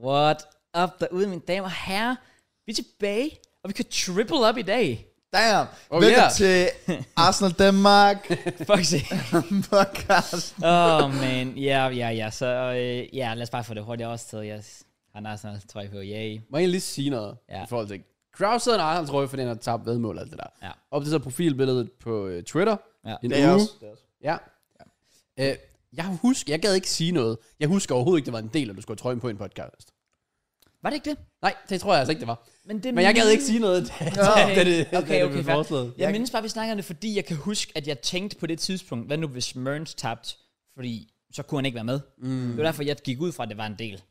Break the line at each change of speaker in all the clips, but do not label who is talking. What up derude, mine damer og herrer. Vi er tilbage, og vi kan triple up i dag.
Damn.
Oh,
Oh, Velkommen
yeah.
yeah. til Arsenal Danmark
Fuck se.
podcast.
Åh, man. Ja, ja, ja. Så øh, ja, lad os bare få det hurtigt også til. Yes. Han har sådan trøje på. Yay.
Må jeg lige sige noget
Ja.
ja. i forhold til Kraus og Arsenal trøje, fordi han har tabt vedmål og alt det der.
Ja.
Op til så profilbilledet på øh, Twitter.
Ja.
En
Det er
uge.
også.
Ja. ja. Øh, jeg husker, jeg gad ikke sige noget. Jeg husker overhovedet ikke, det var en del, at du skulle have trøjen på i en podcast.
Var det ikke det?
Nej, det tror jeg altså ikke, det var.
Men, det
Men jeg gad ikke sige noget, da,
Okay.
da, da
Okay,
det, da
okay,
det blev
fair.
foreslået.
Jeg mindes bare, at vi snakker om det, fordi jeg kan huske, at jeg tænkte på det tidspunkt, hvad nu hvis Mørns tabte, fordi så kunne han ikke være med. Mm. Det var derfor, jeg gik ud fra, at det var en del.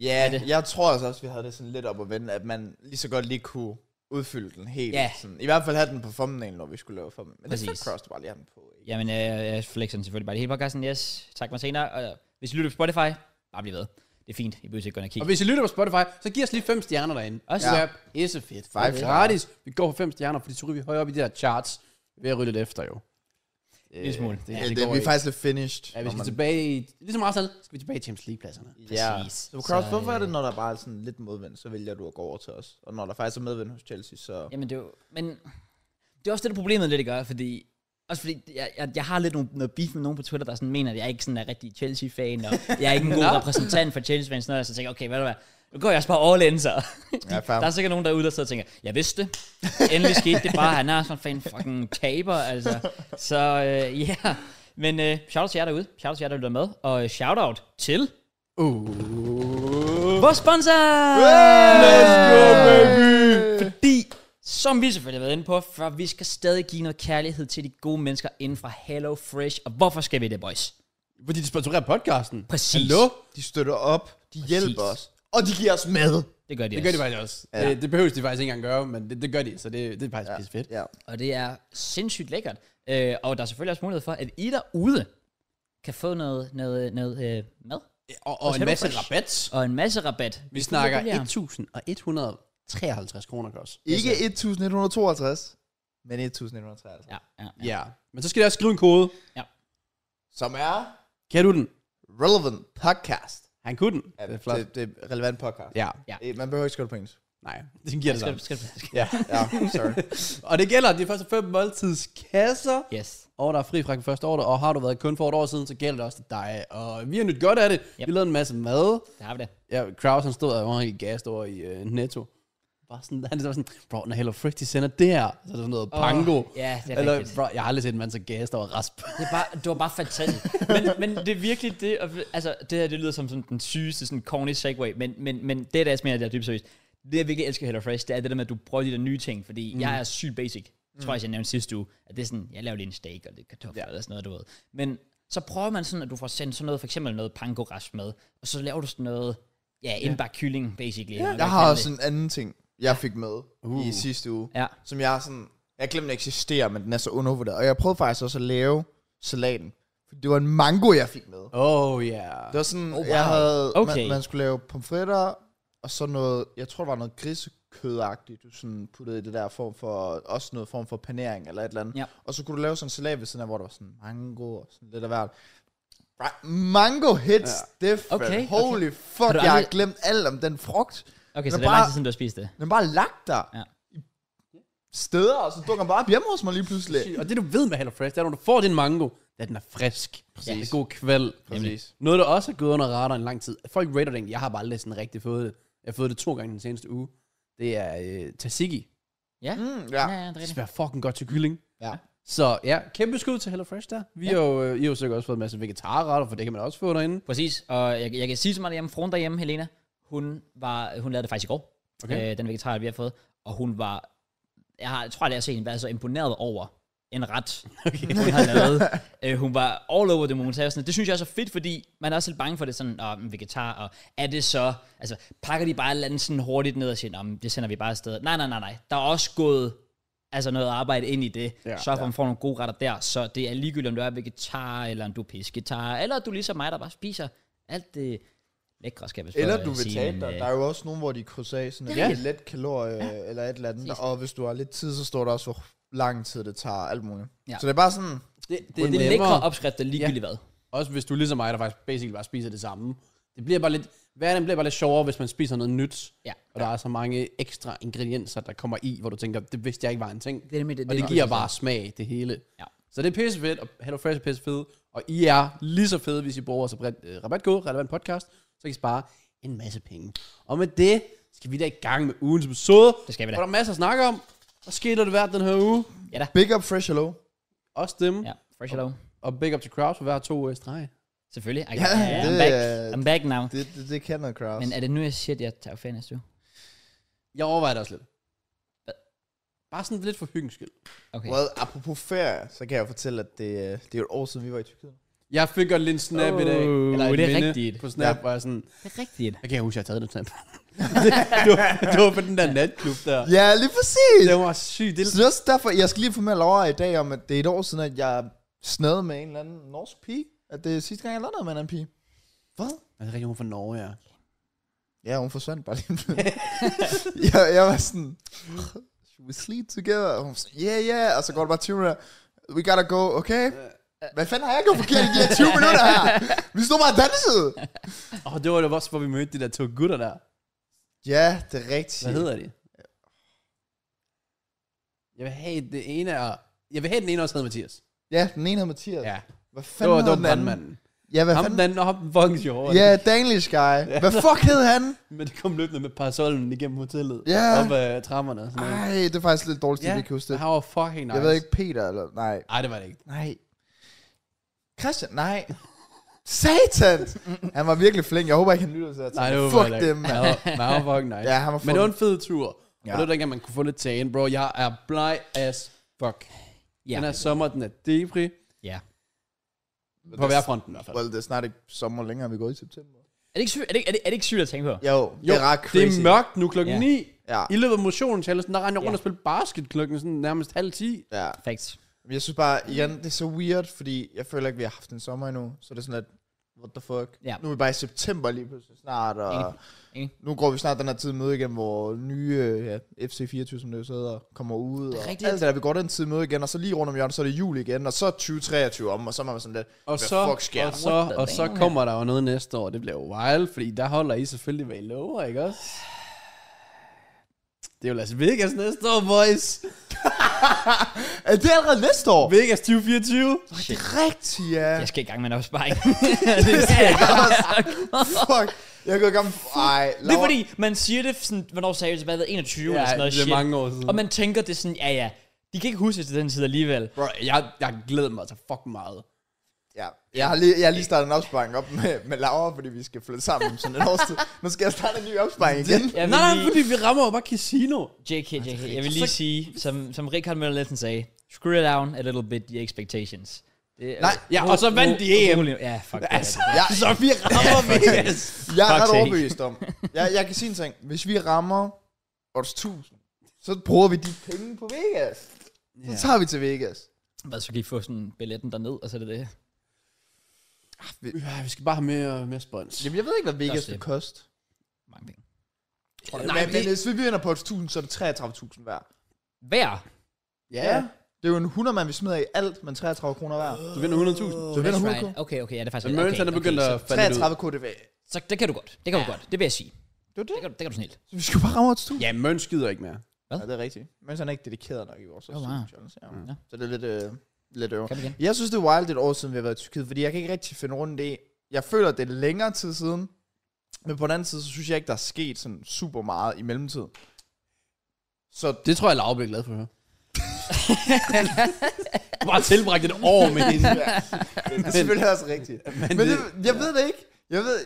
Ja,
det.
yeah, jeg tror altså også, vi havde det sådan lidt op at vende, at man lige så godt lige kunne udfylde den helt.
Ja.
Sådan. I hvert fald have den på thumbnail, når vi skulle lave thumbnail. Men det er
Præcis.
fedt, Cross, du bare lige har den på. ikke?
Jamen, øh, jeg flexer den selvfølgelig bare det hele podcasten. Yes, tak mig senere. Og øh, hvis I lytter på Spotify, bare bliv ved. Det er fint. I behøver ikke gå ind og
Og
kigge.
hvis I lytter på Spotify, så giv os lige fem stjerner derinde.
Også.
Ja. Isse fedt.
Five
Det er gratis. Vi går for fem stjerner, fordi så ryger vi højere op i de der charts. Vi er ved at ryge lidt efter jo.
En lille smule.
det,
Ja,
ja,
Ja,
det,
det,
går
vi er
ikke.
faktisk lidt finished.
Ja, vi
når
skal
man-
tilbage i, ligesom Arsenal, skal vi tilbage i Champions League-pladserne.
Ja.
Præcis.
Så Cross,
Så,
hvorfor er
øh,
det, når der bare er sådan lidt modvind, så vælger du at gå over til os? Og når der faktisk er medvind hos Chelsea, så...
Jamen, det er jo, men det er også det, der er problemet lidt, gør, fordi også fordi, jeg, jeg, jeg har lidt nogle, noget beef med nogen på Twitter, der sådan mener, at jeg ikke sådan er rigtig Chelsea-fan, og jeg er ikke en god repræsentant for Chelsea-fans, sådan noget, og så tænker jeg, okay, hvad du hvad, nu går jeg også bare all in, så.
Ja, fair.
Der er sikkert nogen derude, der sidder og tænker, jeg vidste det. Endelig skete det bare, han er sådan en fan fucking taber, altså. Så ja, øh, yeah. men øh, shout-out til jer derude, shout-out til jer, der lytter med, og øh, shout-out til
Uh.
vores sponsor!
Let's go, baby!
Fordi, som vi selvfølgelig har været inde på før, vi skal stadig give noget kærlighed til de gode mennesker inden for Hello Fresh. Og hvorfor skal vi det, boys?
Fordi de sponsorerer podcasten.
Præcis.
Hallo?
De støtter op, de hjælper os, og de giver os med.
Det gør de
Det
også.
gør de faktisk også.
Ja.
Ja. Det, det behøves de faktisk ikke engang gøre, men det, det gør de, så det, det er faktisk ja. pisse fedt.
Ja.
Og det er sindssygt lækkert. Øh, og der er selvfølgelig også mulighed for, at I derude kan få noget, noget, noget øh, mad
Og, og en
Hello
masse
Fresh.
rabat.
og en masse rabat.
Vi snakker
billigere.
1.153 kroner kost.
Ikke 1152, men 1153.
Ja, ja, ja.
Ja. Men så skal jeg også skrive en kode.
Som er
Kan du den?
relevant podcast.
Han kunne den.
Ja,
det er flot.
Det, det er relevant podcast.
Ja.
Ja.
Eh, Man behøver ikke skrive det på engelsk.
Nej, det giver det
Skal, skal,
samme.
skal.
Ja.
Ja, sorry.
Og det gælder de første fem måltidskasser.
Yes.
Og der er fri fra den første order, og har du været kun for et år siden, så gælder det også til dig. Og vi har nyt godt af det. Yep. Vi lavede en masse mad.
Der har vi det.
Ja, Kraus han stod og var helt gast over i øh, Netto. Bare sådan, han var sådan, bro, når Hello Fresh, de sender det her, så er det sådan noget pango.
ja, det er
Eller,
rigtigt.
bro, jeg har aldrig set en mand så gast over rasp.
Det, er bare, det var bare fantastisk. men, men det er virkelig det, og, altså det her det lyder som sådan, den sygeste sådan corny segue, men, men, men det der er mere, det er dybt seriøst. Det jeg virkelig elsker ved HelloFresh, det er det der med, at du prøver de der nye ting, fordi mm. jeg er sygt basic. Jeg tror jeg, jeg nævnte sidste uge, at det er sådan, jeg laver lige en steak og lidt kartofler ja. eller sådan noget, du ved. Men så prøver man sådan, at du får sendt sådan noget, for eksempel noget panko-rasp med, og så laver du sådan noget, ja, indbagt kylling, basically. eller hvad
Jeg
kalder
har
det.
også en anden ting, jeg fik med uh. i
Uh.
sidste uge,
Ja.
som jeg er sådan, jeg glemte eksisterer, men den er så undervurderet. Og jeg prøvede faktisk også at lave salaten. Det var en mango, jeg fik med.
Oh yeah.
Det var sådan, oh,
wow.
wow. jeg havde,
Okay.
man, man skulle lave pomfritter, og så noget, jeg tror, det var noget grisekødagtigt, du sådan puttede i det der form for, også noget form for panering eller et eller andet.
Ja.
Og så kunne du lave sådan en salat ved siden af, hvor der var sådan mango og sådan lidt af hvert. Right. Mango hits ja. different.
Okay, okay.
Holy fuck,
Har du
jeg har
aldrig-
glemt alt om den frugt.
Okay, så
Men
det er lang
bare-
tid siden, du har spist det.
Den er bare lagt der.
Ja.
i Steder, og så dukker den bare op hjemme hos mig lige pludselig.
Og det du ved med Hello Fresh, det er, når du får din mango, det er, at den er frisk. Præcis. Det er god kvæld.
Præcis.
Noget, der også er gået under radaren i lang tid. Folk rater den. Jeg har bare aldrig sådan rigtig fået det. Jeg har fået det to gange den seneste uge. Det er øh, tzatziki.
Ja, mm.
Mm, ja.
ja, ja, det er
Det
rigtigt.
smager fucking godt til kylling.
ja.
Så ja, kæmpe skud til Hello Fresh der. Vi ja. har jo, øh, I har jo sikkert også fået en masse vegetarretter, for det kan man også få derinde.
Præcis, og jeg, jeg kan sige så meget derhjemme, fruen derhjemme, Helena, hun, var, hun lavede det faktisk i går,
Okay.
øh, den vegetar, vi har fået, og hun var, jeg, har, jeg tror, at jeg har set hende være så imponeret over en ret, okay. hun har lavet. øh, hun var all over det, hun sagde sådan, det synes jeg er så fedt, fordi man er også lidt bange for det, sådan, om en vegetar, og er det så, altså pakker de bare et eller andet sådan hurtigt ned og siger, om det sender vi bare afsted. Nej, nej, nej, nej, der er også gået altså noget arbejde ind i det, ja,
Ja,
så for, at man får nogle gode retter der, så det er ligegyldigt, om du er vegetar, eller om du er pesketar, eller du er ligesom mig, der bare spiser alt det lækre, skal jeg vist
Eller
prøve
du
at
vil
sige,
tabe
men,
dig.
øh,
Der er jo også nogen, hvor de krydser af sådan
Ja.
ja. let kalorie ja. eller et eller andet.
Præcis.
Og hvis du har lidt tid, så står der også, hvor lang tid det tager, alt muligt.
Ja.
Ja. Så det er bare sådan,
Det,
Det er lækre opskrifter ligegyldigt ja. hvad.
Også hvis du ligesom mig, der faktisk basically bare spiser det samme. Det bliver bare lidt, hverdagen bliver bare lidt sjovere, hvis man spiser noget nyt.
Ja.
Og der er så mange ekstra ingredienser, der kommer i, hvor du tænker, det vidste jeg ikke var en ting.
Det er nemlig det-
og
det
det,
er
giver
nok-
bare smag, det hele.
Ja.
Så det er pisse fedt, og HelloFresh er pisse fedt. Og I er lige så fede, hvis I bruger vores rabat- øh, rabatkode, relevant podcast, så kan I spare en masse penge. Og med det skal vi da i gang med ugens episode.
Det skal vi da.
Og der er masser at snakke om. Hvad skete der hvert den her uge?
Big up Fresh Hello.
Også dem.
Ja, fresh hello.
Og big up til crowd for hver to øh, streg.
Selvfølgelig. I,
Ja,
ja, yeah, I'm,
det
back.
er-
I'm back now.
Det, det, det kan noget, Kraus.
Men er det nu, jeg siger, at jeg tager ferie næste uge?
Jeg overvejer det også lidt.
Hvad?
Bare sådan lidt for hyggens skyld.
Okay.
Well, apropos ferie, så kan jeg fortælle, at det, øh, det er jo et år siden, vi var i Tyrkiet.
Jeg fik godt lidt en snap oh, i dag.
Oh,
et
det er
minde
rigtigt.
På snap,
Ja.
ja. hvor jeg sådan...
Det er rigtigt.
Jeg kan ikke huske, at jeg har taget den snap. det, det, var, det var på den der natklub der.
Ja, lige præcis!
Det var sygt. Det,
Så det er også derfor, jeg skal lige informere Laura i dag om, at det er et år siden, at jeg snede med en eller anden norsk pige. At det er sidste gang, jeg lavede noget med en anden pige. Hvad?
altså, rigtig hun fra Norge, ja.
Ja, hun forsvandt bare lige pludselig. jeg, jeg var sådan, should we sleep together? Og hun var sådan, yeah, yeah. Og så går det bare 20 minutter. We gotta go, okay?
Øh,
Hvad fanden har jeg gjort forkert i de her 20 minutter her? Vi stod bare og dansede.
Og det var jo også, hvor vi mødte de der to gutter der.
Ja, det er rigtigt.
Hvad hedder de? Jeg vil have det ene er... Jeg vil have den ene også hedder Mathias.
Ja, den ene hedder Mathias.
Ja.
Hvad
Det
fanden
var, det
hedder
var
den anden?
brandmanden.
Ja, hvad
Ham den
fanden?
anden, og ham den fucking sjovere.
Ja, Danish guy. Hvad fuck hed han?
Men det kom løbende med parasollen igennem hotellet.
Ja.
Op ad trammerne. og Sådan noget.
Ej, det er faktisk lidt dårligt, at yeah. vi kan huske det.
han var fucking nice.
Jeg ved ikke, Peter eller... Nej.
Ej, det var det ikke.
Nej. Christian, nej. Satan! Han var virkelig flink. Jeg håber ikke, han lytter til det.
Nej, det var
Fuck
det
dem,
ikke.
mand.
Han var, men han var fucking nice.
Ja, han var
Men det var
fucking-
en fed tur. Ja.
Ja.
Og det var dengang, man kunne få lidt tagen, bro. Jeg er bleg as fuck.
Ja.
Den er sommer, den er debri.
ja.
På hver fronten i hvert fald.
Well, det er snart ikke sommer længere, vi går i september.
Er det ikke sygt, er det, ikke- er det, er det ikke sygt at tænke på?
Jo, det er ret crazy.
det er mørkt nu klokken
Ja.
9.
Ja.
I løbet af motionen challengen, der rendte jeg rundt
Ja.
og spillede basket klokken sådan nærmest halv 10.
Ja.
Facts.
Men Jeg synes bare, igen, det er så weird, fordi jeg føler ikke, vi har haft en sommer endnu. Så det er sådan lidt, what the fuck.
Ja.
Nu er vi bare i september lige pludselig snart, og
Enig. Enig.
nu går vi snart den her tid møde igen, hvor nye øh, ja, FC24, som det jo så hedder, kommer ud.
Det er
og
rigtigt.
Alt det der, vi går den tid møde igen, og så lige rundt om hjørnet, så er det jul igen, og så er 2023 om, og så er man sådan lidt,
Og
Hvad
så,
fuck sker
og
der?
så,
the
og så
damn?
kommer der jo noget næste år. Det bliver jo wild, fordi der holder I selvfølgelig, hvad I lover, ikke også? Det er jo Las Vegas næste år, boys.
er det allerede næste år?
Vegas 2024.
Det er rigtigt, ja.
Jeg
Yes.
skal i gang med en opsparing. det skal jeg
Fuck. Jeg går i gang. Ej, Laura.
Det er fordi, man siger det sådan, hvornår sagde jeg det tilbage, 21 eller sådan noget
det er
shit.
mange år siden.
Og man tænker det sådan, ja ja, de kan ikke huske det til den tid alligevel.
Bro, jeg, jeg glæder mig så fucking meget.
Ja, jeg har lige, jeg har lige startet en opsparing op med, med Laura, fordi vi skal flytte sammen om sådan et års tid. Nu skal jeg starte en ny opsparing igen.
Jeg
Jeg
vil
nej, nej,
lige-
fordi vi rammer jo bare casino.
JK, JK, jeg vil lige
Så-
sige, som, som Richard Møller Lessen sagde, screw it down a little bit, the expectations. Det, er-
Nej,
ja, og så vandt de E EM.
rolig- Ja, fuck det. Altså.
Ja,
Så vi rammer Vegas.
jeg er
Fuck
ret
sake.
overbevist om. Jeg, jeg kan sige en ting. Hvis vi rammer års 1000, så bruger vi de penge på Vegas. Så
Ja.
tager vi til Vegas.
Hvad, så kan I få sådan billetten derned, og så er det det.
Ja, vi skal bare have mere, mere spons.
Jamen, jeg ved ikke, hvad Vegas
Også det.
vil koste.
Mange penge.
Nej, men, men hvis vi vinder på års 1000, så er det 33.000 hver.
Hver?
Ja.
Det er jo en 100 mand, vi smider i alt, men 33 kroner hver.
Du vinder 100.000.
Så vinder 100
right. Okay, okay, ja, det er
Så
faktisk...
Mørens han er begyndt
okay,
at
så,
falde lidt ud.
33 KDV.
så, det kan du godt. Det kan du godt. Det vil jeg sige.
Det er
Det
det.
kan, du- det kan du snilt.
Så vi skal jo bare ramme års 1000.
Ja, Mørens skider ikke mere.
Ja, det er rigtigt. Men han er ikke dedikeret nok i vores
wow.
oh, challenge. Ja.
Ja.
Mm. Så det er lidt, øh, lidt øver.
Kom igen.
Jeg synes, det er wild det er et år siden, vi har været i Tyrkiet, fordi jeg kan ikke rigtig finde rundt i. Jeg føler, det er længere tid siden, men på den anden side, så synes jeg ikke, der er sket sådan super meget i mellemtiden. Så
Det tror jeg, Laura bliver glad for at høre. du har tilbragt et år med hende.
det er selvfølgelig også rigtigt.
Men,
Men det, jeg ved det ikke. Jeg ved...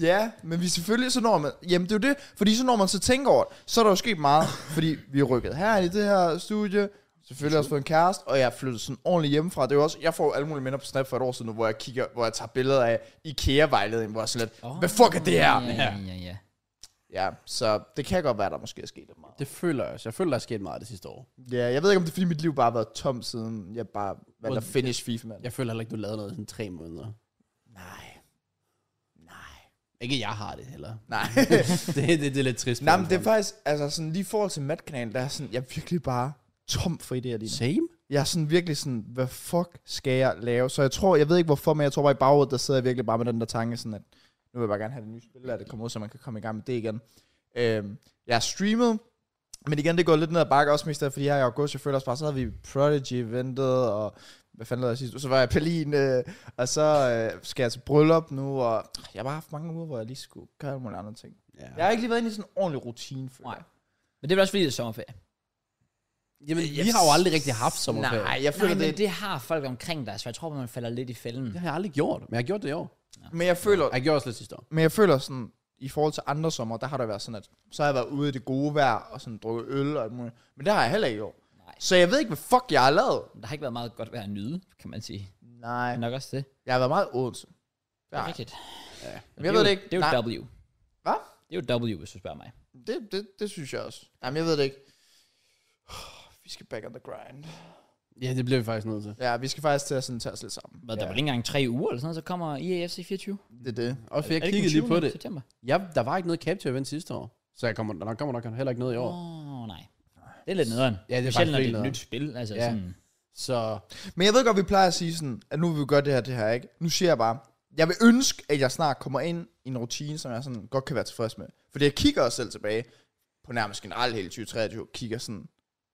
Ja, men vi selvfølgelig, så når man... Jamen, det er jo det. Fordi så når man så tænker over det, så er der jo sket meget. Fordi vi er rykket her i det her studie. Selvfølgelig også fået en kæreste, og jeg er flyttet sådan ordentligt hjemmefra. Det er jo også, jeg får jo alle mulige minder på Snap for et år siden, nu, hvor jeg kigger, hvor jeg tager billeder af IKEA-vejledningen, hvor jeg er sådan lidt, oh, hvad fuck er det her?
Ja, ja, ja. ja.
Ja, så det kan godt være, der måske er sket lidt meget.
det føler jeg også. Jeg føler, der er sket meget det sidste år.
Ja, jeg ved ikke, om det er, fordi mit liv bare har været tomt, siden jeg bare valgte at finish FIFA, mand.
Jeg føler heller ikke, du lavede noget i sådan tre måneder.
Nej. Nej.
Ikke, jeg har det heller.
Nej.
det, det, det er lidt trist.
Nej, men det er faktisk, altså sådan lige i forhold til Madkanalen, der er sådan, jeg er virkelig bare tom for idéer lige nu.
Same?
Jeg er sådan virkelig sådan, hvad fuck skal jeg lave? Så jeg tror, jeg ved ikke hvorfor, men jeg tror bare i baghovedet, der sidder jeg virkelig bare med den der tanke sådan, at Nu vil jeg bare gerne have det nye spil, at det kommer ud, så man kan komme i gang med det igen. Øhm, jeg har streamet, men igen, det går lidt ned ad bakke også mest der, fordi her i august, jeg føler også bare, så havde vi Prodigy-eventet, og hvad fanden lavede jeg sidst? Så var jeg i Berlin, øh, og så øh, skal jeg til bryllup nu, og jeg har bare haft mange uger, hvor jeg lige skulle gøre alle mulige andre ting.
Ja.
Jeg har ikke lige været inde i sådan en ordentlig rutine før.
Nej. Men det er vel også fordi, det er sommerferie.
Jamen, vi har jo aldrig rigtig haft sommerferie.
Nej, jeg
Nej,
føler
men
det,
det har folk omkring dig, så jeg tror, man falder lidt i fælden.
Det har jeg aldrig gjort, men jeg har gjort det i år.
men jeg føler,
Jeg gjorde også lidt sidste år.
Men jeg føler sådan, i forhold til andre sommer, der har der været sådan, at så har jeg været ude i det gode vejr, og sådan drukket øl og alt muligt. Men det har jeg heller ikke i år.
Nej.
Så jeg ved ikke, hvad fuck jeg har lavet.
Der har ikke været meget godt vejr at nyde, kan man sige.
Nej.
Men nok også det.
Jeg har været meget i Odense.
Det er
Nej,
rigtigt.
Ja.
Men jeg ved
jo-
det ikke.
Det er jo W.
Hvad?
Det er jo W, hvis du spørger mig.
det, det, det synes jeg også. Jamen, jeg ved det ikke. Vi skal back on the grind.
Ja, det blev vi faktisk nødt til.
Ja, vi skal faktisk til at sådan tage os lidt sammen.
Hvad, der
ja,
var ikke engang tre uger eller sådan noget, så kommer E IAFC 24.
det er det.
Også fordi jeg
Er ikke den
kiggede lige på
20.
det.
September.
Jeg, der var ikke noget capture event sidste år, så jeg kommer, der kommer nok heller ikke noget i år.
Åh, oh, nej. Det er lidt nederen.
Ja, det er
Specielt
faktisk
når det er
helt
et nyt spil. Altså
Ja.
ja. sådan,
Så
Men jeg ved godt, vi plejer at sige sådan, at nu vil vi gøre det her, det her, ikke? Nu siger jeg bare, jeg vil ønske, at jeg snart kommer ind i en rutine, som jeg sådan godt kan være tilfreds med. Fordi jeg kigger også selv tilbage på nærmest generelt hele 2023, kigger sådan,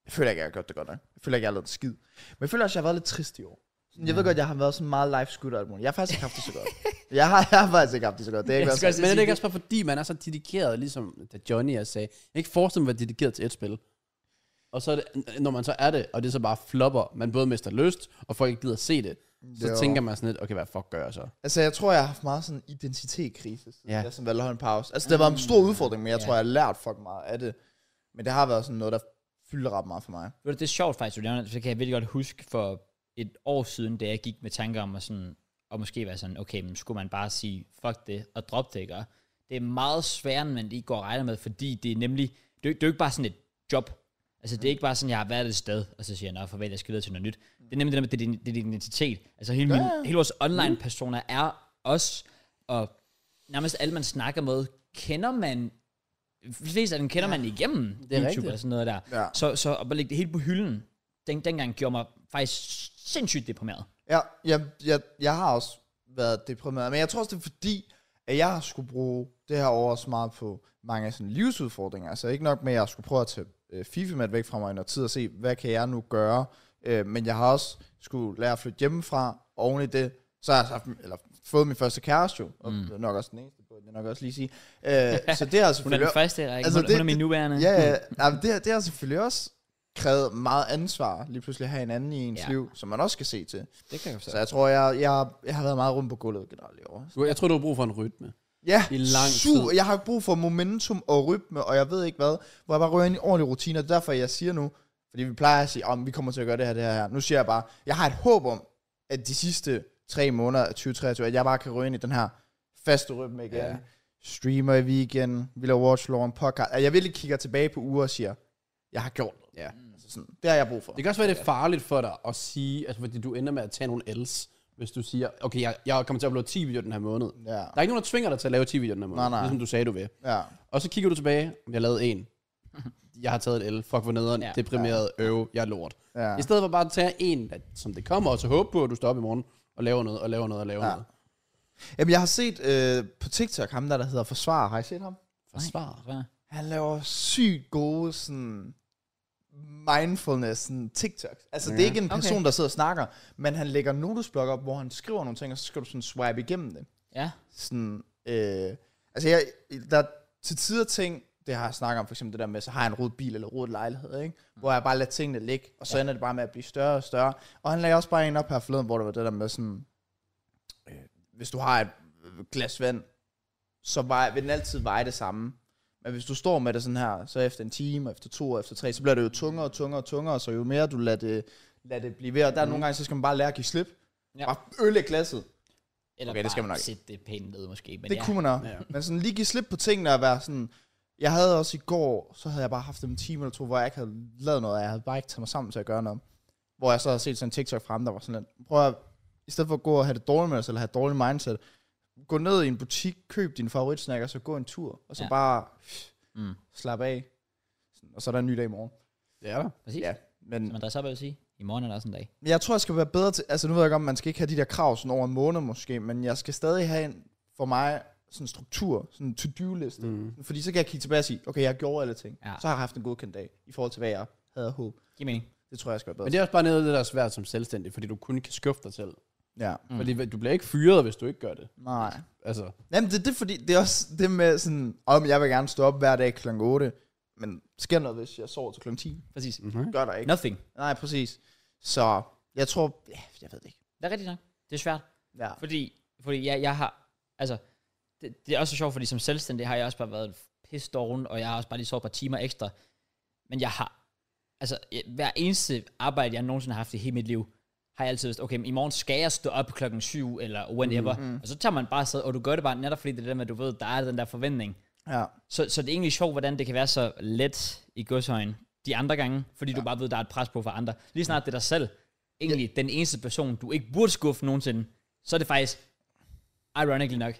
jeg føler ikke, jeg har gjort det godt nok. Jeg føler ikke, jeg har lavet det skid. Men jeg føler også, at jeg har været lidt trist i år. Sådan, Jeg ved godt, jeg har været sådan meget life scooter og alt muligt. Jeg har faktisk ikke haft det så godt. Jeg har, jeg har faktisk ikke haft det så godt. Det er ikke
Jeg
også,
skal også
men er det
sige,
ikke også bare fordi, man er så dedikeret, ligesom da Johnny jeg sagde. Jeg kan ikke forestille mig at være dedikeret til et spil. Og så er det, når man så er det, og det så bare flopper, man både mister lyst, og folk ikke gider at se Mm. det, så
Jo.
tænker man sådan lidt, okay, hvad fuck gør jeg så?
altså, jeg tror, jeg har haft meget sådan identitetskrise.
Ja.
Ja. Jeg sådan valgte at holde en pause. Altså, det var en stor udfordring, men jeg tror, jeg har lært fucking meget af det. Men det har været sådan noget, der fylder ret meget for mig.
Ved du, det er sjovt faktisk, du nævner, det, så kan jeg virkelig godt huske for et år siden, da jeg gik med tanker om at sådan, og måske være sådan, okay, men skulle man bare sige, fuck det, og drop det, ikke? Og Det er meget sværere, end man lige går og regner med, fordi det er nemlig, det er, jo- det er jo ikke bare sådan et job. Altså, det er ikke bare sådan, jeg har været et sted, og så siger jeg, nå, farvel, jeg skal videre til noget nyt. Det er nemlig det der med, det er din, det er din identitet. Altså, hele, min, hele vores online-personer er os, og nærmest alle, man snakker med, kender man de fleste af dem kender ja. man igennem det YouTube
rigtigt.
og sådan noget der.
Ja.
Så, så at bare lægge det helt på hylden, den, dengang gjorde mig faktisk sindssygt deprimeret.
Ja, jeg, jeg, jeg har også været deprimeret, men jeg tror også, det er fordi, at jeg har skulle bruge det her år også meget på mange af sådan livsudfordringer. Altså ikke nok med, at jeg skulle prøve at tage øh, FIFA-mat væk fra mig i noget tid og se, hvad kan jeg nu gøre? Øh, men jeg har også skulle lære at flytte hjemmefra, og oven i det, så har jeg haft, eller fået min første kæreste jo, og mm. nok også den eneste, burde jeg nok også lige sige. Øh, så det har
Hun er den
selvfølgelig...
første, ikke? Altså,
altså,
hun, det,
det-
hun er min nuværende.
Ja, ja. ja men det, har- det har selvfølgelig også krævet meget ansvar, lige pludselig at have en anden i ens
Ja.
ja. liv, som man også skal se til.
Det kan jeg forstå.
Så jeg tror, jeg, jeg, jeg har været meget rundt på gulvet generelt i år. altså.
Du- Jeg tror, du har brug for en rytme.
Ja,
I lang
super.
tid.
Jeg har brug for momentum og rytme, og jeg ved ikke hvad, hvor jeg bare rører ind i ordentlige rutiner. Det er derfor, jeg siger nu, fordi vi plejer at sige, om vi kommer til at gøre det her, det her, her. Nu siger jeg bare, jeg har et håb om, at de sidste tre måneder af 2023, at jeg bare kan røre ind i den her faste rytme igen.
Ja.
Ja. Streamer i weekenden, vi laver watch en podcast. At jeg virkelig kigger tilbage på uger og siger, jeg har gjort noget.
Ja.
Altså sådan, det har jeg brug for.
Det kan også være, det er farligt for dig at sige, altså fordi du ender med at tage nogen else, hvis du siger, okay, jeg, jeg kommer til at uploade 10 videoer den her måned.
Ja.
Der er ikke nogen, der tvinger dig til at lave 10 videoer den her måned,
Nej, nej.
ligesom du sagde, du vil.
ja.
Og så kigger du tilbage, jeg lavede en. Jeg har taget et L. Fuck, hvor nederen,
Ja.
ja. deprimeret, øve, jeg er lort.
Ja.
I stedet for bare at tage en, der- som det kommer, og så håbe på, at du står op i morgen og laver noget, og laver noget, og laver
Ja.
noget.
Jamen, jeg har set øh, på TikTok ham der, der hedder Forsvar. Har I set ham?
Forsvar.
Hvad?
Han laver sygt gode sådan mindfulness sådan TikToks. Altså, det er ikke en person,
Okay.
der sidder og snakker, men han lægger notesblok op, hvor han skriver nogle ting, og så skal du sådan swipe igennem det.
Ja.
Sådan, øh, altså, jeg, der er til tider ting, det har jeg snakket om, for eksempel det der med, så har jeg en rød bil eller rød lejlighed, ikke? hvor jeg bare lader tingene ligge, og så Mm. ja. ender det bare med at blive større og større. Og han lagde også bare en op her forleden, hvor der var det der med sådan, øh, hvis du har et øh, glas vand, så vej, vil den altid veje det samme. Men hvis du står med det sådan her, så efter en time, og efter to, og efter tre, så bliver det jo tungere og tungere og tungere, så jo mere du lader det, lader det blive ved, og der mm. nogle gange, så skal man bare lære at give slip.
Ja.
Ja. Bare øl i glasset.
Eller
Okay, det skal man
bare
nok.
sætte det pænt ned måske. Men
Det
ja.
ja. kunne man også.
Ja.
Ja. Men sådan lige give slip på tingene og være sådan... Jeg havde også i går, så havde jeg bare haft en time eller to, hvor jeg ikke havde lavet noget, og jeg havde bare ikke taget mig sammen til at gøre noget. Hvor jeg så havde set sådan en TikTok frem, der var sådan lidt, prøv at, i stedet for at gå og have det dårligt med os, eller have et dårligt mindset, gå ned i en butik, køb din favoritsnack, og så gå en tur, og så
Ja.
ja. bare
Mm.
mm. slappe af. Sådan, Og så er der en ny dag i morgen.
Det er der.
Præcis. Ja.
Ja, men
Man dresser op, jeg vil sige. I morgen er der også en dag.
men jeg tror, jeg skal være bedre til... Altså, nu ved jeg godt, man skal ikke have de der krav sådan over en måned måske, men jeg skal stadig have en, for mig sådan struktur, sådan en to-do-liste.
Mm.
Mm. Fordi så kan jeg kigge tilbage og sige, okay, jeg gjorde alle ting.
Ja.
Ja. Så har jeg haft en godkendt dag, i forhold til hvad jeg havde håbet.
Giv mening.
Det tror jeg skal være bedre.
Men det er også bare noget af det, der er svært som selvstændig, fordi du kun kan skuffe dig selv.
Ja.
Mm. Fordi du bliver ikke fyret, hvis du ikke gør det.
Nej.
Altså,
Jamen, det, det, er fordi, det er også det med sådan, om jeg vil gerne stå op hver dag kl. 8, men sker noget, hvis jeg sover til kl. 10?
Præcis.
mm-hmm.
Gør der ikke.
Nothing.
Nej, præcis. Så jeg tror, ja, jeg ved det ikke.
Det er rigtigt nok. Det er svært.
Ja.
Fordi, fordi jeg, jeg har, altså, det, det er også så sjovt, fordi som selvstændig har jeg også bare været pisse doven, og jeg har også bare lige sovet et par timer ekstra. Men jeg har, altså, jeg, hver eneste arbejde, jeg nogensinde har haft i hele mit liv, har jeg altid vidst, okay, men i morgen skal jeg stå op klokken 7 eller whenever. Mm-hmm. Og så tager man bare sted, og du gør det bare netop fordi det er det der med, at du ved, der er den der forventning.
ja.
Så, så det er egentlig sjovt, hvordan det kan være så let i godshøjen de andre gange, fordi ja. du bare ved, der er et pres på for andre. Lige snart det er dig selv, egentlig ja. den eneste person, du ikke burde skuffe nogensinde, så er det faktisk, ironically nok,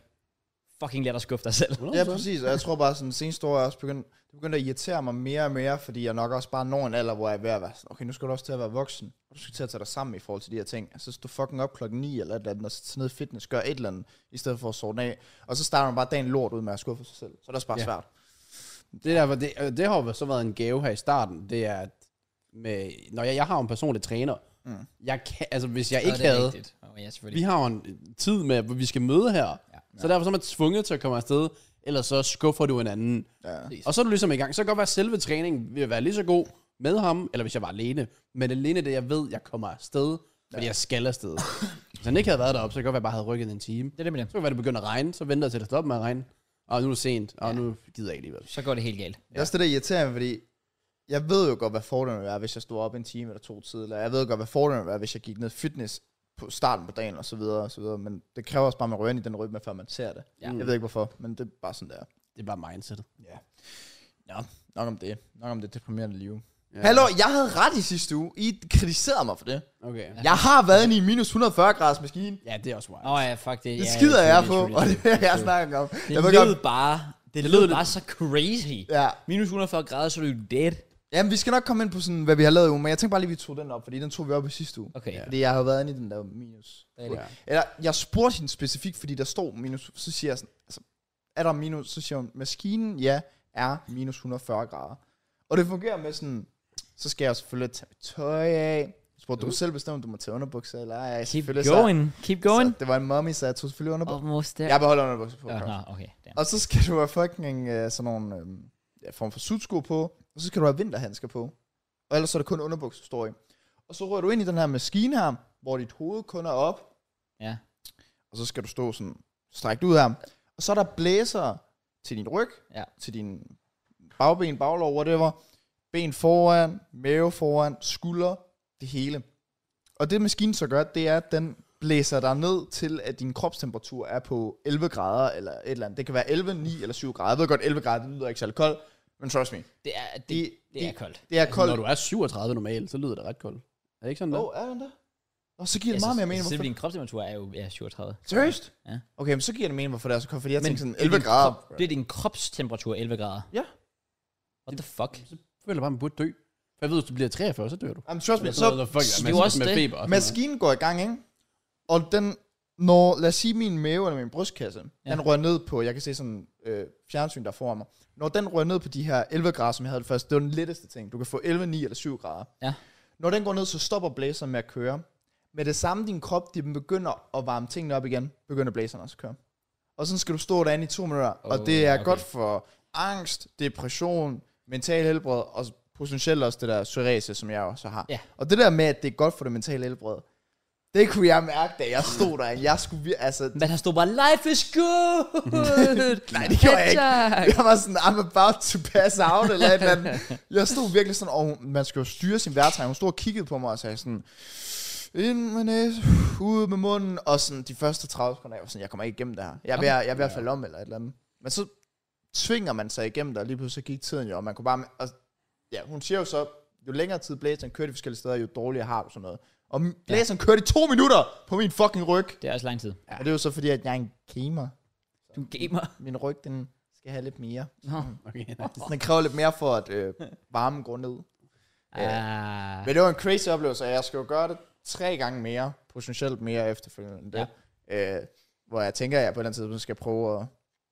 fucking let at skuffe dig selv.
Ja, præcis. Og jeg tror bare, sådan seneste år, jeg også begyndt, det begyndte at irritere mig mere og mere, fordi jeg nok også bare når en alder, hvor jeg er ved at være sådan, okay, nu skal du også til at være voksen, og du skal til at tage dig sammen i forhold til de her ting. Altså, stå fucking op klokken 9 eller et eller andet, og sætte sig ned i fitness, gør et eller andet, i stedet for at sove den af. Og så starter man bare dagen lort ud med at skuffe sig selv. Så er det også bare
Ja.
ja. svært.
Det, der, hvor det, øh, det har jo så været en gave her i starten, det er, at med, når jeg, jeg har jo en personlig træner, mm. jeg kan, altså hvis jeg
Og
ikke
det er
havde,
rigtigt. Oh, ja, selvfølgelig.
vi har jo en tid med, hvor vi skal møde her, ja. så derfor så er man tvunget til at komme afsted, ellers så skuffer du en anden.
Ja.
Og så er du ligesom i gang. Så kan det godt være, at selve træningen vil være lige så god med ham, eller hvis jeg var alene. Men alene det, jeg ved, jeg kommer afsted, fordi ja. jeg skal afsted. hvis han ikke havde været deroppe, så kan det godt være, at jeg bare havde rykket en time.
Det er det med det.
Så kan det være, det begynder at regne, så venter jeg til, at det stopper med at regne. Og nu er det sent, og nu gider jeg ikke alligevel.
Så går det helt galt.
Det er også det, der irriterer mig, fordi jeg ved jo godt, hvad fordelen vil være, hvis jeg stod op en time eller to tidligere. Jeg ved godt, hvad fordelen vil være, hvis jeg gik ned i fitness på starten på dagen og så videre, og så videre. Men det kræver også bare, at man rører ind i den rytme, før man ser det.
Ja.
Ja. Jeg ved ikke hvorfor, men det er bare sådan, der.
Det er bare mindsetet.
Ja. Nå, nok om det. Nok om det deprimerende liv.
Ja.
Ja. Hallo, jeg havde ret i sidste uge. I kritiserede mig for det.
Okay.
Jeg har været inde i minus 140 graders maskine.
Ja, det er også wild.
Åh oh, ja, fuck det.
Det
ja,
skider jeg på,
selvfølgelig,
og det vil jeg
selvfølgelig.
gerne snakke om.
Det
jeg ved
lød
godt-
bare, det lød bare så crazy.
Ja.
Minus 140 grader, så er du dead.
Jamen, vi skal nok komme ind på sådan, hvad vi har lavet i ugen, men jeg tænkte bare lige, at vi tog den op, fordi den tog vi op i sidste uge.
Okay.
Ja.
Ja.
Fordi jeg har jo været inde i den der minus.
Ja.
Eller, jeg spurgte hende specifikt, fordi der stod minus, så siger jeg sådan, altså, er der minus? Så siger hun, maskinen, ja, er minus 140 grader. Og det fungerer med sådan, så skal jeg selvfølgelig tage mit tøj af. Så spurgte, du kan selv bestemme, om du må tage underbukser eller ej.
Keep
Selvfølgelig
going. Keep
Så,
going.
så, det var en mommy, så jeg tog selvfølgelig underbukser.
Almost
Oh.
there.
Jeg beholder underbukser på.
Ja,
Ja,
nå, okay. Damn.
og så skal du have fucking øh, sådan nogle øh, ja, form for sudsko på, og så skal du have vinterhandsker på. Og ellers så er det kun underbukser, du står i. Og så rører du ind i den her maskine her, hvor dit hoved kun er op,
Ja.
og så skal du stå sådan strækt ud her. Og så er der blæser til din ryg,
Ja.
til din bagben, baglov, whatever. Ben foran, mave foran, skulder, det hele. Og det maskinen så gør, det er, at den blæser dig ned til, at din kropstemperatur er på 11 grader, eller et eller andet. Det kan være 11, 9 eller 7 grader. Jeg ved godt, 11 grader, det lyder ikke særlig koldt, men trust me,
Det er, det, det,
Det-
det er
det-
koldt.
det er
Altså,
koldt.
når du er 37 normalt, så lyder det ret koldt. Er det ikke sådan,
Åh,
der?
oh, er den der? Nå, så giver det meget mere mening.
Selv
Hvorfor?
din kropstemperatur er jo ja, 37.
Seriøst?
Ja.
Okay, men så giver det mening, hvorfor det er så koldt, fordi jeg
Men
tænkte sådan
det er
11
din
grader.
krop- Det er din kropstemperatur 11 grader.
Ja.
What the fuck?
Så føler jeg bare, man burde dø. For jeg ved, hvis du bliver 43, så dør du.
Jamen, trust me,
Eller
så
sådan noget, fuck,
det er
man
jo
med,
også
med
det.
feber. og sådan noget.
Maskinen går i gang, ikke? Og den, når, lad os sige, min mave eller min brystkasse,
Ja.
ja. den rører ned på, jeg kan se sådan øh, fjernsyn, der er foran mig. Når den rører ned på de her 11 grader, som jeg havde det først, det var den letteste ting. Du kan få 11, 9 eller 7 grader.
Ja.
Når den går ned, så stopper blæseren med at køre. Med det samme, din krop, den begynder at varme tingene op igen, begynder blæseren også at køre. Og sådan skal du stå derinde i to minutter, oh,
Oh,
og det er
okay.
okay. godt for angst, depression, mental helbred, og potentielt også det der psoriasis, som jeg også har.
Ja.
Og det der med, at det er godt for det mentale helbred, det kunne jeg mærke, da jeg stod der. Jeg skulle vir- altså,
Men han stod bare, life is good!
Nej, det gjorde jeg ikke.
ikke.
jeg var sådan, I'm about to pass out, eller et eller andet. Jeg stod virkelig sådan, og hun- man skal jo styre sin vejrtrækning. Hun stod og kiggede på mig og sagde sådan, ind med næsen, ud med munden, og sådan de første 30 sekunder, jeg var sådan, jeg kommer ikke igennem det her. Jeg er ved, at- jeg er ved at falde om, eller et eller andet. Men så tvinger man sig igennem det, og lige pludselig gik tiden jo, og man kunne bare, og, ja, hun siger jo så, jo længere tid blæseren kører de forskellige steder, jo dårligere har du sådan noget. Og blæseren kørte i to minutter på min fucking ryg.
Det er også lang tid.
Ja. Og det er jo så fordi, at jeg er en gamer.
Du er en gamer.
Min ryg, den skal have lidt mere.
Nå.
Okay,
Så den kræver lidt mere for, at øh, varmen går ned.
Ah.
Men uh, det var en crazy oplevelse, og jeg skal jo gøre det tre gange mere, potentielt mere efterfølgende end det. Ja. Øh, hvor jeg tænker, at jeg på et eller andet tidspunkt skal prøve at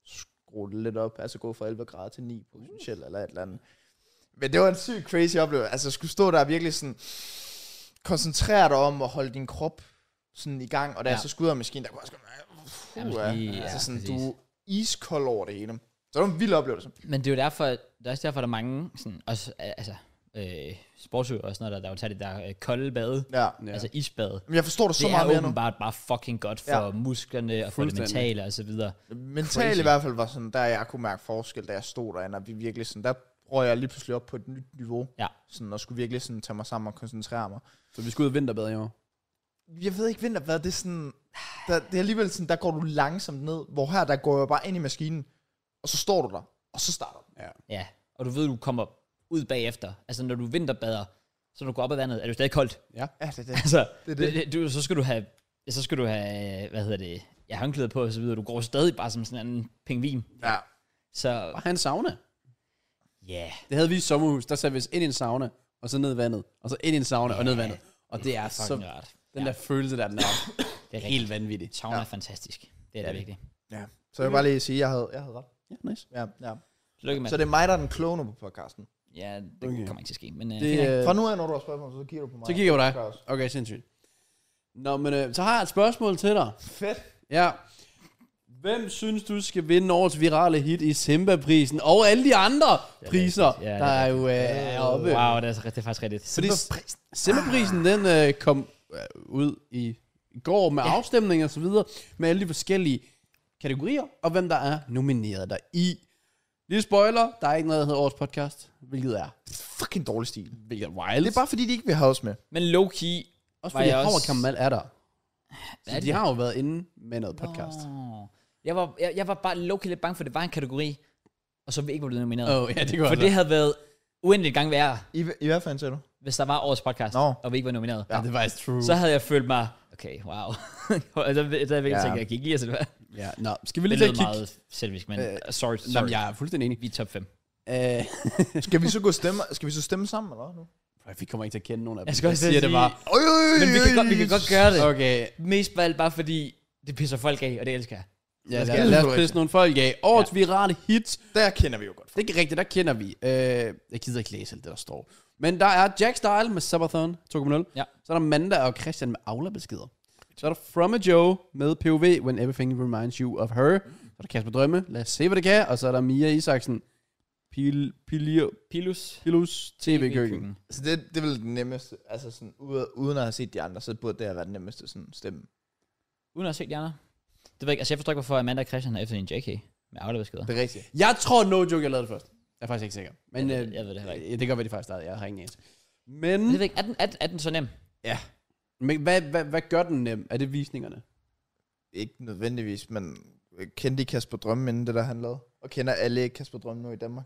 skrue det lidt op, altså gå fra 11 grader til 9 potentielt, eller et eller andet. Men det var en sygt crazy oplevelse, altså skulle stå der og virkelig sådan, koncentrere dig om at holde din krop sådan i gang, og da ja.
Ja.
jeg så skulle ud af maskinen, der kunne jeg også
Nærmest
godt, ja,
lige-
ja,
ja,
altså sådan,
præcis.
du er iskold over det hele. Så det var en vild oplevelse.
Men det er jo derfor, det er også derfor, der er mange sådan, også, al- altså, øh, sportsøger og sådan noget, der, der jo tager det der øh, kolde bade,
Ja.
ja. altså isbade.
Men jeg forstår det,
Det
så
er
meget mere nu.
åbenbart bare fucking godt for
Ja.
ja. musklerne og for det
Fuldstændig.
mentale og så videre.
Mentalt
Crazy.
i hvert fald var sådan, der jeg kunne mærke forskel, da jeg stod derinde, og vi virkelig sådan, der røg jeg lige pludselig op på et nyt niveau.
Ja.
Sådan, og skulle virkelig sådan tage mig sammen og koncentrere mig.
Så vi skal ud og vinterbade i år.
Jeg ved ikke, vinterbad, det er sådan, der, det er alligevel sådan, der går du langsomt ned, hvor her, der går jeg bare ind i maskinen, og så står du der, og så starter du.
Ja.
Ja, og du ved, du kommer ud bagefter. Altså, når du vinterbader, så når du går op ad vandet, er du stadig koldt.
Ja, det er det.
Altså,
Det er
det,
det.
det. Det, du, så skal du have, ja, så skal du have, hvad hedder det, ja, håndklæder på og så videre. Du går stadig bare som sådan en pingvin.
Ja.
Så,
Bare have en sauna.
ja. Yeah.
Det havde vi i et sommerhus. Der satte vi os ind i en sauna, og så ned i vandet. Og så ind i en sauna, og ned i vandet. Og det er så...
Fucking rart.
Den
Ja.
der følelse der, den er,
Det er
helt
helt
vanvittig.
Sauna ja. er fantastisk. Det er det virkelig.
ja. Så jeg vil bare lige sige, jeg havde, jeg havde ret.
Ja, nice.
Ja, ja.
Lykke med
Så det er mig, der er den klogende på podcasten.
Ja, det
Okay.
okay. kommer ikke til at ske. Men, øh,
Det,
fint nok.
øh,
Fra nu af, når du har spørgsmål, så kigger du på mig.
så kigger jeg på dig.
Det er også.
Okay, sindssygt. Nå, men øh, så har jeg et spørgsmål til dig.
Fedt.
Ja. Hvem synes du skal vinde årets virale hit i Simba-prisen og alle de andre priser,
rigtigt. Ja, det
der
er
er jo øh, er oppe?
wow, det er, så- det er faktisk rigtigt.
Fordi Simba-prisen, den øh, kom øh, ud i i går med ja. afstemning og så videre, med alle de forskellige kategorier, og hvem der er nomineret der i. Lille spoiler, der er ikke noget, der hedder årets podcast, hvilket er,
Fucking dårlig stil.
hvilket er wild.
Det er bare fordi, de ikke vil have os med.
Men low-key...
Også
Var
fordi
jeg
Howard
også-
Kamal er der. Så
er
de
det?
har jo været inde med noget podcast.
Åh. Jeg var, jeg, jeg var bare low-key lidt bange for, at det var en kategori, og så vi ikke var blevet nomineret.
Åh, oh, ja, det går
for det havde været uendeligt gang værre,
I, i hvert fald, siger du?
hvis der var årets podcast,
Nå.
og vi ikke var nomineret.
Ja, det var faktisk true.
Så havde jeg følt mig, okay, wow. altså, der havde jeg
Ja.
virkelig tænkt, jeg gik i, altså det var...
Ja, nå, skal vi
Det
lige tage
lød
et kig?
meget selvisk, men
Øh,
uh, sorry,
Nå,
sorry.
men jeg er fuldstændig enig.
Vi er top 5.
Øh,
Skal vi så gå stemme, skal vi så stemme sammen, eller hvad nu?
vi kommer ikke til at kende nogen af dem.
Jeg skal også til at
siger det
sige-
bare.
Øj, øj,
Men vi kan, godt, vi kan godt gøre det.
Okay,
Mest for alt bare fordi, det pisser folk af, og det elsker jeg.
ja,
skal
lad,
jeg
lad os
lige-
pisse nogle folk af. Årets ja. virale hits.
Der kender vi jo godt.
Det er ikke rigtigt, der kender vi. Øh, jeg gider ikke læse alt det, der står. Men der er Jack Style med Sabathon 2.0.
Ja.
Så er der Manda og Christian med Aula-beskeder. Så er der From a Joe med POV, When Everything Reminds You of Her. Så er der Kasper Drømme, Lad os se, hvad det kan. Og så er der Mia Isaksen, Pil, Pilio,
Pilus.
Pilus
Så
TV-køkken.
Altså, det, det er vel den nemmeste, altså sådan, ude- uden at have set de andre, så burde det have været den nemmeste sådan, stemme.
Uden at se de andre. Det ved jeg ikke, altså jeg forstår ikke, hvorfor Amanda og Christian har efter en JK med afleverbeskeder.
Det er rigtigt.
Jeg tror, no joke, jeg lavede det først. Jeg er faktisk ikke sikker. Men
Jeg ved-
øh,
jeg ved det heller ikke.
ja, Det kan godt være, det faktisk startede. Jeg har ingen anelse.
Men jeg
Men,
ved ikke, er den, er, den- er den så nem?
men hvad, hvad, hvad gør den nem? Er det visningerne?
Ikke nødvendigvis, men kendte I Kasper Drømme inden det der, han lavede? Og kender alle ikke Kasper Drømme nu i Danmark?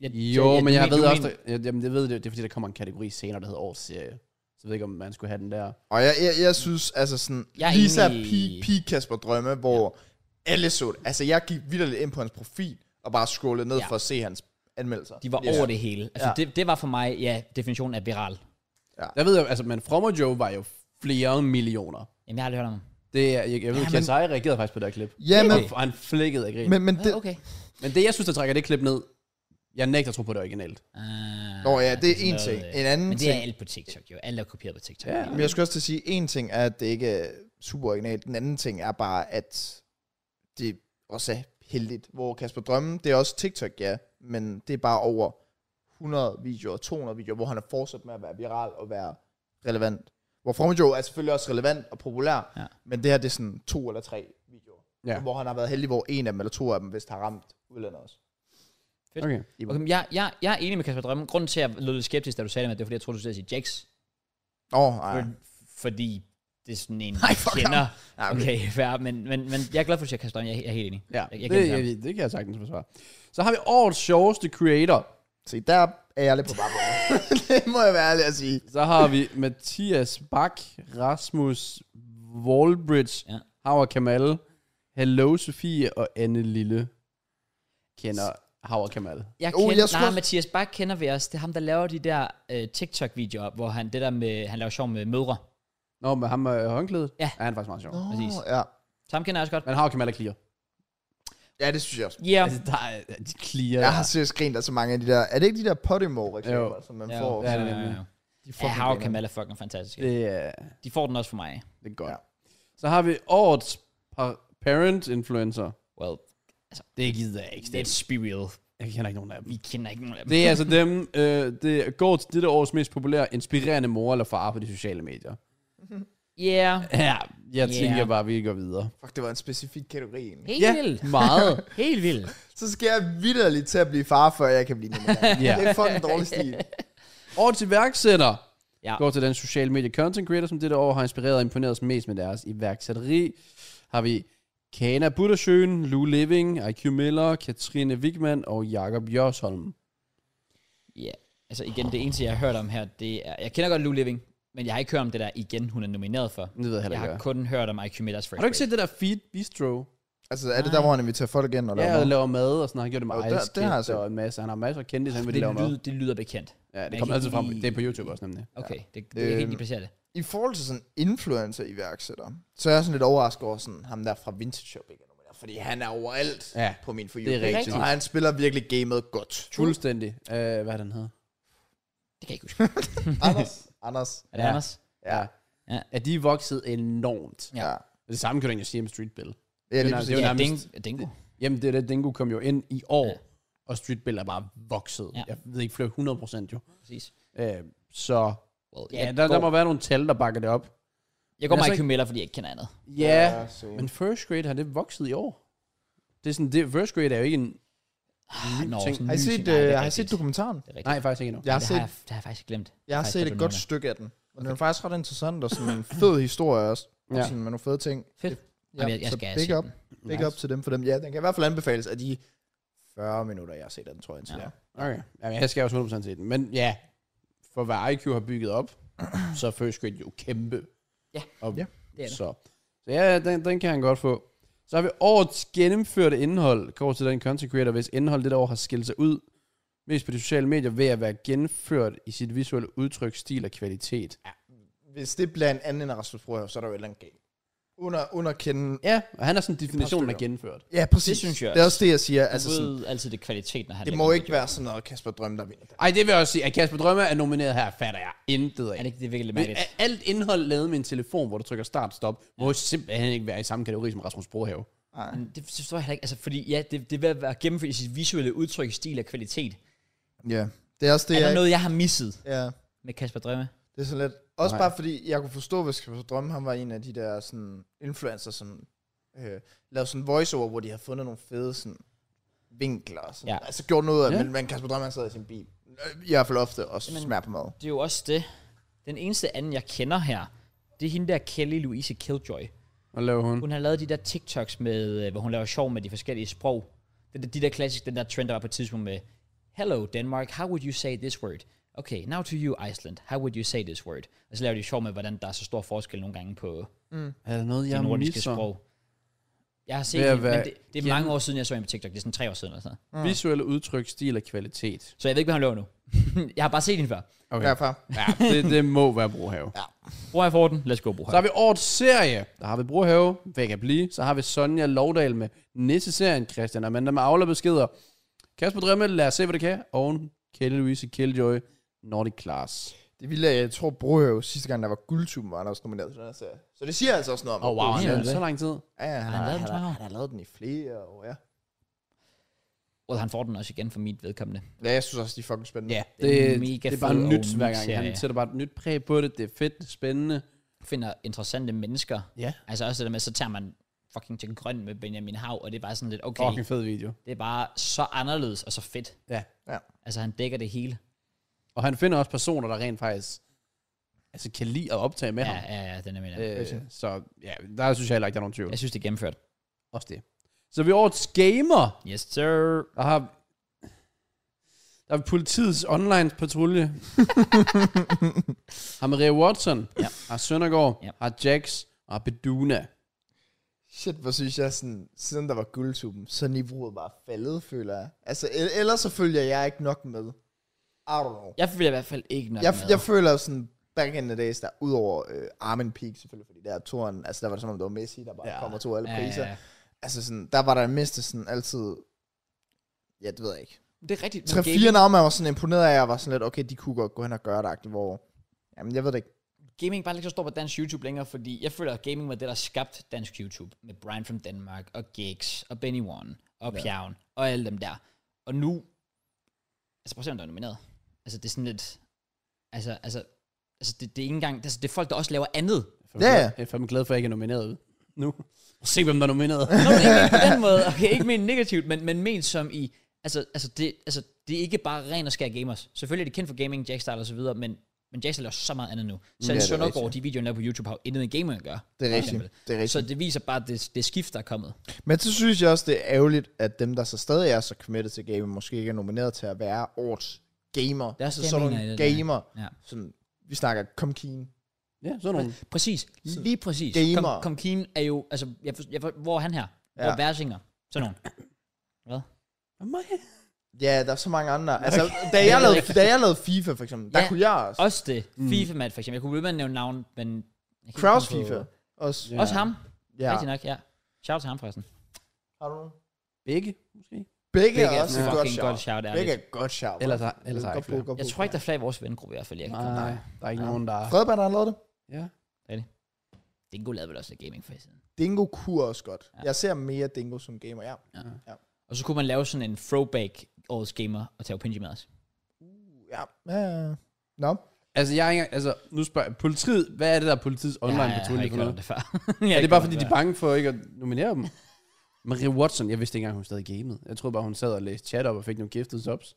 Jeg,
Jo, men jeg
du
ved
mener-
også, der, jamen, jeg ved det, det er fordi, der kommer en kategori senere, der hedder årets serie. Så jeg ved ikke, om man skulle have den der.
Og jeg, jeg, jeg synes, altså sådan,
Jeg er
Lisa
enig i-
P, P Kasper Drømme, hvor alle så det. Altså, jeg gik vildt ind på hans profil, og bare scrollede ned ja.
Ja.
for at se hans anmeldelser.
De var
Ja.
over det hele. Altså
Ja.
det, det var for mig, ja, definitionen af viral.
Der ved jeg, altså, men From og Joe var jo flere millioner.
Jamen jeg har aldrig hørt om ham.
Det er, jeg, jeg ved, ja,
Ja,
Kian Seje reagerede faktisk på det her klip.
Ja, men,
Og, og han flækkede af grin. Men,
men, men
Ah,
det,
Okay.
men det, jeg synes, der trækker det klip ned, jeg nægter at tro på det originalt.
Ah,
Nå ja, det er
sådan
en ting.
øh,
En anden
Men det er
ting-
alt på TikTok jo. Alt er kopieret på TikTok.
Ja.
Men jeg skulle også til at sige, en ting er, at det ikke er super originalt. Den anden ting er bare, at det også er heldigt. Hvor Kasper Drømme, det er også TikTok, ja, men det er bare over 100 videoer, 200 videoer, hvor han er fortsat med at være viral og være relevant. Hvor Fromajo er selvfølgelig også relevant og populær,
Ja.
men det her det er sådan to eller tre videoer.
Ja.
Hvor han har været heldig, hvor en af dem eller to af dem, hvis har ramt udlandet også.
Fedt.
Okay.
Okay, men jeg, jeg, jeg er enig med Kasper Drømmen. Grunden til, at jeg lød lidt skeptisk, da du sagde det, med, det var, fordi jeg troede, du skulle til at sige Jax.
Åh, oh, ej.
For, fordi det er sådan en,
Nej, fuck
jeg kender.
Ja, okay.
Okay, fair, men, men, men jeg er glad for, at du siger Kasper Drømmen. Jeg, jeg er helt enig.
Ja,
Jeg- jeg
det,
kender
jeg, det kan jeg sagtens forsvare. Så har vi årets sjoveste creator.
Se, der er jeg lidt på bare Det må jeg være ærlig at sige.
Så har vi Mathias Bak, Rasmus Wallbridge, ja.
Ja.
Howard Kamal, Hello Sofie og Anne Lille kender Howard Kamal.
Jeg
Oh,
kender,
jeg
jeg
skulle
nej,
også-
Mathias Bak kender vi også. Det er ham, der laver de der øh, TikTok-videoer, hvor han, det der med, han laver sjov med mødre.
Nå, men ham med håndklædet?
Ja.
ja han er faktisk meget sjov.
Nå,
Præcis.
ja.
Så ham kender jeg også godt.
Men Howard Kamal er clear.
Ja, det synes jeg også.
Ja.
Altså, der er, de clear.
Jeg har seriøst grint af så mange af de der... Er det ikke de der Podimo-reklamer,
Jo.
som man
Ja,
får?
Ja, det er
Ja,
nemlig.
ja.
De
Ja,
fucking
Hav
vinder.
Kamal er fucking fantastisk.
Det er,
De får den også for mig.
det er godt.
Ja.
Ja. Så har vi årets par- parent influencer.
Well, altså,
Det gider jeg ikke. Det,
let's be real.
jeg kender ikke nogen af dem.
Vi kender ikke nogen af dem.
Det er altså dem, øh, det går til dette års mest populære, inspirerende mor eller far på de sociale medier.
Yeah.
Ja, jeg
Ja.
tænker bare, at vi går videre.
Fuck, det var en specifik kategori egentlig.
Helt
Ja,
vildt.
meget.
Helt vildt.
Så skal jeg vidderligt til at blive far, før jeg kan blive nomineret.
Ja.
Det er fucking dårlig stil.
Årets iværksætter
Ja.
ja. går til den sociale medie content creator, som dette år har inspireret og imponeret os mest med deres iværksætteri. Har vi Kana Buttersøen, Lou Living, IQ Miller, Katrine Wigman og Jakob Jørsholm.
Ja. Altså igen, det eneste, jeg har hørt om her, det er... Jeg kender godt Lou Living, men jeg har ikke hørt om det der igen, hun er nomineret for.
Det ved jeg
Jeg
heller ikke.
har
hvad er.
kun hørt om IQ Millers First
Har du ikke set det der Feed Bistro?
Altså, er det der, hvor han inviterer folk ind og
Ja,
laver
og
mad?
laver mad og sådan noget. Han gjorde det med
Jo,
oh,
der-
Ice
det har jeg
Kids
set.
og en masse. Han har masser af kendte, han vil lave
Det,
mad.
lyder, det lyder bekendt.
Ja,
Men
det kommer
jeg
altid
kan
frem.
ikke
Det er på YouTube også nemlig.
Okay, det, det, jeg kan ikke
Øhm,
lige placere det.
I forhold til sådan influencer-iværksætter, så er jeg sådan lidt overrasket over sådan ham der fra Vintage Shop, ikke? er nomineret, Fordi han er overalt
Ja,
på min for
det er
You-page,
rigtigt.
Og han spiller virkelig gamet godt.
Fuldstændig. Uh, hvad er den hedder?
Det kan jeg ikke huske.
Anders. Anders.
Er det
Ja.
Anders?
Ja.
At de er vokset enormt.
Ja.
Ja.
Det samme kan du egentlig sige om Street Bill.
Ja, lige
er-
præcis.
det er jo
ja,
nærmest-
Ding- Dingo.
Jamen, det er det, Dingo kom jo ind i år,
Ja.
ja. og Street Bill er bare vokset.
Ja.
Ja. Jeg ved ikke, flere 100 procent jo.
Præcis.
Øh, så
Well,
ja, der, der må være nogle tal, der bakker det op.
jeg går
Men
med
altså
IQ Miller, fordi jeg ikke kender andet.
Ja,
så-
men first grade har det vokset i år. Det er sådan, det, first grade er jo ikke en...
Ah, nå,
ting.
sådan
Har I
ny
set,
ting. Nej, det er
øh, har I
rigtigt.
set dokumentaren?
Det er rigtigt.
Nej, faktisk ikke endnu.
Jeg har
det,
set,
har jeg, det har jeg faktisk glemt.
jeg har
faktisk
set
godt
et godt
nævner.
stykke af den. Og den er faktisk ret interessant, og sådan en fed historie også. Og
Ja.
sådan med nogle fede ting.
Fedt. Jamen, jeg- jeg
så
skal
big
se
up,
den.
big up til dem for dem. Ja, den kan i hvert fald anbefales af de 40 minutter, jeg har set af den, tror jeg, indtil
Ja.
ja.
Okay, Jamen, jeg skal også 100% se den. Men ja, for hvad IQ har bygget op, så er first grade jo kæmpe.
Ja.
og,
Ja.
Det er det.
Så, så ja, den, den kan han godt få. Så har vi årets gennemførte indhold, går til den content creator, hvis indhold det år har skilt sig ud, mest på de sociale medier, ved at være genført i sit visuelle udtryk, stil og kvalitet.
Hvis det bliver en anden end Rasmus Brohøj, så er der jo et eller andet galt. Under, under kende...
Ja, og han er sådan definitionen af
stykker.
genført.
Ja, præcis.
Det synes jeg
Det er
også.
også det, jeg siger.
Altså
Altså,
ved
sådan,
altid det er kvalitet, når han
det
lægger
må
en
ikke
video.
være sådan noget, Kasper Drøm, der vinder.
Ej, det vil jeg også sige, at Kasper Drømme er nomineret her, fatter jeg intet
Er
af.
det ikke det er virkelig
Men
mærkeligt?
er alt indhold lavet med en telefon, hvor du trykker start, stop, må simpelthen ikke være i samme kategori som Rasmus Brohave.
Nej.
Men Det forstår jeg heller ikke. Altså, fordi ja, det, det er ved at være gennemført i sit visuelle udtryk, stil og kvalitet.
Ja, det er også
Det
det,
er, er der
jeg...
noget, jeg har misset
Ja,
med Kasper Drømme?
det er sådan lidt... Også
Nej.
bare fordi, jeg kunne forstå, hvis Kasper Drøm, han var en af de der sådan, influencer, som øh, lavede sådan voiceover, hvor de har fundet nogle fede sådan, vinkler. og Sådan.
Ja.
Ja. Altså gjort noget af,
Ja.
ja. men, men Kasper Drøm, han sad i sin bil. Øh, I hvert fald ofte, og
Jamen-
smager på mad.
Det er jo også det. Den eneste anden, jeg kender her, det er hende der Kelly Louise Killjoy.
Hvad laver hun?
Hun har lavet de der TikToks, med, øh, hvor hun laver sjov med de forskellige sprog. De, de der klassiske, den der trend, der var på et tidspunkt med, Hello Denmark, how would you say this word? Okay, now to you Iceland, how would you say this word? Og så laver de sjov med, hvordan der er så stor forskel nogle gange på
Er der noget,
de
jeg
nordiske
misser?
sprog. Jeg har set
Ved at
det, men
være
det, det er mange år siden, jeg så hende på TikTok. Det er sådan tre år siden eller sådan noget.
Mm. Visuelle udtryk, stil og kvalitet.
Så jeg ved ikke, hvad han laver nu. jeg har bare set hende før.
Okay.
Ja, far.
Ja, det, det må være Brohave. Ja.
Bruger jeg for den? Lad os gå,
Så har
Bruger
vi årets serie. Der har vi Brohave, hvad kan blive. Så har vi Sonja Lovdal med Nisse-serien, Christian Amanda med Aula-beskeder. Kasper Drømme, lad os se, hvad det kan. Og Kelly Louise Killjoy, Nordic Class.
Det ville jeg, jeg tror, Brohøv sidste gang, der var guldtuben, var han også nomineret til den her serie. Så det siger altså også noget om.
Åh, oh, wow,
Mener
han
du
har
det?
så lang tid.
Ja, ja, han,
han
har,
lavet
han,
den
har,
så meget?
han har lavet den i flere år, ja.
Og han får den også igen for mit vedkommende.
Ja, jeg synes også, de er fucking spændende.
Ja,
Det er en
det,
mega
det, det er
fed
bare nyt
og
hver
unik
gang.
serie.
Han sætter bare et nyt præg på det. Det er fedt, det er spændende.
Finder interessante mennesker.
Ja.
Altså også det der med, så tager man fucking til grøn med Benjamin Hav, og det er bare sådan lidt, okay,
Fucking fed video.
det er bare så anderledes og så fedt.
Ja.
Ja.
Altså han dækker det hele.
Og han finder også personer, der rent faktisk altså, kan lide at optage med
Ja,
ham.
ja, ja, den er min. Øh.
Øh, så ja, der synes jeg heller ikke, der er nogen tvivl.
Jeg synes, det er gennemført.
Også det. Så vi er årets gamer.
Yes, sir.
Der har, der er politiets online patrulje. har Maria Watson.
Ja.
Har Søndergaard.
Ja.
Har Jax. Og har Beduna.
Shit, hvor synes jeg sådan, siden der var guldtuben, så er niveauet bare faldet, føler jeg. Altså, el- ellers så følger jeg ikke nok med. I don't know.
Jeg føler i hvert fald ikke nok
Jeg,
med.
jeg føler sådan, back in the days, der udover øh, Armin Peak selvfølgelig, fordi der er toren, altså der var det som om, det var Messi, der bare
Ja.
ja. kommer to alle
Ja,
priser.
ja, ja.
altså sådan, der var der mindst sådan altid, ja, det ved jeg ikke.
Det er rigtigt. men gaming-
3-4 navne, jeg var sådan imponeret af, jeg var sådan lidt, okay, de kunne godt gå hen og gøre det, agtigt, hvor, jamen jeg ved det ikke.
gaming bare ikke så stor på dansk YouTube længere, fordi jeg føler, at gaming var det, der skabte dansk YouTube. Med Brian from Denmark, og Gigs, og Benny One, og Pjavn, og alle dem der. Og nu, altså prøv at se, om der er nomineret. Altså det er sådan lidt, altså, altså, altså det, det er ikke engang, altså, det er folk, der også laver andet.
Jeg er
Ja.
fandme glad- Jeg er fandme glad for, at jeg ikke er nomineret nu. Se, hvem der er nomineret.
Nå, men ikke ment på den måde, okay, ikke ment negativt, men, men ment som i, altså, altså, det, altså, det er ikke bare ren og skær gamers. Selvfølgelig er de kendt for gaming, Jackstar og så videre, men, men Jackstar laver så meget andet nu. Selv
Ja, det er
Søndergaard,
rigtigt.
de videoer, han laver på YouTube, har jo intet med gamer at gøre.
Det er
for
rigtigt.
eksempel.
Det er rigtigt.
Så det viser bare det, det skift, der er kommet.
Men så synes jeg også, det er ærgerligt, at dem, der så stadig er så committed til gaming, måske ikke er nomineret til at være årets gamer.
er
så
det, jeg
sådan
mener
nogle
i det der.
gamer.
Ja.
Sådan, vi snakker Comkeen.
Ja, sådan nogle.
Præcis. Lige præcis.
gamer.
Kom, kom Keen er jo, altså, jeg, for- jeg, for- hvor er han her? Hvor
Ja.
er Versinger? Sådan nogen.
Ja, der er så mange andre. Altså, da jeg, lavede, da jeg lavede FIFA, for eksempel, der
Ja.
kunne jeg også.
Også det. FIFA, mand, for eksempel. Jeg kunne blive med at nævne navn, men... jeg kan ikke
Kraus
komme på-
FIFA. Også.
Også ham. Ja.
Ja.
Rigtig nok, ja. Shout til ham, forresten.
Har du nogen?
Begge, måske.
Begge,
Begge
er
er
også et
fucking
godt
godt
shout.
shout, ærligt.
Begge er et godt shout.
Ellers har- ellers har jeg
Godt
ikke flere.
bud, godt
Jeg
bud.
tror ikke, der er flere i vores vennegruppe i hvert fald, jeg kan komme
Nej,
på.
der er ikke nogen, der er...
Fredberg, der har lavet det.
Ja.
Dingo lavede vel også lidt gaming for i siden.
Dingo kunne også godt.
Ja.
Jeg ser mere Dingo som gamer, ja.
Og så kunne man lave sådan en throwback årets gamer og tage Opinji med os.
Ja. ja. ja. Nå.
Altså, jeg er ikke, engang- altså, nu spørger jeg, politiet, hvad er det der er politiets online
ja,
patrulje
jeg har
for
ikke hørt
noget?
om det før.
Ja, det er bare fordi, de er bange for ikke at nominere dem. Marie Watson, jeg vidste ikke engang, hun stadig gamede. Jeg troede bare, hun sad og læste chat op og fik nogle gifted subs.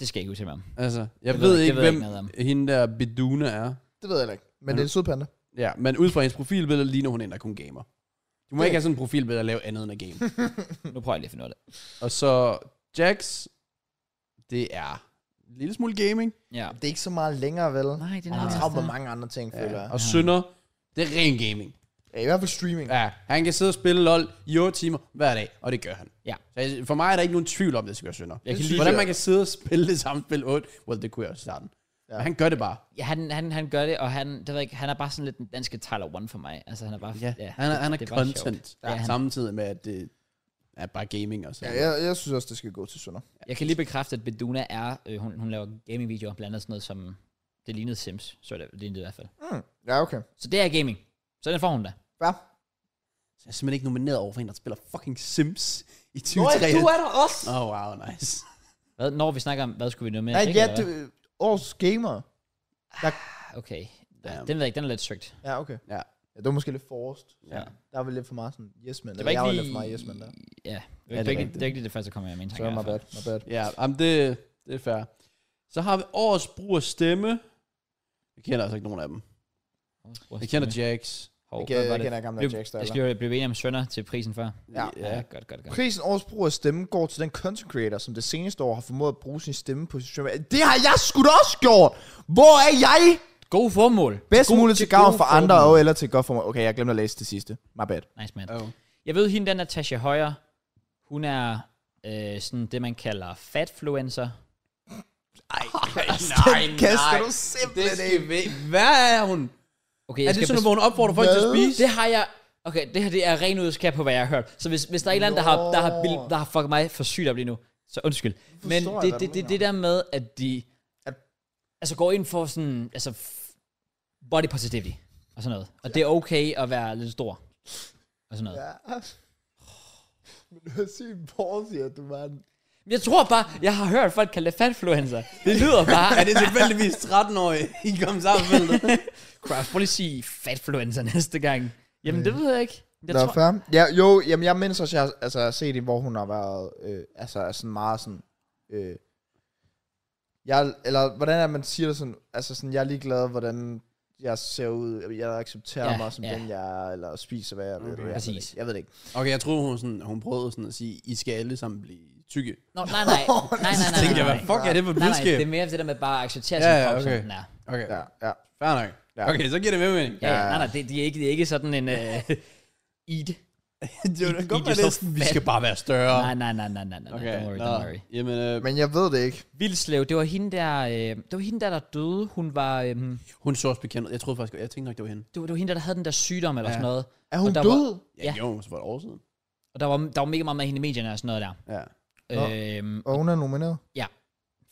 Det skal jeg ikke udtale mig om.
Altså, jeg
Det
ved,
ved jeg- det
ikke,
ved jeg
hvem
ikke noget
hende der Beduna er.
Det ved jeg heller ikke. Men det er en sød panda.
Ja, men ud fra hendes profilbillede ligner hun en, der kun gamer. Du må
Det-
ikke have sådan et profilbillede at lave andet end at game.
Nu prøver jeg lige at finde ud af det.
og så Jax, det er en lille smule gaming.
Ja.
Det er ikke så meget længere, vel?
Nej, det er
Han
nok
er
også
travlt med
det.
mange andre ting, ja. føler jeg.
Ja. Og Sønder, det er ren gaming.
Ja, I hvert fald streaming.
Ja, han kan sidde og spille LOL i 8 timer hver dag, og det gør han.
Ja.
Så jeg- for mig er der ikke nogen tvivl om, at det skal gøre Sønder.
Jeg kan
Hvordan
lide
Hvordan
det.
man kan sidde og spille det samme spil 8, well, det kunne jeg også i starten. Ja. Men han gør det bare.
Ja, han, han, han gør det, og han, det ved jeg ikke, han er bare sådan lidt den danske Tyler One for mig. Altså, han er bare...
han er, han er
det bare
content,
sjovt. Ja, han-
samtidig med, at det er bare gaming og
Ja,
sådan
jeg, jeg synes også, det skal gå til Sønder.
Jeg kan lige bekræfte, at Beduna er... Øh, hun, hun laver gaming-videoer, blandt andet sådan noget som... Det lignede Sims, så det, det lignede i hvert fald.
Mm. Ja, okay.
Så det er gaming. Så den får hun da.
Hvad?
Så jeg er simpelthen ikke nomineret over for en, der spiller fucking Sims i
Nå,
2023.
du er der også!
Åh, oh, wow, nice.
Hvad, når vi snakker om, hvad skulle vi nå med?
Nej, ja,
eller
du,
hvad?
årets gamer.
Okay. Ja,
Damn.
den ved jeg ikke, den er lidt søgt.
Ja, okay.
Ja.
ja det var måske lidt forrest.
Ja.
Der var lidt for meget sådan yes man.
Det var
jeg
ikke
var
lige...
lidt for meget yes man der.
Ja, det
Ja,
var
det
ikke,
er rigtigt.
det er ikke lige det første, der kommer i min
Så
tanker. i
my
hvert fald.
bad, my bad.
Ja, jamen det, det er fair. Så har vi årets brug af stemme. Jeg kender altså ikke nogen af dem. Jeg kender Jax.
Hov,
Jeg
hvad
kender-
var
Jeg
det?
kender gamle
Blev-
Jack
Jeg
Styler.
skal jo blive enig om Sønder til prisen før.
Ja.
Ja, godt, godt, godt.
Prisen årets brug af stemme går til den content creator, som det seneste år har formået at bruge sin stemme på sin stream. Det har jeg sgu da også gjort! Hvor er jeg?
God formål.
Bedst
God-
muligt
til
til gavn
gode
for andre,
formål.
og eller til godt for mig. Okay, jeg glemte at læse det sidste. My bad.
Nice, man.
Oh.
Jeg ved, hende der Natasha Højer, hun er øh, sådan det, man kalder fatfluencer.
Ej,
nej, kaster du simpelthen af.
vi. Hvad er hun?
Okay,
Er det sådan, hvor hun opfordrer folk til at
Hvad?
spise?
det har jeg... Okay, det her det er ren ud skab på, hvad jeg har hørt. Så hvis, hvis der er et eller andet, der har, der har, bil, der har fucket mig for sygt op lige nu, så undskyld. Men
jeg,
det,
hvad
det,
du
det,
mener.
det der med, at de
At-
altså går ind for sådan, altså f- body positivity og sådan noget. Og det er okay at være lidt stor og sådan noget.
Ja. Men du har sygt pause, at du var en...
Men Jeg tror bare, jeg har hørt folk kalde det fatfluencer. Det lyder bare,
Er det tilfældigvis 13-årige i kommentarfeltet?
Craft, prøv lige at sige fatfluencer næste gang. Jamen, det ved jeg ikke. Jeg
Nå,
tror,
fair. Ja, jo, jamen, jeg mindes også, at jeg altså, jeg har set det, hvor hun har været, øh, altså er sådan meget sådan, øh, jeg, eller hvordan er det, man siger det sådan, altså sådan, jeg er ligeglad, hvordan jeg ser ud, jeg accepterer
Ja,
ja, mig som
ja.
ja. den, jeg er, eller spiser, hvad jeg vil. Okay. Jeg, ved det
Præcis.
ikke. jeg ved det ikke.
Okay, jeg troede, hun, sådan, hun prøvede sådan at sige, I skal alle sammen blive tykke.
Nå, nej, nej. Nej, nej,
Så
nej,
tænkte
nej,
jeg, hvad
nej.
fuck er det for et
Nej, nej,
budskab?
det er mere det der med bare at acceptere
Ja,
sin
ja,
krop, som
okay.
den er.
Okay,
Ja, ja.
fair nok.
Ja.
Okay, så giver det mere mening.
Ja, ja. nej, nej, det, det, er ikke, det er ikke sådan en uh, eat.
det var
I- I- det er så
Vi skal bare være større.
Nej, nej, nej, nej, nej, nej,
Okay,
don't worry,
nå.
don't worry.
Jamen, øh,
Men jeg ved det ikke.
Vildslev, det var hende der, øh, det var hende der, der døde. Hun var, øh,
hun så også bekendt ud. Jeg troede faktisk, jeg tænkte nok, det var hende.
det, var, det var hende der, der havde den der sygdom eller
Ja.
sådan noget.
Er hun
Og der
død?
Var,
Ja,
Ja.
jo, så var det år siden.
og Og der var, der var mega meget med hende i medierne og sådan noget der.
Ja.
Nå.
Øhm,
Og hun er nomineret.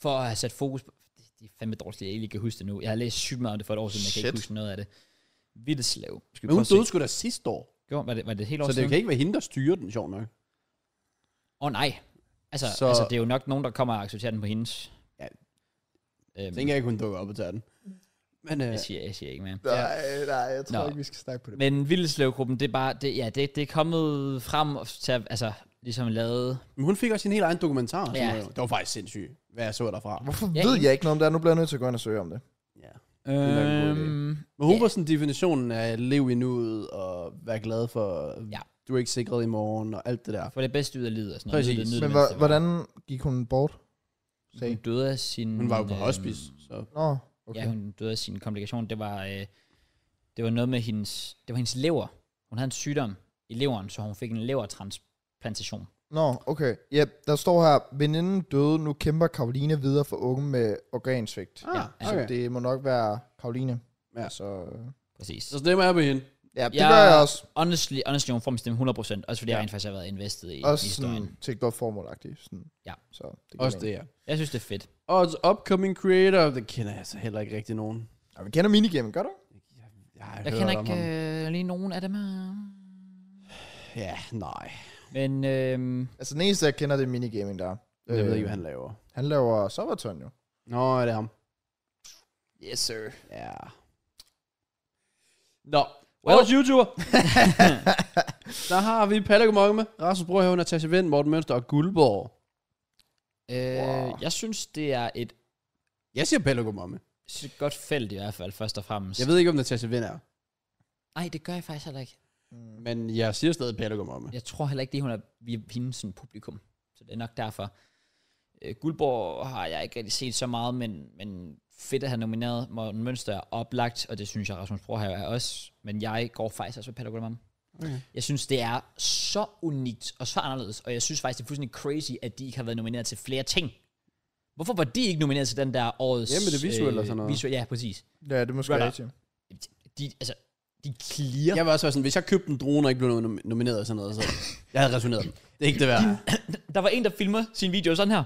for at have sat fokus på... Det er fandme dårligt, at jeg ikke kan huske det nu. Jeg har læst sygt meget om det for et år siden, jeg kan ikke
Shit.
huske noget af det. Vildeslev. Skal
Men hun døde sgu da sidste år.
Gjorde, var, det, var det helt år
Så det
siden?
kan ikke være hende, der styrer den, sjov nok.
Åh oh, nej. Altså,
Så-
så... altså, det er jo nok nogen, der kommer og accepterer den på hendes.
Ja.
Øhm,
Tænker jeg ikke, hun dukker op og tager den. Men øh,
jeg, siger, jeg siger ikke mere.
Nej, nej, jeg tror
Nå.
ikke, vi skal snakke på det.
Men Vildeslevgruppen, det er bare, det, ja, det, det er kommet frem og til at, altså, ligesom lavet...
men hun fik også sin helt egen dokumentar. og sådan
Ja.
noget. Det var faktisk sindssygt, hvad jeg så derfra.
Hvorfor
Ja,
ved
en-
jeg ikke noget om det her? Nu bliver jeg nødt til at gå ind og søge om det.
Ja. er nok en god idé.
Øhm,
Men hun
Ja.
var sådan definitionen af lev i nuet og være glad for,
Ja.
du er ikke sikret i morgen og alt det der.
få det bedste ud af livet og sådan noget.
Præcis.
Nyd det- nyd det
Men
mens det
hva-
var.
hvordan gik hun bort?
Hun
Sag.
døde af sin...
Hun var jo på
øhm,
hospice, så
Nå,
Okay.
okay.
Ja, hun døde af sin komplikation. Det var, øh, det var noget med hendes, det var hendes lever. Hun havde en sygdom i leveren, så hun fik en levertransplantation.
Nå, okay. Ja, der står her, veninden døde, nu kæmper Karoline videre for unge med organsvigt.
ah,
ja.
Så
okay.
altså det må nok være Karoline.
Ja.
Så,
Præcis.
Så stemmer jeg på hende.
ja, det
Ja.
ja. gør jeg også.
Honestly, honestly hun får min stemme 100%, også fordi ja.
Ja.
jeg rent faktisk har været investeret i, i
Også
historien.
sådan, til et godt formålagtigt. Sådan.
Ja.
Så det
Også det, ja.
Jeg synes, det er fedt.
Og upcoming creator, det kender jeg så heller ikke rigtig nogen.
Ja, vi kender minigame, gør du?
Jeg, har
Jeg
hørt
kender
om
ikke
ham.
øh, lige nogen af dem her.
Ja, nej.
Men øh,
Altså den eneste, jeg kender, det er minigaming, der er. Øh,
Jeg ved ikke, hvad han laver.
Han laver Sabaton jo.
Øh. Nå, er det ham?
Yes, sir.
Ja. Nå,
Well.
well, YouTuber. der har vi Palle Gomorke med, Rasmus Brøhøven, Natasha Vind, Morten Mønster og Guldborg.
øh,
Wow.
jeg synes, det er et
Jeg siger Palle Gomorke.
s- godt felt i hvert fald, først og fremmest.
Jeg ved ikke, om Natasha Vind er,
Nej, det gør jeg faktisk heller ikke.
men jeg siger stadig Palle Gomorke.
Jeg tror heller ikke, det er, hun er vi er hendes sådan, publikum. Så det er nok derfor. Øh, Guldborg har jeg ikke rigtig set så meget, men, men fedt at have nomineret. Morten Mønster er oplagt, og det synes jeg, Rasmus Brohave er også. Men jeg går faktisk også med Palle Gullemann.
Okay.
Jeg synes, det er så unikt og så anderledes, og jeg synes faktisk, det er fuldstændig crazy, at de ikke har været nomineret til flere ting. Hvorfor var de ikke nomineret til den der årets... øh,
Jamen, det visuelle og sådan noget.
Visuel, ja, præcis.
Ja, det er måske
Hvad er der?
rigtigt.
De, altså, de clear.
Jeg vil også være sådan, hvis jeg købte en drone og ikke blev nom- nomineret og sådan noget, så jeg havde resoneret. Det er ikke det værd. Mm.
Der var en, der filmer sin video sådan her.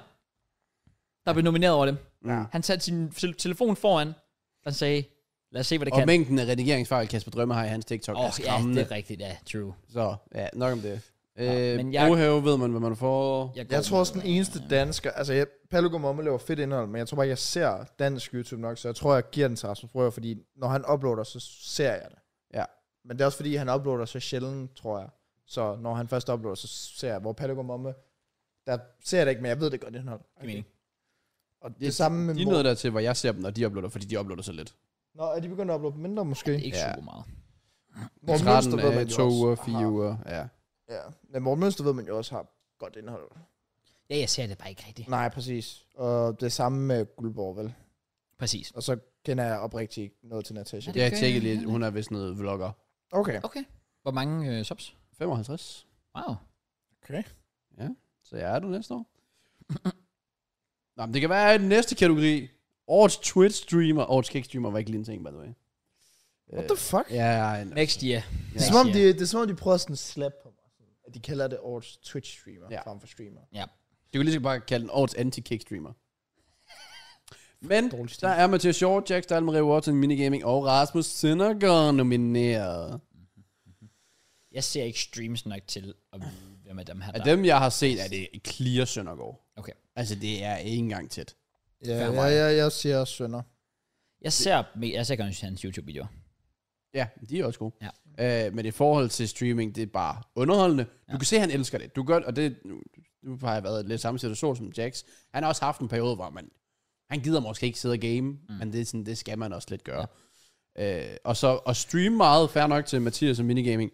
Der blev nomineret over dem.
Ja.
Han satte sin tel- telefon foran, og sagde, lad os se, hvad det
Og
kan.
mængden af redigeringsfejl, Kasper Drømme har i hans TikTok, oh, er
Åh, ja,
skræmmende.
det
Ja,
er rigtigt, ja, true.
Så ja, nok om det.
Ja,
Ja, øh,
men
jeg...
jeg-
Brohave ved man, hvad man får.
Jeg, går
Jeg tror også, den
med-
eneste dansker... Altså, jeg, Palugo Momme laver fedt indhold, men jeg tror bare, jeg ser dansk YouTube nok, så jeg tror, jeg giver den til Rasmus Brøger, fordi når han uploader, så ser jeg det.
Ja.
Men det er også fordi, han uploader så sjældent, tror jeg. Så når han først uploader, så ser jeg, hvor Palugo Momme... Der ser jeg det ikke, men jeg ved det er godt indhold.
Giver mening.
Og det, det samme med...
De er
mor-
nødt dertil, hvor jeg ser dem, når de uploader, fordi de uploader så lidt.
Nå, er de begyndt at uploade mindre måske?
Ikke
Ja.
super meget.
Morten Mønster ved man
af
jo
øh, to
også
uger, fire
har-
uger. Ja.
Ja, men Morten Mønster ved man jo også har godt indhold.
Ja, jeg ser det bare ikke rigtigt.
Nej, præcis. Og det samme med Guldborg, vel?
Præcis.
Og så kender jeg oprigtigt ikke noget til Natasha.
Ja, det
Jeg
gør
tjekkede
jeg
lige,
heller
hun er vist noget vlogger.
Okay.
Okay. Hvor mange øh, subs?
55.
Wow.
Så jeg er du næste år. Nå, men det kan være i den næste kategori. Årets Twitch-streamer. Årets Kick-streamer var ikke lige en ting, by the way.
What the fuck?
Ja, ja, ja.
Next year.
Det er, som om, de, det er som om, de prøver sådan at slappe på mig. Sådan, At de kalder det årets Twitch-streamer
Ja.
ja. frem for streamer.
Du kan lige så godt bare kalde den årets anti-kickstreamer. Men
Dårlig stil.
der er Mathias Shaw, Jack Stahl, Maria Watson, Minigaming og Rasmus Søndergaard nomineret.
Jeg ser ikke streams nok til at vide, hvem af dem her
Af
der.
dem, jeg har set, er det clear Søndergaard.
Okay.
Altså, det er ikke engang tæt.
Ja,
Fair
ja,
mig.
ja, jeg siger også sønder.
Jeg ser, me- jeg ser gerne hans YouTube-videoer.
Ja, de er også gode. Ja. Øh, men i forhold til streaming, det er bare underholdende. Du kan se, at han elsker det. Du gør, og det, nu, nu har jeg været i lidt samme situation som Jax. Han har også haft en periode, hvor man, han gider måske ikke sidde og game, mm. men det, er sådan, det skal man også lidt gøre. Ja. Øh, og så at streame meget, fair nok til Mathias og minigaming,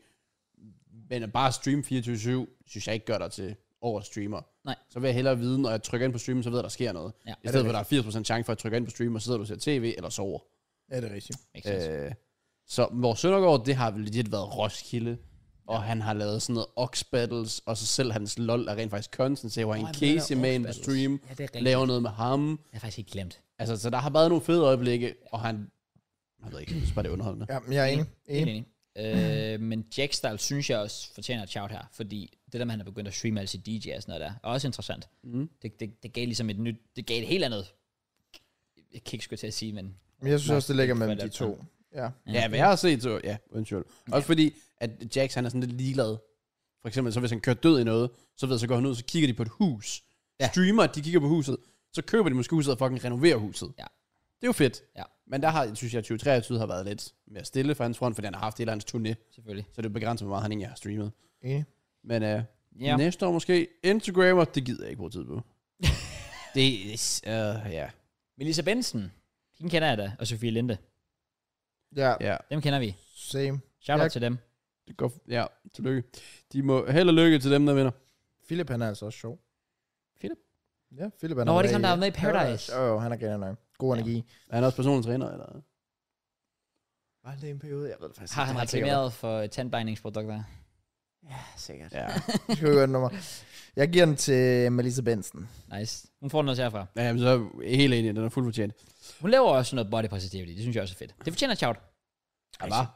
men at bare streame 24-7, synes jeg ikke gør dig til over streamer.
Nej.
Så vil jeg hellere vide, når jeg trykker ind på streamen, så ved jeg, der sker noget.
Ja.
I stedet for, at der er 80% chance for, at jeg trykker ind på streamen, og så sidder du og ser tv eller sover.
Ja, det er rigtigt.
Makes sense.
Øh, så hvor Søndergaard, det har vel legit været Roskilde, og han har lavet sådan noget Ox Battles, og så selv hans LOL er rent faktisk content, hvor han
han
Casey
laver
med
Ox
en på
Battles.
stream,
Ja, det er rigtigt.
laver noget med ham.
Jeg har faktisk ikke glemt.
Altså, så der har været nogle fede øjeblikke, og han... Jeg ved ikke, jeg synes bare, det er underholdende.
Ja, men jeg er enig.
Helt
enig.
enig. Øh, men Jackstyle synes jeg også fortjener et shout her, fordi det det der med, at han er begyndt at streame alle sit DJ og sådan noget der, er også interessant. Mm. Det, det, det, gav ligesom et nyt, det gav et helt andet kick, skulle jeg til at sige, men
Men jeg synes også, det ligger mellem de
det
to. Ja.
Ja, hvad jeg har set, så ja, undskyld. Også fordi, at Jax, han er sådan lidt ligeglad. For eksempel, så hvis han kører død i noget, så ved jeg, så går han ud, så kigger de på et hus. Ja. Streamer, de kigger på huset, så køber de måske huset og fucking renoverer huset.
Ja.
Det er jo fedt.
Ja.
Men der har, synes jeg, 2023 har været lidt mere stille for hans front, fordi han har haft hele hans turné,
selvfølgelig.
så det begrænser, hvor meget han egentlig har streamet.
Enig.
Men øh,
Ja.
ja. næste år måske, Instagrammer, det gider jeg ikke bruge tid på. det er, øh, ja.
Melissa Benson, hende kender jeg da, og Sofie Linde.
Ja,
ja.
Dem kender vi.
same.
Shout out
Jeg-
til dem.
Det går, ja, tillykke. De må held og lykke til dem, der vinder.
Philip, han er altså også sjov.
Philip?
Ja, Philip, han
Nå,
har
det er
været
ham, der
i-
var med i Paradise.
Åh, oh, han er griner nok. God
Ja.
energi.
Er han også personlig træner, eller?
Var det en periode? Jeg ved det faktisk
Har han reklameret for tandbindingsprodukter?
Ja, sikkert.
Ja.
Jeg skal vi gøre et nummer. Jeg giver den til Melissa Benson.
Nice. Hun får den også herfra.
ja, men så er jeg helt enig, den er fuldt fortjent.
Hun laver også noget body positivity. Det synes jeg også er fedt. Det fortjener et shout.
Ja, hvad?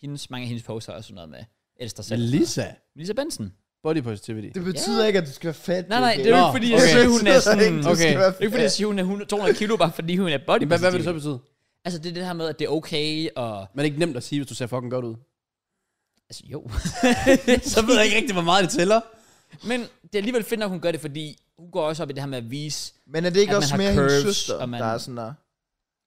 Hendes, mange af hendes poster er også sådan noget med ældre selv.
Melissa.
Melissa Benson.
Body positivity.
Det betyder ikke, at du skal være fat.
Nej, nej, det er jo
Nå,
ikke fordi, jeg
okay.
siger, hun er sådan...
ikke,
Okay.
du okay. skal være
Det er ikke fordi, jeg siger, hun er 100 200 kilo, bare fordi hun er body
Hvad, hvad, hvad vil det så betyde?
Altså, det er det her med, at det er okay, og...
Men det er ikke nemt at sige, hvis du ser fucking godt ud.
Altså, jo.
så ved jeg ikke rigtig, hvor meget det tæller.
Men det er alligevel fedt, når hun gør det, fordi hun går også op i det her med at vise...
Men er det ikke
at man
også
har
mere hendes
curves,
søster,
og man-
der er sådan der?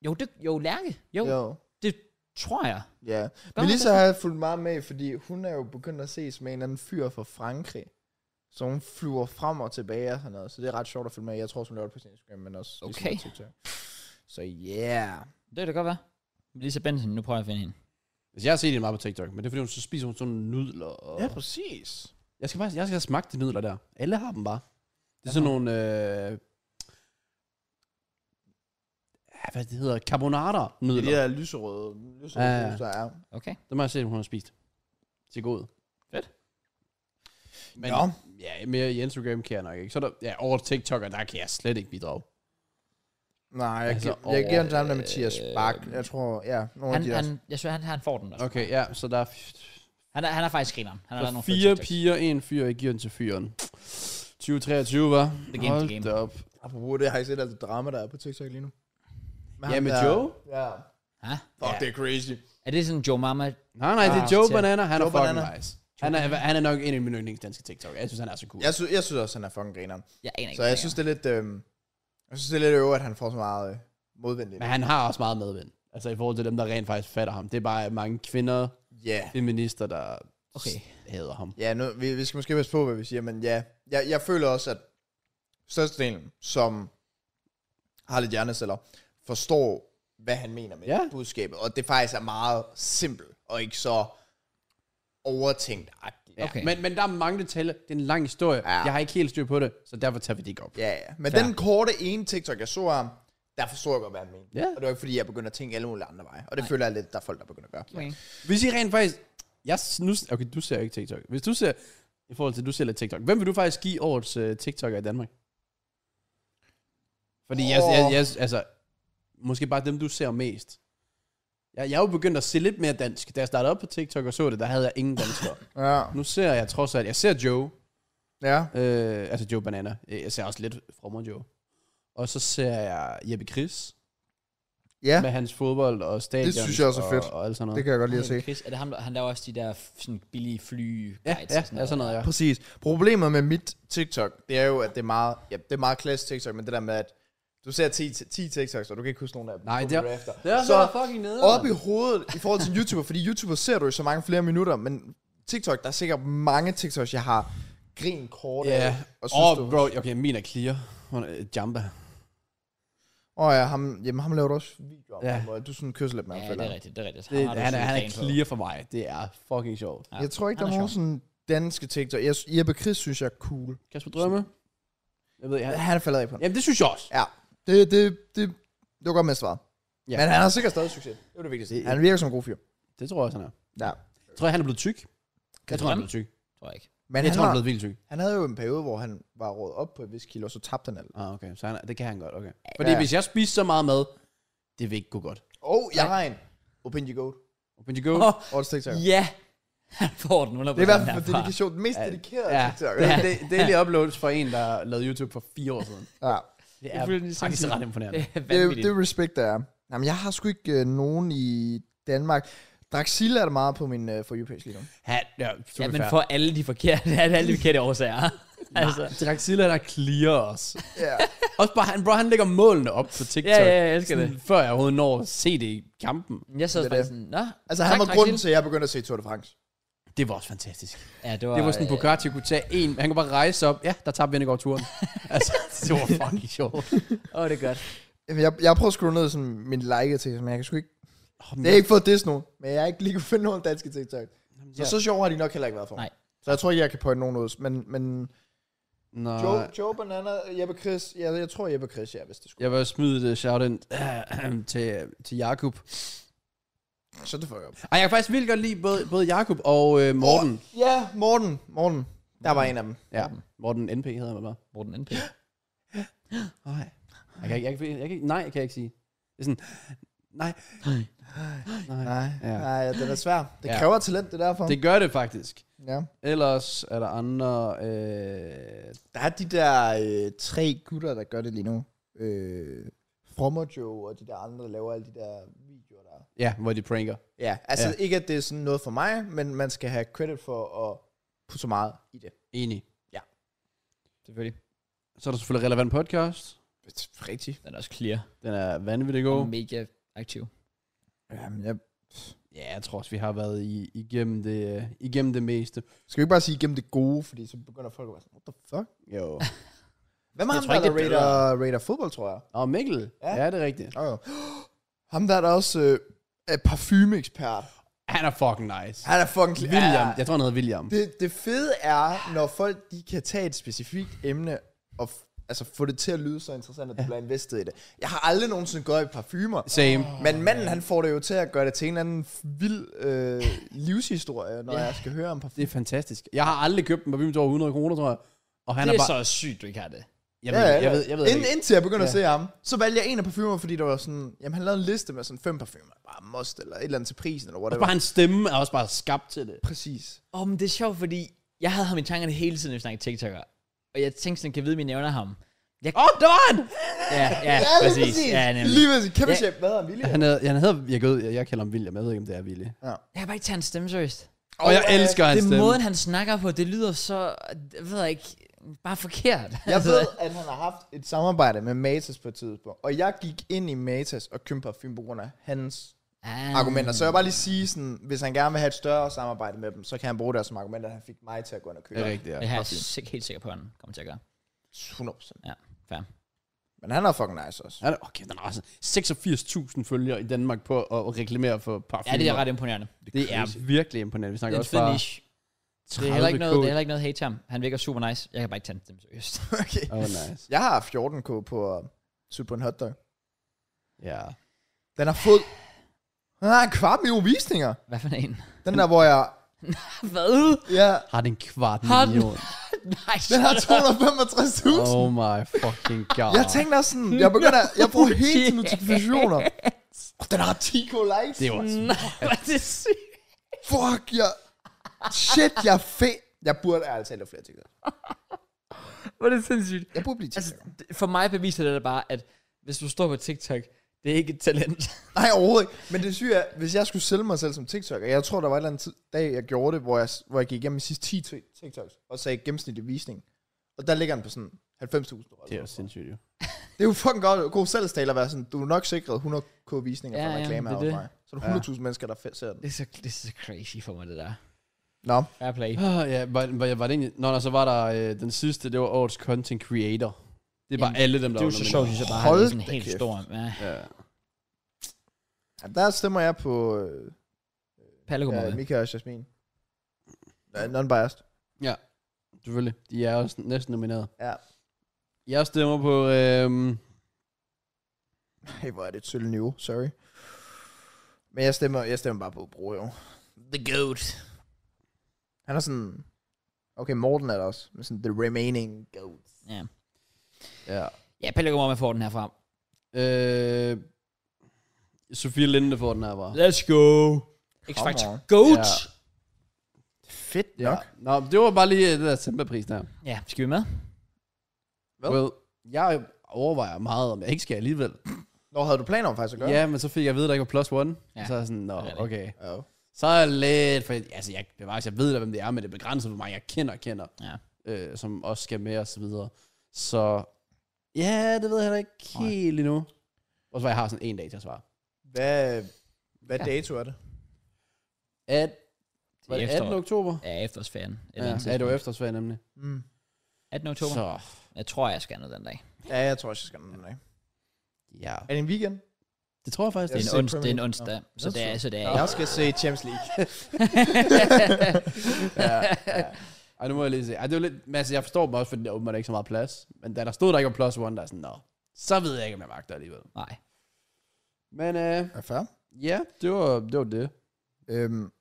Jo, det, jo Lærke. Jo, jo,
Jo.
det tror jeg.
Ja.
hun
Melissa
det?
har jeg fulgt meget med, fordi hun er jo begyndt at ses med en eller anden fyr fra Frankrig. Så hun flyver frem og tilbage og sådan noget. Så det er ret sjovt at følge med. Jeg tror, også, hun laver det på sin Instagram, men også ligesom
Okay.
på TikTok. Så yeah.
Det kan det godt være. Melissa Benson, nu prøver jeg at finde hende.
Hvis jeg har set det meget på TikTok, men det er fordi, hun så spiser hun sådan nogle nudler. Og...
Ja, præcis.
Jeg skal faktisk jeg skal have smagt de nudler der. Alle har dem bare. Det er sådan nogle... Øh... ja, Hvad det hedder? Carbonara
Det er de
nudler.
der lyserøde, lyserøde
Ja, ja.
ja. der er.
Okay.
Dem har jeg set, hun har spist. Til god.
Fedt.
Men,
Nå.
ja, mere i Instagram kan jeg nok ikke. Så er der, ja, over TikTok, og der kan jeg slet ikke bidrage.
Nej, jeg,
Altså,
altså, jeg giver den
over-
sammen med Mathias Bak. Jeg tror, ja, nogle
Han,
af de
han,
der.
jeg synes, han, han får den også.
Okay, ja, så der er, f-
Han er, han Altså er faktisk grineren. Han har lavet
der er
nogle
fire
fede TikToks.
piger, en fyr, jeg giver den til fyren. 2023, var.
game, the
Hold
game.
da op.
Apropos det, har I set alt det drama, der er på TikTok lige nu?
Ja,
ham
med
der-
Joe?
Ja.
Hæ?
Fuck, det er crazy.
Er det sådan Joe Mama?
Nej, nej, det er
Ah,
Joe
til-
Banana, han
Joe
er fucking
Banana.
nice. Han er, han er nok en af mine yndlings danske TikTok. Jeg synes, han er så cool.
Jeg, sy- jeg synes også, han er fucking grineren.
Jeg aner ikke.
Så
hvad
jeg
det
synes,
er.
det er lidt... Øh, jeg synes, det er lidt øver, at han får så meget øh, modvind lige
Men
nu.
han har også meget medvind. Altså i forhold til dem, der rent faktisk fatter ham. Det er bare mange kvinder,
Ja.
feminister, der
Okay.
s- hader ham.
Ja, nu, vi, vi skal måske passe på, hvad vi siger, men ja. Jeg, jeg føler også, at størstedelen, som har lidt hjerneceller, forstår, hvad han mener med
Ja.
budskabet. Og det faktisk er meget simpelt, og ikke så overtænkt-agtigt.
Ja.
Okay.
Okay. Men, men der er mange detaljer. Det er en lang historie.
Ja.
Ja. Jeg har ikke helt styr på det, så derfor tager vi det ikke op.
Ja, ja. Men
Fair.
Fair. den korte ene TikTok, jeg så af ham, der forstod jeg godt, hvad han mente.
Ja.
Og det var ikke, fordi jeg begyndte at tænke alle mulige andre veje. Og det Nej. føler jeg lidt, der er folk, der begynder at gøre.
Okay.
Hvis I rent faktisk... Jeg, s- nu, okay, du ser ikke TikTok. Hvis du ser... I forhold til, at du ser lidt TikTok. Hvem vil du faktisk give årets uh, TikToker i Danmark? Fordi jeg,
Åh.
jeg, jeg, altså... Måske bare dem, du ser mest. Jeg, jeg er jo begyndt at se lidt mere dansk. Da jeg startede op på TikTok og så det, der havde jeg ingen danskere.
Ja.
nu ser jeg trods alt... Jeg ser Joe.
Ja.
Øh, altså Joe Banana. Øh, Jeg ser også lidt Frommer Joe. Og så ser jeg Jeppe Chris
Ja,
ja. med hans fodbold og stadion.
synes jeg også er
og,
fedt.
Og alt sådan noget.
det kan jeg godt lide at se.
Chris, er det ham, der, han laver også de der f- sådan billige fly
Ja, ja, ja, sådan noget, ja.
Præcis. Problemet med mit TikTok, det er jo, at det er meget, ja, det er meget klassisk TikTok, men det der med, at du ser 10, 10 TikToks, og du kan ikke huske nogen af dem.
Nej,
Du
det er,
kommer efter.
det er
Så
så, så fucking nede.
op i hovedet i forhold til en YouTuber, fordi YouTuber ser du jo så mange flere minutter, men TikTok, der er sikkert mange TikToks, jeg har grin kort af,
Ja.
og synes,
Åh,
du...
oh, bro, okay, min er clear. Hun er øh, jamba.
Åh oh, ja, ham, jamen, ham laver du også videoer om,
Ja.
ja. og du sådan kysser lidt med ham.
Ja,
føler
det er
jeg.
rigtigt, det er rigtigt.
Det,
har du
han, er,
sådan
han
en
er
plan på.
clear for mig. Det er fucking sjovt.
Ja,
Jeg tror ikke,
han
der
er
er nogen
sjov.
sådan danske TikTok. Jeg, Jeppe Chris synes jeg er cool.
Kasper Drømme? Jeg ved ikke, han...
Han er faldet af på den.
Jamen, det synes jeg også.
Ja, det, det, det, det var godt med svaret.
Ja.
Ja. Men han har sikkert stadig succes. Det var det vigtigste. Han virker som en god fyr.
Det tror jeg også, han er.
Ja.
Jeg tror, han er blevet tyk. Jeg tror, han er
Drømme?
blevet tyk.
Tror jeg ikke.
Men
Jeg
han,
tror, han
har,
er blevet vildt tyk.
han havde jo en periode, hvor han var rådet op på et vis kilo, og så tabte han alt.
Ah, okay. Så han er, det kan han godt, okay. Fordi
Ja.
hvis jeg spiser så meget mad, det vil ikke gå godt.
Åh, oh, jeg har en. Open your goat.
Open you go.
Åh,
Årets TikTok.
ja. Han får den 100%
Det er i hvert fald for
herfra.
dedikation. Den mest dedikerede
Ja,
TikTok.
det er da- daily uploads for en, der lavede YouTube for fire år siden.
Ja.
Det
er
er faktisk
sindssygt.
ret imponerende.
Det er
Det, er-
vanvittigt.
det er respekt, der er. Jamen, jeg har sgu ikke øh, nogen i Danmark. Draxil er der meget på min øh, for you page lige nu.
Ja, ja,
Ja, men for alle de forkerte, er det alle de forkerte årsager. altså,
Draxilla, der clear os.
Ja.
Også bare, han, bro, han lægger målene op på TikTok.
ja, ja, jeg elsker det.
Sådan, Før jeg overhovedet når at se det i kampen.
Jeg så
Det er
faktisk
det.
sådan, nå.
Altså, han
tak,
var
Draxil.
grunden til, at jeg begyndte at se Tour de France.
Det var også fantastisk.
Ja, det var,
Det var sådan,
øh,
Bugatti kunne tage en, han kunne bare rejse op. Ja, der tabte Vindegård turen. altså, det var fucking sjovt.
Åh, det er godt.
Jamen, jeg, jeg prøver at skrue ned i sådan, min like til, men jeg kan sgu ikke...
Oh,
Det er ikke for at disse nogen, men jeg har ikke lige kunne finde nogen danske TikTok. Så, så sjov har de nok heller ikke været for. mig.
Nej.
Så jeg tror ikke, jeg kan pointe nogen ud. Men, men
Nå,
Joe, Joe Banana, Jeppe Chris, ja, jeg tror Jeppe Chris, ja, hvis det skulle.
jeg vil også smide et shout uh, til, til Jakob.
Så det får jeg op.
Ej, jeg kan faktisk vildt godt lide både, både Jakob og øh, Morten. Oh.
Ja, Morten. Morten. Der var en af dem.
Ja, Morten NP hedder han bare.
Morten NP.
Nej. Jeg kan, ikke- jeg, kan, jeg kan, ikke- nej, kan jeg ikke sige. Det er sådan, nej, nej.
Nej,
Ja.
ja. nej, den er svær. Det
Ja.
kræver talent, det er derfor. Det,
Det gør det faktisk.
ja.
Ellers er der andre... Øh,
Der er de der øh, tre gutter, der gør det lige nu. Øh, Frommer Joe og de der andre, der laver alle de der videoer der.
ja, hvor de pranker.
Ja, altså
Ja.
ja. ikke, at det er sådan noget for mig, men man skal have credit for at putte så meget i det.
Enig.
Selvfølgelig.
Så er der selvfølgelig relevant podcast.
Rigtigt.
Den er også clear.
Den er vanvittig
Og
god.
mega aktiv.
Jamen, jeg...
Ja, jeg tror også, vi har været i, igennem, det, øh, igennem det meste.
Skal vi ikke bare sige igennem det gode, fordi så begynder folk at være sådan, what the fuck?
Jo.
Hvem er
Jeg
ham
tror
der,
ikke,
der
det er
rater, rater fodbold, tror jeg?
Og Mikkel. Ja.
Ja.
ja, det er rigtigt.
Oh, jo. Ham der er der også øh, er parfumeekspert.
Han er fucking nice.
Han er fucking...
William. Jeg tror, han hedder William.
Det, det fede er, når folk de kan tage et specifikt emne og f- altså få det til at lyde så interessant, at du bliver investet i det. Jeg har aldrig nogensinde gået i parfumer.
Same.
Men manden, han får det jo til at gøre det til en eller anden f- vild øh, livshistorie, når jeg skal høre om
Det
parfumer.
er fantastisk. Jeg har aldrig købt en parfume til over 100 kroner, tror jeg. Og han
Det
er,
er
bare...
så sygt, du ikke har det.
Jeg ved, jeg ved, jeg ved, jeg
Ind,
ved
indtil jeg begynder ja.
Ja.
at se ham, så valgte jeg en af parfumer, fordi der var sådan, jamen han lavede en liste med sådan fem parfumer, bare must, eller et eller andet til prisen, eller
Også
whatever.
bare hans stemme er også bare skabt til det.
Præcis.
Åh, men det er sjovt, fordi jeg havde ham i tankerne hele tiden, når vi snakkede TikToker. Og jeg tænkte sådan, kan jeg vide, at min nævner ham. Jeg,
Åh, oh, der var han!
ja, ja,
Ja, lige
præcis.
præcis.
Ja, nemlig.
lige præcis. Kæmpe
Ja.
chef. Hvad hedder han? William?
Han, er, han hedder, jeg, ved, jeg, jeg kalder ham William, jeg ved ikke, om det er Willy.
Jeg kan bare ikke tage hans stemme seriøst.
Og jeg
øh,
elsker hans
Det er
stemme.
måden, han snakker på, det lyder så, jeg ved jeg ikke, bare forkert. Altså,
Jeg ved, at han har haft et samarbejde med Matas på et tidspunkt, og jeg gik ind i Matas og købte parfume på grund af hans
ah,
argumenter. Så jeg vil bare lige sige, sådan, hvis han gerne vil have et større samarbejde med dem, så kan han bruge det som argument, at han fik mig til at gå ind og
Det er
købe.
rigtigt, ja.
Det her er jeg sik- helt sikker på, at han kommer til at gøre.
100%.
Ja, fair.
Men han er fucking nice også.
Han er, okay, den har også 86.000 følgere i Danmark på at reklamere for
Ja,
parfumer.
det er ret imponerende.
det er virkelig imponerende. Vi
Det
snakker
er en
også
fed
bare
niche. Det er heller ikke noget,
30K.
det er heller ikke noget hate til ham. Han virker super nice. Jeg kan bare ikke tage dem seriøst.
Okay.
Åh, oh, nice.
Jeg har 14k på at sutte på en hotdog.
Ja.
Den har fået... Den har en kvart million visninger.
Hvad for en?
Den der, hvor jeg...
Hvad?
Ja,
Har den en kvart
Har den?
million?
Nej,
den har 265.000.
Oh my fucking god.
Jeg tænkte også sådan, jeg begynder, jeg bruger hele tiden
Yes.
notifikationer. Og den har 10k likes.
Det var
Nej, hvor er det sygt.
Fuck, jeg... Shit, jeg er fed. Jeg burde ærligt talt have flere TikTok.
Hvor er det sindssygt.
Jeg burde blive
Altså,
TikTok. Altså,
det- for mig beviser det da bare, at hvis du står på TikTok, det er ikke et talent.
Nej, overhovedet ikke. Men det syge er, hvis jeg skulle sælge mig selv som TikToker, jeg tror, der var en eller anden tid, dag, jeg gjorde det, hvor jeg, hvor jeg gik igennem de sidste 10 ti- TikToks, og sagde gennemsnitlig visning. Og der ligger den på sådan 90.000.
Det er jo
Det
sindssygt, jo.
er jo fucking godt, god salgstale at være sådan, du er nok sikret 100k visninger
Ja,
fra
ja,
reklamer
det er
ja,
det.
mig. Så er der 100.000 mennesker, der fe- ser den.
det, er så, det er så crazy for mig, det der.
Nå,
Fair play.
Ah, ja, var, var, var det egentlig... Nå, nej, så var der øh, den sidste, det var årets content creator. Det er bare
Jamen,
alle dem, der
Det er jo
var
så
nomineret.
sjovt, synes jeg bare, han
Hold
er sådan
da
helt
kæft.
stor. Ja,
Ja.
der stemmer jeg på øh,
Palle går
ja,
med.
Mika og Jasmin. Ja, Non-biased.
Selvfølgelig. De er også næsten nomineret.
Ja.
Jeg stemmer på... Øh,
Hey, hvor er det et sølv niveau, sorry. Men jeg stemmer, jeg stemmer bare på Bro, jo. The GOAT. Han er sådan... Okay, Morten er der også, men sådan the remaining GOAT.
Ja,
ja.
ja Palle går med får den herfra.
Øh, Sofie Linde får den her bare.
Let's go. X
Come
Factor
on.
Goat.
Ja.
Fedt
Ja.
nok.
Nå, det var bare lige øh, det der Simba-pris der.
Ja, skal vi med?
Hvad?
Well, jeg overvejer meget, om jeg ikke skal alligevel.
Nå, havde du planer om faktisk at gøre?
Ja, men så fik jeg at vide, at der ikke var plus one.
Ja.
Ja. Så er jeg sådan, nå,
er det.
okay.
Ja.
Så er jeg lidt, for altså, jeg, bevares, jeg ved da, hvem det er, men det er begrænset, hvor mange jeg kender kender,
Ja.
øh, som også skal med og så videre. Så ja, det ved jeg heller ikke
Nej.
helt endnu. Og så jeg har sådan en dag til at svare.
Hvad, hvad dato er det?
At, var det
Til
18.
efteråret.
oktober?
Ja, efterårsferien. Et eller
Ja,
andet
ja det var
tidspunkt.
efterårsferien nemlig.
Mm.
18. oktober. Så.
Så
Jeg tror, jeg skal noget den dag.
Ja, jeg tror også, jeg skal den dag.
ja,
Er det en weekend?
det tror jeg faktisk,
Det er
Jeg
en,
ser
ons, det er en
Premier-
onsdag, så
Nå,
det er, så det er
Jeg skal se Champions League.
Ej, nu må jeg lige se. Ej, det var lidt, men altså, jeg forstår dem også, fordi der åbenbart ikke så meget plads. Men da der stod, der ikke var plus one, der er sådan, nå, så ved jeg ikke, om jeg magter alligevel.
Nej.
Men øh,
Er fair?
ja, det var det. Var det.
Øhm,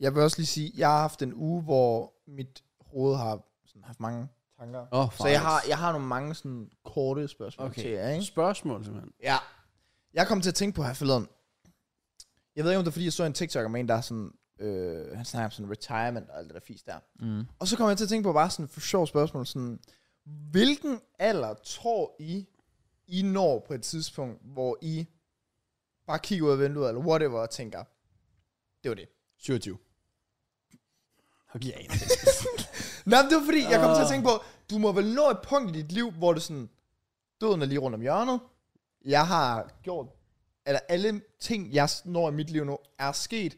jeg vil også lige sige, jeg har haft en uge, hvor mit hoved har sådan, haft mange tanker.
Oh,
Så jeg har, jeg har nogle mange sådan, korte spørgsmål okay. til
Okay.
jer, ikke?
Spørgsmål, simpelthen.
Ja. Jeg kom til at tænke på her forleden. Jeg ved ikke, om det er, fordi jeg så en TikTok om en, der er sådan... Øh, han snakker om sådan retirement og alt det der fisk der.
Mm.
Og så kom jeg til at tænke på bare sådan for sjov spørgsmål, sådan... Hvilken alder tror I, I når på et tidspunkt, hvor I bare kigger ud af vinduet, eller whatever, og tænker, det var det.
27. Okay, ja,
Nej, men det var fordi, jeg kom til at
Ah.
tænke på, du må vel nå et punkt i dit liv, hvor det sådan, døden er lige rundt om hjørnet. Jeg har gjort, eller alle ting, jeg når i mit liv nu, er sket.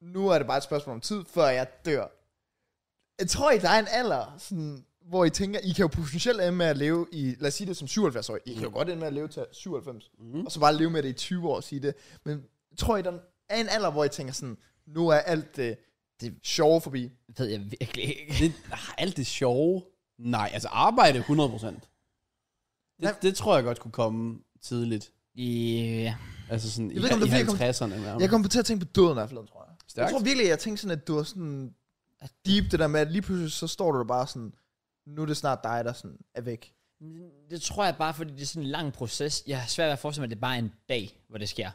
Nu er det bare et spørgsmål om tid, før jeg dør. Jeg tror I, der er en alder, sådan, hvor I tænker, I kan jo potentielt ende med at leve i, lad os sige det som 77 år. I kan jo godt ende med at leve til 97, mm. og så bare leve med det i 20 år og sige det. Men tror I, der er en alder, hvor I tænker sådan, nu er alt det, det sjove forbi.
Det ved jeg virkelig ikke.
det, ah, alt det sjove. Nej, altså arbejde 100%.
Nej.
Det, det tror jeg godt kunne komme tidligt.
Ja.
Altså sådan
Jeg ved ikke, om
i,
det er,
i
fordi jeg
50'erne. nærmest.
Jeg kom til at tænke på døden af tror jeg.
Stærkt.
Jeg tror virkelig, jeg tænkte sådan, at du var sådan at deep det der med, at lige pludselig så står du der bare sådan, nu er det snart dig, der sådan er væk.
Det tror jeg bare, fordi det er sådan en lang proces. Jeg har svært ved at forestille mig, at det er bare en dag, hvor det sker.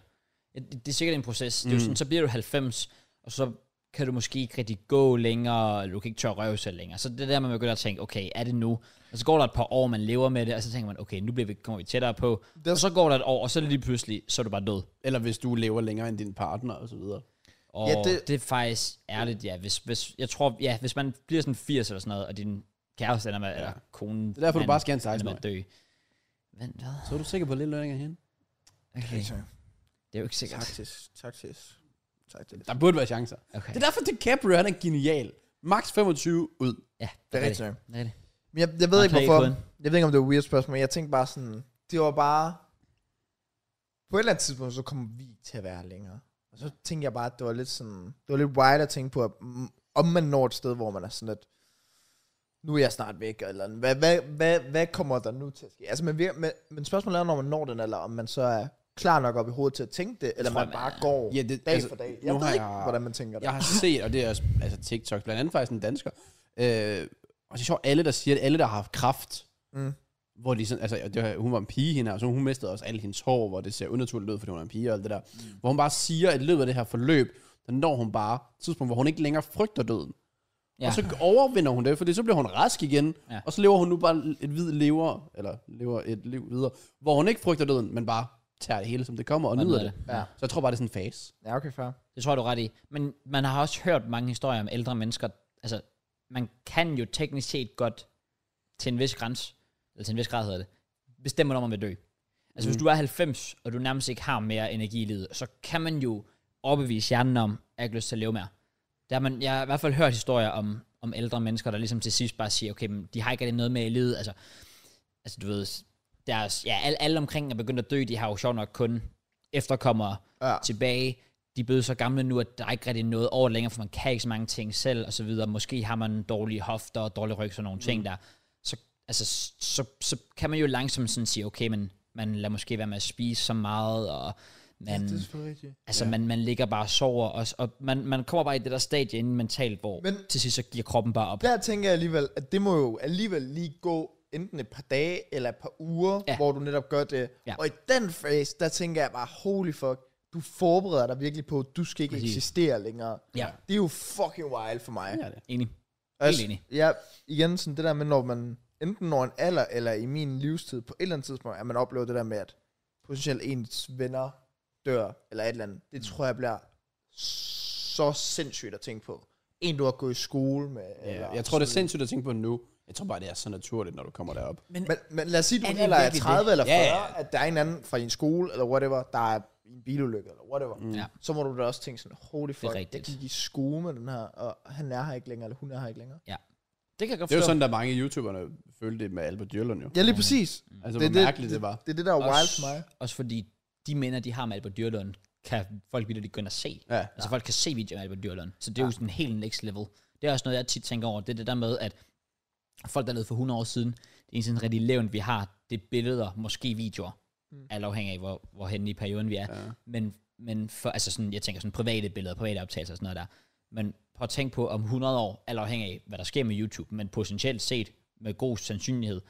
Det, det er sikkert en proces. Mm. Det er jo sådan, så bliver du 90, og så kan du måske ikke rigtig gå længere, eller du kan ikke tørre røve selv længere. Så det er der, man begynder at tænke, okay, er det nu? Og så går der et par år, man lever med det, og så tænker man, okay, nu bliver vi, kommer vi tættere på.
er-
og så går der et år, og så lige pludselig, så er du bare død.
Eller hvis du lever længere end din partner og så videre.
Og
Ja,
ja,
det-
det, det er faktisk ærligt, ja. Hvis, hvis, jeg tror, ja, hvis man bliver sådan 80 eller sådan noget, og din kæreste ender med, ja. eller konen,
Det er derfor, du bare skal have en 16
med at dø. Men hvad?
Så er du sikker på lidt længere hen?
Okay. Det er jo ikke sikkert.
Altså, Taktisk, taktisk, taktisk.
Der burde være chancer.
Okay.
Det er derfor, DiCaprio, han er genial. Max 25 ud.
Ja,
Det er rigtigt.
Det er det.
Men jeg, jeg ved
Han
ikke,
knækkede
hvorfor.
koden.
Jeg ved ikke, om det var et weird spørgsmål, men jeg tænkte bare sådan, det var bare, på et eller andet tidspunkt, så kommer vi til at være her længere. Og så tænkte jeg bare, at det var lidt sådan, det var lidt wild at tænke på, at mm, om man når et sted, hvor man er sådan lidt, nu er jeg snart væk, eller hvad, hvad, hvad, hvad kommer der nu til at ske? Altså, men, vir- men, men spørgsmålet er, når man når den, eller om man så er klar nok op i hovedet til at tænke det, eller
tror,
man
man
bare
er.
går
Ja, det-
dag
altså,
for dag.
nu
Jeg ved
har
ikke,
jeg-
hvordan man tænker det.
Jeg har set, og det er også altså TikTok, blandt andet faktisk en dansker. Øh, og det er sjovt, alle der siger, at alle der har haft kraft,
Mm.
hvor de sådan, altså og det var, hun var en pige hende, her, og så hun mistede også alle hendes hår, hvor det ser unaturligt ud, fordi hun er en pige og alt det der. Mm. Hvor hun bare siger, at i løbet af det her forløb, der når hun bare et tidspunkt, hvor hun ikke længere frygter døden. Ja.
Ja.
Og så overvinder hun det, fordi så bliver hun rask igen,
Ja.
ja. og så lever hun nu bare et hvid lever, eller lever et liv videre, hvor hun ikke frygter døden, men bare tager det hele, som det kommer, og
Og
nyder
nyder
det.
det.
Ja. Så jeg tror bare, det er sådan en fase.
Ja, okay, fair.
Det tror jeg, du er ret i. Men man har også hørt mange historier om ældre mennesker. Altså, man kan jo teknisk set godt til en vis grænse, eller til en vis grad hedder det, bestemme, når man vil dø. Altså, mm. hvis du er 90, og du nærmest ikke har mere energi i livet, så kan man jo overbevise hjernen om, at jeg har ikke lyst til at leve mere. Der har man, jeg har i hvert fald hørt historier om, om ældre mennesker, der ligesom til sidst bare siger, okay, men de har ikke rigtig noget med i livet. Altså, altså du ved, deres, ja, alle, alle omkring er begyndt at dø, de har jo sjovt nok kun efterkommere
Ja.
ja. tilbage. De er blevet så gamle nu, at der er ikke rigtig noget over længere, for man kan ikke så mange ting selv, og så videre. Måske har man dårlige hofter og dårlig ryg, sådan nogle mm. ting der. Så, altså, s- så, så, kan man jo langsomt sådan sige, okay, men man lader måske være med at spise så meget, og man,
Det er selvfølgelig rigtigt.
altså, man, man ligger bare og sover, og, og man, man kommer bare i det der stadie inden mentalt, hvor
Men-
men, til sidst så giver kroppen bare op.
Der tænker jeg alligevel, at det må jo alligevel lige gå enten et par dage eller et par uger, ja.
Ja.
hvor du netop gør det. Ja.
Ja.
Og i den fase, der tænker jeg bare, holy fuck, du forbereder dig virkelig på, at du skal ikke
Præcis.
eksistere længere.
Ja.
Det er jo fucking wild for mig.
Ja, det.
Enig.
Altså,
enig.
Ja, igen sådan det der med, når man enten når en alder, eller i min livstid, på et eller andet tidspunkt, at man oplever det der med, at potentielt ens venner dør, eller et eller andet. Det tror jeg bliver så sindssygt at tænke på. En, du har gået i skole med.
Ja,
eller
jeg tror, det er sindssygt at tænke på nu. Jeg tror bare, det er så naturligt, når du kommer derop.
Men, men lad os sige, du
Er
er,
det
alder er
virkelig
30 det? eller 40,
Ja,
ja,
ja.
ja. at der er en anden fra din skole, eller whatever, der er i en bilulykke, eller whatever. Mm.
Ja.
Så må du da også tænke sådan, holy fuck, jeg
rigtigt.
gik i skole med den her, og han er her ikke længere, eller hun er her ikke længere.
Ja. Det kan jeg godt
Det er jo
forstå.
sådan, der er mange af YouTuberne følte det med Albert Dyrlund jo.
Ja, lige præcis.
Altså, hvor det, mærkeligt det, var.
Det er det, der er wild for mig.
Også fordi de minder, de har med Albert Dyrlund, kan folk vildt ikke gå ind og se.
Ja.
Altså folk kan se videoer af Albert Dyrlund, så det er jo sådan helt next level. Det er også noget, jeg tit tænker over, det er det der med, at folk, der levede for 100 år siden, det er en sådan rigtig levn, vi har, det er billeder, måske videoer, mm. alt afhængig af, hvor, hvor hen i perioden vi er. Ja. Men, men for, altså sådan, jeg tænker sådan private billeder, private optagelser og sådan noget der. Men prøv at tænke på om 100 år, alt afhængig af, hvad der sker med YouTube, men potentielt set, med god sandsynlighed,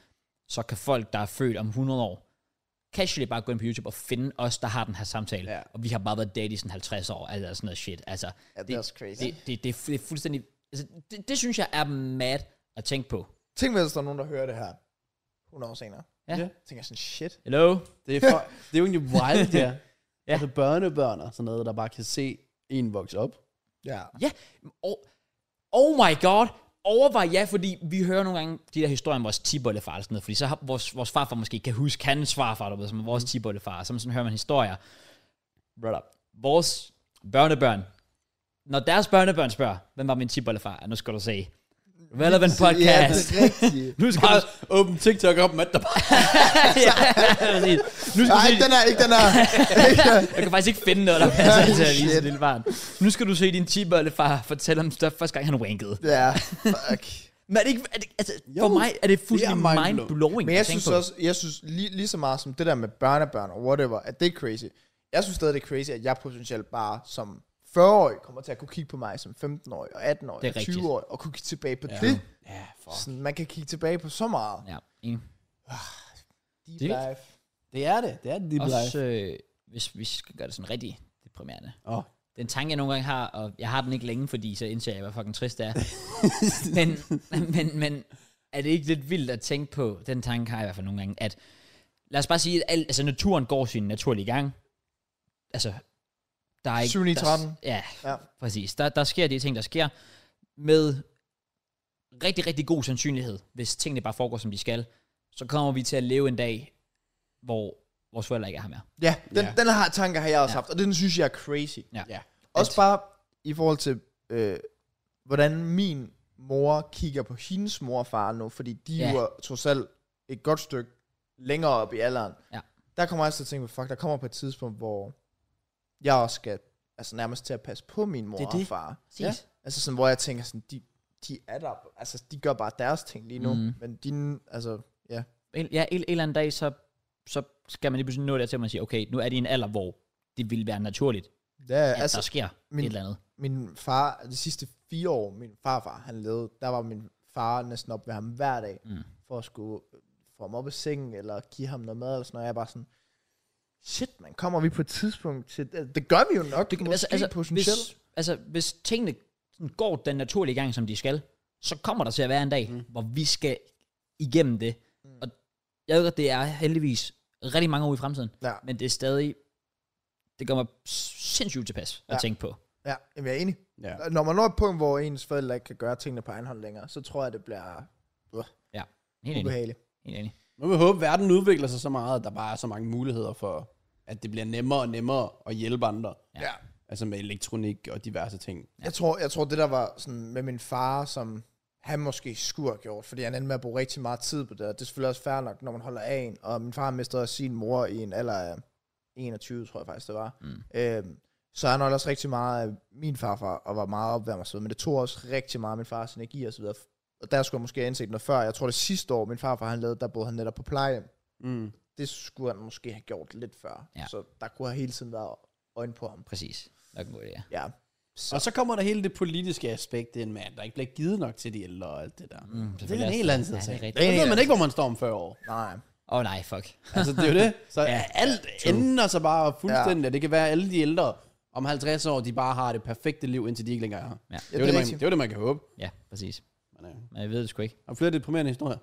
så kan folk, der er født om 100 år, casually bare gå ind på YouTube og finde os, der har den her samtale.
Ja.
Ja. Og vi har bare været date i sådan 50 år, eller sådan noget shit. Altså,
Ja, det er også crazy.
Det, det, det, er fu- det er fuldstændig... Altså, det, det, synes jeg er mad at tænke på.
Tænk, hvis der er nogen, der hører det her 100 år senere.
Ja.
Ja.
ja.
Jeg tænker sådan, shit.
Hello?
Det er, for, det er jo egentlig wild, der. ja. Altså børnebørn og sådan noget, der bare kan se en vokse op.
Ja.
Ja. Og, oh my god. Overvej ja, fordi vi hører nogle gange de der historier om vores tibollefar og sådan noget, fordi så har vores, vores farfar måske ikke kan huske hans farfar, du ved, som er
Mm.
vores tibollefar, så sådan hører man historier. Brother. Vores børnebørn, når deres børnebold spørger, hvem var min tibollefar, Ja, nu skal du se. Relevant
Ja, det
podcast.
er rigtigt.
nu skal du...
åbne TikTok op, mand, der bare...
ja, præcis. nu skal
Nej,
du se...
den er ikke den her.
Jeg kan faktisk ikke finde noget, der passer til at vise
Shit.
et lille barn. Nu skal du se din tibollefar fortælle om det første gang, han wankede.
ja, fuck.
Men er det ikke, er det, altså,
Jo,
for mig er det fuldstændig
det er mind-blowing.
mind-blowing.
Men jeg
at tænke
synes
på.
også, jeg synes lige, lige så meget som det der med børnebørn og whatever, at det er crazy. Jeg synes stadig, det er crazy, at jeg potentielt bare som 40-årig kommer til at kunne kigge på mig som 15-årig og 18-årig
Det
og
er rigtigt.
20-årig og kunne kigge tilbage på ja. det.
Ja, fuck.
Sådan, man kan kigge tilbage på så meget. Ja.
Ja, enig.
Deep
Det er
life.
Det er det. Det er det,
Også øh, hvis vi skal gøre det sådan rigtig deprimerende.
Åh, oh,
Den tanke, jeg nogle gange har, og jeg har den ikke længe, fordi så indser jeg, hvor fucking trist det er. men, men, men er det ikke lidt vildt at tænke på, den tanke har jeg i hvert fald nogle gange, at lad os bare sige, at al, altså, naturen går sin naturlige gang. Altså, der er ikke...
7 i
der-
13.
Ja,
Ja.
ja, præcis. Der, der sker de ting, der sker, med rigtig, rigtig god sandsynlighed, hvis tingene bare foregår, som de skal, så kommer vi til at leve en dag, hvor vores forældre ikke er her mere.
Ja, den,
Ja.
ja. den her tanke har jeg også ja. haft, og den synes jeg er crazy.
Ja.
ja.
Også bare i forhold til, øh, hvordan min mor kigger på hendes mor og far nu, fordi de
Ja.
ja. var trods alt et godt stykke længere op i alderen.
Ja.
Der kommer jeg også til at tænke på, fuck, der kommer på et tidspunkt, hvor jeg også skal altså nærmest til at passe på min mor
Det er
og
det.
far.
Ja.
Altså sådan, hvor jeg tænker sådan, de, de er der, altså de gør bare deres ting lige nu, mm. men dine, altså, ja.
En, ja, en, en eller anden dag, så, så skal man lige pludselig nå der til, at man siger, okay, nu er det i en alder, hvor det ville være naturligt,
Ja,
at altså, der sker
min-
et eller andet.
min far, de sidste fire år, min farfar, han levede, der var min far næsten op ved ham hver dag, mm. for at skulle øh, få ham op i sengen, eller give ham noget mad, eller sådan noget. Jeg er bare sådan, shit, man, kommer vi på et tidspunkt til, det, det gør vi jo nok, det, måske altså, altså, potentielt.
hvis, altså, hvis tingene sådan går den naturlige gang, som de skal, så kommer der til at være en dag, mm. hvor vi skal igennem det. Mm. Og jeg ved godt, det er heldigvis rigtig mange år i fremtiden,
Ja.
men det er stadig, det gør mig sindssygt tilpas ja.
Ja.
at tænke på.
Ja, jamen, jeg er enig.
ja.
Ja. Når man når et punkt, hvor ens forældre ikke kan gøre tingene på egen hånd længere, så tror jeg, det bliver øh,
Ja, helt enig.
ubehageligt.
Helt enig.
Nu vil jeg håbe, at verden udvikler sig så meget, at der bare er så mange muligheder for, at det bliver nemmere og nemmere at hjælpe andre.
Ja.
Altså med elektronik og diverse ting.
Jeg tror, jeg tror, det der var sådan med min far, som han måske skulle have gjort, fordi han endte med at bruge rigtig meget tid på det, og det er selvfølgelig også fair nok, når man holder af en, og min far mistede også sin mor i en alder af 21, tror jeg faktisk, det var. Mm. Øhm, så han holdt også rigtig meget af min farfar, og var meget opværmet og så videre, men det tog også rigtig meget af min fars energi og så videre. Og der skulle jeg måske have indset noget før. Jeg tror, det sidste år, min farfar han lavede, der boede han netop på pleje.
Mm.
Det skulle han måske have gjort lidt før.
Ja.
Så der kunne have hele tiden været øjne på ham.
Præcis. Nok en god idé, ja.
Ja.
Så. Og så kommer der hele det politiske aspekt ind med, at der ikke bliver givet nok til de ældre og alt det der. Mm, det er
selvfølgelig
en
også.
helt anden side
Ja,
af
det er
sagen.
rigtigt.
Der ved man ikke, hvor man står om 40 år.
Nej.
Åh oh, nej, fuck.
Altså, det er jo det. Så
Ja,
ja, alt ender sig bare fuldstændig. Ja. Det kan være, at alle de ældre om 50 år, de bare har det perfekte liv, indtil de ikke længere har.
Ja.
Ja.
Ja,
Det,
det
er jo
er
det, man,
rigtigt.
det er jo det, man kan håbe.
Ja, præcis.
Men, øh,
Men jeg ved det sgu ikke.
har flere deprimerende historier?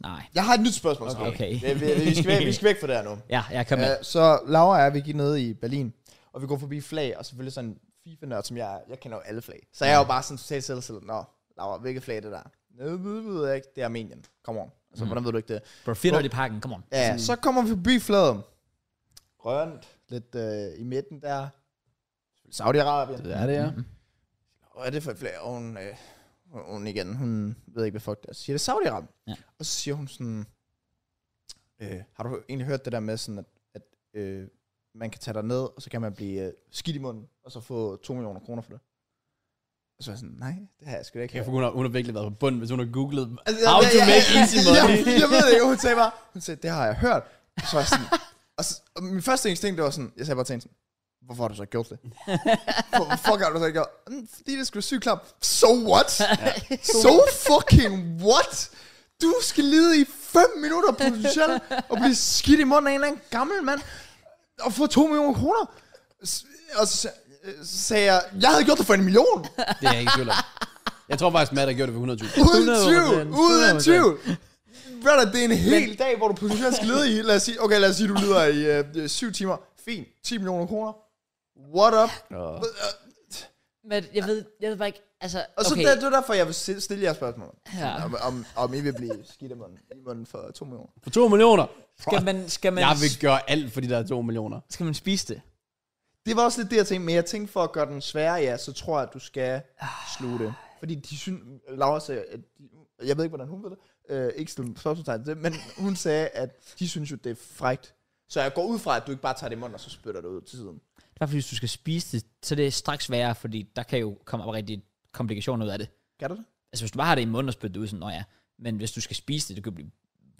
Nej.
Jeg har et nyt spørgsmål til
Okay.
dig.
Okay.
Vi, vi, vi, skal væk, vi skal væk fra det her nu.
Ja, jeg kan med.
Øh, så Laura og jeg, vi gik ned i Berlin, og vi går forbi flag, og selvfølgelig sådan en FIFA-nørd, som jeg er. Jeg kender jo alle flag. Så jeg er jo bare sådan totalt selvsidig. Nå, Laura, hvilket flag er det der? Nå, ved, ved jeg ikke. Det er Armenien. Kom on. Altså, hvordan ved du ikke det?
Bro, finder i pakken, come on.
Ja, så kommer vi forbi flaget. Grønt, lidt øh, i midten der. Saudi-Arabien.
Det er det,
Mm-hmm.
ja.
Hvad er det for et flag? Og hun, øh, hun igen, hun ved ikke, hvad fuck det er. Så siger det er Saudi-Arabien.
Ja.
Og så siger hun sådan, øh, har du egentlig hørt det der med sådan, at, at øh, man kan tage dig ned, og så kan man blive øh, skidt i munden, og så få 2 millioner kroner for det? Og så er jeg sådan, nej, det har jeg sgu da ikke
Jeg
hørt.
for hun, har, hun har virkelig været på bunden, hvis hun har googlet.
Altså,
How to
jeg-
make easy money.
Jeg, jeg ved det ikke, hun sagde bare, hun sagde, det har jeg hørt. Og så var jeg sådan, og, så, og min første instinkt, det var sådan, jeg sagde bare til hende sådan, hvorfor har du så ikke gjort det? Hvor- Hvorfor har du så ikke gjort det? "Mm, Fordi det skulle sygt klart. So what? so fucking what? Du skal lide i 5 minutter potentielt, og blive skidt i munden af en eller anden gammel mand, og få 2 millioner kroner. S- Og så, sa- øh, så sagde jeg, jeg havde gjort det for en million.
Det er jeg ikke i tvivl om. Jeg tror faktisk, Matt har gjort det for 100.000.
Uden
100%.
tvivl, uden
100%.
tvivl. Brother, det er en hel dag, hvor du potentielt skal lede i, lad os sige, okay, lad os sige, du lider i øh, øh, syv timer. Fint, 10 millioner kroner. What up?
Nå.
Men jeg ved, jeg ved bare ikke, altså,
Og så
okay.
okay. det, det er derfor, jeg vil si- stille jer spørgsmål.
Ja.
Om, om, om I vil blive skidt i munden, i munden for 2 millioner.
For 2 millioner.
skal man, skal man,
Jeg vil gøre alt for de der 2 millioner.
skal man spise det?
Det var også lidt det, jeg tænkte, men jeg tænkte for at gøre den sværere, ja, så tror jeg, at du skal sluge det.
Ah.
Fordi de synes, Laura sagde, at de, jeg ved ikke, hvordan hun ved det, øh, ikke stille spørgsmålstegn til det, men hun sagde, at de synes jo, det er frægt. Så jeg går ud fra, at du ikke bare tager det i munden, og så spytter det ud til siden.
Det er fordi, hvis du skal spise det, så det er straks værre, fordi der kan jo komme op rigtig komplikationer ud af det.
Kan du det?
Altså, hvis du bare har det i munden og spytter det ud, sådan, nå ja. Men hvis du skal spise det, du kan blive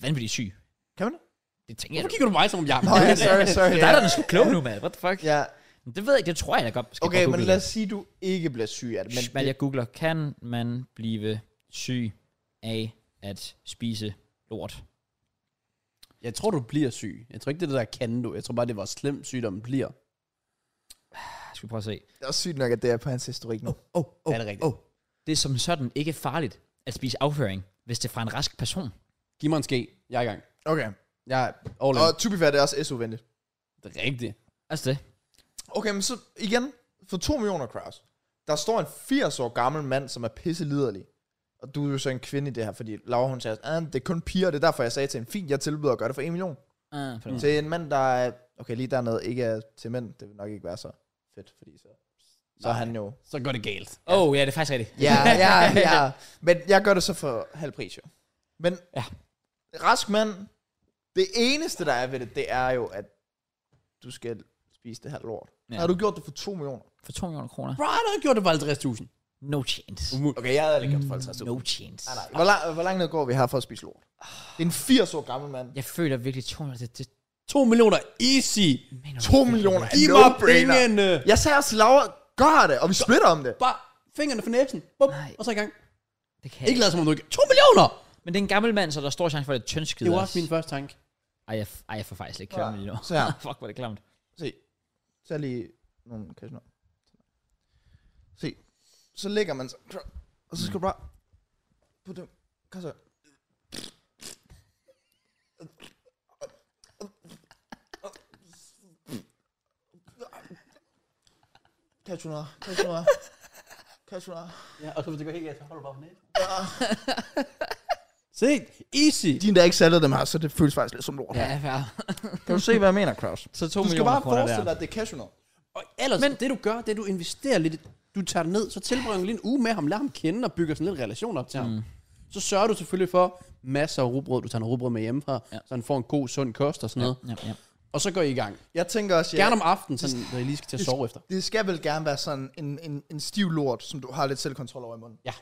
vanvittigt syg.
Kan man det?
Det tænker jeg.
Hvorfor
da.
kigger du mig som om jeg
Nå, ja, sorry, sorry.
Det er der, der skal klog nu, mand. What the fuck?
Ja,
Men Det ved jeg ikke, det tror jeg, jeg godt skal
okay, men lad os sige, du ikke bliver syg af det. Men
Men jeg googler, kan man blive syg af at spise lort?
Jeg tror, du bliver syg. Jeg tror ikke, det er det der kan du. Jeg tror bare, det var slem sygdommen bliver.
Jeg skal vi prøve at se.
det er også sygt nok, at det er på hans historik nu.
Oh,
oh, Er det rigtigt? oh.
Det er som sådan ikke farligt at spise afføring, hvis det er fra en rask person.
Giv mig en ske. Jeg er i gang.
Okay.
Jeg er all in.
Og to be fair, det er også SU-venligt.
Det er rigtigt.
Altså det.
Okay, men så igen, for 2 millioner crowds, der står en 80 år gammel mand, som er pisseliderlig. Og du er jo så en kvinde i det her, fordi Laura hun siger, ah, det er kun piger, det er derfor, jeg sagde til en fint, jeg tilbyder at gøre det for 1 million.
Uh,
Mm. Til en mand, der er, okay, lige dernede, ikke er til mænd, det vil nok ikke være så fedt, fordi så, så er han jo...
Så går det galt.
Oh, ja, det er faktisk rigtigt.
Ja, ja, ja. Men jeg gør det så for halv pris, jo. Men
Ja.
rask mand, det eneste, der er ved det, det er jo, at du skal spise det her lort.
Ja.
Ja. Har du gjort det for 2 millioner?
For 200 kroner.
Bro, han havde gjort det for 50.000.
No chance.
Okay, jeg havde aldrig gjort for 50
No chance.
Nej, nej. Hvor, lang, hvor langt ned går vi her for at spise lort? Det er en 80 år gammel mand.
Jeg føler virkelig 200, det, det
2 millioner. Easy.
mener
2 millioner.
Giv
No
mig
brainer.
pengene.
Jeg sagde også, Laura, gør det, og vi splitter om det.
Bare fingrene for næsen. Bup,
Nej.
og så i gang.
Det kan
Ikke
ikke.
lad som om du ikke... 2 millioner!
Men det er en gammel mand, så der er stor chance for, at det er tyndskid.
Det var også min første tanke.
Ej, jeg, ej, jeg får faktisk lidt klamt lige nu.
Så her.
Fuck, hvor er det klamt.
Se. Så lige nogle kastanjer. Se. Så ligger man så. Og så skal du bare... På dem. Kom så. Kastanjer. Kastanjer. Kastanjer.
Ja, og så hvis det går helt galt, så holder du bare på næsen. Se, easy.
De, der ikke salgede dem her, så det føles faktisk lidt som lort.
Ja, fair.
Kan du se, hvad jeg mener, Kraus?
Så 2
Du skal
millioner
bare
kroner
forestille dig,
der.
at det er cashew nut.
Og ellers, Men det du gør, det er, du investerer lidt. i- Du tager det ned, så tilbringer du lige en uge med ham, lader ham kende og bygger sådan lidt relation op til ham. Mm. Så sørger du selvfølgelig for masser af rugbrød. Du tager noget rugbrød med hjemmefra,
Ja.
ja. så han får en god, sund kost og sådan noget.
Ja, ja.
Og så går I i gang.
Jeg tænker også, ja,
Gerne om aftenen, sådan, når I lige skal til at sove efter.
det skal vel gerne være sådan en, en, en stiv lort, som du har lidt selvkontrol over i munden.
Ja.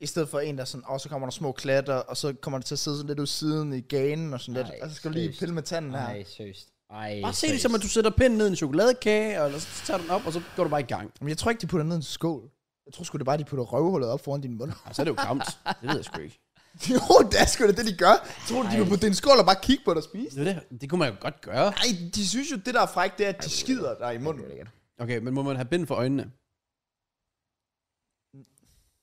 I stedet for en, der sådan, og så kommer der små klatter, og så kommer det til at sidde sådan lidt ud siden i ganen og sådan lidt.
Ej,
Og så skal du lige
seriøst.
pille med tanden her.
Ej, seriøst. Ej,
Bare se det
seriøst.
som, at du sætter pinden ned i en chokoladekage, og så tager du den op, og så går du bare i gang.
Men jeg tror
Altså,
ikke, de putter ned i en skål. Jeg tror sgu, det er bare, de putter røvhullet op foran din mund.
Og så er det jo klamt. Det ved jeg sgu ikke.
jo, det er sgu da det, de gør. Tror du, de vil putte det i en skål og bare kigge på dig og spise?
Det, er det, det kunne man jo godt gøre.
Nej, de synes jo, det der er frækt, det er, at de skider dig i munden.
Okay, men må man have bind for øjnene?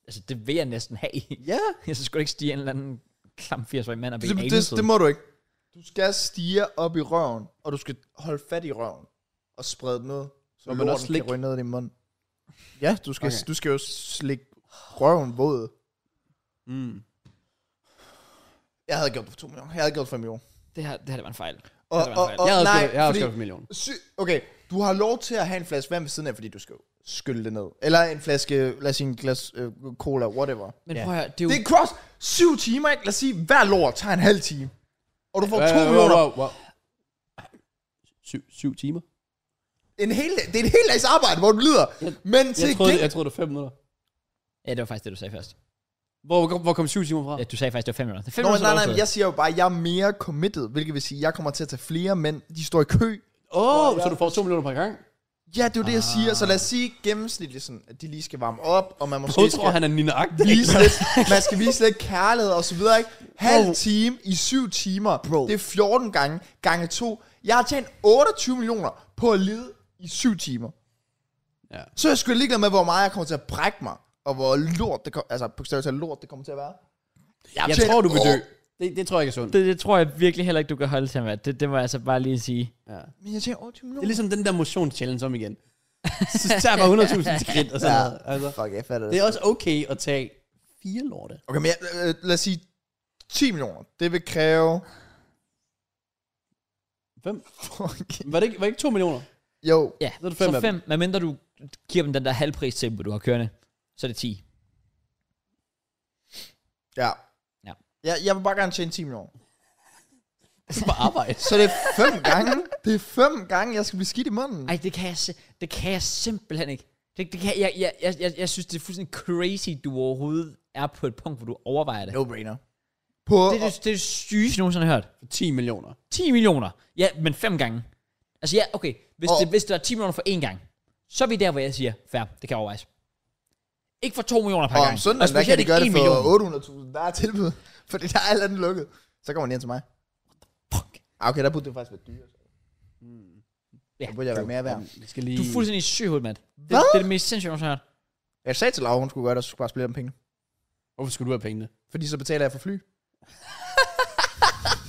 Altså, det vil jeg næsten have.
Ja.
Jeg synes sgu da ikke stige en eller anden klam 80-årig mand og blive det,
Det, det, det må du ikke. Du skal stige op i røven, og du skal holde fat i røven og sprede den ud, så
Må man
lorten
også slikke?
kan ryge ned i din mund. Ja, du skal,
Okay.
okay. du skal jo slikke røven våd.
Mm.
Jeg havde gjort det for 2 millioner. Jeg havde gjort det for 5 millioner.
det, her, det her det var en fejl. Det
Og,
her, det var en fejl.
og-
Jeg har også
nej,
gjort- jeg har også
fordi-
gjort million.
Sy- okay, du har lov til at have en flaske vand ved siden af, fordi du skal jo skylle det ned. Eller en flaske, lad os sige en glas øh, cola, whatever.
Men
Ja.
prøv at høre, det er jo...
Det er cross. Syv timer, ikke? Lad os sige, hver lort tager en halv time. Og du får to
Wow, wow,
millioner.
wow, wow. Syv, syv timer?
En hel, det er en hel dags arbejde, hvor du lider. Men til
Jeg troede,
gengæld-
jeg troede, det var fem minutter.
Ja, det var faktisk det, du sagde først.
Hvor, hvor, hvor kom syv timer fra?
Ja, du sagde faktisk, det var 5 minutter. Det er 5
Nå,
minutter,
nej,
du
nej,
overstod.
men jeg siger jo bare, at jeg er mere committed, hvilket vil sige, at jeg kommer til at tage flere mænd. De står i kø.
Åh, oh,
jeg-
så du får to millioner per gang?
Ja, det er jo det, jeg
Ah.
siger. Så lad os sige gennemsnitligt sådan, at de lige skal varme op, og man
Så
måske
tror
skal
han er ninagtig.
vise lidt, man skal vise lidt kærlighed og så videre, ikke?
Bro.
Halv time i syv timer.
Bro.
Det er 14 gange, gange to. Jeg har tjent 28 millioner på at lide i syv timer.
Ja.
Så er jeg skulle ligeglad med, hvor meget jeg kommer til at brække mig, og hvor lort det kommer, altså på talt lort det kommer til at være.
Jeg
tjener-
tror, du vil dø. Det, det tror jeg ikke er sundt.
Det, det tror jeg virkelig heller ikke, du kan holde til, mand. Det, det må jeg altså bare lige sige.
Ja.
Men jeg tjener 28
Det er
millioner.
ligesom den der motion-challenge om igen. Så tager jeg bare 100.000 skridt og sådan
Ja.
noget. Altså,
Fuck, jeg fatter
det er også okay at tage fire lorte.
Okay, men jeg, øh, lad os sige 10 millioner. Det vil kræve...
Fem?
Fuck.
Var det ikke, var det ikke to millioner?
Jo,
Ja,
Så er det fem
så
af dem.
5. Hvad mindre du giver dem den der halvpris tempo, du har kørende, så er det 10.
ja.
Ja.
Jeg, jeg vil bare gerne tjene 10 millioner.
Så bare arbejde.
Så det er fem gange. Det er fem gange, jeg skal blive skidt i munden.
Ej, det kan jeg, si- det kan jeg simpelthen ikke. Det, det kan, jeg, jeg, jeg, jeg, jeg synes, det er fuldstændig crazy, du overhovedet er på et punkt, hvor du overvejer det.
No-brainer. På,
Det er det, det, er det sygeste, jeg nogensinde har hørt.
10 millioner.
10 millioner. Ja, men fem gange. Altså ja, okay. Hvis,
Og-
det, hvis der er 10 millioner for én gang, så er vi der, hvor jeg siger, fair, det kan overvejes. Ikke for 2 millioner per
og, og om
gang.
søndagen, der kan
specielt
de gøre
ikke
det
én million.
for 800.000. Der er tilbud, for der er alt andet lukket. Så kommer den ind til mig.
Fuck.
Ah, okay, der burde det faktisk være dyrt.
Mm. Ja.
Ja. Der burde jeg være mere værd.
Vi skal lige...
Du er fuldstændig syg i hovedet, mand. Det,
Hvad?
det er det mest sindssyge, jeg nogensinde har hørt.
Jeg sagde til Laura, hun skulle gøre det, så skulle jeg bare spille om penge.
Hvorfor skulle du have pengene?
Fordi så betaler jeg for fly.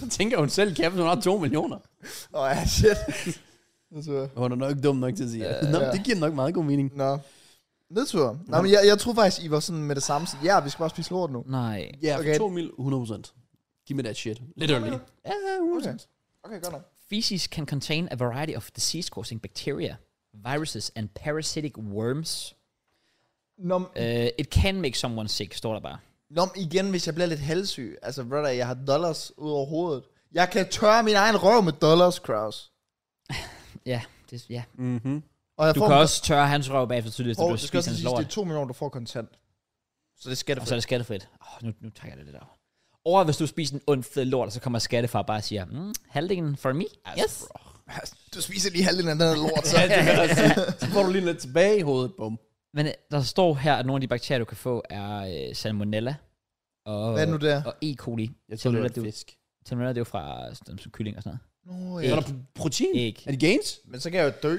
Så tænker hun selv, kan jeg, hvis hun har 2 millioner.
Åh, oh, ja, shit. Altså, så,
Hun er nok dum nok til at sige. Uh, Nå,
ja.
det giver nok meget god mening.
Nå. Nedtur. Nå, men jeg, jeg troede faktisk, I var sådan med det samme. sådan, Ja, vi skal bare spise lort nu.
Nej.
Ja,
Okay.
okay. 2 mil, 100%. Give me that shit. Literally. Ja, ja, 100%.
Okay. Okay, godt nok.
Feces can contain a variety of disease-causing bacteria, viruses and parasitic worms.
Nå, men-
Uh, it can make someone sick, står der bare.
nå, men igen, hvis jeg bliver lidt halssyg. Altså, brother, jeg har dollars ud over hovedet. Jeg kan tørre min egen røv med dollars, Kraus.
Ja, det, ja.
Mm-hmm.
Og jeg
Du
får
kan
dem-
også tørre hans røv bagefter tydeligt,
Og
så du
det skal
spiser
også
hans
sige, det er
lort.
to millioner, du får kontant. Så det skal det
Og så er det skattefrit. Oh, nu, nu trækker jeg det lidt op. Over hvis du spiser en ond fed lort, og så kommer skattefar og bare siger, mm, halvdelen for me? Yes.
Du spiser lige halvdelen af den her lort, så.
Altså, Ja, det altså- vil jeg også sige. Så får du lige lidt tilbage i hovedet. Bum.
Men øh, der står her, at nogle af de bakterier, du kan få, er øh, salmonella og,
Hvad er det nu det er?
og E. coli.
Jeg tror,
Salmonella,
det
det er
var
jo-
fisk.
salmonella, det er jo fra øh, sådan, som kylling og sådan noget.
Nå,
Er
ja.
der protein?
Æg.
Er det gains?
Men så kan jeg jo dø.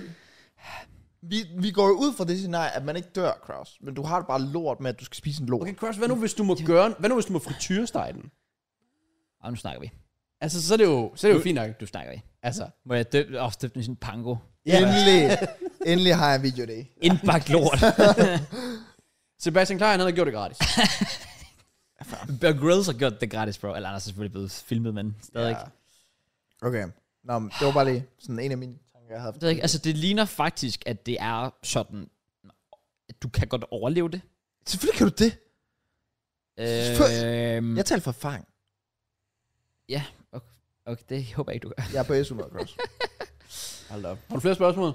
Vi, vi går jo ud fra det scenarie, at man ikke dør, Kraus. Men du har det bare lort med, at du skal spise en lort.
Okay, Cross, hvad nu hvis du må gøre... Hvad nu hvis du må frityrestege den?
Og nu snakker vi.
Altså, så er det jo, så er det jo fint nok.
Du snakker vi.
Altså,
Må jeg døbe og støbe den i sådan en pango?
Ja. Endelig, endelig har jeg en video i dag.
Indbagt lort.
Sebastian Klein, han har gjort det gratis.
Bear Grylls har gjort det gratis, bro. Eller han er selvfølgelig blevet filmet, men stadig.
Ja.
Okay. Nå, men det var bare lige sådan en af mine tanker, jeg havde haft.
Det, ikke, altså, det ligner faktisk, at det er sådan, at du kan godt overleve det.
Selvfølgelig kan du det.
Mm. Øhm,
Jeg taler for erfaring.
ja, okay, okay, det håber jeg ikke, du gør.
Jeg er på SU med, Kraus.
Hold op. Har du flere spørgsmål?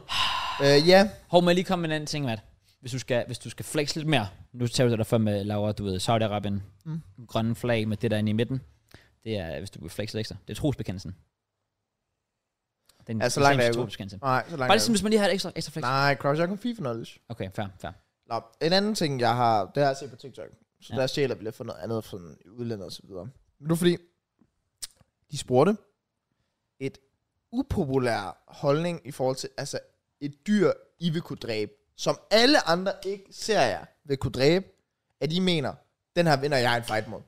øh, ja.
Hov, må jeg lige komme med en anden ting, Matt? Hvis du skal, hvis du skal flex lidt mere. Nu tager du dig for med, Laura, du ved, Saudi-Arabien. Mm. Grønne flag med det der inde i midten. Det er, hvis du vil flex lidt ekstra. Det er trosbekendelsen. Den
Ja, så langt er jeg
islamiske
ude.
trosbekendelse.
Nej, så langt.
Bare
er
ligesom, hvis man lige har et ekstra, ekstra
jeg.
flex.
Nej, Kraus, jeg kan FIFA knowledge.
Okay, fair, fair.
Nå, en anden ting, jeg har, det har jeg set på TikTok. Så
Ja.
ja. der stjæler vi lidt for noget andet fra udlandet og så videre. Men det var fordi, de spurgte et upopulær holdning i forhold til, altså et dyr, I vil kunne dræbe, som alle andre ikke ser jer vil kunne dræbe, at I mener, den her vinder jeg en fight mod.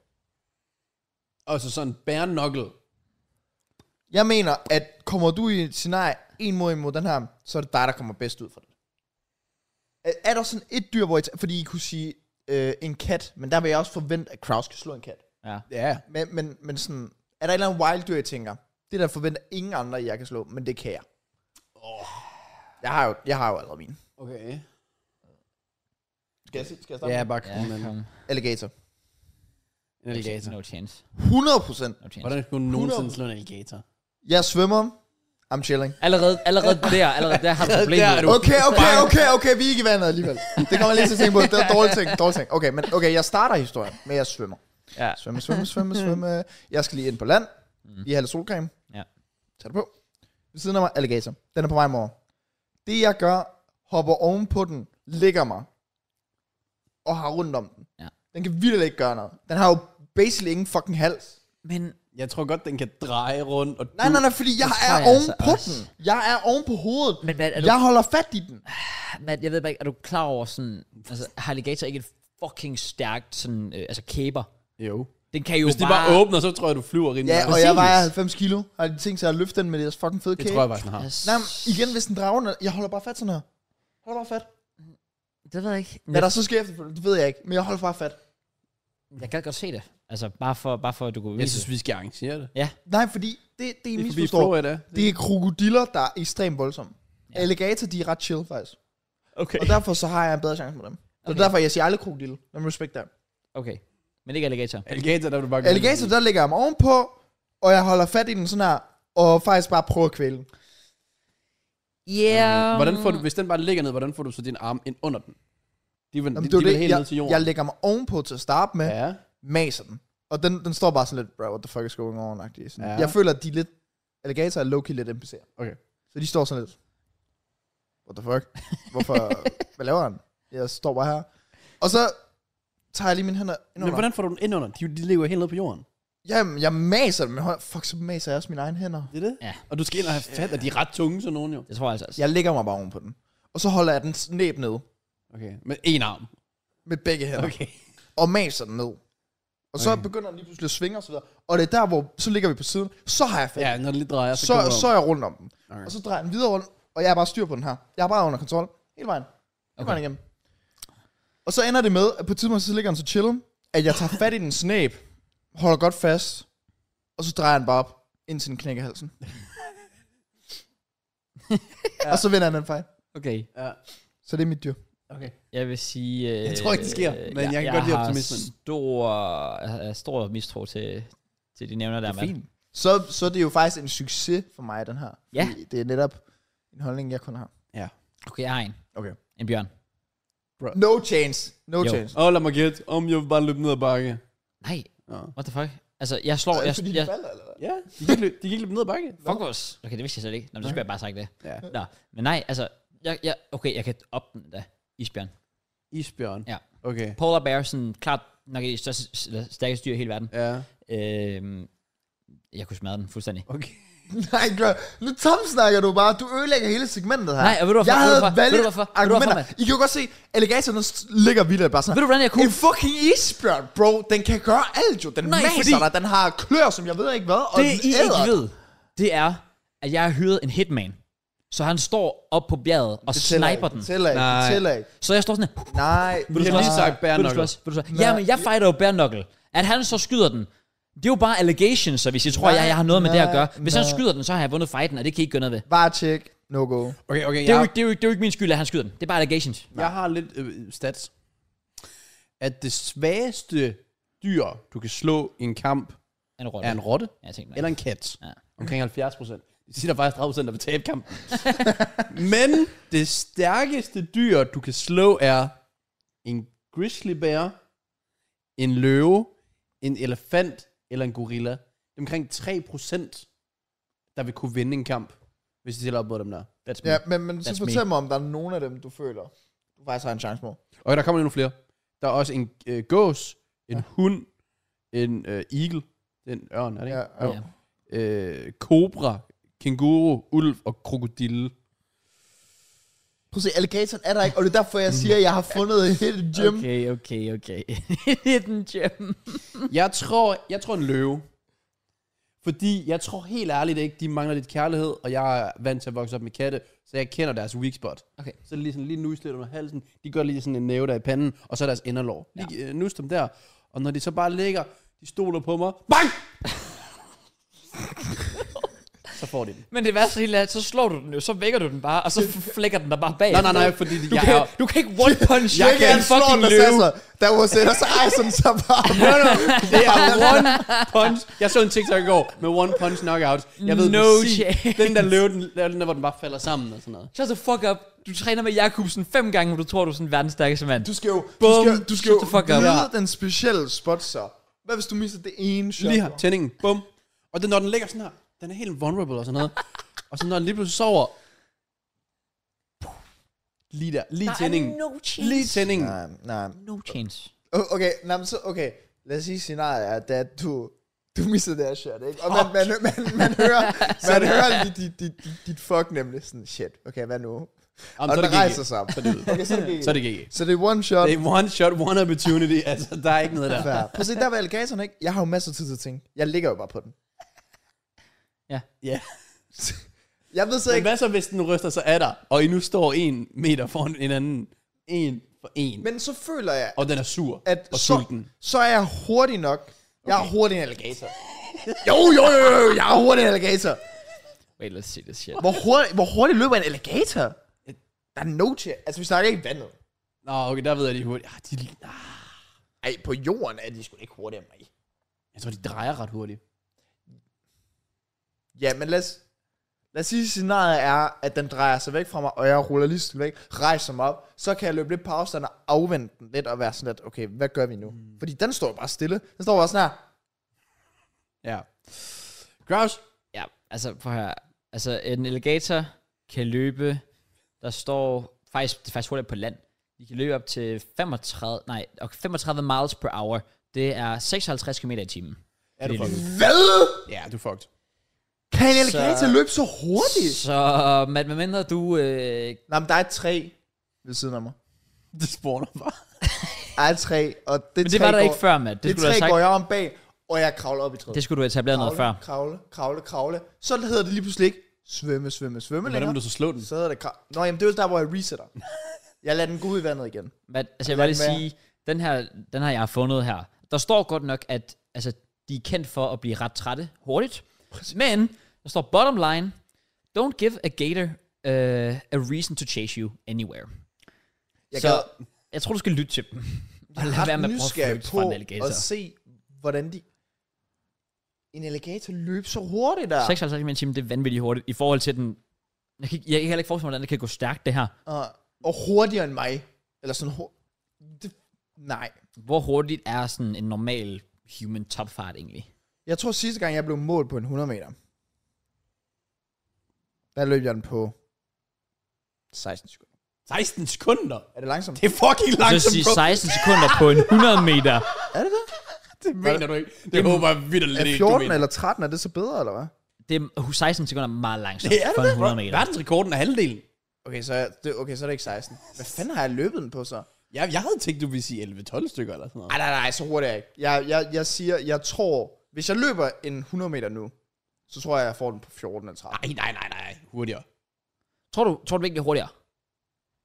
Og så sådan bare knuckle.
Jeg mener, at kommer du i et scenarie en mod en mod den her, så er det dig, der kommer bedst ud for det. Er- Er der sådan et dyr, hvor I t- fordi I kunne sige øh, en kat, men der vil jeg også forvente, at Kraus kan slå en kat.
Ja.
Ja.
Men, men, men sådan, er der et eller andet wild dyr, jeg tænker, det der forventer ingen andre, jeg kan slå, men det kan jeg. Oh. Jeg har jo, jeg har jo allerede min.
Okay.
Skal jeg, skal jeg starte?
Ja,
Yeah.
bare kom
Ja,
med en
kom.
Alligator.
en alligator.
No chance.
100 procent.
No chance.
Hvordan skulle du nogensinde slå en alligator?
Jeg svømmer. I'm chilling.
Allerede, allerede der, allerede der har du problemet.
Der er du.
Okay, okay, okay, okay, vi er ikke i vandet alligevel. Det kommer jeg lige til at tænke på. Det var dårligt ting, dårligt ting. Okay, men okay, jeg starter historien med, at jeg svømmer.
Ja. Mhm.
Svømme, svømme, svømme, svømme. Jeg skal lige ind på land. I halv solcreme.
Ja.
Tag det på. Ved siden af mig, alligator. Den er på vej mod. Det jeg gør, hopper ovenpå den, ligger mig, og har rundt om den.
Ja.
Den kan virkelig ikke gøre noget. Den har jo basically ingen fucking hals.
Men
Jeg tror godt, den kan dreje rundt. Og
Nej,
du-
nej, nej, fordi jeg
tror
er
jeg altså
ovenpå
også.
den. Jeg er oven på hovedet.
Men hvad, er du-
jeg holder fat i den.
Matt, jeg ved bare ikke, er du klar over sådan... Altså, har alligator ikke et fucking stærkt sådan... Øh, altså, kæber?
Jo.
Den kan jo
Hvis de bare åbner, så tror jeg, du flyver rimelig
Ja,
meget.
og jeg
Præcis.
vejer 90 kilo. Har de tænkt sig at løfte den med deres fucking fede
Det
kage?
tror jeg faktisk, den har.
Altså,
Nej, men igen, hvis den drager under, jeg holder bare fat sådan her. Holder bare fat.
Det ved jeg ikke.
Hvad
Men
der så sker efterfølgende, det ved jeg ikke, men jeg holder bare fat.
jeg, jeg gad godt se det. Altså, bare for, bare for at du kunne
Jeg
vise
synes, vi skal arrangere det.
Nej, fordi det, det er
Vi er forbi
misforstået.
Florida.
Det er krokodiller, der er ekstremt voldsomme. Ja. Alligator, de er ret chill faktisk.
Okay.
Og derfor så har jeg en bedre chance med dem. Så
Okay.
okay. derfor, jeg siger aldrig krokodille. Men respekt der.
Okay. Men ikke alligator.
Alligator, der vil du bare gå
Alligator, der ligger jeg mig ovenpå, og jeg holder fat i den sådan her, og faktisk bare prøver at kvæle den.
Yeah.
Øhm, Hvordan får du, hvis den bare ligger ned, hvordan får du så din arm ind under den? De vil,
Jamen, det
de,
er
de
jo
vil
det.
helt ned til
Jeg,
jorden.
jeg lægger mig ovenpå til at starte med, ja.
ja.
maser den. Og den, den står bare sådan lidt, bro, what the fuck is going on? agtig. Sådan.
Ja.
Ja. Jeg føler, at de er lidt, alligator er low-key lidt NPC'er.
Okay.
Så de står sådan lidt, what the fuck? Hvorfor, hvad laver han? Jeg står bare her. Og så tager jeg lige mine hænder ind
Men
under.
hvordan får du den ind under? den? De, de ligger jo helt ned på jorden.
Jamen, jeg maser dem med hånd. Fuck, så maser jeg også mine egne hænder.
Det er det?
Ja.
Og du skal ind og have fat, og de er ret tunge, sådan nogen jo.
Det tror jeg altså også.
Jeg lægger mig bare ovenpå den. Og så holder jeg den næb ned
Okay. Med en arm.
med begge hænder. Okay.
Okay.
Og maser den ned. Og så
Okay.
okay. begynder den lige pludselig at svinge og så videre. Og det er der, hvor så ligger vi på siden. Så har jeg fat.
Ja,
Ja,
når det lidt drejer, så,
så,
kommer
så,
du
så
om.
er jeg rundt om den.
Okay.
Og så drejer jeg den videre rundt, og jeg er bare styr på den her. Jeg er bare under kontrol. Hele vejen. Hele
Okay.
okay. vejen igennem. Og så ender det med, at på et tidspunkt, så ligger den så chillen, at jeg tager fat i den snæb, holder godt fast, og så drejer den bare op, indtil den knækker halsen. ja. Og så vinder han den fejl.
Okay.
Ja.
Så det er mit dyr.
Okay.
Jeg vil sige... Øh,
Jeg tror ikke, det sker, men jeg kan godt lide optimismen.
Jeg har stor, jeg har stor mistro til, til de nævner der, mand.
Så, så det er jo faktisk en succes for mig, den her.
Ja.
Fordi Det er netop en holdning, jeg kun har.
Okay, jeg har en.
Okay.
En bjørn.
No chance. No
Jo.
jo. chance.
Åh, lad mig gætte. Om jeg vil bare løbe ned ad bakke.
Nej,
Ja.
what the fuck? Altså, jeg slår...
Er det
Jeg,
fordi, de
jeg,
falder, eller hvad?
Ja, de kan ikke løbe, de kan ikke løbe ned ad bakke.
fuck os. Okay, det vidste jeg slet ikke. Nå, men så skulle jeg bare have sagt det.
Ja.
Nå, men nej, altså... Jeg, jeg, okay, jeg kan op den da. Isbjørn.
Isbjørn.
Ja.
Okay.
Polar bear, sådan klart nok et af de største, eller stærkeste dyr i hele verden.
Ja.
Øhm, jeg kunne smadre den fuldstændig.
Okay.
Nej, bro. Nu tomsnakker du bare. Du ødelægger hele segmentet her.
Nej, og ved du hvorfor?
Jeg
Ved du
havde
hvorfor?
valgt
Ved du hvorfor? Ved du hvorfor,
argumenter.
mand?
I kan jo godt se, alligatoren den st- ligger vildt bare sådan
Ved du, hvordan jeg kunne?
En fucking isbjørn, bro. Den kan gøre alt jo. Den
Nej,
Nej, maser
fordi-
dig. Den har klør, som jeg ved ikke hvad. Og
Det
den
I
æder.
ikke ved, det er, at jeg har hyret en hitman. Så han står op på bjerget og
Det tæller
sniper
ikke.
den.
Det tæller ikke. Det
Nej.
tæller ikke.
Så jeg står sådan her.
Nej.
du
nej.
har lige sagt bare
Vil du
knuckle.
slås? Vil du slås? Jamen, jeg fighter jo bare knuckle. At han så skyder den, det er jo bare allegations, så hvis I tror,
Nej,
jeg, jeg har noget med det at
nej,
gøre. Hvis han
nej.
skyder den, så har jeg vundet fighten, og det kan I ikke gøre noget ved.
Bare tjek. No go.
Okay, okay.
Det er, jo ikke, det, er jo ikke, det er jo ikke min skyld, at han skyder den. Det er bare allegations.
Jeg har lidt øh, stats. At det svageste dyr, du kan slå i en kamp,
Er en rotte.
er en rotte
Ja, jeg tænkte,
eller en kat.
Ja.
Omkring 70 procent. Det siger der faktisk 30 procent, der vil tabe kampen. Men det stærkeste dyr, du kan slå, er en grizzly bear, en løve, en elefant eller en gorilla. Det er omkring 3 procent, der vil kunne vinde en kamp, hvis de stiller op mod dem der.
That's
Ja,
me.
men, men så
That's
fortæl mig, om der er nogen af dem, du føler, du faktisk har en chance mod.
Og der kommer endnu flere. Der er også en øh, gås, en ja. hund, en øh, eagle, den ørn, er det ikke?
Ja,
Jo.
jo.
Ja.
Øh, kobra, kænguru, ulv og krokodille.
Prøv at se, alligatoren er der ikke, og det er derfor,
Mm.
jeg siger, at jeg har fundet et hidden gem. Okay.
Okay, okay, okay. Hidden gem.
Jeg tror, jeg tror en løve. Fordi jeg tror helt ærligt ikke, de mangler lidt kærlighed, og jeg er vant til at vokse op med katte, så jeg kender deres weak spot.
Okay.
Så er det lige sådan lige nuslet under halsen, de gør lige sådan en næve der i panden, og så er deres inderlår. Lige ja. nus dem der, og når de så bare ligger, de stoler på mig, BANG! så får de den.
Men det værste hele er, at så slår du den jo, så vækker du den bare, og så flækker den dig bare bag.
Nej, nej, nej, fordi
Du,
jeg
kan,
er...
du kan ikke one punch
Jeg
jeg
kan
en fucking løve.
Sig. Der var sætter sig rejsen sig bare.
No, no, det er one punch. Jeg så en TikTok i går med one punch knockout. Jeg ved
No
præcis,
chance.
den der løve, den, den der, hvor den bare falder sammen og sådan noget.
Shut the fuck up. Du træner med Jakobsen fem gange, hvor du tror, du er sådan verdens stærkeste mand.
Du skal jo, du
Bum.
skal, du skal jo
Shut the fuck up.
vide den specielle spot så. Hvad hvis du mister det ene shot?
Lige her, tændingen, bum. Og den, når den ligger sådan her, den er helt vulnerable og sådan noget. og så når den lige pludselig sover, lige der, lige
Der er
tændingen.
no chance.
Lige tændingen.
Nej, nej.
No chance.
O- Okay, nej, men så, okay. Lad os sige scenariet er, det er, at du, du misser det her shot, ikke? Og man, man, man, man hører, man hører dit, dit, dit, dit- dit fuck nemlig sådan, shit, okay, hvad nu?
Jamen,
Og
så er
den
det GG.
rejser sig op.
Så er det ud.
Okay, så er det GG.
Så er det GG.
Så det er one shot.
Det er one shot, one opportunity. Altså, der er ikke noget der.
Fair. Prøv at se, der var alligatoren, ikke? Jeg har jo masser af tid til at tænke. Jeg ligger jo bare på den.
Ja.
Jeg ved så
Men
ikke,
hvad så, hvis den ryster sig af dig, og I nu står en meter foran en anden? En for en.
men så føler jeg,
og den er sur
at
og
så,
sulten.
så er jeg hurtig nok. Jeg er hurtig en alligator. Jo, jo, jo, jo, jo, jeg er hurtig en alligator.
Wait, let's see this shit.
Hvor hurtigt, hvor hurtigt løber en alligator? Der er no chance. Altså, vi snakker ikke i vandet.
Nå, okay, der ved jeg, de er hurtigt. Ah, de, ah,
Ej, på jorden er de sgu da ikke hurtigere end mig.
jeg tror, de drejer ret hurtigt.
Ja, men lad os, lad os sige, at scenariet er, at den drejer sig væk fra mig, og jeg ruller lige stille væk, rejser mig op, så kan jeg løbe lidt på afstand og afvente den lidt, og være sådan lidt, okay, hvad gør vi nu? Mm. Fordi den står jo bare stille. Den står bare sådan her.
Ja. Grouse,
Ja, altså prøv her. Altså en alligator kan løbe, der står faktisk, det er faktisk hurtigt på land. De kan løbe op til 35, nej, og 35 miles per hour. Det er 56 km i timen.
er du
Det er
fucked?
Hvad?
Ja, du er fucked.
Kan en alligator
Så-
løbe så hurtigt?
Så med, med mindre du... Øh,
Nej, men der er et træ ved siden af mig.
Det spawner bare.
Der er et træ, og det,
men det
træ
var der
går,
ikke før, mand. Det,
Det,
det
det
skulle
træ
du have
går
sagt.
jeg om bag, og jeg kravler op i træet.
Det skulle du have etableret noget før.
kravle, kravle, kravle, kravle. Så hedder det lige pludselig ikke svømme, svømme, svømme
Hvordan
længere.
vil du så slå den?
Så hedder det krav... Nå, jamen det er jo der, hvor jeg resetter. Jeg lader den gå ud i vandet igen.
Men, altså, jeg vil bare lige
Lad den
sige, den her, den her, jeg har fundet her, der står godt nok, at altså, de er kendt for at blive ret trætte hurtigt. Men der står bottom line, don't give a gator uh, a reason to chase you anywhere.
Jeg
Så-
gad-
Jeg tror, du skal lytte til dem. Og
Jeg
lad
er
være med
ret
at prøve at
nysgerrig
flygte fra en
på
alligator.
at se, hvordan de... En alligator løb så hurtigt der.
56 km i timen, det er vanvittigt hurtigt i forhold til den... Jeg kan, ikke- jeg kan heller ikke forestille mig, hvordan det kan gå stærkt, det her.
Og, og hurtigere end mig. Eller sådan hurtigt. Det... Nej.
Hvor hurtigt er sådan en normal human topfart egentlig?
Jeg tror sidste gang, jeg blev målt på en 100 meter. Der løb jeg den på 16 sekunder.
16 sekunder.
Er det langsomt?
Det er fucking
Så
langsomt,
sige
bro.
16 sekunder på en 100 meter.
Er det det?
Det mener du ikke. Det håber jeg vidt
Er
lidt ikke, du
14
mener.
eller 13, er det så bedre, eller hvad?
Det er 16 sekunder er meget langsomt
Det er det
for en
da.
100 meter.
Verdensrekorden er halvdelen.
Okay, så er, det, okay, så er det ikke 16. Hvad fanden har jeg løbet den på så?
Jeg, jeg havde tænkt, du ville sige 11-12 stykker eller sådan noget.
Nej, nej, nej, så hurtigt er jeg ikke. Jeg, jeg, jeg siger, jeg tror, hvis jeg løber en 100 meter nu, så tror jeg, jeg får den på 14 eller 13.
Nej, nej, nej, nej. Hurtigere.
Tror du, tror du virkelig det er hurtigere?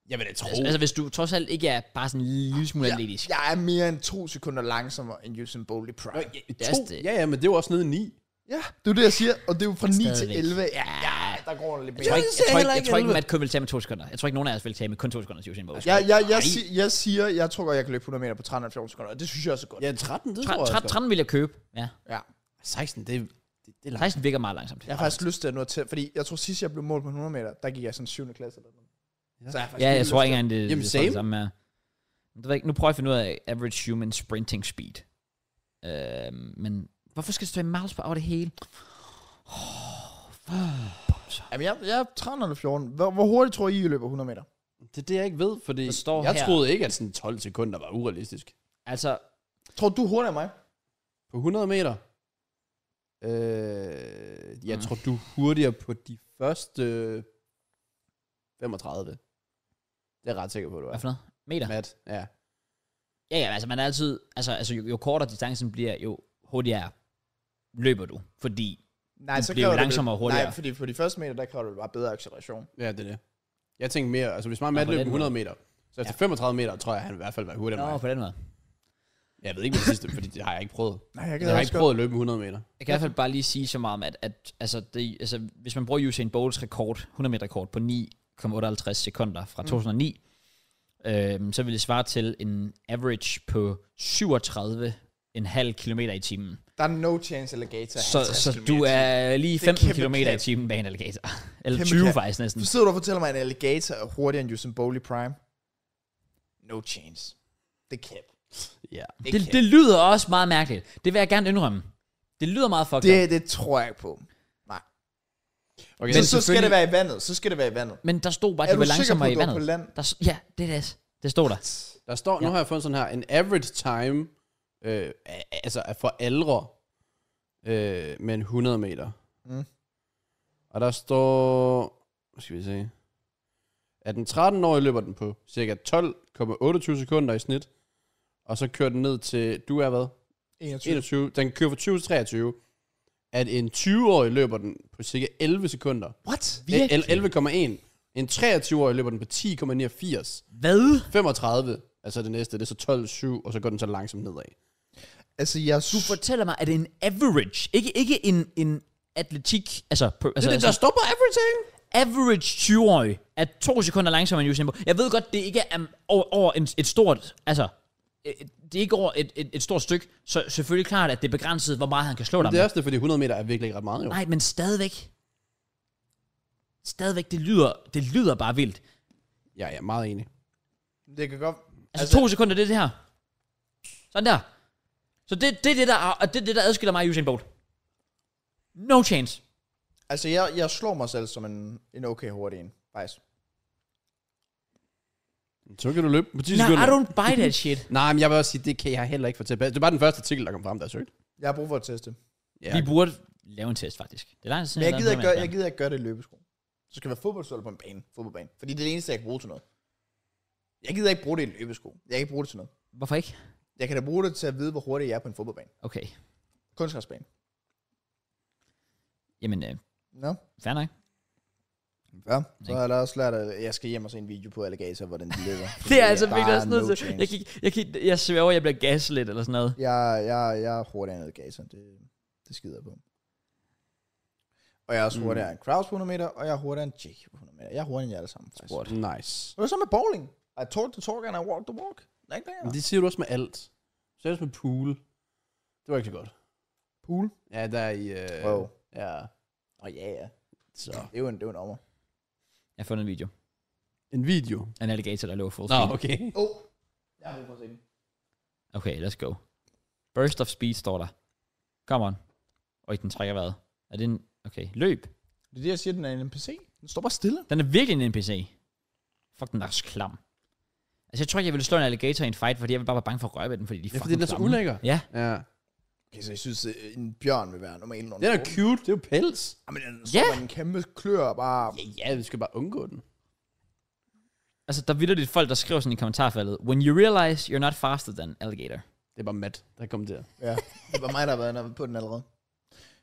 Jeg vil da tro.
Altså, altså, hvis du trods alt ikke er bare sådan en lille smule atletisk.
Jeg er mere end to sekunder langsommere end Usain Bolt i Prime.
ja,
er
to.
også det.
ja, ja, men det var også nede i 9.
Ja, det er det, jeg siger, og det er jo fra 9
Stadigvæk.
til 11. Ja, ja der går der lidt
Jeg tror ikke,
mere.
Jeg
jeg
ser
tror ikke,
heller
jeg
ikke
tror ikke
elleve.
Matt Kuhn vil tage med to sekunder. Jeg tror ikke, nogen af os vil tage med kun to sekunder til Usain Bolt.
Jeg, jeg, jeg, si- jeg siger, jeg tror godt, jeg kan løbe 100 meter på 13 eller 14 sekunder, og det synes jeg også er godt.
Ja, 13, det tror jeg også
13,
godt.
13 vil jeg købe. Ja.
Ja.
16, det, det, det er langt.
16 virker meget langsomt.
Jeg har faktisk lyst til at nå til, fordi jeg tror sidst, jeg blev målt på 100 meter, der gik jeg sådan 7. klasse eller noget. Ja. Så jeg har faktisk
Ja,
helt
jeg
lyst
tror
til-
ikke engang, det,
Jamen,
det, står det
same.
samme her. Men Det ved jeg ikke. Nu prøver jeg at finde ud af average human sprinting speed. Øh, men hvorfor skal det stå i miles per hour det hele?
Jamen, jeg, jeg er 13 eller 14. Hvor, hvor hurtigt tror I, I løber 100 meter?
Det er det, jeg ikke ved, fordi
Der står
jeg
her-
troede ikke, at sådan 12 sekunder var urealistisk.
Altså,
Tror du, du er hurtigere end mig?
På 100 meter? Øh, jeg tror, du er hurtigere på de første 35. Det er jeg ret sikker på, du
Hvad
er.
for noget? Meter?
Mat, ja.
Ja, ja, altså man er altid... Altså, altså jo, jo kortere distancen bliver, jo hurtigere løber du. Fordi...
Nej,
Du bliver jo
kræver det vel-
langsommere og hurtigere.
Nej, fordi på de første meter, der kræver det bare bedre acceleration.
Ja, det er det. Jeg tænkte mere, altså hvis man
Nå,
Matt
på
løb
den
100 meter, så efter 35 meter, tror jeg, han i hvert fald var hurtigere end
Nå,
mig.
på den måde.
Jeg ved ikke, hvad det sidste, fordi det har jeg ikke prøvet.
Nej, jeg
Jeg har ikke prøvet at løbe 100 meter.
Jeg kan i hvert fald bare lige sige så meget om, at, at altså, det, altså, hvis man bruger Usain Bolts rekord, 100 meter rekord på 9,58 sekunder fra 2009, øhm, så vil det svare til en average på 37,5 km i timen.
Der er no chance alligator.
Så, så du er lige
Det er
15
kæmpe
km i
knæ.
timen bag en alligator. Eller
Kæmpe
20
knæ.
faktisk næsten.
Du sidder du og fortæller mig, at en alligator er hurtigere end Usain Bolt i Prime? No chance. Det kan.
Ja.
Det, det lyder også meget mærkeligt. Det vil jeg gerne indrømme. Det lyder meget fucked up.
det, det tror jeg ikke på. Nej. Men
Okay, men
så, så skal det være i vandet. Så skal det være i vandet.
Men der stod bare, at
Er
det
du
var
sikker på,
langsommere
at
i
du var på
vandet.
land?
Der, s- ja, det er det. Det stod der.
der står, nu har jeg fundet sådan her, en average time, øh, altså er for aldre, øh, men 100 meter.
Mm.
Og der står, hvad skal vi se, at den 13-årige løber den på cirka 12,28 sekunder i snit, og så kører den ned til, du er hvad?
21.
21. Den kører fra 20 til 23. At en 20-årig løber den på cirka 11 sekunder.
What?
Eh, el- 11,1. En 23-årig løber den på 10,89.
Hvad?
35, altså det næste, det er så 12,7, og så går den så langsomt nedad.
Altså, jeg...
Du fortæller mig, at det er en average, ikke, ikke en, en atletik, altså, på, altså,
det, der
altså
står på everything.
average 20-årig er to sekunder langsommere end Usain Bolt. Jeg ved godt, det ikke er um, over, over en, et stort, altså, et- det er ikke over et, et, et stort stykke, så selvfølgelig klart, at det er begrænset, hvor meget han kan slå dig
Det er
med.
også det, fordi 100 meter er virkelig ikke ret meget, jo.
Nej, men stadigvæk. Stadigvæk, det lyder, det lyder bare vildt. Altså,
Ja, ja, meget enig.
Det kan godt...
altså to sekunder, det er det her. Sådan der. Så det, det, er det, der, er- og det er det, der adskiller mig i Usain Bolt. No chance.
Altså, jeg, jeg slår mig selv som en, en okay hurtig en, faktisk.
Så kan du løbe på 10
Nej, I
sekunder.
don't buy that shit.
Nej, men jeg vil også sige, det kan jeg heller ikke fortælle. Det er bare den første artikel, der kom frem, der er søgt.
Jeg har brug for at teste.
Ja. Vi burde lave en test, faktisk. Det er langt siden,
Men jeg gider,
har lavet
ikke gøre,
noget
jeg
med
gider ikke gøre det i løbesko. Så skal jeg være fodboldstøvler på en bane, fodboldbane. Fordi det er det eneste, jeg kan bruge til noget. Jeg gider ikke bruge det i en løbesko. Jeg kan ikke bruge det til noget.
en plan. Hvorfor ikke?
Jeg kan da bruge det til at vide, hvor hurtigt jeg er på en fodboldbane.
Okay.
Kunstgræsbane.
Jamen, øh,
Nå?
fair nok.
Ja, så har jeg da også lært, at jeg skal hjem og se en video på Alligator, hvordan de lever.
Det er altså
Der
virkelig også
no
noget til.
chance.
Jeg, gik, jeg, gik, jeg svæver, jeg bliver gas lidt eller sådan noget.
Jeg, jeg, jeg er hurtigere end Alligator. Det, det skider jeg på. Og jeg er også hurtigere end Kraus på 100 meter, og jeg er hurtigere end Jake på 100 meter. Jeg er hurtigere end jer alle sammen, faktisk.
Sport.
Nice.
Hvad er så med bowling? I talk the talk, and I walk the walk. Er ikke
Men
det,
det siger du også med alt. Så også med pool. Det var ikke så godt.
Pool?
Ja, der er i... Øh,
Wow.
Ja,
Åh ja, ja.
så.
Det er jo en, det er jo en ommer.
Jeg har fundet en video.
En video.
Af En alligator, der løber full
Nå,
speed.
okay.
Åh, oh. jeg har brug for at se den.
Okay, let's go. Burst of speed står der. Come on. Og den trækker vejret. Er det en... Okay, løb.
Det er det, jeg siger, den er en NPC. Den står bare stille.
Den er virkelig en NPC. Fuck, den er også klam. Altså, jeg tror ikke, jeg ville slå en alligator i en fight, fordi jeg ville bare være bange for at røre ved den, fordi de er
Ja,
fucking
fordi den er så
klamme.
ulækker.
Ja.
Ja.
Okay, så jeg synes, øh, en bjørn vil være normalt.
Den er cute. Det er jo pels.
Jamen, den
Ja.
står yeah. en kæmpe klør og bare...
Ja, ja, vi skal bare undgå den.
Altså, der vidder det folk, der skriver sådan i kommentarfeltet. When you realize you're not faster than alligator.
Det er bare Matt, der kom der.
Ja, det var mig, der har været inde på den allerede.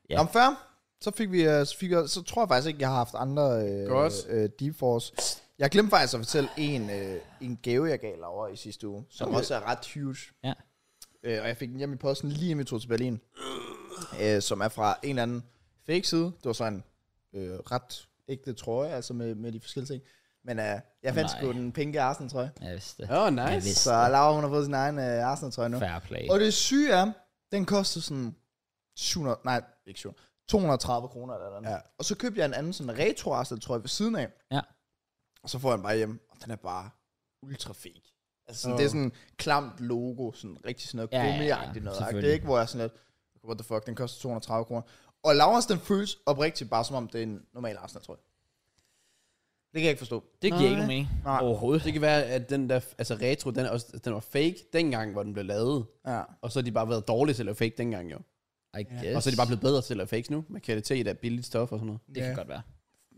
Ja.
Ja. Om før, så fik vi, øh, så, fik jeg, så tror jeg faktisk ikke, jeg har haft andre øh,
Godt.
øh, Deep Force. Jeg glemte faktisk at fortælle en, øh, en gave, jeg gav over i sidste uge, som
Okay.
også er ret huge.
Ja.
Øh, og jeg fik den hjem i posten lige inden vi tog til Berlin, øh, som er fra en eller anden fake side. Det var sådan en øh, ret ægte trøje, altså med, med de forskellige ting. Men øh, jeg fandt
Nej.
sgu den pinke Arsenal-trøje.
Ja, jeg vidste det.
Åh, oh,
Jeg
nice.
vidste
Så Laura, hun har fået sin egen øh, Arsenal-trøje nu.
det. Fair play.
Og det syge er, den kostede sådan 700, nej, ikke 700, 230 kroner eller noget.
Ja.
Ja. Og så købte jeg en anden sådan retro Arsenal trøje ved siden af.
Ja.
Og så får jeg den bare hjem, og den er bare ultra fake. Altså sådan,
Åh.
oh. det er sådan klamt logo, sådan rigtig sådan
Ja,
noget
ja,
ja,
ja,
gummiagtigt ja, noget. ikke? Det
selvfølgelig.
er ikke, hvor jeg er sådan lidt, what the fuck, den koster 230 kroner. Og Lauras, den føles oprigtigt bare som om, det er en normal Arsenal trøje. Det kan jeg ikke forstå.
Det giver ikke nogen mening
Nej.
overhovedet.
Det kan være, at den der, altså retro, den, er også, den var fake dengang, hvor den blev lavet.
Ja.
Og så har de bare været dårlige til at lave fake dengang jo.
I guess.
Yes. Og så er de bare blevet bedre til at lave fakes nu, med kvalitet af billigt stof og sådan noget.
Det kan
Ja.
godt være.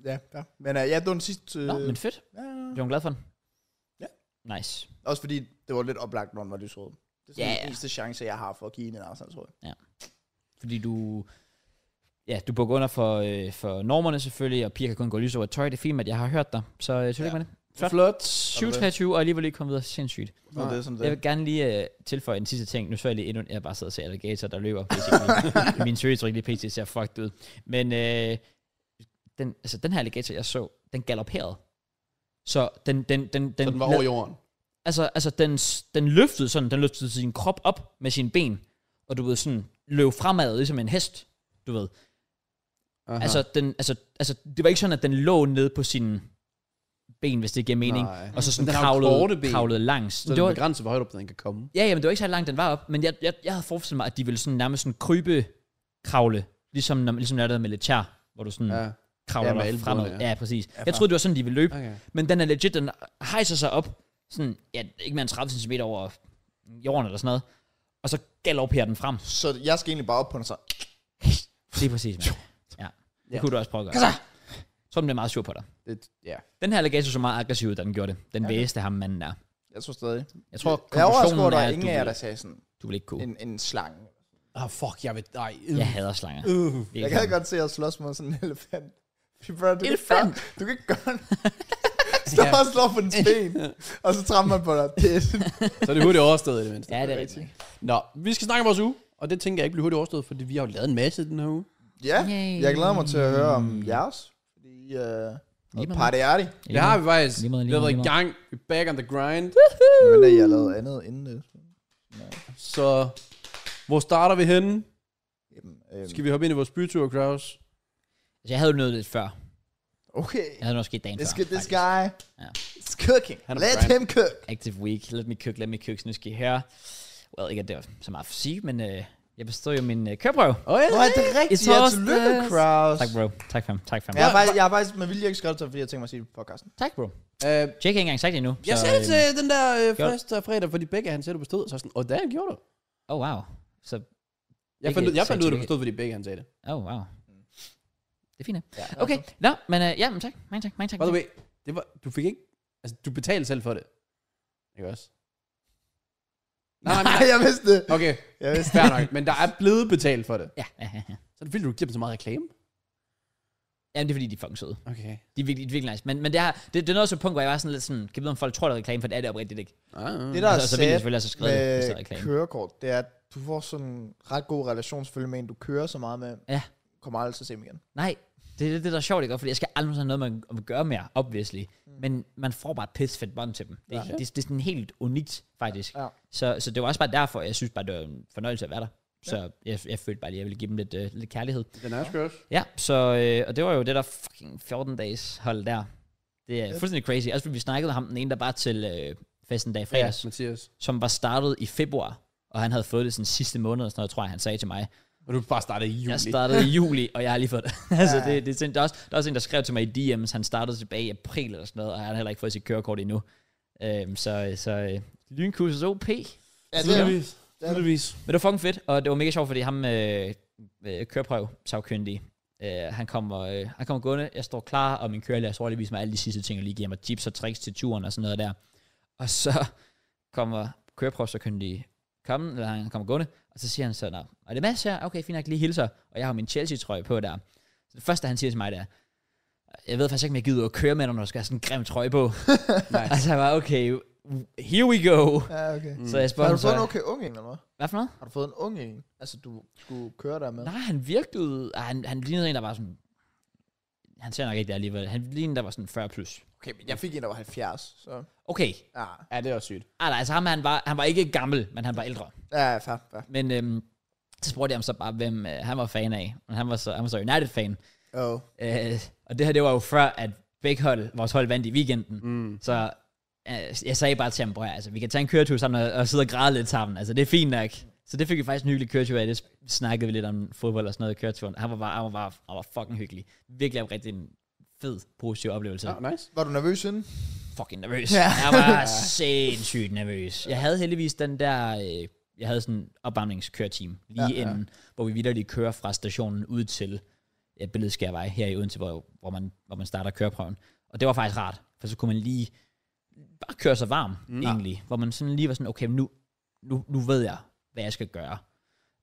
Ja, ja. Men uh, ja, det var den sidste... Uh,
Nå, men fedt.
ja, ja.
Jeg er glad for den.
Ja.
Nice.
Også fordi det var lidt oplagt, når den var lysrød. Det er sådan
Ja,
yeah.
ja.
den eneste chance, jeg har for at give en Arsenal, tror jeg.
Fordi du... Ja, du bukker under for, øh, for normerne selvfølgelig, og piger kan kun gå lys over tøj. Det er fint, at jeg har hørt dig. Så øh, tillykke
Ja.
med det. Flot.
Flot.
7-23, og alligevel ikke kommet videre. Sindssygt.
Så er det, som det.
Jeg vil gerne lige øh, tilføje en sidste ting. Nu så jeg lige endnu, jeg bare sidder og ser alligator, der løber. basically. Min seriøse lige pt. ser fucked ud. Men øh, den, altså, den her alligator, jeg så, den galopperede. Så den, den, den, den,
Så den var over jorden.
altså, altså den, den løftede sådan, den løftede sin krop op med sine ben, og du ved sådan, løb fremad, ligesom en hest, du ved.
Aha.
Altså, den, altså, altså, det var ikke sådan, at den lå ned på sine ben, hvis det giver mening.
Nej.
Og så sådan
Men den har jo korte
kravlede,
ben.
kravlede langs.
så det var begrænset, hvor højt op den kan komme.
Ja, jamen det var ikke så langt, den var op, men jeg, jeg, jeg havde forestillet mig, at de ville sådan nærmest sådan krybe kravle, ligesom når, ligesom når der er med letær, hvor du sådan ja.
Ja.
kravler
Ja, med
ja,
albuerne,
fremad. Ja.
ja.
ja, præcis. Jeg troede, det var sådan, de ville løbe,
Okay.
men den er legit, den hejser sig op, sådan, ja, ikke mere end 30 cm over jorden eller sådan noget, og så galopperer den frem.
Så jeg skal egentlig bare op på den, så...
Det er præcis, mand. Ja. Det
Ja.
kunne du også prøve at gøre. Så den bliver meget sur på dig.
Det, ja.
Den her alligator så meget aggressiv ud, da den gjorde det. Den ja. væste ham manden der.
Jeg tror stadig.
Jeg tror,
Jeg er overrasket over,
konklusionen er,
at der er
at du,
ingen af jer, der
vil,
sagde sådan
du vil ikke kunne.
en, en slange.
Ah, oh, fuck, jeg ved... Nej.
Jeg hader slanger.
Uh.
Det er
Jeg
ikke
kan
sådan.
godt se at slås mod sådan en elefant. Fy bror, du kan ikke
Elefant?
gøre- Du kan ikke gøre det. Stå og slå på dens ben, og så trammer man på dig. Det er
Så er det hurtigt overstået i det mindste.
Ja, det er rigtigt.
rigtigt.
Nå, vi skal snakke om vores uge. Og det tænker jeg ikke bliver hurtigt overstået, fordi vi har jo lavet en masse den her uge.
Ja,
Yay.
jeg glæder mig til at høre om jeres. Fordi, øh,
Lige med
party er det.
Det har vi faktisk.
Lige
Lige
måde, lige
vi har
måde,
været i
lige
gang. Vi er back on the grind.
Men da I har lavet andet inden det.
Så hvor starter vi henne?
Jamen, øhm,
Skal vi hoppe ind i vores bytur, Kraus?
Altså, jeg havde jo noget lidt før.
Okay.
Jeg havde noget sket dagen
This,
før.
good, this
faktisk.
guy
Ja.
is cooking.
Han er
Let
brand.
him cook.
Active week. Let me cook, let me cook. Så nu skal I høre. Well, ikke at det var så meget for at sige, men øh, jeg bestod jo min øh, køreprøve.
Åh, oh, ja.
Hvor er det rigtigt?
It's
Ja,
all
tillykke,
stars.
Kraus.
Tak, bro. Tak, fam. Tak, fam.
Jeg har, faktisk, jeg har faktisk med vilje ikke skrevet til, fordi jeg tænkte mig at sige det på podcasten.
Tak, bro.
Øh,
Jake har ikke engang sagt det endnu.
jeg
så,
sagde det til den der øh,
gjorde-
første fredag, fordi begge han sagde, du bestod. Så jeg var sådan, åh, oh, damn, gjorde du?
Oh, wow. Så,
Jeg
Ikke
fandt, ud- jeg
sagde
fandt ud af, at du
tillykke.
bestod, fordi begge han sagde det.
oh, wow. Det er fint, ja.
Ja.
Okay, nå, men øh, ja, men tak. Mange tak, mange tak.
By the way, det var, du fik ikke... Altså, du betalte selv for det. Ikke også? Nej, nej,
jeg vidste det.
Okay,
Jeg vidste det.
fair nok. Men der er blevet betalt for det.
Ja, ja, ja, ja.
Så er det vildt, du giver dem så meget reklame.
Jamen, det er fordi, de er fucking søde.
Okay.
De er virkelig, de er virkelig nice. Men, men det, har, det, det er noget så punkt, hvor jeg var sådan lidt sådan, kan vide, om folk tror, der er reklame, for det er det oprigtigt ikke.
Ah,
Det,
det
der
Altså,
er
så vil jeg selvfølgelig
sad
også skrive det, hvis der er
med
reklame.
kørekort, det er, at du får sådan en ret god relation selvfølgelig med en, du kører så meget med.
Ja.
Kommer aldrig til at se ham igen.
Nej, det er det, det, der er sjovt, ikke? Fordi jeg skal aldrig have noget, man man vil gøre mere, obviously. Mm. Men man får bare et pisfedt bånd til dem. Det, ja. det, det, er sådan helt unikt, faktisk.
Ja.
Så, så det var også bare derfor, jeg synes bare, det var en fornøjelse at være der. Så jeg, jeg følte bare lige, jeg ville give dem lidt, øh, lidt kærlighed.
Den er sgu også.
Ja, så, øh, og det var jo det der fucking 14 dages hold der. Det er fuldstændig crazy. Også fordi vi snakkede om ham, den ene, der bare til øh, festen dag i
Ja,
fredags, ja.
Mathias.
som var startet i februar, og han havde fået det sådan sidste måned, og sådan noget, tror jeg, han sagde til mig.
Og du bare startede i juli.
Jeg startede i juli, og jeg har lige fået det. altså, det, det er sind, der, er også, der er også en, der skrev til mig i DM's, han startede tilbage i april eller sådan noget, og han har heller ikke fået sit kørekort endnu. Øhm, så så øh, lynkursus OP.
Ja, det er,
Tydeligvis. Tydeligvis.
Men det var fucking fedt, og det var mega sjovt, fordi ham øh, øh, køreprøv, savkyndig, øh, han, kommer, øh, han kommer gående, jeg står klar, og min kørelærer står lige og viser mig alle de sidste ting, og lige giver mig tips og tricks til turen og sådan noget der. Og så kommer køreprøvsakyndige komme, eller han kommer gående, og så siger han sådan, "Nå, er det Mads her? Okay, fint nok, lige hilser. Og jeg har min Chelsea-trøje på der. Så det første, han siger til mig, det er, jeg ved faktisk ikke, om jeg gider at køre med dig, når du skal have sådan en grim trøje på.
Nej.
altså, jeg var, okay, here we go.
ja, okay.
Mm. Så jeg
Så har
spørger
du fået
så,
en okay ung en, eller hvad?
hvad for noget?
Har du fået en ung en? Altså, du skulle køre der med?
Nej, han virkede... ah, Han, han lignede en, der var sådan... Han ser nok ikke det alligevel. Han lignede en, der var sådan 40 plus.
Okay, men jeg fik en, der var 70, så...
Okay.
Ja,
Ja, det er også sygt.
Ah, nej, altså ham, han var, han var ikke gammel, men han var ældre.
ja, fair, fair.
Men øhm, så spurgte jeg ham så bare, hvem øh, han var fan af. Men han var så, han var så United-fan.
Oh.
Øh, og det her, det var jo før, at begge hold, vores hold vandt i weekenden. Mm. Så øh, jeg sagde bare til ham, bror, altså, vi kan tage en køretur sammen og, og sidde og græde lidt sammen. Altså, det er fint nok. Så det fik vi faktisk en hyggelig køretur af. Det s- snakkede vi lidt om fodbold og sådan noget i køreturen. Han var bare, han var bare han var fucking hyggelig. Virkelig oprigtigt en fed, positiv oplevelse.
Ja, Ah, nice.
Var du nervøs inden?
fucking nervøs.
Ja.
Ja. Jeg var sindssygt nervøs. Jeg havde heldigvis den der, øh, jeg havde sådan en opvarmningskøreteam lige
Ja,
ja,
ja.
ja. inden, hvor vi vidderligt kører fra stationen ud til ja, Billedskærvej her i Odense, hvor, hvor, man, hvor man starter køreprøven. Og det var faktisk rart, for så kunne man lige bare køre sig varm, mm. egentlig. Hvor man sådan lige var sådan, okay, men nu, nu, nu ved jeg, hvad jeg skal gøre.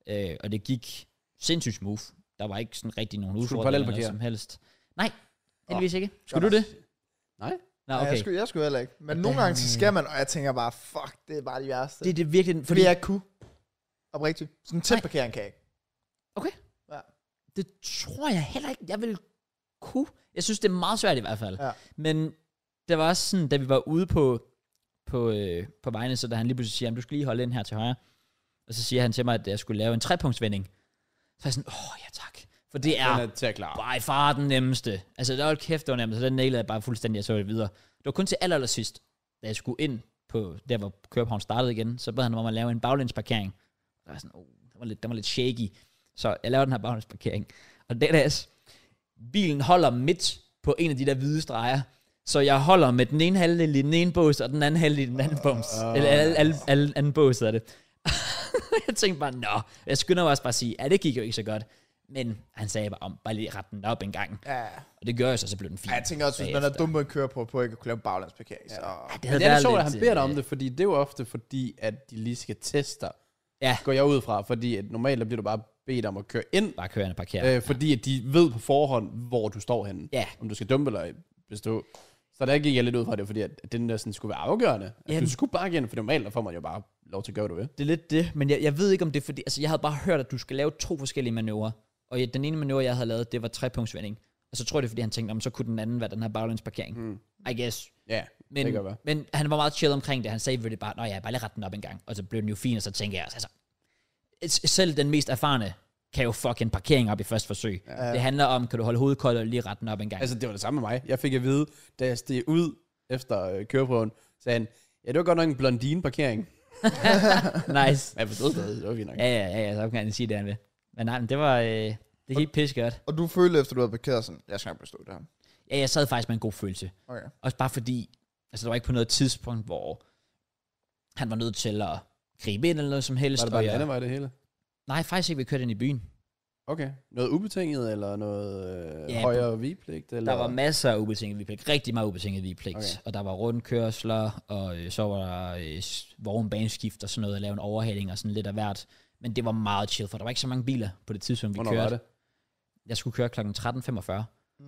Øh, og det gik sindssygt smooth. Der var ikke sådan rigtig nogen
du
udfordringer eller noget
parallelparkere?
som helst. Nej, heldigvis ikke. Skulle
godt.
du det?
Nej.
Nå,
Ja,
Ah, okay.
jeg, skulle, jeg skulle heller ikke. Men nogle gange, så skal man, og jeg tænker bare, fuck, det er bare de værste.
Det er det virkelig,
Fordi
fordi
jeg kunne. Oprigtigt. Sådan en tæt
Nej.
parkering kan jeg ikke.
det tror jeg heller ikke, jeg ville kunne. Jeg synes, det er meget svært i hvert fald.
Ja.
Men det var også sådan, da vi var ude på, på, øh, på vejene, så da han lige pludselig siger, "Jamen, du skal lige holde ind her til højre. Og så siger han til mig, at jeg skulle lave en trepunktsvending. Så er jeg sådan, åh ja tak. For det
Den
er
er til at klare.
by far den nemmeste. Altså, det var kæft, det var nemmest. Så den nailede jeg bare fuldstændig, jeg så det videre. Det var kun til aller, aller sidst, da jeg skulle ind på der, hvor København startede igen, så bad han mig om at lave en baglænsparkering. Og jeg var sådan, oh, den var lidt, den var lidt shaky. Så jeg laver den her baglænsparkering. Og det er bilen holder midt på en af de der hvide streger. Så jeg holder med den ene halvdel i den ene bås, og den anden halvdel i den anden bås. Eller alle, alle, alle, anden bås er det. jeg tænkte bare, nå. Jeg skynder mig også bare at sige, ja, det gik jo ikke så godt. Men han sagde bare om, bare lige ret den op en gang.
Ja.
Og det gør jeg så, så blev den fin.
ja jeg tænker også, hvis man er dum på en køreprøve på ikke at kunne lave baglandsparkering, så...
det
Men
havde
det er
været
det sjovt, at
lidt,
han beder dig om
øh,
det, fordi det er jo ofte fordi, at de lige skal teste dig.
Ja.
Går jeg ud fra, fordi at normalt der bliver du bare bedt om at køre ind,
Bare kørende parkere.
øh, fordi at de ved på forhånd, hvor du står henne.
Ja.
Om du skal dumpe eller bestå. Så der gik jeg lidt ud fra det, fordi at at den der sådan skulle være afgørende. At du
Jamen.
skulle bare igen, for normalt der får man jo bare lov til at gøre, hvad du vil.
Det er lidt det, men jeg, jeg ved ikke om det er fordi, altså jeg havde bare hørt, at du skal lave to forskellige manøvrer, og jeg, den ene manøvre, jeg havde lavet, det var trepunktsvending. Og så tror jeg, det er, fordi han tænkte, om så kunne den anden være den her baglandsparkering. Mm. I guess.
Ja,
Men,
det kan være.
men han var meget chill omkring det. Han sagde virkelig bare, at jeg bare lige ret den op en gang. Og så blev den jo fin, og så tænker jeg, altså, s- selv den mest erfarne kan jo fucking parkering op i første forsøg. Ja. Det handler om, kan du holde hovedet koldt og lige rette den op en gang.
Altså, det var det samme med mig. Jeg fik at vide, da jeg steg ud efter øh, køreprøven, sagde han, ja, det var godt nok en blondine-parkering.
nice.
Men jeg forstod stadig, det var fint nok.
Ja, ja, ja, ja, så kan han sige det, han vil. Men nej, men det var, øh, det gik pisse godt.
Og du følte, efter du havde parkeret sådan, jeg skal ikke bestå det her.
Ja, jeg sad faktisk med en god følelse.
Okay.
Også bare fordi, altså der var ikke på noget tidspunkt, hvor han var nødt til at gribe ind eller noget som helst.
Var det bare
og
en
jeg-
anden vej, det hele?
Nej, faktisk ikke, vi kørte ind i byen.
Okay. Noget ubetinget, eller noget øh,
Ja,
højere vigepligt? Eller?
Der var masser af ubetinget vigepligt. Rigtig meget ubetinget vigepligt.
Okay.
Okay. Og der var rundkørsler, og øh, så var der øh, s- vognbaneskift og sådan noget, at lave en overhaling og sådan lidt af hvert. Men det var meget chill, for der var ikke så mange biler på det tidspunkt, vi
Hvornår
kørte.
var det?
Jeg skulle køre kl. 13.45,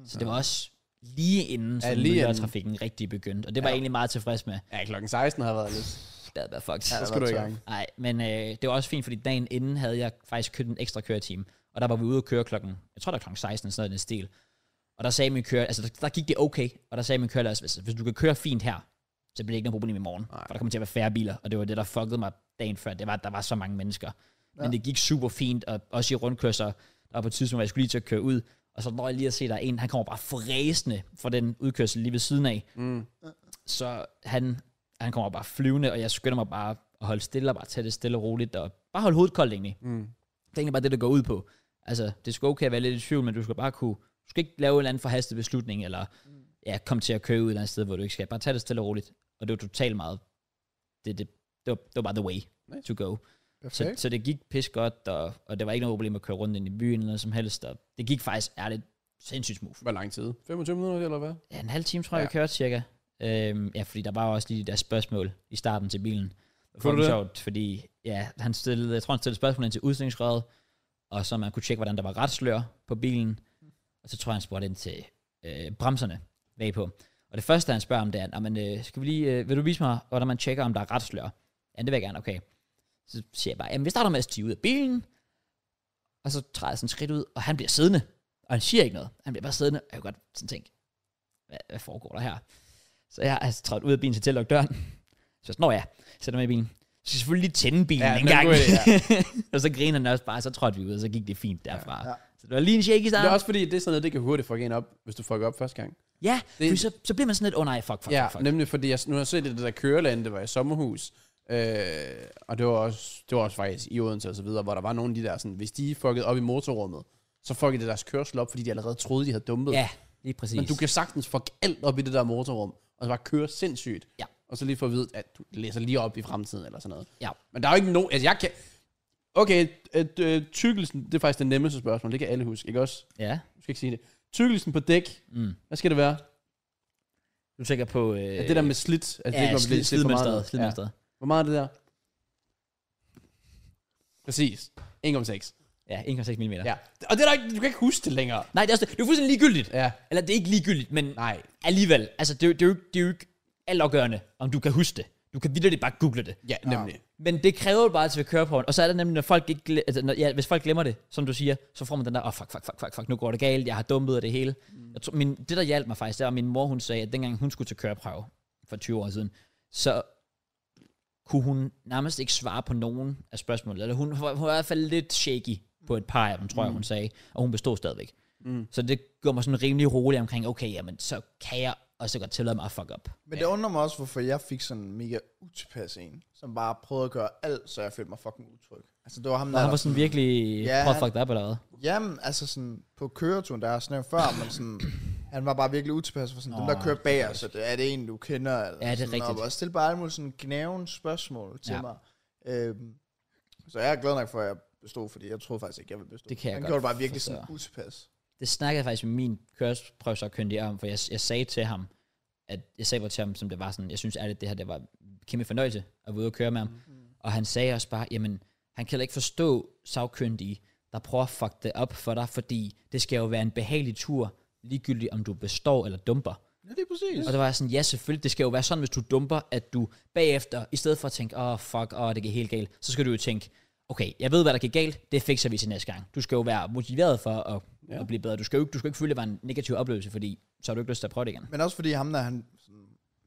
så det var også lige inden,
Mm. Ja,
ja,
lige
lige
inden.
trafikken rigtig begyndte. Og det var
Ja.
jeg egentlig meget tilfreds med.
Ja, klokken 16 har været lidt.
Det havde været fucked.
Så skal du i gang.
Nej, men øh, det var også fint, fordi dagen inden havde jeg faktisk købt en ekstra køretime, og der var vi ude at køre klokken, jeg tror der klokken 16, sådan noget i den stil. Og der sagde min kører, altså der, der gik det okay, og der sagde min kører, hvis, hvis du kan køre fint her, så bliver det ikke noget problem i morgen,
Nej.
Nej. for der kommer til at være færre biler, og det var det, der fuckede mig dagen før, det var, at der var så mange mennesker. Men
Ja.
det gik super fint, og også i rundkørsler, der var på et tidspunkt, hvor jeg skulle lige til at køre ud, og så når jeg lige at se, der er en, han kommer bare fræsende fra den udkørsel lige ved siden af,
Mm.
så han, han kommer bare flyvende, og jeg skynder mig bare at holde stille og bare tage det stille og roligt, og bare holde hovedet koldt egentlig.
Mm.
Det er egentlig bare det, der går ud på. Altså, det skal okay at være lidt i tvivl, men du skal bare kunne, du skal ikke lave en eller anden forhastet beslutning, eller ja, komme til at køre ud et eller andet sted, hvor du ikke skal. Bare tage det stille og roligt. Og det var totalt meget, det, det, det, var, det var bare the way
Nice.
to go. Så,
Perfekt.
så det gik pis godt, og, og det var ikke noget problem at køre rundt ind i byen eller noget som helst. Og det gik faktisk ærligt sindssygt smooth.
Hvor lang tid? 25 minutter, eller hvad?
Ja, en halv time, tror jeg,
Ja.
ja. vi kørte cirka. Øhm, ja, fordi der var også lige de der spørgsmål i starten til bilen. Det
Kunne
var
du det?
det? sjovt, fordi ja, han stillede, jeg tror, han stillede spørgsmål ind til udstillingsrøret, og så man kunne tjekke, hvordan der var retslør på bilen. Og så tror jeg, han spurgte ind til øh, bremserne bag på. Og det første, han spørger om, det er, "Nå, men, øh, skal vi lige, øh, vil du vise mig, hvordan man tjekker, om der er retslør? Ja, det vil jeg gerne, okay. Så siger jeg bare, jamen vi starter med at stige ud af bilen, og så træder jeg sådan et skridt ud, og han bliver siddende, og han siger ikke noget. Han bliver bare siddende, og jeg kan godt sådan tænke, hvad, hvad foregår der her? Så jeg er altså trådt ud af bilen, så til at lukke døren. Så jeg sådan, "Nå ja, sætter mig i bilen. Så skal jeg selvfølgelig lige tænde bilen
Ja,
ja, en
det er en
gang.
god
Ja. og så griner han også bare, og så trådte vi ud, og så gik det fint derfra. Ja,
ja.
ja. Så det var lige en shake i
Det er
starten.
også fordi, det er sådan noget, det kan hurtigt fucke en op, hvis du fucker op første gang.
Ja,
det-
det, så, så bliver man sådan lidt, åh oh, nej, fuck, fuck,
ja,
fuck, fuck.
nemlig fordi, jeg, nu har jeg set det der køreland, det var i sommerhus, øh, og det var, også, det var også faktisk i Odense og så videre, hvor der var nogle af de der sådan, hvis de fuckede op i motorrummet, så fuckede det deres kørsel op, fordi de allerede troede, de havde dumpet.
Ja, Lige præcis.
Men du kan sagtens fuck alt op i det der motorrum, og så bare køre sindssygt.
Ja.
Og så lige få at vide, at du læser lige op i fremtiden, eller sådan noget.
Ja.
Men der er jo ikke nogen... Altså, jeg kan... Okay, at, øh, tykkelsen, det er faktisk det nemmeste spørgsmål. Det kan alle huske, ikke også?
Ja.
Du skal ikke sige det. Tykkelsen på dæk,
Mm.
hvad skal det være?
Du tænker på... Øh,
Øh, det der med slidt. Altså,
ja,
må blive
slid,
slidt for meget.
slidmønstret.
Ja.
Slidmønstret.
Hvor meget er det der? Præcis. 1,6.
Ja, 1,6 mm.
Ja. Og det er der ikke, du kan ikke huske det længere.
Nej, det er, også, det er jo fuldstændig ligegyldigt.
Ja.
Eller det er ikke ligegyldigt, men Nej.
Nej.
alligevel. Altså, det, er jo- det, er jo, ikke- det er jo ikke altafgørende, om du kan huske det. Du kan vidderligt bare google det.
Ja, nemlig.
Men det kræver jo bare, at vi kører på den. Og så er det nemlig, når folk ikke, gle- altså, når, ja, hvis folk glemmer det, som du siger, så får man den der, åh, oh, fuck, fuck, fuck, fuck, fuck, nu går det galt, jeg har dumpet og det hele.
Mm.
Jeg tror, min, det, der hjalp mig faktisk, det var, at min mor, hun sagde, at dengang hun skulle til køreprøve for 20 år siden, så kunne hun nærmest ikke svare på nogen af spørgsmålene. Eller hun, hun var i hvert fald lidt shaky på et par af dem, tror mm. jeg, hun sagde. Og hun bestod stadigvæk. Mm. Så det gjorde mig sådan rimelig rolig omkring, okay, jamen, så kan jeg også godt tillade mig at fuck op.
Men det undrer mig også, hvorfor jeg fik sådan en mega utilpas en, som bare prøvede at gøre alt, så jeg følte mig fucking utryg. Altså, det var ham,
Og
der...
han var sådan virkelig
Ja,
yeah. fucked up eller hvad?
Jamen, altså sådan, på køreturen, der er sådan noget før, men sådan, han var bare virkelig utilpas for sådan,
Nå,
dem der kører bag os, så det, er det en, du kender? Eller
Ja, det er
sådan,
rigtigt.
Og stille bare alle mulige sådan gnaven spørgsmål til
Ja.
ja. mig. Øhm, så jeg er glad nok for, at jeg bestod, fordi jeg troede faktisk ikke, jeg ville bestå.
Det kan jeg
han
godt
gjorde det bare virkelig
forstå.
sådan utilpas.
det snakkede jeg faktisk med min køreprøvsakyndige om, for jeg, jeg sagde til ham, at jeg sagde bare til ham, som det var sådan, jeg synes ærligt, det her det var en kæmpe fornøjelse at være ude og køre med ham. Mm. Og han sagde også bare, jamen, han kan heller ikke forstå sagkyndige, der prøver at fuck det op for dig, fordi det skal jo være en behagelig tur, ligegyldigt om du består eller dumper.
Ja, det er præcis.
Og der var jeg sådan, ja selvfølgelig, det skal jo være sådan, hvis du dumper, at du bagefter, i stedet for at tænke, åh oh, fuck, åh oh, det gik helt galt, så skal du jo tænke, okay, jeg ved, hvad der gik galt, det fikser vi til næste gang. Du skal jo være motiveret for at, ja. at blive bedre. Du skal jo ikke, du skal ikke føle, at det var en negativ oplevelse, fordi så har du ikke lyst til at prøve det igen.
Men også fordi ham der, han, sådan,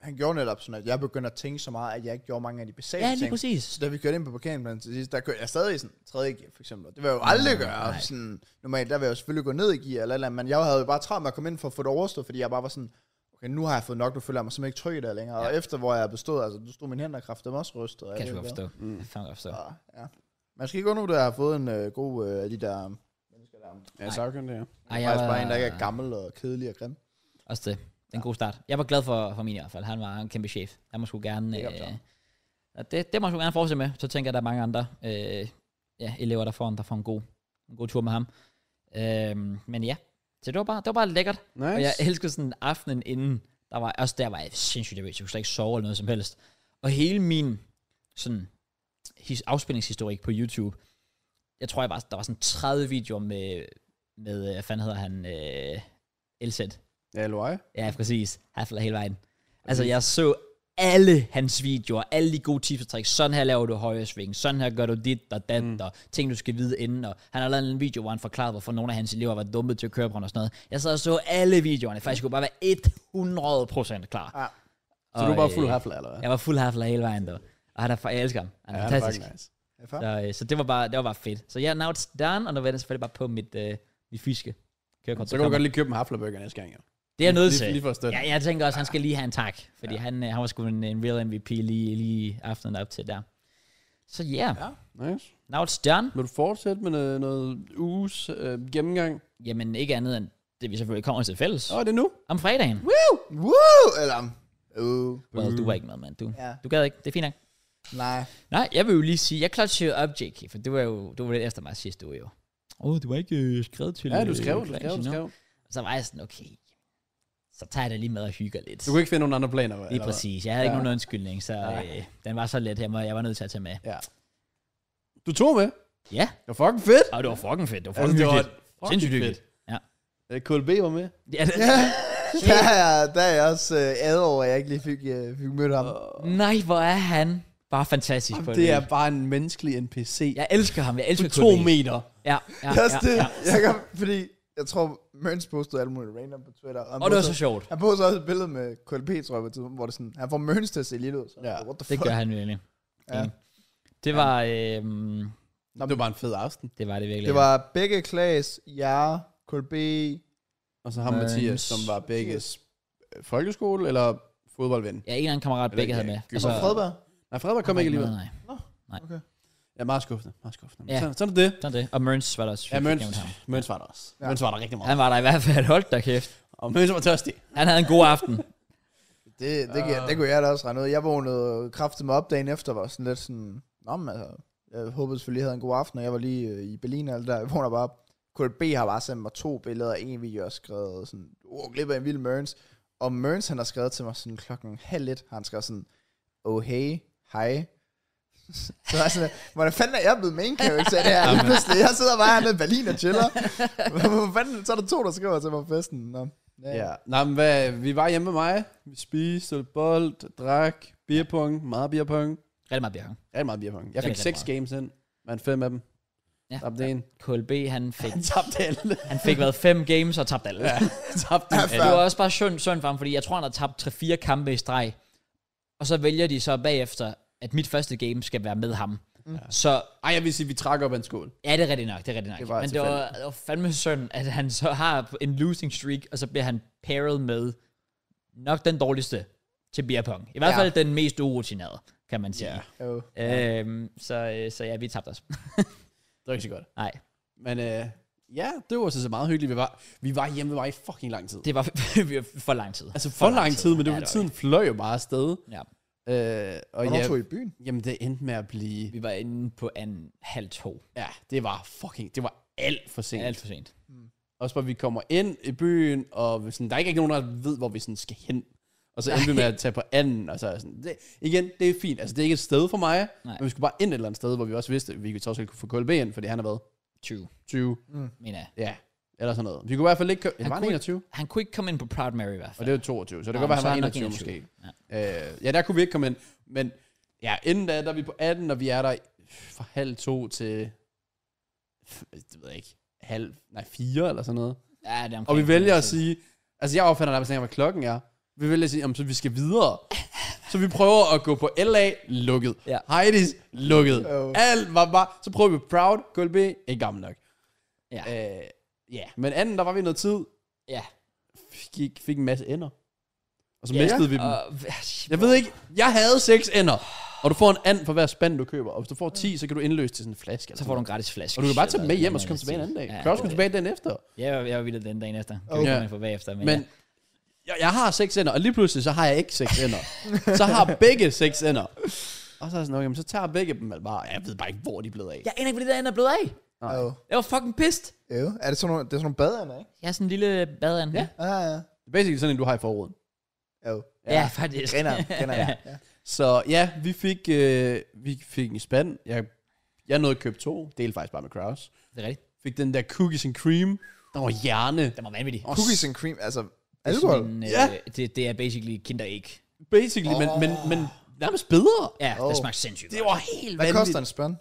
han gjorde netop sådan, at jeg begyndte at tænke så meget, at jeg ikke gjorde mange af de basale
Ja, lige
ting.
præcis.
Så da vi kørte ind på parkeringspladsen til sidst, der kørte jeg stadig i sådan 3. gear, for eksempel. Det vil jeg jo aldrig gøre.
nej.
Sådan, normalt, der vil jeg jo selvfølgelig gå ned i gear eller, et eller andet, men jeg havde jo bare travlt med at komme ind for at få det overstået, fordi jeg bare var sådan, okay, nu har jeg fået nok, nu føler jeg mig simpelthen ikke tryg i det her længere. Ja. Og efter, hvor jeg bestod, altså, du stod mine hænder kraftigt også rystet. og
Kan
jeg
jeg
ved
godt
ikke
forstå. Mm. Kan godt forstå.
hvad. Og, Ja. Man skal ikke undgå, at jeg har fået en øh, god øh, af de der... Mennesker der. Det
Ja, så kan det, ja.
Ej,
er
jeg
faktisk bare en, der ikke er
var,
gammel og kedelig og grim.
også det. Det er en god start. Jeg var glad for, for min i hvert fald. Han var en kæmpe chef. Han må sgu gerne...
Det er
Øh,
godt, så.
ja, det, det må han sgu gerne fortsætte med. Så tænker jeg, at der er mange andre øh, ja, elever, der får, en, der får en, god, en god tur med ham. Øh, men ja, så det var bare, det var bare lækkert.
Nice.
Og jeg elskede sådan aftenen inden, der var, også der var jeg sindssygt nervøs, jeg kunne slet ikke sove eller noget som helst. Og hele min sådan, his, afspændingshistorik på YouTube, jeg tror, jeg var, der var sådan 30 videoer med, med øh, hvad fanden hedder han, øh, Elset.
Ja, Loai.
Ja, præcis. Hafler hele vejen. Altså, jeg så alle hans videoer, alle de gode tips og tricks. Sådan her laver du højre sving, sådan her gør du dit og dat, mm. og ting, du skal vide inden. Og han har lavet en video, hvor han forklarede, hvorfor nogle af hans elever var dumme til at køre på og sådan noget. Jeg sad og så alle videoerne. Faktisk kunne bare være 100% klar. øh,
Ja.
Så du er bare fuld hafler, eller hvad?
Jeg var fuld hafler hele vejen, dog. Og han er, fa- jeg elsker ham. Han er
det er
fantastisk.
fucking nice.
Ja, fair.
Så, øh, så det var bare, det var bare fedt. Så jeg yeah, now it's done, og nu vender jeg selvfølgelig bare på mit, øh, mit fysiske kørekort.
Så kan du godt lige købe en haflerburger næste gang, ja.
Det er jeg nødt
Lige-
til.
lige for at støtte. Ah.
Ja, jeg tænker også, han skal lige have en tak, fordi ja. han, øh, han var sgu en, en real MVP lige, lige aftenen op til der. Så yeah, ja,
Nice.
now it's done.
Vil du fortsætte med noget, noget uges øh, gennemgang?
Jamen ikke andet end det, vi selvfølgelig kommer til fælles.
Åh, oh, er det nu?
Om fredagen.
Woo! Woo! Eller... Uh,
Well, du var ikke med, mand. Du,
Ja.
du gad ikke. Det er fint nok.
nej.
Nej, jeg vil jo lige sige, jeg clutchede op, JK, for det var jo det var lidt efter mig sidste uge jo. Åh, oh, du var ikke øh, skrevet til...
Ja, du
øh,
skrev, du
Clash
skrev, du
endnu.
skrev.
Så var jeg sådan, okay, så tager jeg det lige med og hygger lidt.
Du kunne ikke finde nogen andre planer,
Lige
hvad?
præcis. Jeg havde ja. ikke
Ja.
nogen undskyldning, så
Nej.
øh, den var så let her, jeg var nødt til at tage med.
Ja. Du tog med.
Ja,
Det var fucking fedt.
og det var fucking fedt. Det var
Altså,
fucking
det var
hyggeligt.
fucking
Sindssygt
fedt.
hyggeligt. Ja.
Øh, KLB var med.
Ja, det,
Der er, jeg- der er jeg også øh, ad over, at jeg ikke lige fik, øh, fik mødt ham.
nej, hvor er han bare fantastisk på
Det
det.
er bare en menneskelig NPC. Ja,
Jeg elsker ham, jeg elsker
to
KB.
meter.
Ja, ja,
Yes,
ja,
det,
ja.
Jeg kan, fordi jeg tror, Mørns postede alt muligt random på Twitter.
Og
han
det var så
postede-
sjovt.
Han postede også et billede med KLP, tror jeg, på et tidspunkt, hvor det sådan, han får Mørns til at se lidt ud. Så
Ja,
ja, what the
Det
fuck?
gør han virkelig.
Ja.
Ja. Det var, øhm,
Det var bare en fed aften.
det var det virkelig.
Det var begge Klaas, jer, KLP,
Og så ham
Men-
Mathias, som var begges øh, folkeskole eller fodboldven.
Ja, en eller anden kammerat
Eller
begge havde
ja,
med. Altså,
Gylden.
og Altså, Fredberg.
Nej, Frederik kom ikke alligevel.
Nej,
Ja, meget skuffende. Meget skuffende. Men
Ja.
Sådan, sådan er det.
sådan det. Og Mørns var der også.
Ja,
vi fik
Mørns,
nævnt ham.
Mørns var der også.
Ja.
Mørns var der rigtig meget.
Han var der i hvert fald. Hold da kæft.
Og mens jeg var tørstig.
Han havde en god aften.
Det, det, uh. det kunne jeg da også regne ud. Jeg vågnede kraftigt mig op dagen efter, var sådan lidt sådan, nå, men altså, jeg håbede selvfølgelig, jeg havde en god aften, og jeg var lige øh, i Berlin og alt det der. Jeg vågner bare op. KLB har bare sendt mig to billeder og en video, og skrevet sådan, åh, glip af en vild Mørns. Og Mørns, han har skrevet til mig sådan klokken halv et, har han skrev sådan, oh hey, hej. Så jeg er sådan, hvordan fanden er jeg blevet main character af det her? Lige pludselig, jeg sidder bare hernede i Berlin og chiller. Hvor fanden, så er der to, der skriver til mig på festen. Nå, ja.
Ja. Nej, men hvad, vi var hjemme med mig. Vi spiste, stod bold, drak, beerpong, meget beerpong.
Rigtig meget bjerg.
Rigtig meget beerpong. Jeg
Det er
fik
rigtig
seks
meget.
games ind, men fem af dem.
Ja.
Tabte en.
KLB, han fik,
Han tabte alle.
han fik været fem games og tabte alle. Ja.
tabte
Ja,
alle.
Det var også bare synd, synd for ham, fordi jeg tror, han har tabt 3-4 kampe i streg. Og så vælger de så bagefter, at mit første game skal være med ham. Mm. Så
Ej, jeg vil sige, vi trækker op af en skål.
Ja, det er rigtigt nok, det er rigtigt nok.
Det
Det
var altså
Men det var, det var fandme synd, at han så har en losing streak, og så bliver han paired med nok den dårligste til beer pong. I hvert
Ja.
fald den mest urutinerede, kan man sige.
Jo.
Yeah. Øhm, så, øh, så ja, vi tabte os.
Det var ikke så godt.
Nej,
Men øh, ja, det var så, så meget hyggeligt. Vi var, vi var hjemme med mig i fucking lang tid.
det var vi var for lang tid.
Altså for, for lang tid, men det var,
Ja,
ja, tiden fløj jo bare afsted.
Ja,
Øh, og
Hvornår
ja,
tog I i byen?
jamen det endte med at blive...
vi var inde på anden halv to.
Ja, det var fucking... Det var alt for sent.
Alt for sent.
Også bare, vi kommer ind i byen, og vi sådan, der er ikke rigtig nogen, der ved, hvor vi sådan skal hen. Og så endte vi med at tage på anden, og så er jeg sådan, det, igen, det er fint. Altså, det er ikke et sted for mig,
Nej.
men vi skulle bare ind et eller andet sted, hvor vi også vidste, at vi trods alt kunne få KLB ind, fordi han har været
20,
20,
mener jeg.
ja, eller sådan noget. Vi kunne i hvert fald ikke kø-
Han
Han var han
kunne
21,
Han kunne ikke komme ind på Proud Mary i hvert
og
fald.
det var 22, så det
Nå,
kan godt være,
men
han
så er han
var
nok
21, 21
21.
måske. Ja. Øh, ja, der kunne vi ikke komme ind, men ja, inden da, der er vi på 18, og vi er der i- fra halv to til, det ved jeg ikke, halv, nej, fire eller sådan noget.
ja, det er omkring
Og vi vælger
den
at
tid.
sige, altså jeg opfatter nærmest ikke, hvad klokken er. Vi vælger at sige, jamen, så vi skal videre. Så vi prøver at gå på LA, lukket.
Ja.
Heidi's, lukket.
Jo.
Alt var bare, så prøver vi Proud, KLB, ikke gammel nok.
Ja.
Øh, ja. Men anden, der var vi noget tid,
Ja.
fik, fik en masse ender. Og så
Ja.
ja. mistede vi dem.
Og,
Jeg ved ikke, jeg havde seks ender. Og du får en and for hver spand, du køber. Og hvis du får 10, så kan du indløse til sådan en flaske. eller
Så
sådan
får du
noget.
en gratis flaske.
og du kan bare tage dem
eller
med hjem,
noget
og så komme
andet
tilbage en anden
stil.
dag.
Ja,
Ja, kan også komme
det-
tilbage den efter.
Ja, jeg, jeg var vildt den dagen efter. Kan
Okay.
okay. vi
Ja.
komme ind på bagefter? Men,
Men
ja.
jeg, jeg har seks ender, og lige pludselig så har jeg ikke seks ender. så har begge seks ender. Og så er jeg sådan, okay, men så tager begge dem vel bare, jeg ved bare ikke, hvor de er blevet af.
jeg aner ikke, hvad det der ender er blevet af.
Jo.
Jeg var fucking pissed.
jo. Er det sådan nogle, det er sådan nogle baderne, ikke?
Jeg er sådan en lille badand.
Ja.
Ah, ja.
Det er basically sådan en, du har i forruden.
Jo.
ja, ja faktisk.
Kender, kender jeg. Ja.
Så ja, vi fik, øh, vi fik en spand. Jeg, jeg nåede at købe to, delte faktisk bare med Kraus.
det er rigtigt.
Fik den der cookies and cream, der var hjerne.
Den var vanvittig.
Og
Cookies and cream, altså alkohol.
Men, øh,
Ja.
det, det er basically kinderæg.
Basically, oh. men, men, men nærmest bedre.
Ja, oh.
Åh.
det smagte sindssygt
Det
godt.
var helt
Hvad
vanvittigt.
koster en spand?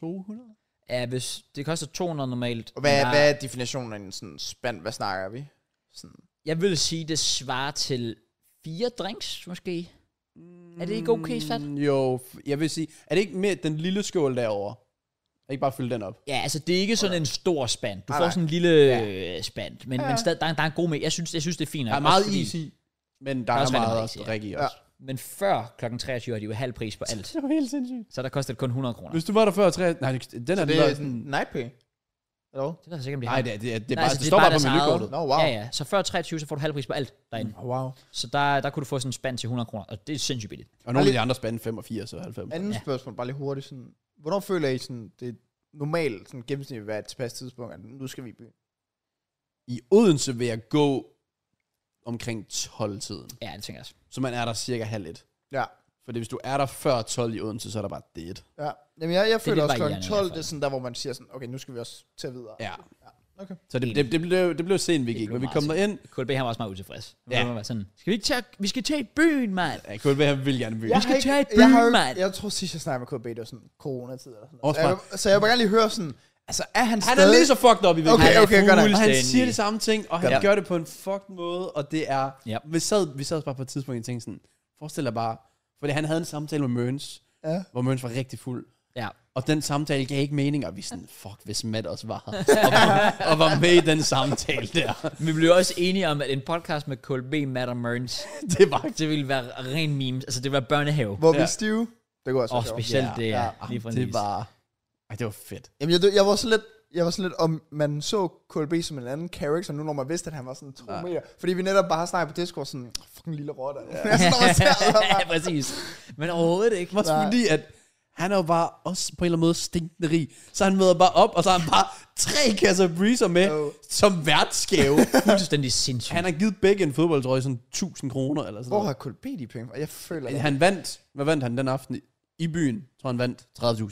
200?
Ja, hvis det koster 200 normalt.
Og hvad,
men
hvad er definitionen af en sådan spand? Hvad snakker vi? Sådan.
Jeg vil sige, det svarer til fire drinks, måske. Er det ikke okay sat?
Mm, Jo, f- jeg vil sige, er det ikke mere den lille skål derovre? Er ikke bare fylde den op?
Ja, altså det er ikke sådan en stor spand. Du
Nej,
får
nej.
sådan en lille øh, spand, men, men stadig, der, er- der er en god med. Jeg synes, jeg synes det er fint.
Der er
nok,
meget
også fordi-
is i, men der er,
er
er
også rigtig
meget
meget
også
is i, ja.
drik i
Ja.
også.
Men før kl. 23 har de jo halv pris på alt.
Det var helt sindssygt.
Så der koster det kun 100 kroner.
Hvis du var der før, tre, nej, den er,
Så det
den
er
er
sådan night pay? Eller hvad?
Det ved jeg sikkert, om de har.
Nej, det, er- det, er- det, er
Nej,
bare,
altså,
det,
det er
står
bare
bare på
deres
menukortet.
Nå, wow.
Ja, ja. Så før 23, så får du halv pris på alt derinde. Mm.
Oh, wow.
Så der, der kunne du få sådan en spand til 100 kroner, og det er sindssygt billigt.
Og nogle af de andre spændte 85 og 90.
Andet
Ja.
ja. spørgsmål, bare lige hurtigt. Sådan, hvornår føler I sådan, det normalt sådan gennemsnitligt vil være et tilpas tidspunkt, at nu skal vi i byen?
I Odense vil jeg gå omkring 12-tiden.
Ja, det tænker jeg også.
Så man er der cirka halv et.
Ja.
Fordi hvis du er der før 12 i Odense, så er der bare det.
Ja. Jamen, jeg, jeg føler
lidt varierende
også klokken
i
12,
hvert
det er sådan der, hvor man siger sådan, okay, nu skal vi også til at videre.
Ja.
Okay.
Så det, det, det, blev, det blev sent, vi gik.
blev
Men vi
meget
kom
sent.
derind.
KLB han var også meget utilfreds.
Ja.
Ja. Var sådan, skal vi ikke tage, vi skal tage i byen, mand.
Ja, kun vil have vildt gerne byen.
Ja. skal tage et
jeg,
byen,
jo ikke-
mand.
jeg tror sidst, jeg snakkede med KB, det var sådan coronatid eller sådan noget.
Også
Så jeg, så jeg vil gerne lige høre sådan, altså er han,
Han
stadig...
er lige så fucked up i
Okay,
virkeligheden.
okay, godt nok.
Og han
Fuldstændig.
siger de samme ting, og han
Ja.
ja. gør det på en fucked måde, og det er...
Ja.
Vi, sad, vi sad også bare på et tidspunkt og tænkte sådan, forestil dig bare, fordi han havde en samtale med Mørns,
Ja.
hvor Mørns var rigtig fuld,
Ja.
og den samtale gav ikke mening, og vi sådan, fuck, hvis Matt også var her, og, var- og var med i den samtale der.
Men Vi blev også enige om, at en podcast med KLB, Matt og Merns,
Det var
det ville være ren memes. Altså, det ville være børnehave.
Hvor vi
Ja.
er stive. Det kunne også
Og
være sjovt.
specielt
Ja.
det, ja.
Ja.
Lige
ikke,
præcis.
det var... Ej, det var fedt.
Jamen, jeg, jeg var så lidt, jeg var sådan lidt, om man så KLB som en anden character, nu når man vidste, at han var sådan to
Nej.
meter. Fordi vi netop bare har snakket på Discord sådan, "Åh, fucking lille rotte. Jeg står og ser ham
ja, præcis. Men overhovedet ikke.
Også
Nej.
fordi, at han er jo bare også på en eller anden måde stinkende rig. Så han møder bare op, og så har han bare tre kasser breezer med
Jo.
som værtsgave.
Fuldstændig sindssygt.
han har givet begge en fodboldtrøje sådan 1000 kroner eller sådan
Hvor
noget.
har KLB de penge fra? Jeg føler det.
Han vandt, hvad vandt han den aften i- i byen? Tror han vandt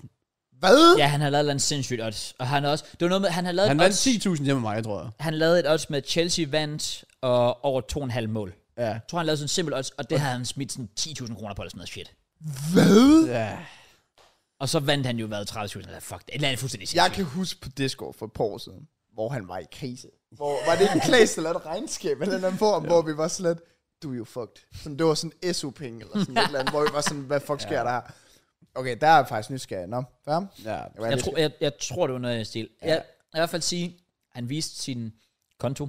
30.000.
Hvad?
Ja, han har lavet et eller andet sindssygt odds. Og han har også... Det var noget med, han har lavet
Han
et
vandt
odds,
10.000 hjemme med mig, tror jeg.
han lavede et odds med at Chelsea vandt og over 2,5 mål.
Ja.
Jeg tror, han lavede sådan en simpel odds, og det havde han smidt sådan 10.000 kroner på, eller sådan noget shit.
Hvad?
Ja.
Og så vandt han jo været 30.000, eller fuck det. Et eller andet fuldstændig sindssygt.
Jeg kan huske på Discord for et par år siden, hvor han var i krise. Hvor, var det ikke Klaas, der lavede et regnskab eller noget form, hvor vi var slet, du er jo fucked. Sådan, det var sådan SU-penge eller sådan et eller andet, hvor vi var sådan, hvad fuck sker der her? Okay, der er jeg faktisk nysgerrig. Nå, fair?
ja.
Jeg, var
Jeg,
lidt-
tror, jeg, jeg tror, det var noget i den stil. Ja. Jeg, jeg vil i hvert fald sige, han viste sin konto,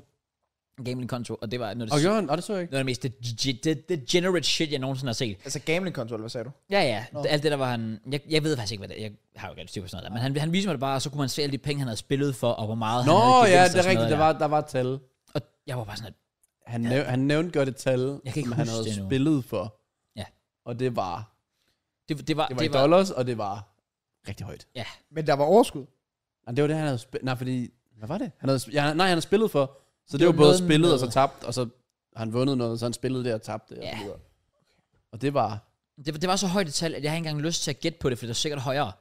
gambling-konto, og det var noget af
Og
det,
gjorde han? Og det så jeg ikke.
noget af det mest dege- de- degenerate shit, jeg nogensinde har set.
Altså gambling-kontrol, hvad sagde du?
Ja, ja. Alt det, der var han... Jeg, jeg ved faktisk ikke, hvad det er. Jeg har jo ikke rigtig styr på sådan noget der. Men han, han viste mig det bare, og så kunne man se alle de penge, han havde spillet for, og hvor meget
Nå,
han havde i
ja,
gevinst og
det er
sådan
rigtigt.
noget
Der var, der var et tal.
Og jeg var bare sådan, at
Han, næv, han nævnte godt et tal,
Jeg kan ikke
som han
huske
havde
det nu.
spillet for.
Ja.
Og det var,
det, det var...
det var i dollars, og det var rigtig højt.
Ja.
Men der var overskud.
Nej, det var det, han havde spillet. Nej, fordi... Hvad var det? Han havde, sp- ja, nej, han havde spillet for. Så det,
Det
var,
var
både
noget
spillet
med-
og så tabt, og så har han vundet noget, så han spillede det og tabte det.
Ja.
Og, så videre. og det var...
Det, var- det var så højt et tal, at jeg har ikke engang lyst til at gætte på det, for det var sikkert højere.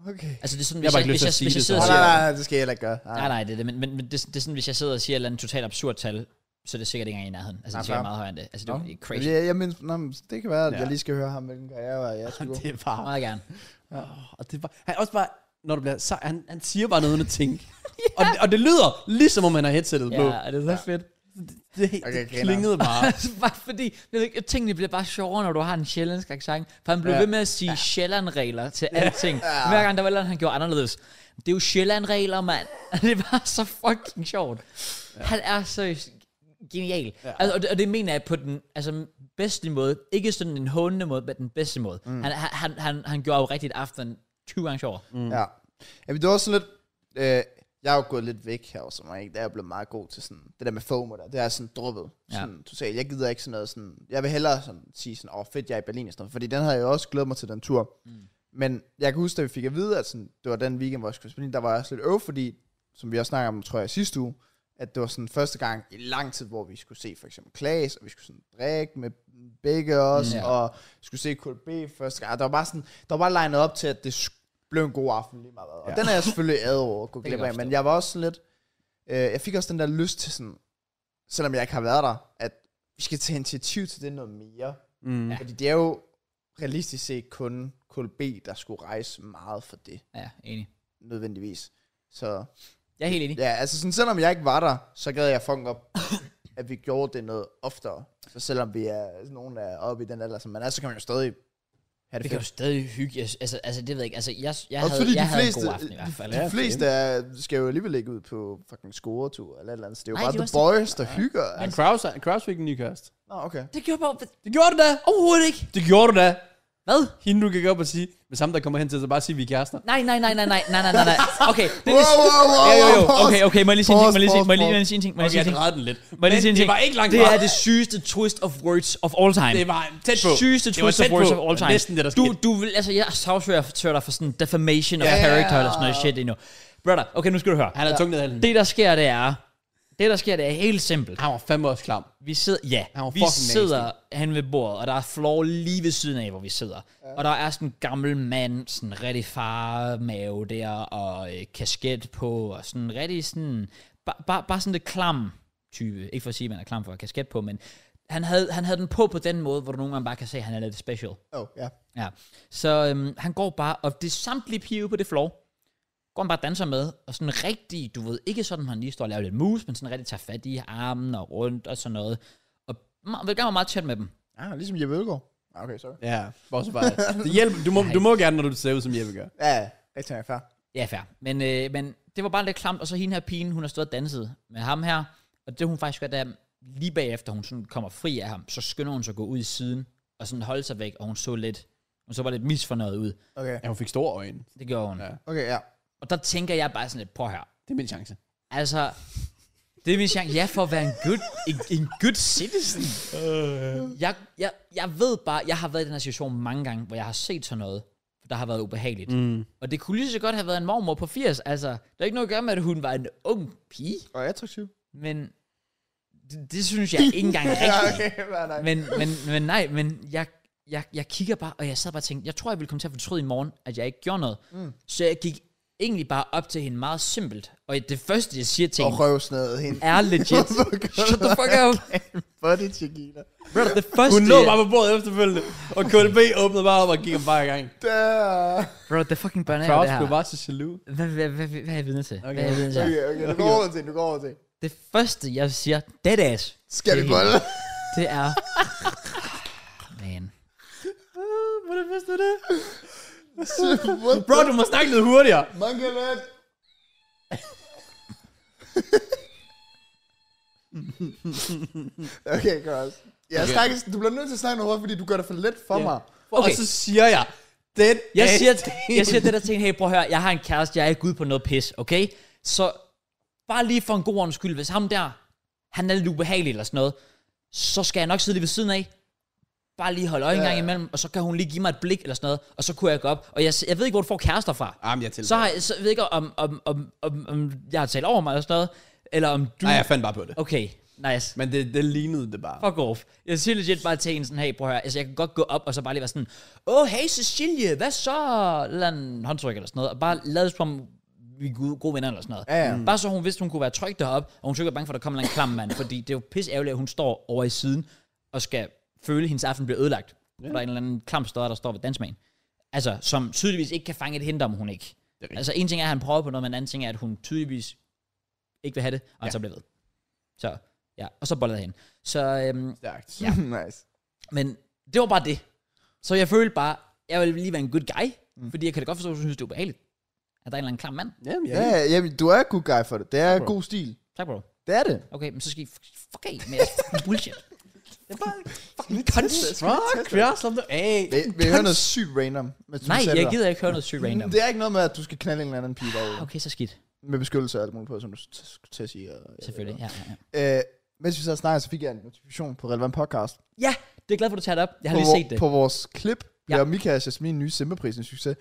Okay.
Altså det er sådan,
Jeg
hvis
har
jeg,
bare ikke
hvis jeg,
lyst til at
hvis Altså, jeg sidder
sige
og
Nej,
det,
siger...
nej, nej, nej, det skal jeg heller ikke gøre.
Nej, nej, det er det, men, men, men det, er sådan- det er sådan, hvis jeg sidder og siger et eller andet totalt absurd tal, så er det sikkert ikke engang i nærheden. Altså, det
Nej,
er sikkert
fair.
meget højere end det. Altså, det
Nå.
er crazy.
Jeg, jeg mindst, nå, men det kan være, at
Ja.
ja. jeg lige skal høre ham, hvilken karriere var jeg skulle gå.
Det var...
Meget gerne.
Åh, Og det var... Han er også bare... Når du bliver sej, han, han siger bare noget uden at tænke. og, det, og det lyder ligesom om han har headsettet på.
Ja, det er så fedt.
Det, det,
Okay,
det
griner.
klingede bare.
Altså, bare fordi, jeg ved ikke, tingene bliver bare sjovere, når du har en sjællandsk accent. For han blev
Ja.
ja. ved med at sige ja. Sjælland-regler til alting. Ja. Hver gang der var et eller andet, han gjorde anderledes. Det er jo Sjælland-regler, mand. Det var så fucking sjovt. Ja. Han er så genial. Ja. Altså, og, det, og det mener jeg på den altså, bedste måde. Ikke sådan en hånende måde, men den bedste måde. Mm. Han, han, han, han, han gjorde jo rigtigt aften 20 gange sjovere. Mm.
Ja. Jamen, det var også lidt... Øh, jeg er jo gået lidt væk her også, mig, ikke? Der er jeg blevet meget god til sådan... Det der med FOMO der, det er sådan droppet.
Ja.
Sådan, totalt. Jeg gider ikke sådan noget sådan... Jeg vil hellere sådan sige sådan, åh oh, fedt, jeg er i Berlin og sådan noget, Fordi den havde jeg også glædet mig til, den tur. Mm. Men jeg kan huske, da vi fik at vide, at sådan, det var den weekend, hvor jeg skulle til Berlin, der var jeg også lidt øv, fordi, som vi også snakkede om, tror jeg, sidste uge, at det var sådan første gang i lang tid, hvor vi skulle se for eksempel Klaas, og vi skulle sådan drikke med begge os,
Ja.
ja. og skulle se KLB første gang. Og Der var bare sådan, der var bare legnet op til, at det sk- blev en god aften lige meget. hvad. Og
Ja.
ja. den er jeg selvfølgelig ad over at gå
kan
glip
jeg
af, men
forstå.
jeg var også sådan lidt, øh, jeg fik også den der lyst til sådan, selvom jeg ikke har været der, at vi skal tage initiativ til det noget mere.
Mm.
Fordi det er jo realistisk set kun KLB, der skulle rejse meget for det,
Ja, enig.
nødvendigvis. Så
Jeg er helt enig.
Ja, altså sådan, selvom jeg ikke var der, så gad jeg fucking op, at vi gjorde det noget oftere. Så selvom vi er sådan nogen, der er oppe i den alder, som man er, så kan man jo stadig have
Vi
det
kan jo
fedt.
stadig hygge. os. Altså, altså det ved jeg ikke. Altså, jeg, jeg,
Også
havde,
fordi
jeg
de
havde
fleste,
en god aften i hvert fald.
de,
Ja,
de fleste er, skal jo alligevel ikke ud på fucking scoretur eller et eller andet. Så det er jo
Nej,
bare
det er
the
også
boys, der hygger.
Men
Altså.
Kraus, Kraus fik en ny kæreste.
Nå, okay.
Det gjorde bare...
Det gjorde du da!
Overhovedet ikke.
Det gjorde du da!
Hvad?
Hende du kan gå op og sige, hvis ham der kommer hen til, så bare sige, vi er kærester.
Nej, nej, nej, nej, nej, nej, nej, nej, nej. Okay, det er
Wow,
lige...
wow, wow,
Jo, jo, jo.
wow,
Okay, okay, må jeg lige sige en ting, må jeg lige sige- må jeg lige- må
Pause,
jeg lige sige en ting, må jeg lige sige en ting.
drejede den lidt.
Må jeg lige sige en ting. Det er det sygeste twist of words of all time.
Det var tæt på.
Sygeste
Det var
twist of
tæt
words
på.
of all
Det var
time.
næsten det, der
du,
skete.
du vil, altså, jeg sagsøger dig for sådan defamation of character eller sådan noget shit endnu. Brother, okay, nu skal du høre.
Han havde tungt ned i halen.
Det, der sker, det er... Det, der sker, det er helt simpelt.
Han var fandme også klam.
Vi sidder, ja,
Han var
vi
fucking nasty.
sidder han ved bordet, og der er floor lige ved siden af, hvor vi sidder. Ja. Og der er sådan en gammel mand, sådan en rigtig farmave der, og øh, kasket på, og sådan en rigtig sådan, bare ba, bare sådan lidt klam type. Ikke for at sige, at man er klam for at have kasket på, men han havde, han havde den på på den måde, hvor du nogle gange bare kan se, at han er lidt special.
Oh, ja.
Ja. Så øhm, han går bare, og det er samtlige piger ude på det floor, går han bare og danser med, og sådan rigtig, du ved, ikke sådan, han lige står og laver lidt mus, men sådan rigtig tager fat i armen og rundt og sådan noget. Og me- vil gerne være meget tæt med dem.
Ah, ligesom Jeppe Ødegaard. Ah, okay, sorry.
Ja, også bare. Det hjælper. Du må, du må gerne, når du ser ud, som Jeppe gør.
Ja, ja, rigtig nok fair.
Ja, fair. Men, øh, men det var bare lidt klamt, og så hende her pigen, hun har stået og danset med ham her, og det hun faktisk gør, det er, lige bagefter hun sådan kommer fri af ham, så skynder hun sig at gå ud i siden, og sådan holde sig væk, og hun så lidt, hun så bare lidt misfornøjet ud.
Okay,
Ja, hun fik store øjne.
Det gjorde hun.
Ja.
Ja.
okay, ja.
Og der tænker jeg bare sådan lidt, prøv her.
Det er min chance.
Altså, det er min chance. Ja, for at være en good, en, en good citizen. Jeg, jeg, jeg ved bare, jeg har været i den her situation mange gange, hvor jeg har set sådan noget, der har været ubehageligt. Mm. Og det kunne lige så godt have været en mormor på 80. Altså, der er ikke noget at gøre med, at hun var en ung pige,
Og attraktiv.
men det, det synes jeg ikke engang er rigtigt.
hvad nej.
Men, men, men nej, men jeg, jeg, jeg kigger bare, og jeg sad bare og tænkte, jeg tror, jeg ville komme til at fortryde i morgen, at jeg ikke gjorde noget. Mm. Så jeg gik egentlig bare op til hende meget simpelt. Og det første, jeg siger til
Og
hende,
røvsnede hende.
er legit. Shut the fuck up.
Buddy Chiquita.
Bro, det første,
Hun lå bare på bordet efterfølgende, og KLB åbnede bare op og gik bare i gang.
Der.
Bro, det er fucking børnehaver,
Kraus
det her.
blev bare så jaloux.
Hvad, hvad, hvad, hvad, hvad er jeg vidne til? Hvad er jeg
Okay.
vidne til?
Okay, okay, du går over til, du går over til.
Det første, jeg siger, dead ass,
Skal vi
Det er
bolle?
det er... Man.
Hvordan vidste du det?
What
Bro, du må snakke lidt hurtigere.
Mangalat. okay, Cross. Ja, okay. Snakkes, du bliver nødt til at snakke noget hurtigt, fordi du gør det for let for yeah. mig.
Okay. Og så siger jeg, den
Jeg
er-
siger, jeg siger det der ting, hey, prøv at høre, jeg har en kæreste, jeg er ikke ude på noget pis, okay? Så bare lige for en god ordens skyld, hvis ham der, han er lidt ubehagelig eller sådan noget, så skal jeg nok sidde lige ved siden af, bare lige holde øje en
Ja.
gang imellem, og så kan hun lige give mig et blik eller sådan noget, og så kunne jeg gå op, og jeg, jeg ved ikke, hvor du får kærester fra.
Jamen, jeg tilføjer.
Så, har jeg, så ved jeg ikke, om, om, om, om, om jeg har talt over mig eller sådan noget, eller om du...
Nej, jeg fandt bare på det.
Okay, nice.
Men det, det lignede det bare.
Fuck off. Jeg siger legit bare til en sådan, hey, prøv at høre, altså jeg kan godt gå op og så bare lige være sådan, åh, oh, hey Cecilie, hvad så? Lad en håndtryk eller sådan noget, og bare lad os som vi er gode, gode venner eller sådan noget. Mm.
Ja, ja.
Bare så hun vidste, hun kunne være tryg deroppe, og hun skulle ikke være bange for, at der kommer en eller anden klam mand, fordi det er jo pisse ærgerligt, at hun står over i siden og skal føle, at hendes aften bliver ødelagt. Yeah. Der er en eller anden klam støder, der står ved dansmagen. Altså, som tydeligvis ikke kan fange et hint om hun ikke.
rigtigt.
Altså, en ting er, at han prøver på noget, men en anden ting er, at hun tydeligvis ikke vil have det, og han
Ja.
ja. så bliver ved. Så, ja, og så bollede jeg hende. Så, øhm,
Stærkt.
Ja.
nice.
men det var bare det. Så jeg følte bare, jeg ville lige være en good guy, mm. fordi jeg kan da godt forstå, at du synes, det er ubehageligt. At der er en eller anden klam mand.
Jamen,
Ja, ja, jamen, du er good guy for det. Det er
bro.
god stil.
Tak, bro.
Det er det.
Okay, men så skal I f- fuck af med jeres fucking bullshit. det er bare fucking concept.
Fuck, vi har slappet af.
Vil, vil jeg høre noget sygt random? Hvis du
Nej,
sætter
jeg
dig?
gider ikke høre noget sygt random. Ah,
Det er ikke noget med, at du skal knalde en eller anden pige derude.
Okay, så skidt.
Med beskyttelse og alt muligt på, som du t- skulle til at sige. og-
Selvfølgelig. Ja, ja, ja.
Øh, mens vi sad og snakkede, så fik jeg en notifikation på Relevant Podcast.
ja det er glad for, at du tager det op. Jeg har
på,
lige
vor-
set det.
På vores klip
Ja.
bliver ja. Mika og Jasmin nye Simbaprisen succes.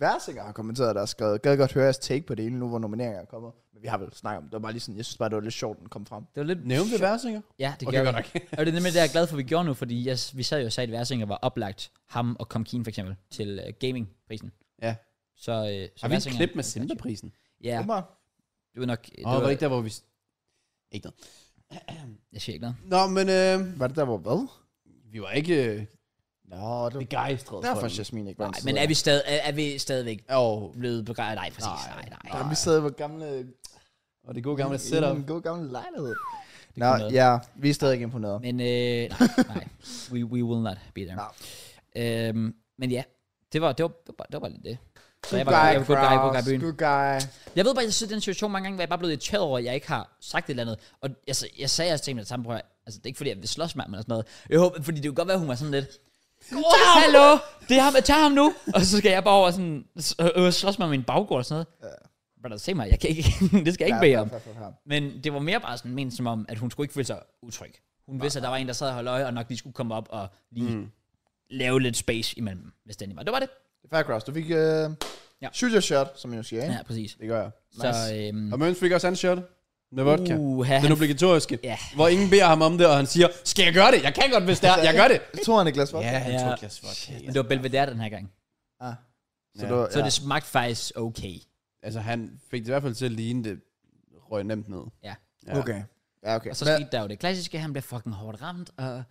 Værsinger har kommenteret, der har skrevet, gad godt høre jeres take på det hele nu, hvor nomineringen er kommet. Men vi har vel snakket om det. Det var bare lige sådan, jeg synes bare, det var lidt sjovt, den kom frem.
Det var lidt...
Nævnte vi værsinger?
Ja, det
Okay,
gør
godt
vi.
nok.
Og det er nemlig det, jeg er glad for, at vi gjorde nu, fordi jeg, vi sad jo og sagde, at Versinger var oplagt ham og Kom Keen for eksempel til uh, gamingprisen.
Ja.
Så, øh, så
Har vi et
Versinger-
klip med Simba-prisen?
Ja,
Ja.
det var nok... øh, Det
Åh, var det ikke der, hvor vi... Ikke noget.
Jeg siger ikke noget.
Nå, men øh,
Var det der, hvor hvad?
vi var ikke øh,
Nå, det var
begejstrede
derfor, at Jasmin ikke var
Nej, men er vi, stadig, er, er vi stadigvæk
Og,
blevet begejret? Nej, præcis.
Nej,
Nej, nej.
Ja, vi sad på gamle...
og det gode gamle setup.
En god gammel lejlighed. Nå,
kunne noget.
ja, vi er stadig ikke imponeret.
Men øh, nej, nej. We, we will not be there.
Nej.
Øhm, men ja, det var, det var, det var, bare- det var bare lidt det. Så jeg
Good
var, jeg var
guy,
good guy, good guy i
Kraus.
byen.
Good guy.
Jeg ved bare, at jeg sidder i den situation mange gange, hvor jeg bare er blevet irriteret over, at jeg ikke har sagt et eller andet. Og jeg, jeg sagde også til hende, at samme prøv at- altså, det er ikke fordi, jeg vil slås med ham eller sådan noget. Jeg håber, fordi det kunne godt være, at hun var sådan lidt, oh, hallo, det er ham, jeg tager ham nu. Og så skal jeg bare over sådan, s- øh, øh, slås med min baggård og sådan noget. Ja. Brother, se mig, jeg kan ikke, det skal jeg ikke bede om. Men det var mere bare sådan ment som om, at hun skulle ikke føle sig utryg. Hun vidste, at der var en, der sad og holdt øje, og nok lige skulle komme op og lige mm. lave lidt space imellem, dem, hvis det endelig var. Det var det.
Fair Cross, du fik øh,
Ja.
shoot your shot, som jeg jo siger, ikke?
Ja, præcis.
Det gør jeg.
Så, øhm,
Og Møns fik også hans shot. Med vodka.
uha,
Den
han,
obligatoriske.
Ja.
Hvor ingen beder ham om det, og han siger, skal jeg gøre det? Jeg kan godt, hvis det er. Jeg gør det.
Jeg tror, han er glas vodka.
han
Ja.
tog et glas vodka. Altså,
men det var Belvedere den her gang.
Ah. Så,
Ja.
det var,
Så det smagte faktisk okay.
Altså, han fik det i hvert fald til at ligne det røg nemt ned.
Ja.
Ja.
Okay. Ja, okay.
Og så
men,
skete der jo det klassiske, han blev fucking hårdt ramt, og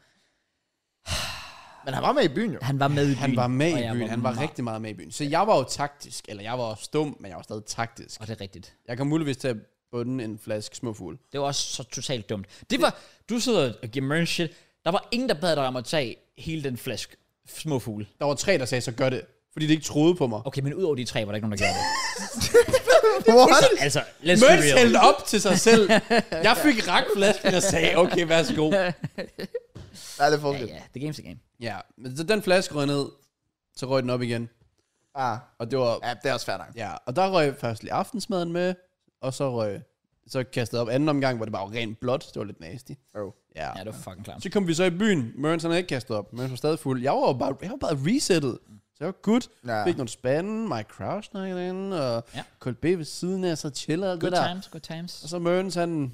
men han var med i byen jo.
han var med i byen.
Han var med
og
i
jeg
byen, han var
meget-
rigtig meget med i byen. Så jeg var jo taktisk, eller jeg var jo stum, men jeg var stadig taktisk.
Og det er rigtigt.
Jeg kom muligvis til at bunde en flaske småfugl.
Det var også så totalt dumt. Det var, du sidder og giver mig shit. Der var ingen, der bad dig om at tage hele den flaske små fugle.
Der var tre, der sagde, så gør det. Fordi de ikke troede på mig.
Okay, men ud over de tre, var der ikke nogen, der gjorde det.
What?
altså, let's be
Møns
real.
hældte op til sig selv. Jeg fik rakflasken og sagde, okay, værsgo.
Ja, det er
Ja,
forkert.
ja, the game's the game.
Ja, men så den flaske røg ned, så røg den op igen.
Ah,
Og det var,
ja, det er også fair nok.
ja, og der røg først lige aftensmaden med, og så røg, så kastede jeg op anden omgang, hvor det bare var rent blåt. Det var lidt nasty.
Oh.
Ja.
Ja, det var fucking klart.
Så kom vi så i byen. Mørens han havde ikke kastet op. Mørens var stadig fuld. Jeg var jo bare, jeg var bare resettet. Så jeg var good.
Ja.
Ja. Fik nogle spande. My crush snakkede derinde. Og
Ja.
ja. Cold B ved siden af. Så chiller og alt
Good
det der.
times, good times.
Og så Mørens han...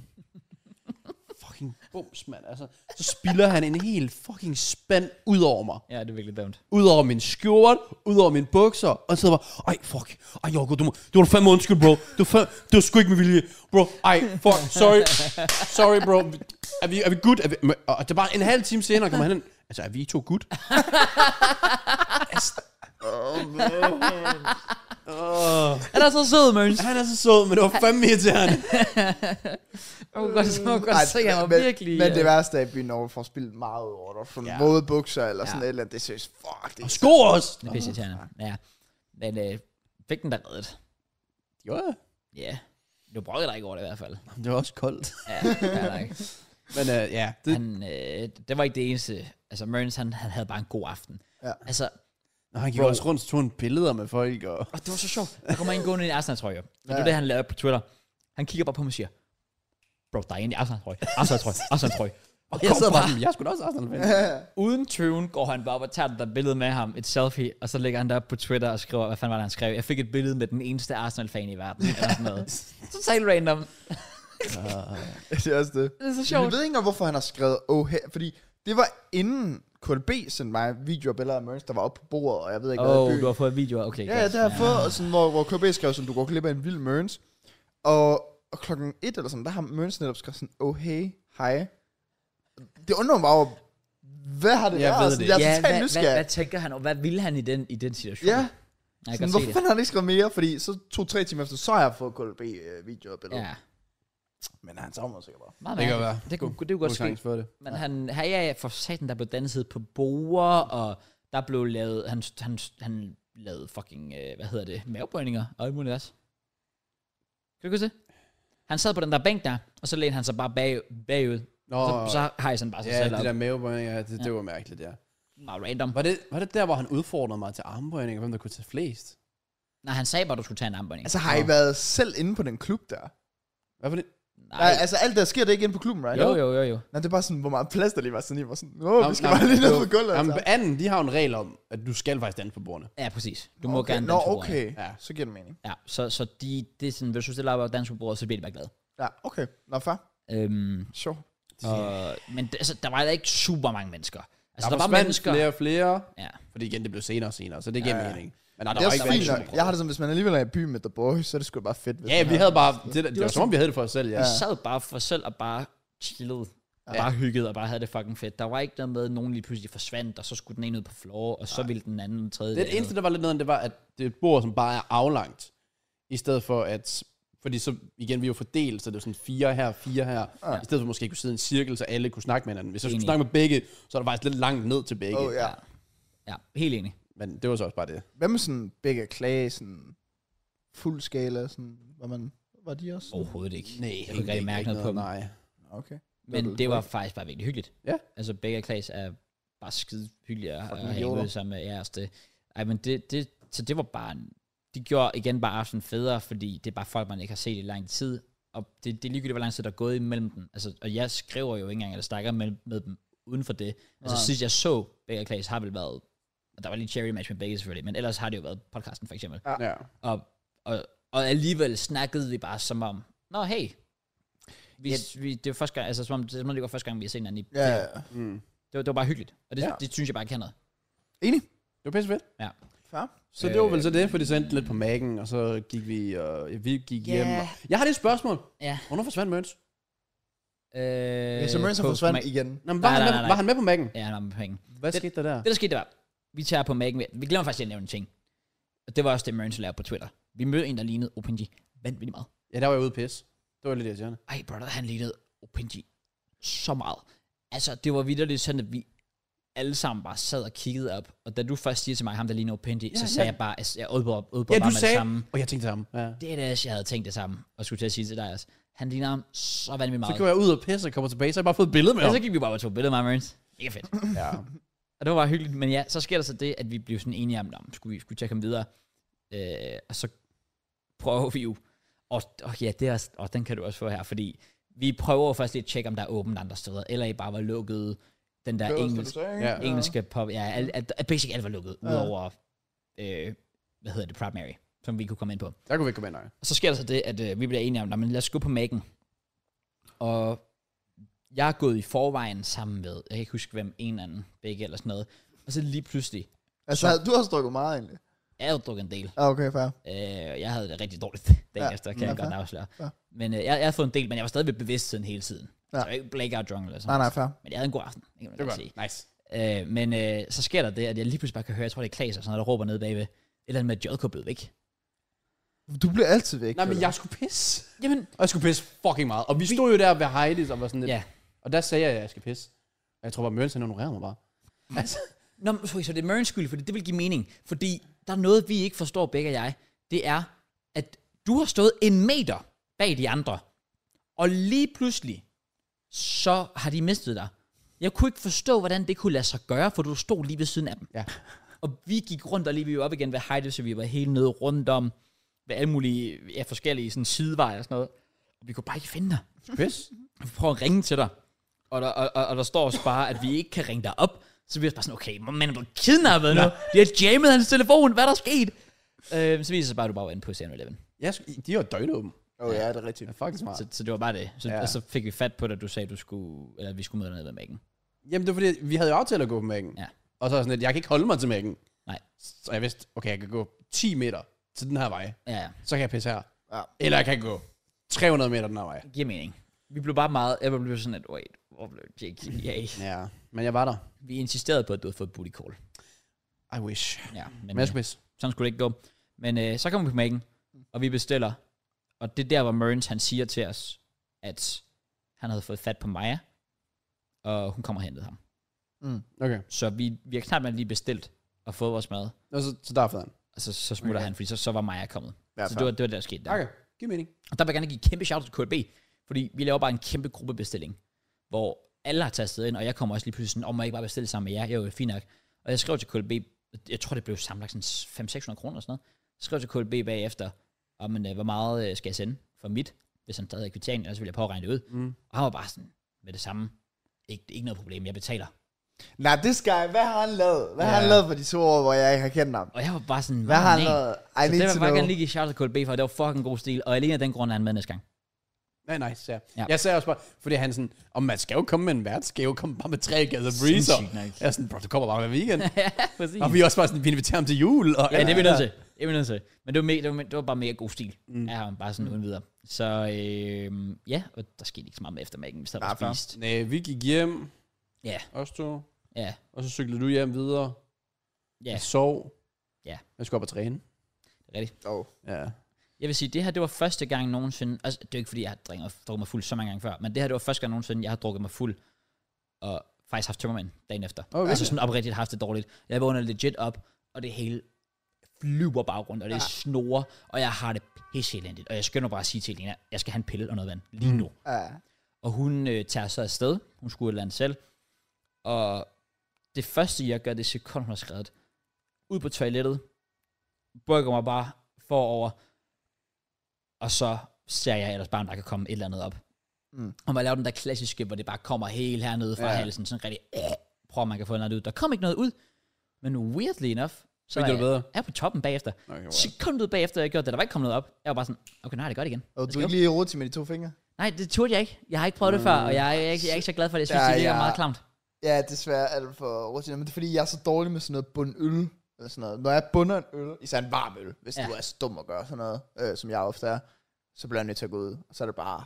fucking bums, mand. Altså, så spilder han en hel fucking spand ud over mig.
Ja, det er virkelig dumt.
Ud over min skjort, ud over mine bukser. Og så var ej, fuck. Ej, Jorgo, du, må, du var fandme undskyld, bro. Du var, fandme, det var sgu ikke med vilje. Bro, ej, fuck, sorry. Sorry, bro. Er vi, er vi good? Er vi, og det er bare en halv time senere, kommer han hen. Altså, er vi to good? Altså,
Han er så sød, Møns.
Han er så sød, men det var fandme irriterende.
Man kunne godt, man kunne godt se, han var
men,
virkelig...
Men det
øh,
værste er, at byen over får spillet meget over dig. Sådan
Ja.
ja. våde bukser eller sådan
Ja.
et eller andet. Det synes fuck, det
Og
er
sko også.
Det er pisse ja. Men øh, fik den der reddet.
Jo, ja.
Ja. Du brokkede dig ikke over det i hvert fald.
Det var også koldt.
Ja, fair nok.
Men øh, ja, det,
han, øh, det var ikke det eneste. Altså, Mørens, han, han havde bare en god aften.
Ja.
Altså,
Nå, han gik
Bro.
også rundt og tog en billeder med folk, og
og det var så sjovt. Der kommer en gående i en Arsenal-trøje. Og det var
Ja.
det, han lavede på Twitter. Han kigger bare på mig og siger, bro, der er en i Arsenal-trøje. Arsenal-trøje. Arsenal-trøje. Og jeg
kom
sidder bare,
frem. jeg skulle da også Arsenal-fan.
uden tøven går han bare op og tager det der billede med ham, et selfie, og så lægger han det op på Twitter og skriver, hvad fanden var det, han skrev? Jeg fik et billede med den eneste Arsenal-fan i verden. Eller sådan noget. Totalt random.
det er også det.
Det er så
Jeg
sjovt.
ved ikke engang, hvorfor han har skrevet oh her, fordi det var inden KLB sendte mig videoer og billeder af Mørns, der var oppe på bordet, og jeg ved ikke, hvad
Åh,
i
oh,
byen.
du har fået videoer. Okay,
Ja, ja,
godt.
det har jeg fået, og sådan, hvor, hvor KB skrev sådan, du går glip af en vild Mørns. Og, og klokken et eller sådan, der har Mørns netop skrevet sådan, oh hey, hej. Det undrer mig bare, over, hvad har det
Jeg
været?
ved
Sådan,
det
Jeg er
ja,
totalt
hvad, hvad, hvad,
nysgerrig.
tænker han, og hvad ville han i den, i den situation?
Ja,
jeg kan
sådan,
godt
hvorfor
se det.
fanden har han ikke skrevet mere? Fordi så to-tre timer efter, så har jeg fået KLB-videoer og billeder.
Ja,
Men han savner mig sikkert bare.
meget
Det kan
mærkeligt.
være.
Det kunne, det kunne godt ske.
for det.
Men han, her er for satan, der blev danset på borer, og der blev lavet, han, han, han lavede fucking, øh, hvad hedder det, mavebøjninger og alt muligt også. Kan du huske det? Han sad på den der bænk der, og så lænede han sig bare bag, bagud.
Nå,
Oh, så, så hejser han bare sig
ja,
selv op.
det der mavebøjninger, ja, det, det var mærkeligt, ja.
Meget random.
Var det, var det der, hvor han udfordrede mig til armbøjninger, hvem der kunne tage flest?
Nej, han sagde bare, du skulle tage en armbøjning.
Altså, har I været selv inde på den klub der?
Hvad var det?
Nej, altså alt der sker, det er ikke inde på klubben, right?
jo, jo, jo, jo.
Nej, det er bare sådan, hvor meget plads der lige var, sådan I var sådan, åh, vi skal
Jamen,
bare lige ned
jo.
på gulvet.
Jamen,
altså.
anden, de har jo en regel om, at du skal faktisk danse på bordene.
Ja, præcis. Du må
okay.
gerne
Nå,
danse på bordet.
okay.
Ja.
Ja. Så giver det mening.
Ja, så, så de, det er sådan, hvis du stiller op og danser på bordet, så bliver de bare glade.
Ja, okay. Nå, far.
Øhm,
Sjov.
og, men det- altså, der var da ikke super mange mennesker. Altså, der,
var
var mennesker.
flere og flere,
Ja.
fordi igen, det blev senere og senere, så det giver
Ja, ja.
mening. Men nej, der
Det er
var
også
ikke
fint
mange
nok. Jeg har det som, hvis man alligevel er i byen med The Boys, så er det sgu da bare fedt. Hvis
Ja,
man
vi
har-
havde bare, det, det, det var som om, vi havde det for os selv, ja.
Vi sad bare for os selv og bare chillede. Ja. Bare hyggede og bare havde det fucking fedt. Der var ikke noget med, at nogen lige pludselig forsvandt, og så skulle den ene ud på floor, og så ville den anden den tredje.
Det, det eneste, der var lidt nederen, det var, at det er et bord, som bare er aflangt. I stedet for at... Fordi så, igen, vi er jo fordelt, så det er sådan fire her, fire her. Ja. I stedet for måske kunne sidde i en cirkel, så alle kunne snakke med hinanden. Hvis jeg skulle
Enig.
snakke med begge, så er der faktisk lidt langt ned til begge.
Åh,
Oh, ja.
ja.
Ja, helt enig.
Men det var så også bare det.
Hvad med sådan begge klage, sådan fuld skala, sådan, var man... Var de også? sådan?
Overhovedet ikke. jeg kunne
egentlig
ikke rigtig mærke noget på dem.
Nej.
Okay.
Men det var faktisk bare virkelig hyggeligt.
Ja.
Altså, begge klasse er bare skide hyggelige at at hænge
idioter.
ud sammen med jeres. Det. Ej, men det, det, så det var bare... En, de gjorde igen bare aftenen federe, fordi det er bare folk, man ikke har set i lang tid. Og det, det er ligegyldigt, hvor lang tid der er gået imellem dem. Altså, og jeg skriver jo ikke engang, eller snakker med, med dem uden for det. Altså, sidst jeg så begge klasse, har vel været... og Der var lige cherry match med begge selvfølgelig, men ellers har det jo været podcasten for eksempel.
Ja.
Og, og, og alligevel snakkede vi bare som om, Nå, hey, vi, ja. vi, det var første gang, altså som om det, som om det var første gang, vi har set hinanden i
Ja,
flere
ja.
Mm.
det var, det var bare hyggeligt. Og det, ja.
Ja.
det synes jeg bare kan noget.
Enig.
Det var pisse fedt.
Ja.
Far.
Så det var vel så det, for det sendte lidt på magen, og så gik vi, og vi gik
Ja.
hjem. Og jeg har lige et spørgsmål.
Ja.
Hvornår forsvandt Møns?
Øh,
Ja, så Mørens har
på-
forsvandt
på Mac-
igen.
Nå, men var,
Nej,
han
nej,
med,
nej, nej.
var han med på magen?
Ja, han var med penge.
Hvad
Det-
skete der der?
Det, der skete, det var, vi tager på Mac'en. ved- Vi glemmer faktisk lige at nævne en ting. Og det var også det, Mørens lærte på Twitter. Vi mødte en, der lignede Opinji vanvittigt meget.
Ja, der var jeg ude at pisse. Det var lidt irriterende.
Ej, brother, han lignede Opinji så meget. Altså, det var vidderligt sådan, at vi alle sammen bare sad og kiggede op. Og da du først siger til mig, ham der ligner Opinji, ja, så
ja.
sagde jeg bare, altså, jeg udbrød, udbrød bare
Ja, du
med det
sagde,
samme.
og jeg tænkte det samme. Ja.
Det er det, jeg havde tænkt det samme, og skulle til at sige til dig også. Han ligner ham så vanvittigt meget.
Så går jeg ud og pisser og kommer tilbage, så har jeg bare fået et billede med
Ja,
ham.
Altså, så gik vi bare og tog billeder med Marines. Mega fedt.
Ja.
Og det var bare hyggeligt. Men ja, så sker der så det, at vi blev sådan enige om, om skulle vi skulle tjekke ham videre. Øh, og så prøver vi jo, og, og ja, det er, også- og den kan du også få her, fordi vi prøver jo først lige at tjekke, om der er åbent andre steder, eller I bare var lukket den der engelsk,
Ja.
engelske pop, ja, al, al, al, basic alt var lukket, ja. udover, øh, hvad hedder det, Proud Mary, som vi kunne komme ind på.
Der kunne vi ikke komme ind, nej.
Og så sker der så det, at øh, vi bliver enige om, "Nå, men lad os gå på Mac'en. Og jeg er gået i forvejen sammen med, jeg kan ikke huske hvem, en eller anden, begge eller sådan noget. Og så lige pludselig,
Altså, du har også drukket meget egentlig.
jeg havde drukket en del.
Ja, okay, fair.
Øh, jeg havde det rigtig dårligt dagen
Ja,
ja, efter, kan
ja,
jeg godt
fair.
afsløre.
Ja.
Men øh, jeg, jeg havde fået en del, men jeg var stadig ved bevidstheden hele tiden.
Ja.
Ja. Så jeg var ikke blackout drunk eller sådan
Nej, nej,
noget.
fair.
Men jeg havde en god aften, det kan man
Det
godt
var
sige.
nice.
Øh, men øh, så sker der det, at jeg lige pludselig bare kan høre, jeg tror det er Klaas og sådan noget, der råber nede bagved, et eller andet med, at JK blev væk.
Du bliver altid væk.
Nej, men
føler
jeg skulle pisse.
Jamen,
Og jeg skulle pisse fucking meget. Og vi stod jo der ved Heidi's og var sådan lidt...
ja.
Og der sagde jeg, at jeg skal pisse. Og jeg tror bare, Mørens han ignorerede mig bare.
Mm.
Altså,
Nå, men sorry, så det er Mørens skyld, fordi det vil give mening. Fordi der er noget, vi ikke forstår, begge og jeg. Det er, at du har stået en meter bag de andre. Og lige pludselig, så har de mistet dig. Jeg kunne ikke forstå, hvordan det kunne lade sig gøre, for du stod lige ved siden af dem.
ja.
Og vi gik rundt og lige vi var op igen ved Heide, så vi var helt nede rundt om ved alle mulige ja, forskellige sådan, sideveje og sådan noget. Og vi kunne bare ikke finde dig.
Pis.
Vi prøver at ringe til dig. Og der, og, og, og der står også bare, at vi ikke kan ringe dig op. Så vi er også bare sådan, okay, man er blevet kidnappet nu. De har jammet hans telefon. Hvad er der sket? Øh, så viser det sig bare, at du bare var inde på 7-Eleven.
Jeg skulle, de var døgnåben.
jeg. Åh, Oh, ja, det er rigtigt.
Det er fucking smart.
Så, så, det var bare det. Så,
Ja.
ja. Og så fik vi fat på det, at du sagde, at, du skulle, eller at vi skulle møde dig ned ved mækken.
Jamen, det var fordi, vi havde jo aftalt at gå på mækken.
Ja.
Og så var jeg sådan lidt, jeg kan ikke holde mig til mækken.
Nej.
Så jeg vidste, okay, jeg kan gå 10 meter til den her vej.
Ja, ja.
Så kan jeg pisse her.
Ja.
Eller jeg kan gå 300 meter den her vej.
Det giver mening. Vi blev bare meget, jeg blev sådan, at wait, hvor blev Jake? Yeah.
Ja, men jeg var der.
Vi insisterede på, at du havde fået booty call.
I wish.
Ja, men,
Men jeg skulle pisse.
Sådan skulle det ikke gå. Men øh, så kommer vi på mækken, og vi bestiller. Og det er der, hvor Mørns han siger til os, at han havde fået fat på Maja, og hun kommer og hentede ham.
Okay.
Så vi, vi har knap nok lige bestilt og fået vores mad,
Og så, så der er faderen.
og så, så smutter
Okay.
okay. han, fordi så, så var Maja kommet.
Ja,
så
fair.
det var, det var det, der skete der.
Okay, giv mening.
Og der vil jeg gerne give et kæmpe shout til KLB, fordi vi laver bare en kæmpe gruppebestilling, hvor alle har tastet ind, og jeg kommer også lige pludselig sådan, om oh, må jeg ikke bare bestille sammen med jer, jo, fint nok. Og jeg skrev til KLB, jeg tror, det blev samlet sådan 500-600 kroner og sådan noget. Jeg skrev til KLB bagefter, om, øh, hvor meget øh, skal jeg sende for mit, hvis han stadig havde kvittering, ellers ville jeg påregne det ud.
Mm.
Og han var bare sådan, med det samme, ikke, ikke noget problem, jeg betaler.
Nej, det skal jeg. Hvad har han lavet? Hvad har
Ja.
han lavet for de to år, hvor jeg ikke har kendt ham?
Og jeg var bare sådan,
Hvad har han
"Man."
lavet? I
Så det vil
need
jeg
to
bare
know.
gerne lige give shout til KLB, for det var fucking god stil, og alene af den grund er han med næste gang.
Nej, nej, nice, ja.
Ja.
Jeg sagde også bare, fordi han sådan, om man skal jo komme med en vært, skal jo komme bare med tre gade breezer.
Sindssygt nok.
Jeg er sådan, bro, du kommer bare hver weekend.
ja, præcis.
og vi er også bare sådan, vi inviterer ham til jul. Og
Ja, det er vi nødt til. Det er vi nødt til. Men det var, me- det var, me- det var bare mega god stil. Mm. Ja, bare sådan uden videre. Så øh, ja, og der skete ikke så meget med eftermiddagen, hvis der
Nej, fair.
var spist.
Nej, vi gik hjem,
Ja,
os to,
ja,
og så cyklede du hjem videre.
Ja.
Jeg sov.
Ja.
Jeg skulle op og træne.
det er rigtigt.
Oh.
Ja. Jeg
Jeg vil sige, det her, det var første gang nogensinde, altså det er jo ikke fordi, jeg har drukket, drukket mig fuld så mange gange før, men det her, det var første gang nogensinde, jeg har drukket mig fuld, og faktisk haft tømmermænd dagen efter.
Okay.
Altså sådan oprigtigt haft det dårligt. Jeg vågner legit op, og det hele flyver bare rundt, og det snorer, og jeg har det pisse elendigt. Og jeg skynder bare at sige til Elena, jeg skal have en pille og noget vand lige nu.
Ja.
Og hun øh, tager så afsted. Hun skulle et eller andet selv. Og det første, jeg gør, det er sekund, hun har skrevet. Ud på toilettet. Brygger mig bare forover. Og så ser jeg ellers bare, om der kan komme et eller andet op.
Mm.
Mm. Og man laver den der klassiske, hvor det bare kommer helt hernede fra
Ja.
ja. halsen. Sådan rigtig, øh, prøver man kan få noget ud. Der kom ikke noget ud. Men weirdly enough, så
Fik
er
du det
jeg,
bedre?
er på toppen bagefter.
Okay, wow.
Sekundet bagefter, jeg gjorde det, der var ikke kommet noget op. Jeg var bare sådan, okay, nej, det er godt igen.
Og
Let's
du
go.
er ikke lige rodet med de to fingre?
Nej, det turde jeg ikke. Jeg har ikke prøvet det før, og jeg, jeg, er, ikke, jeg er ikke så glad for det. Jeg synes,
Ja,
ja, det ligger
ja.
ja. meget klamt.
Ja, desværre alt for rodet. Men det er fordi, jeg er så dårlig med sådan noget bund øl. Eller sådan noget. Når jeg bunder en øl, især en varm øl, hvis
Ja.
du er så dum at gøre sådan noget, øh, som jeg ofte er, så bliver jeg nødt til at gå ud. Og så er det bare...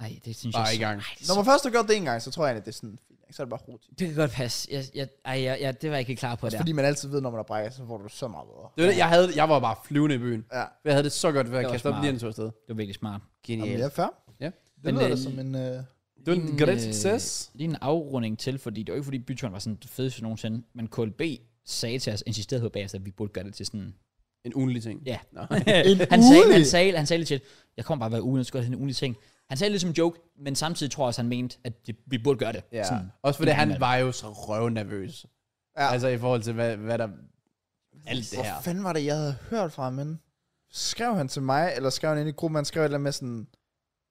Nej, det synes
Bare
jeg...
i gang.
Ej, det, er
Når
så-
man først har gjort det en gang, så tror jeg, at det er sådan... fint, ikke? Så er det bare rodet.
det kan godt passe. Jeg, jeg, ej, jeg, jeg, det var jeg ikke helt klar på der.
Fordi man altid ved, når man har brækket, så får du så meget bedre.
Det var det, jeg, havde, jeg var bare flyvende i byen.
Ja.
Jeg havde det så godt ved at
var
kaste op
smart.
lige en tur afsted.
Det var virkelig smart.
Jamen,
Genialt.
ja, fair.
Ja.
Det
Men,
lyder
øh,
da som en... Øh,
Det var en
Din,
great
øh,
success.
Lige en afrunding til, fordi det var ikke fordi byturen var sådan det fedeste nogensinde, men KLB sagde til os, insisterede på bagefter, at vi burde gøre det til sådan...
En ugenlig ting.
Ja.
Nå.
han, sagde,
ugenlig?
han, sagde, han sagde lidt til, jeg kommer bare hver uge, og skulle have en ugenlig ting. Han sagde lidt som en joke, men samtidig tror jeg også, han mente, at det, vi burde gøre det.
Ja.
Sådan,
Også fordi
Sådan
han
er det.
var jo så røvnervøs.
ja.
Altså i forhold til, hvad, hvad der alt det
Hvor
her.
fanden var det, jeg havde hørt fra ham henne? Skrev han til mig, eller skrev han ind i gruppen, han skrev et eller andet med sådan,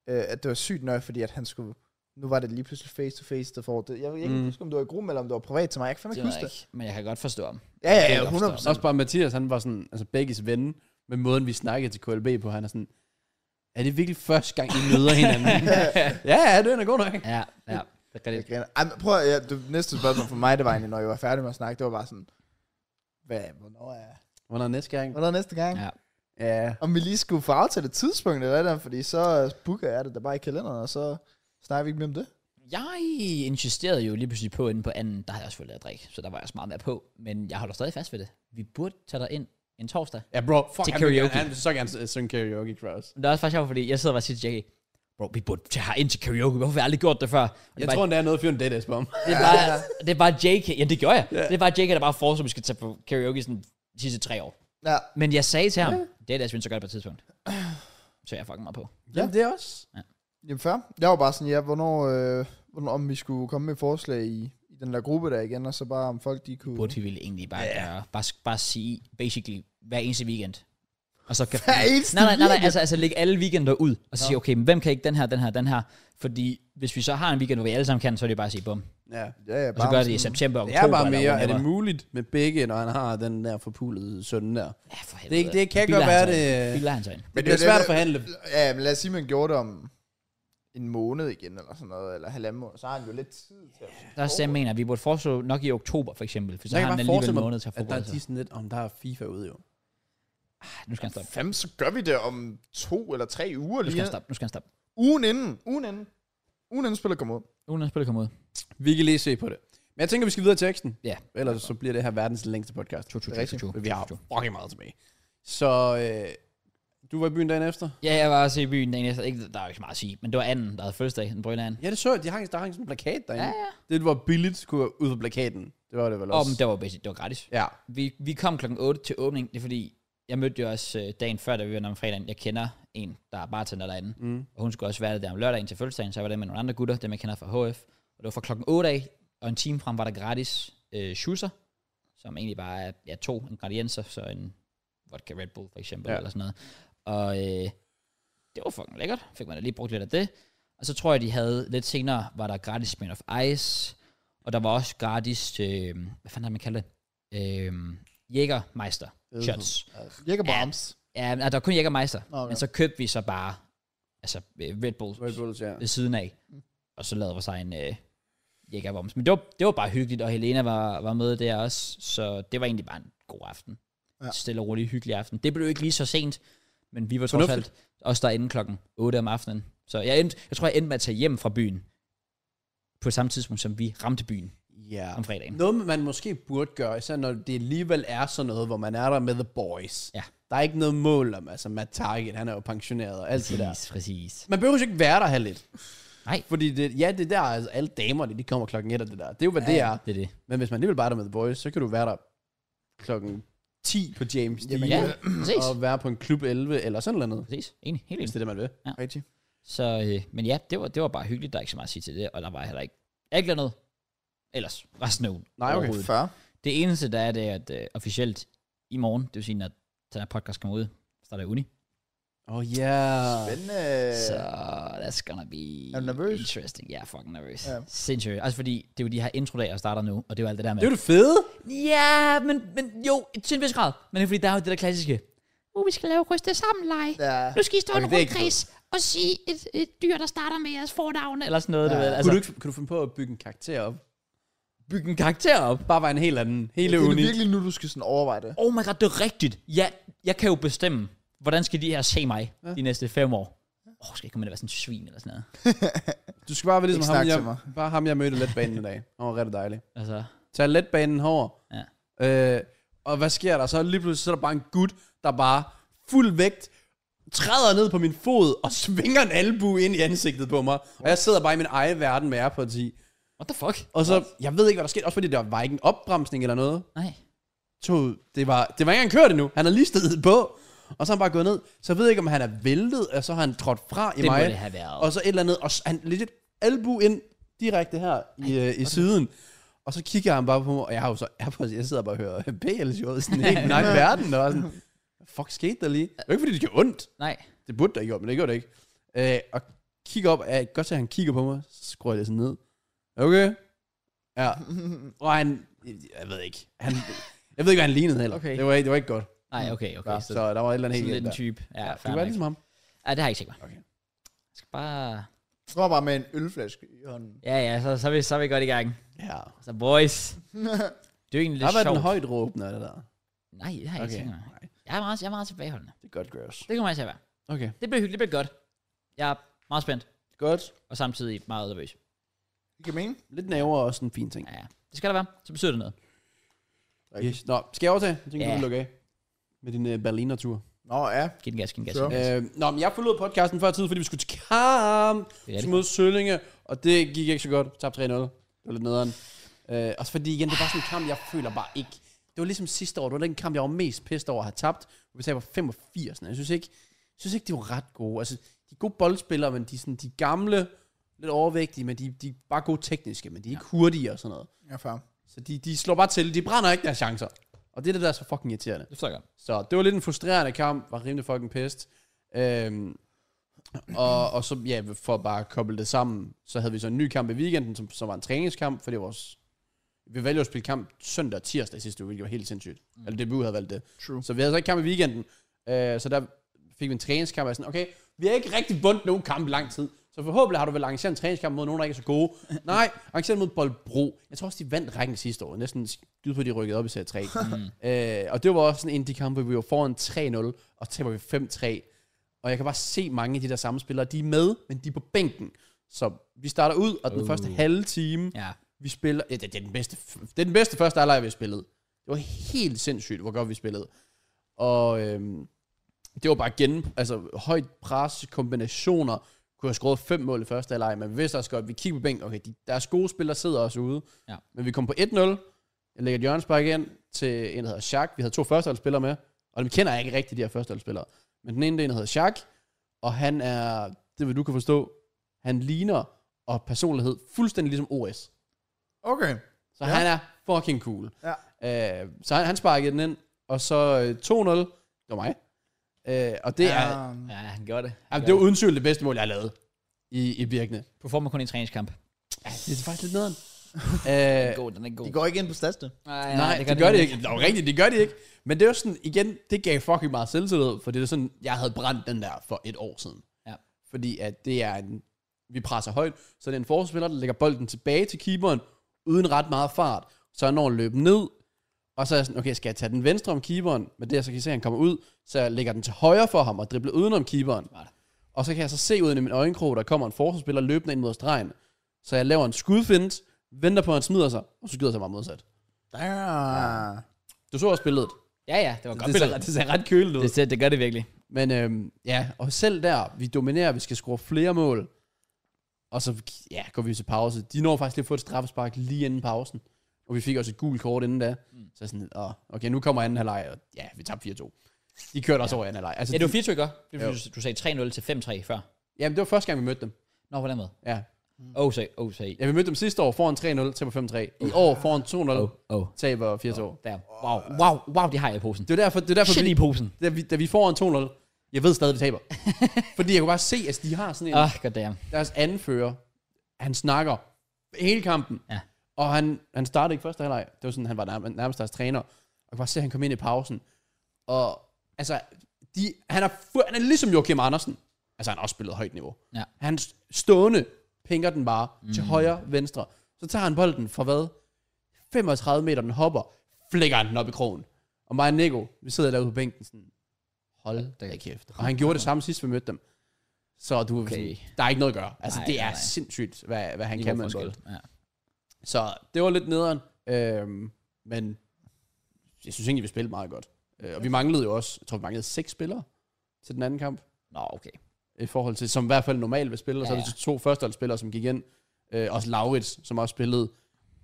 øh, at det var sygt nøje, fordi at han skulle, nu var det lige pludselig face to face, der får det. Jeg ved ikke,
Mm.
mm. huske, om det var i gruppen, eller om det var privat til mig. Jeg kan fandme
Det
ikke
ved
huske
jeg
det.
ikke, men jeg kan godt forstå ham.
Ja,
Det kan
ja,
jeg
ja,
godt
100
forstå.
Også bare Mathias, han var sådan, altså begges ven, med måden vi snakkede til KLB på, han er sådan, er det virkelig første gang, I møder hinanden? ja, ja, det er da god nok.
Ja, ja. Det kan det.
Jeg griner. Ej, men prøv at, ja, det næste spørgsmål for mig, det var egentlig, når jeg var færdig med at snakke, det var bare sådan, hvad, hvornår er,
Hvornår er næste gang?
hvornår er næste gang?
Ja.
Ja.
Om vi lige skulle få aftalt et tidspunkt eller der, fordi så øh, booker jeg det der bare i kalenderen, og så snakker vi ikke mere om det.
Jeg insisterede jo lige pludselig på inde på anden, der havde jeg også fået lavet at drikke, så der var jeg også meget mere på. Men jeg holder stadig fast ved det. Vi burde tage dig ind en torsdag.
Ja, bro, fuck,
Til
han vil, gerne-
karaoke.
han vil så gerne øh, synge karaoke, Kraus.
Men det er også faktisk sjovt, fordi jeg sidder bare og siger til Jackie, bro, vi burde tage her ind til karaoke, hvorfor har vi aldrig gjort det før? Og det er
Jeg
bare-
tror, der er noget, fyren det er om.
Det er bare, det er bare JK. Ja, det gjorde jeg. Det er bare JK, der bare foreslår, at vi skal tage på karaoke sådan de sidste tre år.
Ja,
Men jeg sagde til ham, det er det, jeg synes, så gør det på et tidspunkt. Så jeg er fucking meget på.
Jamen, det er også.
Jamen fair. Jeg var bare sådan, ja, hvornår, øh, hvornår om vi skulle komme med et forslag i, i den der gruppe der igen, og så bare om folk de kunne...
Burde vi ville egentlig bare yeah. gøre. Bare, bare sige, basically, hver eneste weekend. Og så kan
Hver eneste
nej, nej, nej, nej,
weekend?
altså, altså lægge alle weekender ud, og så sige, okay, men hvem kan ikke den her, den her, den her? Fordi hvis vi så har en weekend, hvor vi alle sammen kan, så er det bare at sige, bum.
Ja.
Ja, ja,
Og så
bare
gør
om
det i
sådan-
september,
Det
oktober.
er bare
eller
mere, er
whatever.
det muligt med begge, når han har den der forpulede søn der?
Ja, for
Det,
helvede.
er- det kan
Biler
godt
han
være,
sig ind.
det,
Biler han sig ind.
det
det er
bliver svært at
det-
forhandle.
Ja, men lad os sige, man gjorde det om en måned igen, eller sådan noget, eller halvanden måned, så har han jo lidt tid til at...
Der er også det, jeg mener, at vi burde foreslå nok i oktober, for eksempel. For så har
Jeg kan
han
bare
alligevel
forestille
en
mig,
måned til at
at der er
forberede
de
sig.
sådan lidt, om der er FIFA ude jo.
Nu skal han stoppe.
Fem, så gør vi det om to eller tre uger
Nu skal
lige.
han stoppe. Nu skal han stoppe.
Ugen inden. Ugen inden. Ugen inden spiller kommer ud.
Uden at spille kommer ud.
Vi kan lige se på det. Men jeg tænker, vi skal videre til teksten.
Ja.
Ellers så bliver det her verdens længste podcast.
To, to,
Det
to,
er
to,
rigtigt.
to.
Men vi har fucking meget tilbage. Så øh, du var i byen dagen efter?
Ja, jeg var også i byen dagen efter. Ikke, der er jo ikke så meget at sige, men det var anden, der havde fødselsdag, den brønde anden.
Ja, det så jeg. De hang, der hang sådan en plakat derinde.
Ja,
Ja.
ja.
Det var billigt, skulle jeg ud på plakaten. Det var det vel
Og
også.
men det var basic, det var gratis.
Ja.
Vi, vi kom klokken 8 til åbning, det er fordi, jeg mødte jo også øh, dagen før, da vi var der om fredagen. Jeg kender en, der er bartender derinde.
Mm.
Og hun skulle også være der, der om lørdagen til fødselsdagen, så jeg var der med nogle andre gutter, dem jeg kender fra HF. Og det var fra klokken 8 af, og en time frem var der gratis øh, schusser, som egentlig bare er ja, to ingredienser, så en vodka Red Bull for eksempel,
Ja.
ja. eller sådan noget. Og øh, det var fucking lækkert, fik man da lige brugt lidt af det. Og så tror jeg, de havde lidt senere, var der gratis Man of Ice, og der var også gratis, øh, hvad fanden er det, man kalder det? Øh, Jægermeister shots.
Jækker Barms.
Ja, nej, der var kun Jægermeister,
Nå, okay.
men så købte vi så bare altså, øh, Red Bull
Red Bulls, ja.
ved siden af. Og så lavede vores egen øh, jækkerboms. Men det var, det var bare hyggeligt, og Helena var, var med der også, så det var egentlig bare en god aften.
Ja.
Ja. Stille og rolig, hyggelig aften. Det blev ikke lige så sent, men vi var trods
Fornuftigt.
alt også derinde klokken 8 om aftenen. Så jeg, endte, jeg tror, jeg endte med at tage hjem fra byen på samme tidspunkt, som vi ramte byen
Ja.
om fredagen.
Noget, man måske burde gøre, især når det alligevel er sådan noget, hvor man er der med the boys.
Ja.
Der er ikke noget mål om, altså Matt Target, han er jo pensioneret og alt det der.
Præcis, præcis.
Man behøver jo ikke være der her lidt.
Nej.
Fordi det, ja, det der, altså alle damerne, de kommer klokken et og det der. Det er jo, hvad ja. det er.
Det er det.
Men hvis man alligevel bare er der med The Boys, så kan du være der klokken 10 på James Dean,
Jamen,
Ja, præcis.
og være på en klub 11 eller sådan noget andet,
Præcis. Enig, helt
hvis
enig.
det er det, man vil.
Rigtig.
Så, øh, men ja, det var, det var bare hyggeligt. Der er ikke så meget at sige til det, og der var heller ikke, jeg ikke lavet noget ellers resten af ugen.
Nej, okay.
overhovedet.
Før.
Det eneste, der er, det er, at øh, officielt i morgen, det vil sige, når den her podcast kommer ud, starter jeg uni.
Åh, oh, yeah.
Men, øh,
Så that's gonna be
Er du nervøs?
interesting. Jeg er fucking nervøs.
Ja.
Ja. Sindssygt. Også fordi, det er jo de her introdage, der starter nu, og det er jo alt det der med.
Det er jo det fede.
Altså- Ja, men, men jo, til en vis grad. Men det er fordi, der er jo det der klassiske, uh, vi skal lave ryste sammen lege. Ja.
Ja.
Nu skal I stå i
Okay,
en
det er ikke
rundkreds og sige et, et dyr, der starter med jeres fornavne, eller sådan noget. Ja.
Ja.
Du ved.
Altså, kunne, du
Altså,
ikke, kunne du finde på at bygge en karakter op?
bygge en karakter op.
Bare være en helt anden, hele
Det
uni.
er virkelig nu, du skal sådan overveje det.
Oh my god, det er rigtigt. Ja, jeg kan jo bestemme, hvordan skal de her se mig ja. de næste fem år. Åh, oh, skal jeg komme ind og være sådan en svin eller sådan noget?
Du skal bare være ligesom
Ikke
ham
snak til
jeg, bare ham, jeg mødte i letbanen i dag. Han var rigtig dejlig.
Altså,
Tag letbanen over.
Ja.
Øh, og hvad sker der? Så lige pludselig så er der bare en gut, der bare fuld vægt træder ned på min fod og svinger en albu ind i ansigtet på mig. Og jeg sidder bare i min egen verden med Airpods i.
what the fuck?
Og så, jeg ved ikke, hvad der skete. Også fordi der var ikke en opbremsning eller noget.
Nej.
Toget, det var, det var ikke engang kørt endnu. Han har lige stedet på. Og så er han bare gået ned. Så jeg ved ikke, om han er væltet, og så har han trådt fra i
Det
mig.
må det have været.
Og så et eller andet, og s- han legit albu ind direkte her i, øh, i siden. Og så kigger han bare på mig, og jeg har jo så Airpods, jeg sidder bare og hører BL-showet, sådan en helt nej verden, og er sådan, hvad fuck skete der lige? Det er jo ikke, fordi det gjorde ondt.
Nej.
Det burde der ikke gjort, men det gjorde det ikke. Øh, og kigger op, jeg kan godt se, at han kigger på mig, så skruer jeg det sådan ned. Okay. Ja. Og han, jeg ved ikke, han, jeg ved ikke, hvad han lignede heller.
Okay.
Det, var, ikke- det var ikke godt.
Nej, okay, okay.
Ja,
så,
så, der var et eller andet
sådan lidt
helt galt
en
der.
type. Ja,
Du var
fair
ligesom
ligesom...
ham.
Ja, det har jeg ikke set mig.
Okay.
Jeg skal bare...
Jeg tror bare med en ølflaske i hånden.
Ja, ja, så, så, er, vi, så er vi godt i gang.
Ja.
Så boys. Det er jo egentlig
Der
lidt
har været
sjovt.
en højt råbende af det der.
Nej, det har jeg ikke
Okay.
tænkt mig. Jeg er, meget, jeg er meget tilbageholdende.
Det er godt, Gross.
Det kommer jeg til at være.
Okay.
Det bliver hyggeligt, det bliver godt. Jeg er meget spændt,
Godt.
og samtidig meget nervøs.
Det kan mene.
Lidt nævere er også en fin ting.
Ja, ja. Det skal der være. Så betyder det noget.
Rigtigt.
Yes. Nå, skal jeg overtage? Jeg tænker,
Ja.
du vil lukke af med din uh, Berliner-tur.
Nå ja.
Giv den gas, giv den gas.
Så.
giv den gas.
Øh, nå, men jeg forlod podcasten før tid, fordi vi skulle til kamp
Det er rigtig
mod Søllinge, og det gik ikke så godt. Tabte 3-0. Det var lidt nederen. Øh, også fordi igen, det var sådan en kamp, jeg føler bare ikke. Det var ligesom sidste år, det var den kamp, jeg var mest pissed over at have tabt. Vi taber 85. Jeg synes ikke, jeg synes ikke, de var ret gode. Altså, de er gode boldspillere, men de, er sådan, de er gamle, lidt overvægtige, men de, de er bare gode tekniske, men de er ikke hurtige og sådan noget.
Ja, far.
Så de, de slår bare til, de brænder ikke deres chancer. Og det er det, der er så fucking irriterende.
Det forstår jeg godt.
Så det var lidt en frustrerende kamp, var rimelig fucking pissed. Øhm, og, og så, ja, for at bare koble det sammen, så havde vi så en ny kamp i weekenden, som, som var en træningskamp, for det var vores... Vi valgte jo at spille kamp søndag og tirsdag i sidste uge, hvilket var helt sindssygt. Mm. Eller DBU havde valgt det.
True.
Så vi havde så ikke kamp i weekenden. Øh, så der fik vi en træningskamp, og jeg er sådan, okay, vi har ikke rigtig vundet nogen kamp i lang tid. Så forhåbentlig har du vel arrangeret en træningskamp mod nogen, der ikke er så gode. Nej, arrangeret mod Boldbro. Jeg tror også, de vandt rækken sidste år. Næsten skyd på, at de rykkede op i serie 3. Mm. Øh, og det var også sådan en af de kampe, hvor vi var foran 3-0, og taber vi 5-3. Og jeg kan bare se mange af de der samme spillere, de er med, men de er på bænken. Så vi starter ud, og den
Uh.
uh. første halve time,
Ja.
vi spiller... Ja, det, det, er den bedste, det er den bedste første halvleg, vi har spillet. Det var helt sindssygt, hvor godt vi spillede. Og øhm, det var bare gen... Altså, højt pres, kombinationer. Kunne have skåret fem mål i første halvleg, men vi vidste også godt, vi kiggede på bænken. Okay, de, deres gode spillere sidder også ude.
Ja.
Men vi kom på 1-0. Jeg lægger et hjørnespark ind til en, der hedder Shaq. Vi havde to førsteholdsspillere med. Og dem kender jeg ikke rigtig, de her førsteholdsspillere. Men den ene, der hedder Shaq. Og han er, det vil du kan forstå, han ligner og personlighed fuldstændig ligesom OS.
Okay.
Så
Ja.
ja. han er fucking cool.
Ja.
Øh, så han, han sparkede den ind, og så øh, 2-0, det var mig. Øh, og det ja. er,
Um,
ja, han gjorde det.
altså, det var uden tvivl det bedste mål, jeg har lavet i, i Birkene.
På form af kun i en træningskamp.
Ja, det er faktisk lidt nederen.
Den
øh,
er god, den er god.
de går ikke ind på stadsted.
Nej,
nej, det, gør det ikke. Det er jo rigtigt, det gør det ikke. Men det er jo sådan, igen, det gav fucking meget selvtillid, for det er sådan, jeg havde brændt den der for et år siden.
Ja.
Fordi at det er en, vi presser højt, så det er en forsvarsspiller, der lægger bolden tilbage til keeperen, uden ret meget fart, så han når at løbe ned, og så er jeg sådan, okay, skal jeg tage den venstre om keeperen, men det jeg så kan se, at han kommer ud, så jeg lægger den til højre for ham og dribler udenom keeperen.
Smart.
Og så kan jeg så se ud i min øjenkrog, der kommer en forsvarsspiller løbende ind mod stregen, så jeg laver en skudfint, venter på, at han smider sig, og så skyder jeg sig bare modsat.
Ja.
Du så også billedet.
Ja, ja, det var godt
Det ser,
billedet.
det ser ret køligt ud.
Det, ser- det gør det virkelig.
Men øhm, ja, og selv der, vi dominerer, vi skal score flere mål. Og så ja, går vi til pause. De når faktisk lige at få et straffespark lige inden pausen. Og vi fik også et gult kort inden da. Mm. Så jeg sådan, åh, okay, nu kommer anden halvleg, og ja, vi tabte 4-2. De kørte også over i anden halvleg. Altså,
Ja, det
de,
var 4 i går. Det var,
Jo.
fordi, du, du sagde 3-0 til 5-3 før.
jamen, det var første gang, vi mødte dem.
Nå, på den måde.
Ja,
Oh, say, oh, say.
Mm. ja vi mødte dem sidste år foran 3-0, taber 5-3. I år foran 2-0,
Oh,
oh.
oh.
taber 4-2. Oh.
Der. Wow, wow, wow, det har jeg i posen.
Det er derfor, det er derfor
Shit
vi,
i posen.
da, vi, da vi får en 2-0, jeg ved stadig, vi taber. Fordi jeg kunne bare se, at altså, de har sådan en...
Ah, goddamn.
deres anfører, han snakker hele kampen.
Ja.
Og han, han startede ikke første halvleg. Det var sådan, han var nærmest, nærmest deres træner. Og jeg kunne bare se, at han kom ind i pausen. Og altså, de, han, er, fu- han er ligesom Joachim Andersen. Altså, han har også spillet højt niveau.
Ja.
Han st- stående pinker den bare mm. til højre, venstre. Så tager han bolden fra hvad? 35 meter, den hopper. Flækker han den op i krogen. Og mig og Nico, vi sidder derude på bænken sådan, hold da kæft. Og han gjorde det samme sidst, vi mødte dem. Så du,
Okay.
okay. der er ikke noget at gøre. Altså,
Nej,
det er
nej, nej.
sindssygt, hvad, hvad han
Niveau
kan med en
forskel.
bold.
Ja.
Så det var lidt nederen. Øhm, men jeg synes egentlig, vi spillede meget godt. Øh, og vi manglede jo også, jeg tror, vi manglede seks spillere til den anden kamp.
Nå, okay.
I forhold til, som i hvert fald normalt vil spille. Og så
Ja,
er det de to førsteholdsspillere, som gik ind. Øh, også Laurits, som også spillede,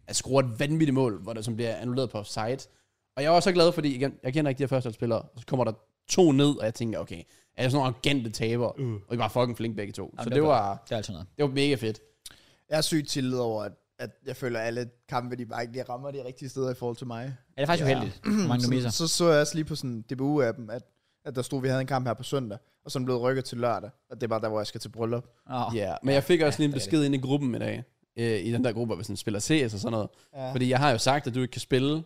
at score et vanvittigt mål, hvor der, som bliver annulleret på offside. Og jeg var så glad, fordi igen, jeg kender ikke de her førsteholdsspillere. Og så kommer der to ned, og jeg tænker, okay, er det sådan nogle arrogante tabere? Uh. Og de var fucking flinke begge to.
Jamen,
så
det
det
var
var,
Det er altså noget.
det var mega fedt.
Jeg er sygt tillid over, at, at jeg føler, at alle kampe, de bare ikke lige rammer de rigtige steder i forhold til mig.
Er det faktisk
Ja.
ja. uheldigt, hvor mange du misser?
Så, så så jeg også lige på sådan DBU-appen, at, at der stod, at vi havde en kamp her på søndag, og som blev rykket til lørdag. Og det er bare der, hvor jeg skal til bryllup.
Oh.
Ja, men jeg fik også lige en
det er det.
besked ind i gruppen i dag. Øh, I den der gruppe, hvor vi sådan spiller CS og sådan noget.
Ja.
Fordi jeg har jo sagt, at du ikke kan spille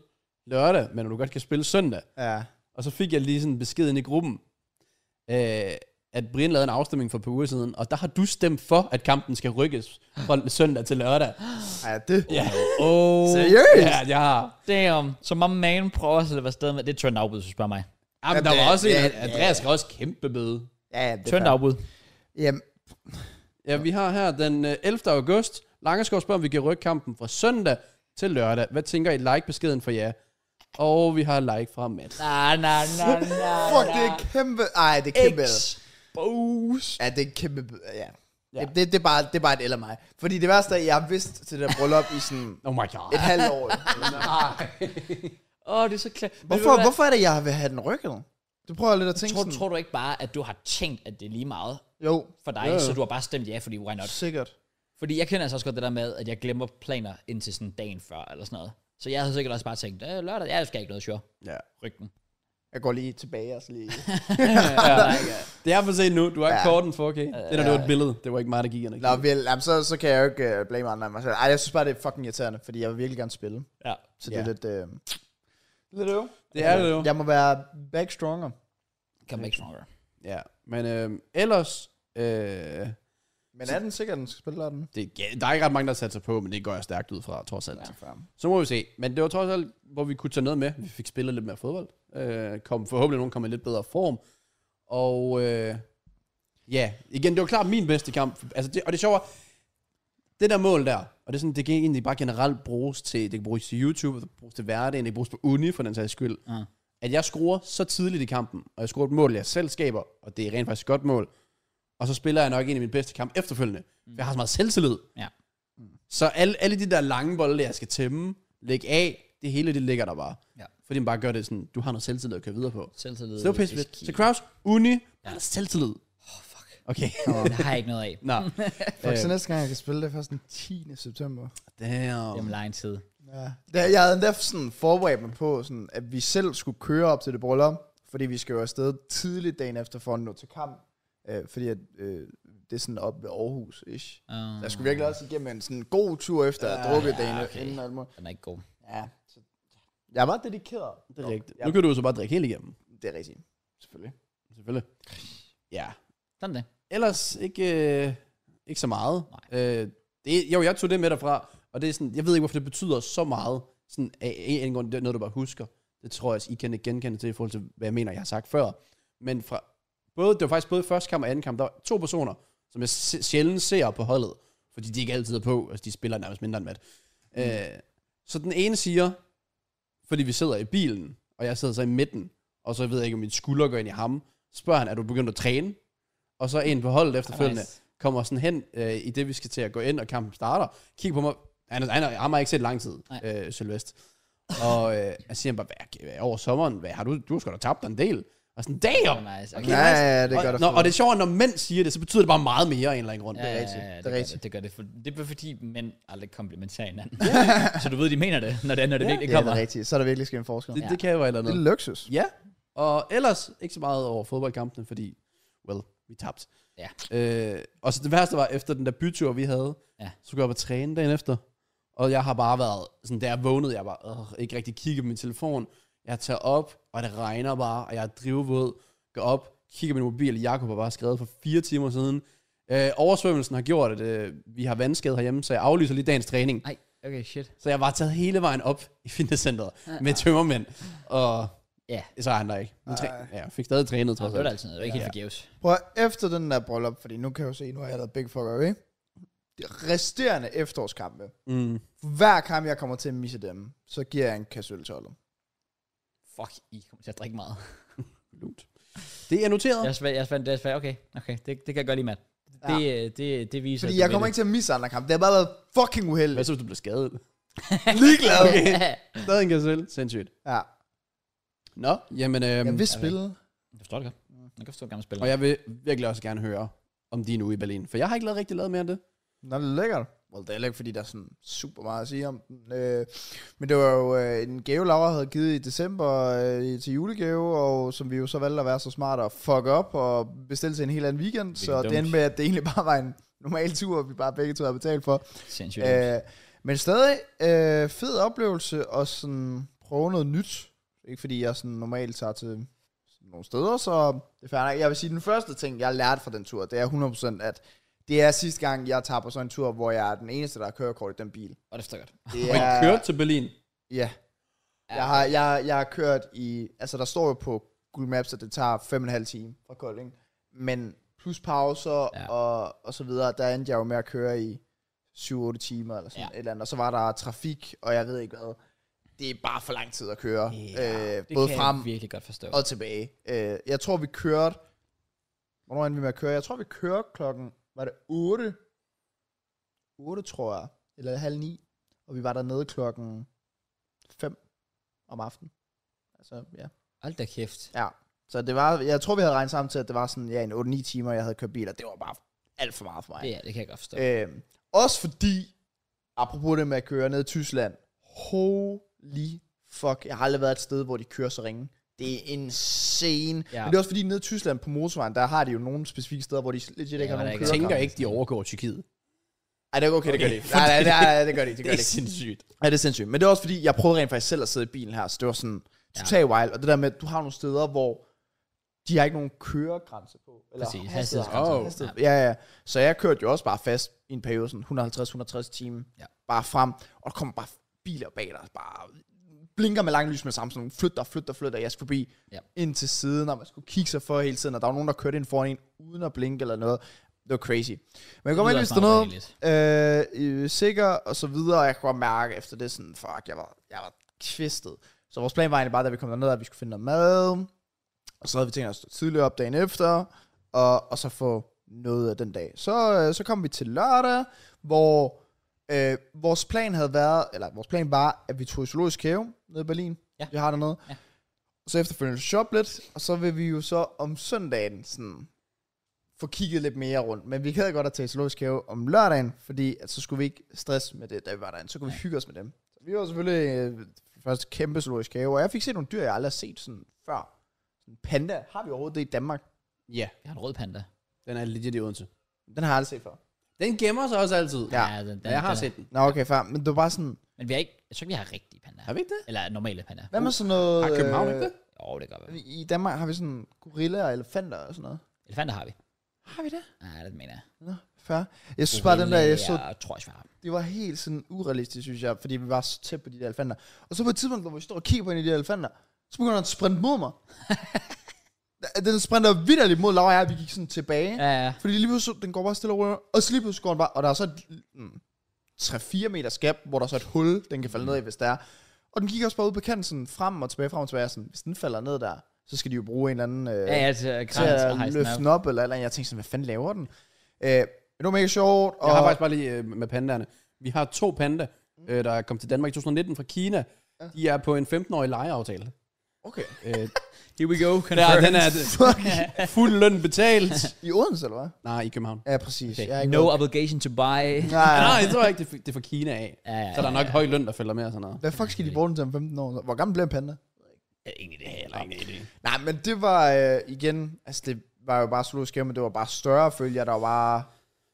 lørdag, men du godt kan spille søndag.
Ja.
Og så fik jeg lige sådan en besked ind i gruppen, øh, at Brian lavede en afstemning for et par uger siden, og der har du stemt for, at kampen skal rykkes fra søndag til lørdag.
Ej, det...
Ja. Oh,
Seriøst?
Ja, jeg har.
Damn. Så my man prøver at slippe afsted med. Det er trend afbud, hvis du spørger mig.
Ja, men
Jamen,
der var
ja,
også en,
ja,
at Andreas skal også kæmpe bøde.
Ja, ja, det
Trend
fair.
afbud.
Jamen,
Ja, vi har her den øh, 11. august. Langerskov spørger, om vi kan rykke kampen fra søndag til lørdag. Hvad tænker I like-beskeden for jer? Og vi har like fra Mads.
Nej, nej, nej, Ah, nej.
fuck, det er kæmpe... Ej, det er kæmpe...
Expose.
Ja, det er kæmpe... Ja. ja. Det, det, det, er bare, det er bare et eller mig. Fordi det værste er, at jeg har vidst til det der bryllup i sådan
Oh my god.
et halvt år.
Åh, oh, det er så klart.
Hvorfor, hvorfor er det, jeg vil have den rykket? Det prøver jeg lidt at tænke
Tror,
sådan.
tror du ikke bare, at du har tænkt, at det er lige meget
Jo,
for dig,
Ja, ja.
så du har bare stemt ja, fordi why not?
sikkert.
Fordi jeg kender altså også godt det der med, at jeg glemmer planer indtil sådan dagen før, eller sådan noget. Så jeg havde sikkert også bare tænkt, øh, lørdag, ja, jeg skal ikke noget, sure.
Ja.
Rygten.
Jeg går lige tilbage og så lige...
ja. Det er for sent nu. Du har ikke
Ja.
korten for, okay? Det der, det var et billede. Det var ikke mig, der gik ind og
Nå,
kiggede.
vel, jamen, så, så kan jeg jo ikke uh, blame andre end mig selv. Ej, jeg synes bare, det er fucking irriterende, fordi jeg vil virkelig gerne spille.
Ja.
Så det er
Ja.
lidt... Øh, lidt øv.
Det er det jo.
Jeg må være back stronger.
Come back stronger.
Ja, men øh, ellers... Øh,
Men er den sikkert, den skal spille lørdag?
det, ja, der er ikke ret mange, der satser på, men det går jeg stærkt ud fra, trods alt. Ja.
Ja.
Så må vi se. Men det var trods alt, hvor vi kunne tage noget med. Vi fik spillet lidt mere fodbold. Øh, kom, forhåbentlig nogen kom i lidt bedre form. Og øh, ja, igen, det var klart min bedste kamp. Altså det, og det sjove er, det der mål der, og det, er sådan, det kan egentlig bare generelt bruges til, det kan bruges til YouTube, det kan bruges til hverdagen, det kan bruges på uni for den sags skyld.
Ja.
At jeg scorer så tidligt i kampen, og jeg scorer et mål, jeg selv skaber, og det er rent faktisk et godt mål. Og så spiller jeg nok en af mine bedste kampe efterfølgende. For jeg har så meget selvtillid.
Mm. Ja.
Så alle, alle de der lange bolde, jeg skal tæmme, lægge af, det hele, det ligger der bare.
Ja.
Fordi man bare gør det sådan, du har noget selvtillid at køre videre på.
Selvtillid.
Så det var pisse fedt. Så Kraus, Uni, ja. der er selvtillid.
Oh, fuck.
Okay.
Det har jeg ikke noget af.
Nå.
Fuck, så næste gang, jeg kan spille, det er først den 10. september.
Det
Damn.
er lang tid.
Ja. Der, jeg havde endda sådan forberedt mig på, sådan, at vi selv skulle køre op til det bryllup, fordi vi skal jo afsted tidligt dagen efter for at nå til kamp. Øh, fordi at, øh, det er sådan op ved Aarhus, ish.
Uh,
Jeg skulle virkelig også igennem en sådan god tur efter
Ah,
at have drukket
ja,
dagen
okay.
inden og alt muligt.
Den er ikke god.
Ja, så, jeg er meget dedikeret.
Det er rigtigt.
Ja,
Nu kan du jo så bare drikke helt igennem.
det er rigtigt. Selvfølgelig.
Selvfølgelig. Ja.
Sådan det.
Ellers ikke, øh, ikke så meget.
Nej.
Øh, det, jo, jeg tog det med derfra, og det er sådan, jeg ved ikke, hvorfor det betyder så meget. Sådan, af en eller anden grund, det er noget, du bare husker. Det tror jeg også, I kan ikke genkende til i forhold til, hvad jeg mener, jeg har sagt før. Men fra, både, det var faktisk både første kamp og anden kamp, der var to personer, som jeg se- sjældent ser på holdet, fordi de ikke altid er på, altså de spiller nærmest mindre end mat. Mm. Øh, så den ene siger, fordi vi sidder i bilen, og jeg sidder så i midten, og så ved jeg ikke, om min skulder går ind i ham, spørger han, er du begyndt at træne? Og så en på holdet efterfølgende,
nice.
kommer sådan hen øh, i det, vi skal til at gå ind, og kampen starter, kigger på mig, han, han, han har ikke set lang tid,
Nej.
øh, Sylvest. Og øh, jeg siger bare, hvad, hvad, over sommeren, hvad har du, du har sgu da tabt dig en del. Og sådan,
Oh,
damn!
nice.
Ja, ja, ja, det gør
og,
det.
når, og det er sjovt, at når mænd siger det, så betyder det bare meget mere af en eller anden grund.
Ja, ja,
rigtigt.
ja,
Det er
det, gør
rigtigt.
det, det gør det. For, det er fordi mænd aldrig komplimenterer hinanden. så du ved, de mener det, når det, når det
Ja.
virkelig
Ja, det
kommer.
er rigtigt. Så er der virkelig sket en forskel.
Det,
Det,
Ja.
det kan jo være et eller
det
andet.
er luksus.
Ja, og ellers ikke så meget over fodboldkampene, fordi, well, vi tabte.
Ja.
Øh, og så det værste var, efter den der bytur, vi havde,
Ja.
så skulle jeg op og træne dagen efter. Og jeg har bare været, sådan da jeg vågnede, jeg var øh, ikke rigtig kigge på min telefon. Jeg tager op, og det regner bare, og jeg er drivvåd. Går op, kigger på min mobil, Jakob har bare skrevet for fire timer siden. Øh, oversvømmelsen har gjort, at øh, vi har vandskade herhjemme, så jeg aflyser lige dagens træning.
Nej, okay, shit.
Så jeg var taget hele vejen op i fitnesscenteret
Ej,
med tømmermænd. Og
Ja.
så er han der ikke. Men træ-
Ej.
ja, jeg fik stadig trænet,
Nå,
trods
det var da
alt.
altid noget. Det var ikke helt
Ja.
forgæves.
Prøv at, efter den der bryllup, fordi nu kan jeg jo se, nu har jeg lavet big fucker, ikke? De resterende efterårskampe.
Mm.
Hver kamp, jeg kommer til at misse dem, så giver jeg en kasse øl til Olum.
Fuck, I kommer til at drikke meget.
Lut. Det er noteret.
Jeg er svært, jeg er svært, det er svært. Okay, okay, det, det kan jeg godt lide, mand.
Ja.
Det, øh, det, det viser...
Fordi jeg kommer ikke til at misse andre kampe. Det har bare været fucking
Hvad
uheldigt.
så, hvis du blev skadet?
Ligeglad.
Okay.
Ja.
Stadig en gazel. Sindssygt.
Ja.
Nå, jamen... Øhm,
Jeg vil
okay.
spille.
Jeg forstår det godt.
Mm.
Jeg kan forstå, at gamle spiller.
og jeg vil virkelig også gerne høre om din uge i Berlin. For jeg har ikke lavet rigtig lavet mere end det.
Nå, det er lækkert. well, det er heller ikke, fordi der er sådan super meget at sige om den. Øh, men det var jo øh, en gave, Laura havde givet i december øh, i- til julegave, og som vi jo så valgte at være så smarte og fuck op og bestille til en helt anden weekend. så
dumt.
det endte med, at det egentlig bare var en normal tur, vi bare begge to havde betalt for.
Sindssygt. Øh,
Øh, men stadig øh, fed oplevelse og sådan prøve noget nyt. Ikke fordi jeg sådan normalt tager til sådan nogle steder, så det er fair nok. Jeg vil sige, den første ting, jeg lærte fra den tur, det er 100% at det er sidste gang, jeg tager på sådan en tur, hvor jeg er den eneste, der har kørekort i den bil.
og det forstår jeg godt.
Det
Og I
er,
kørte til Berlin.
Ja. Jeg har, jeg, jeg har kørt i... Altså, der står jo på Google Maps, at det tager 5,5 timer fra Kolding. Men plus pauser
Ja.
ja. og, og så videre, der endte jeg jo med at køre i 7-8 timer eller
Ja.
sådan ja. et eller andet. Og så var der trafik, og jeg ved ikke hvad. Det er bare for lang tid at køre.
Ja,
Ja, øh,
det
både
kan
frem
jeg virkelig godt forstå.
og tilbage. Øh, jeg tror, vi kørte... Hvornår endte vi med at køre? Jeg tror, vi kørte klokken... Var det 8? 8, tror jeg. Eller halv 9. Og vi var dernede klokken 5 om aftenen. Altså, ja.
Hold da kæft.
ja. Så det var... Jeg tror, vi havde regnet sammen til, at det var sådan, ja, en 8-9 timer, jeg havde kørt bil, og det var bare alt for meget for mig.
Ja, det kan jeg godt forstå.
Øh, også fordi, apropos det med at køre ned i Tyskland, holy fuck, jeg har aldrig været et sted, hvor de kører så ringe. Det er insane.
Ja.
Ja. Men det er også fordi, nede i Tyskland på motorvejen, der har de jo nogle specifikke steder, hvor de legit ikke
Ja,
har
hvor der ikke er
nogen
Jeg
Kørte
tænker
kørekamp.
ikke, de overgår Tyrkiet.
Ej, det er okay, det gør de ikke.
Okay.
Nej, nej, nej, nej, det gør de ikke. Det gør de
Det er
ikke.
sindssygt.
Ja, det er sindssygt. Men det er også fordi, jeg prøvede rent faktisk selv at sidde i bilen her, så det var sådan totalt wild. Og det der med, at du har nogle steder, hvor de har ikke nogen køregrænse på. Eller
Præcis.
hastighed.
Hastighedsgrænser.
Åh.
Ja.
Ja, ja. Så jeg kørte jo også bare fast i en periode, sådan 150-160 timer,
Ja.
ja. bare frem, og der kommer bare biler bag dig, bare blinker med lange lys med sammen, sådan nogle flytter, flytter, flytter, jeg skulle blive
Ja.
ja. ind til siden, og man skulle kigge sig for hele tiden, og der var nogen, der kørte ind foran en, uden at blinke eller noget. Det var crazy. Men jeg kom
lyder
ind i
også
sådan
meget
noget, øh, øh, sikker og så videre, og jeg kunne godt mærke efter det sådan, fuck, jeg var, jeg var kvistet. Så vores plan var egentlig bare, da vi kom derned, at vi skulle finde noget mad, og så havde vi tænkt os at stå tidligere op dagen efter, og, og så få noget af den dag. Så, øh, så kom vi til lørdag, hvor øh, vores plan havde været, eller vores plan var, at vi tog i zoologisk have nede i Berlin.
Ja.
Vi har dernede.
Ja.
Så efterfølgende shoppe lidt, og så vil vi jo så om søndagen sådan få kigget lidt mere rundt. Men vi gad godt at tage i zoologisk have om lørdagen, fordi at så skulle vi ikke stresse med det, da vi var derinde. Så kunne vi hygge os med dem. Så vi var selvfølgelig øh, først kæmpe zoologisk have, og jeg fik set nogle dyr, jeg aldrig har set sådan før. Sådan panda, har vi overhovedet det i Danmark?
Ja,
Jeg har en rød panda.
den er legit i Odense.
Den har jeg aldrig set før.
Den gemmer sig også altid.
Ja.
den,
jeg har
den er-
set den.
Nå, okay, far. Men det var bare sådan,
Men vi har ikke, jeg tror ikke, vi har rigtige pandaer.
Har vi ikke det?
Eller normale pandaer.
hvad med sådan noget... øh,
Har København ikke det?
Jo, det kan godt være.
I Danmark har vi sådan gorillaer og elefanter og sådan noget.
Elefanter har vi.
Har vi det?
Nej, det mener jeg.
Nå, fair. Jeg synes bare, den der, jeg så,
tror jeg, jeg har.
det var helt sådan urealistisk, synes jeg, fordi vi var så tæt på de der elefanter. Og så på et tidspunkt, hvor vi står og kigger på en af de der elefanter, så begynder den at sprinte mod mig. den sprinter vidderligt mod Laura og jeg, og vi gik sådan tilbage.
Ja, ja.
Fordi lige pludselig, så- den går bare stille og roligt, og så lige pludselig går den bare, og der er så et mm, 3-4 meter skab, hvor der er så et hul, den kan falde ned i, hvis der er. Og den gik også bare ud på kanten, sådan frem og tilbage, frem og tilbage, og sådan, hvis den falder ned der, så skal de jo bruge en eller anden... Øh,
Ja, altså, ja, til at
til at løfte den op, eller, eller andet. jeg tænkte sådan, hvad fanden laver den? Øh, men det var mega sjovt, og
Jeg har faktisk bare lige øh, med pandaerne. Vi har to panda, øh, der er kommet til Danmark i 2019 fra Kina. De er på en 15-årig lejeaftale.
okay.
Øh,
Here we go.
der, den er
Fuck.
fuld løn betalt.
I Odense, eller hvad?
Nej, i København.
Ja, præcis.
Okay.
Jeg er ikke
No
noget-
obligation to buy.
Nej,
Nej,
nej.
jeg tror ikke, det er, det er fra Kina af.
Ja, ja,
Så der er nok høj løn, der følger med og sådan noget.
Hvad fuck skal de bruge den til om 15 år? Hvor gammel bliver en panda?
Jeg har ingen idé, eller ingen idé.
Nej, men det var øh, igen, altså det var jo bare zoologisk have, men det var bare større følger, der var bare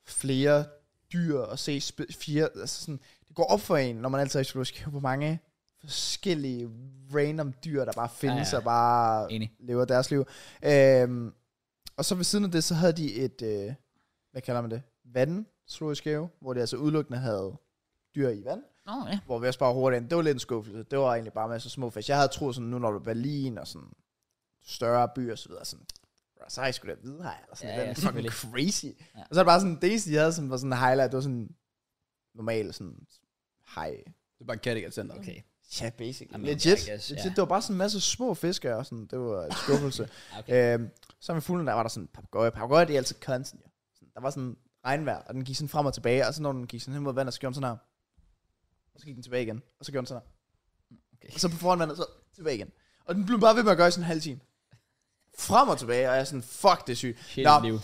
flere dyr og se spe- fire, altså sådan, det går op for en, når man altid er i zoologisk have, hvor mange forskellige random dyr, der bare findes
Ja, ja.
ja, ja. og bare
Enig.
lever deres liv. Øhm, og så ved siden af det, så havde de et, øh, hvad kalder man det, vand zoologisk have, hvor de altså udelukkende havde dyr i vand
Nå, ja.
hvor vi også bare hurtigt ind. Det var lidt en skuffelse. Det var egentlig bare med så små fisk. Jeg havde troet sådan, nu når du er Berlin og sådan større byer og så videre, sådan, "Bro, så har I sgu da hvide her, eller sådan
Ja, ja,
ja, ja, fucking
selvfølgelig.
crazy.
Ja.
Ja. Og så er det bare sådan, det eneste, de havde, som var sådan en highlight, det var sådan normal sådan, hej.
Det er bare Kattegat Center.
Okay.
Ja, basically.
Jamen,
Legit.
I guess,
Legit.
ja.
Det var bare sådan en masse små fiskere, og sådan, det var en skuffelse.
Okay.
okay. øhm, så med fuglen, der var der sådan en papegøje. Papegøje, det er altid constant, ja. Sådan, Der var sådan regnvejr, og den gik sådan frem og tilbage, og så når den gik sådan hen mod vandet, så gjorde den sådan her. Og så gik den tilbage igen, og så gjorde den sådan her.
Okay.
Og så på foran vandet, så tilbage igen. Og den blev bare ved med at gøre i sådan en halv time. Frem og tilbage, og jeg er sådan, fuck, det er sygt.
Shit,
Nå,
liv.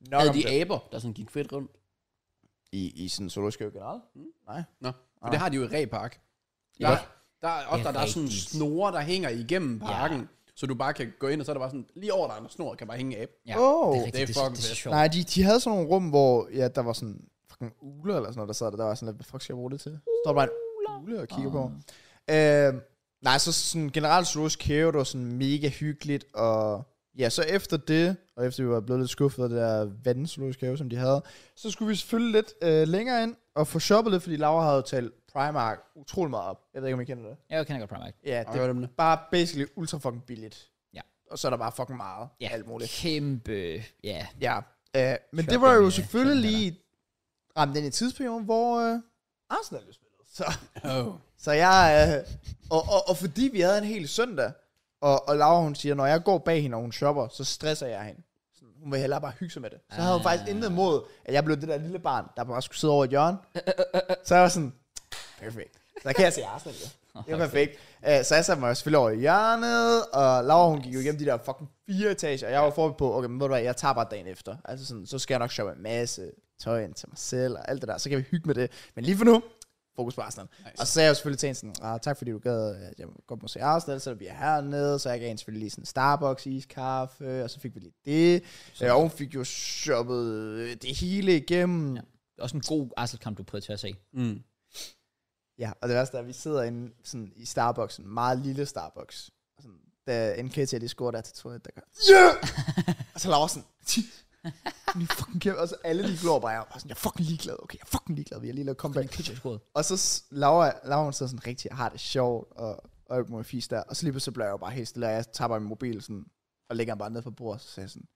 Nok
Havde
om
de
det.
aber, der sådan gik fedt rundt?
I, i sådan en zoologisk have generelt? Hmm? Nej.
Nå, for det har de jo i Repark. Der,
Ja.
der, er ofte,
Det er
der er sådan
rigtigt.
snore, der hænger igennem parken, så du bare kan gå ind, og så er der bare sådan, lige over der er en snor, kan bare hænge af.
Ja,
Åh,
det er rigtigt.
det er
Det, det, det,
fucking
det, er
fedt.
sjovt.
Nej, de, de havde sådan nogle rum, hvor ja, der var sådan fucking ule eller sådan noget, der sad der. Der var sådan lidt, hvad fuck skal jeg bruge det til? Så står der bare en ule og kigger på. Øh, nej, så sådan generelt zoologisk have, det var sådan mega hyggeligt, og ja, så efter det, og efter vi var blevet lidt skuffet af det der vandzoologisk have, som de havde, så skulle vi selvfølgelig lidt øh, længere ind og få shoppet lidt, fordi Laura havde talt Primark utrolig meget op. Jeg ved ikke, om I kender det.
Jeg kender godt Primark.
Ja,
Og
det er
dem det.
bare basically ultra fucking billigt.
Ja.
Og så er der bare fucking meget
Ja,
af alt muligt.
kæmpe... Ja,
Ja, øh, men
Shopping,
det var jo
ja,
selvfølgelig
shopping
lige ramt ind i tidsperiode, hvor øh, Arsenal jo spillede. Så,
Oh.
så jeg, øh, og, og, og fordi vi havde en hel søndag, og, og Laura hun siger, når jeg går bag hende, og hun shopper, så stresser jeg hende. Sådan, hun vil hellere bare hygge sig med det. Så havde hun faktisk intet mod, at jeg blev det der lille barn, der bare skulle sidde over i et hjørne. Så jeg var sådan, perfekt. Så kan jeg se Arsenal, ja. Det er perfekt. Øh, Så jeg satte mig selvfølgelig over i hjørnet, og Laura hun gik jo igennem de der fucking fire etager, og jeg var forberedt på, okay, men ved du hvad, jeg tager bare dagen efter. Altså sådan, så skal jeg nok shoppe en masse tøj ind til mig selv og alt det der, så kan vi hygge med det. Men lige for nu, fokus på Arsenal. Nice. Og så sagde jeg jo selvfølgelig til hende sådan, ah, tak fordi du gad, at jeg godt må se Arsenal, så vi er hernede, så jeg gav hende selvfølgelig lige sådan en Starbucks iskaffe, og så fik vi lige det. Så. Og hun fik jo shoppet øh, det hele igennem. Ja.
også en god Arsenal-kamp, du prøvede til at se.
Mm.
Ja, og det værste er, at vi sidder inde sådan, i Starbucks, en meget lille Starbucks. Og sådan, da NKT lige scorer der til 2 der gør, yeah! og så Laura sådan, "Hun er fucking kæmpe. Og så alle lige glår bare, jeg var sådan, jeg er fucking ligeglad, okay, jeg er fucking ligeglad, vi har lige lavet comeback.
Pitcher
Og så s- Laura, Laura hun sidder sådan rigtig, jeg har det sjovt, og og alt muligt fisk der. Og så lige pludselig bliver jeg jo bare helt stille, og jeg tager bare min mobil sådan, og lægger den bare ned på bordet, så siger jeg sådan,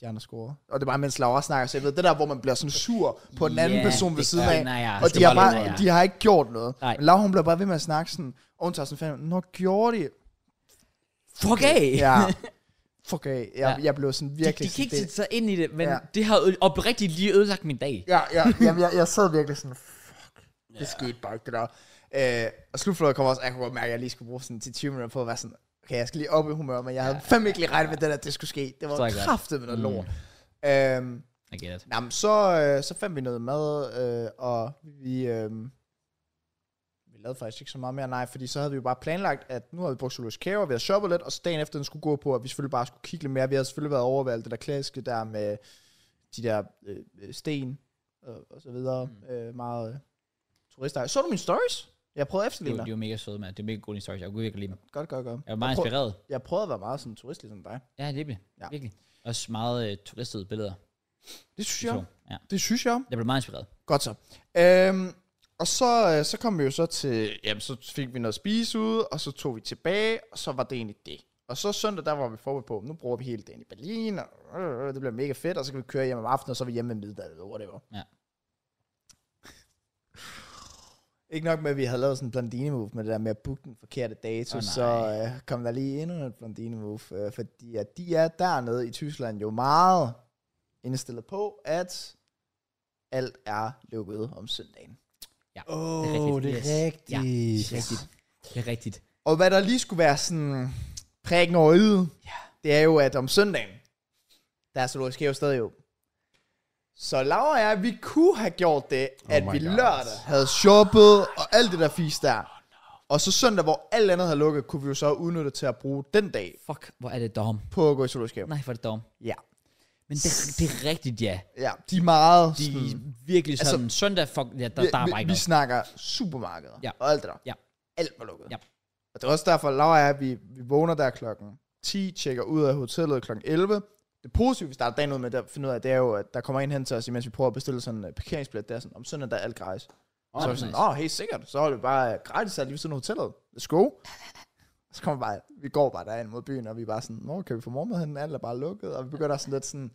de andre scorer. Og det er bare, mens Laura snakker, så jeg ved, det der, hvor man bliver sådan sur på den anden
Ja,
person ved
det
siden
kender
af.
jeg.
og
Det
de har,
kender
bare,
jeg.
de har ikke gjort noget.
Nej.
Men Laura, hun bliver bare ved med at snakke sådan, og hun tager sådan fandme, når gjorde de?
Fuck af!
Ja. Fuck af. Jeg,
Ja.
jeg blev sådan
De,
virkelig...
de kan
sådan,
ikke
det-
sætte sig ind i det, men
Ja.
det har ø- oprigtigt lige ødelagt min dag.
Ja, ja, jamen, jeg, jeg sad virkelig sådan, fuck, det skete bare ikke, det der. Øh, og slutfløjet kom også, og jeg kunne godt mærke, at jeg lige skulle bruge sådan 10-20 minutter på at være sådan, okay, jeg skal lige op i humør, men jeg havde fandme ikke lige regnet med det der, det skulle ske. Det
Forstår
var
jeg godt.
kraftet med noget lort. Øhm,
I get it.
nå, men så, øh, så fandt vi noget mad, øh, og vi, øh, vi lavede faktisk ikke så meget mere, nej, fordi så havde vi jo bare planlagt, at nu havde vi brugt zoologisk kæve, og vi havde shoppet lidt, og så dagen efter den skulle gå på, at vi selvfølgelig bare skulle kigge lidt mere. Vi havde selvfølgelig været over ved alt det der klassiske der med de der øh, øh, sten og, og så videre. Mm. Øh, meget øh, turister. Så du mine stories? Jeg prøvede at
Det
efterligne
var,
dig.
det var mega søde, mand. Det er mega gode historier. Jeg kunne virkelig lide dem.
Godt, godt, godt.
Jeg var meget
prøv-
inspireret.
Jeg prøvede at være meget sådan turist ligesom dig.
Ja, det blev.
Ja.
Ja. Virkelig. Også meget øh, turistede billeder.
Det synes
de to.
jeg.
Ja.
Det synes jeg.
Jeg blev meget inspireret.
Godt så. Øhm, og så, øh, så kom vi jo så til, jamen så fik vi noget at spise ud, og så tog vi tilbage, og så var det egentlig det. Og så søndag, der var vi forberedt på, nu bruger vi hele dagen i Berlin, og øh, øh, det bliver mega fedt, og så kan vi køre hjem om aftenen, og så er vi hjemme ved middag, eller whatever.
Ja.
Ikke nok med, at vi havde lavet sådan en blondine-move med det der med at booke den forkerte dato,
Åh,
oh,
nej.
så øh, kom der lige endnu et blondine-move, øh, fordi at de er dernede i Tyskland jo meget indstillet på, at alt er lukket om søndagen.
Ja.
Åh,
rigtigt.
det er
Yes.
rigtigt.
Ja, det er
Yes.
rigtigt. Det er rigtigt.
Og hvad der lige skulle være sådan prikken over yde, ja. det er jo, at om søndagen, der er zoologisk have stadig jo. Så Laura og jeg, vi kunne have gjort det, oh at
my
vi
God.
lørdag havde shoppet og alt det der fis der. Og så søndag, hvor alt andet havde lukket, kunne vi jo så udnytte til at bruge den dag
Fuck, hvor er det dom.
på at gå i zoologisk have.
Nej, hvor er det dom.
Ja.
Men det, det er rigtigt, ja.
ja, de er meget...
De
sådan-
er virkelig
Altså-
sådan, altså, søndag, fuck, ja, der, der er
vi,
bare
vi,
ikke
vi
noget.
snakker supermarkeder
Ja.
og alt det der.
Ja.
Alt var lukket.
Ja.
Og det er også derfor, Laura og jeg, vi, vi vågner der klokken 10, tjekker ud af hotellet klokken 11. Det positive, vi starter dagen ud med at finde ud af, det er jo, at der kommer en hen til os, imens vi prøver at bestille sådan en øh, parkeringsbillet. Der sådan, om søndag der er alt gratis. Og så er vi sådan, åh, oh, helt sikkert. Så holder vi bare øh, gratis her lige ved siden af hotellet. Let's go. Så kommer vi bare, vi går bare derind mod byen, og vi er bare sådan, nå, kan vi få morgenmad henne? Alt er bare lukket, og vi begynder sådan lidt sådan,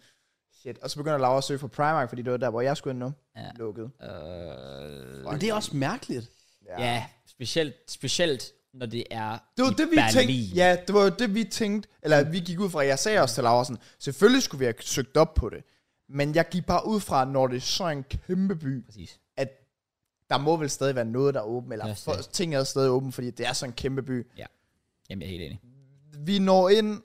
shit. Og så begynder Laura at søge for Primark, fordi det var der, hvor jeg skulle ind nu.
Ja.
Lukket.
Øh,
Men det er også mærkeligt.
ja, specielt, specielt, når det er
Det var
i
det, vi
Berlin.
tænkte. Ja, det var jo det, vi tænkte. Eller vi gik ud fra, jeg sagde også til Laura sådan, selvfølgelig skulle vi have søgt op på det. Men jeg gik bare ud fra, når det er så en kæmpe by,
Præcis.
at der må vel stadig være noget, der er åbent, eller
Ja,
for,
stadig.
ting er stadig åbent, fordi det er så en kæmpe by.
Jamen, jeg er helt enig.
Vi når ind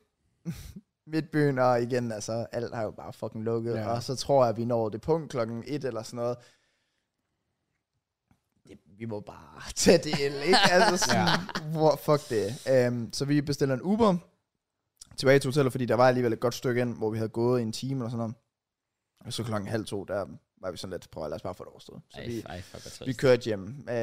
midtbyen, og igen, altså, alt har jo bare fucking lukket,
Ja.
ja. og så tror jeg, at vi når det punkt klokken et eller sådan noget, vi må bare tage det el, ikke? Altså sådan, hvor, fuck det. Um, så vi bestiller en Uber tilbage til hotellet, fordi der var alligevel et godt stykke ind, hvor vi havde gået en time eller sådan noget. Og så klokken halv to, der var vi sådan lidt, prøv at lad os bare få det overstået. Så
Ej,
vi,
ej, fuck, hvor
vi
trist.
kørte hjem. Øh,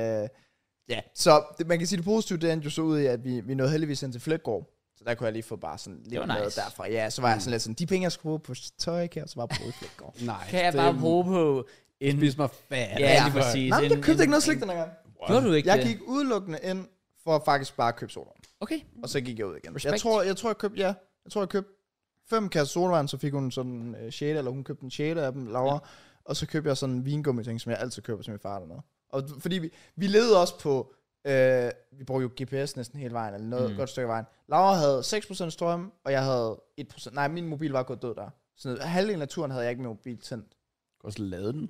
ja, så det, man kan sige det positive, det endte jo så ud i, at vi, vi nåede heldigvis ind til Flætgård. Så der kunne jeg lige få bare sådan lidt
var
noget
nice. Mm.
derfra. Ja, så var jeg sådan lidt sådan, de penge, jeg skulle bruge på tøj, kan jeg så bare bruge i Flætgård.
Nej.
Kan jeg bare bruge på en...
Spis mig fat.
Ja, lige præcis.
Nej, men jeg
En-
købte
en-
ikke noget slik den her gang.
Gjorde du ikke
Jeg
det?
gik udelukkende ind for at faktisk bare købe soda.
Okay.
Og så gik jeg ud igen. Jeg
Respekt.
tror, jeg tror, jeg købte, ja, jeg tror, jeg købte fem kasser sodavand, så fik hun sådan en øh, sjæle, eller hun købte en sjæle af dem, Laura. Ja. Og så købte jeg sådan en vingummi ting, som jeg altid køber til min far eller noget. Og d- fordi vi, vi levede også på, øh, vi brugte jo GPS næsten hele vejen, eller noget mm. godt stykke af vejen. Laura havde 6% strøm, og jeg havde 1%, nej, min mobil var gået død der. Så halvdelen af turen havde jeg ikke min mobil tændt.
Du kan også lade den.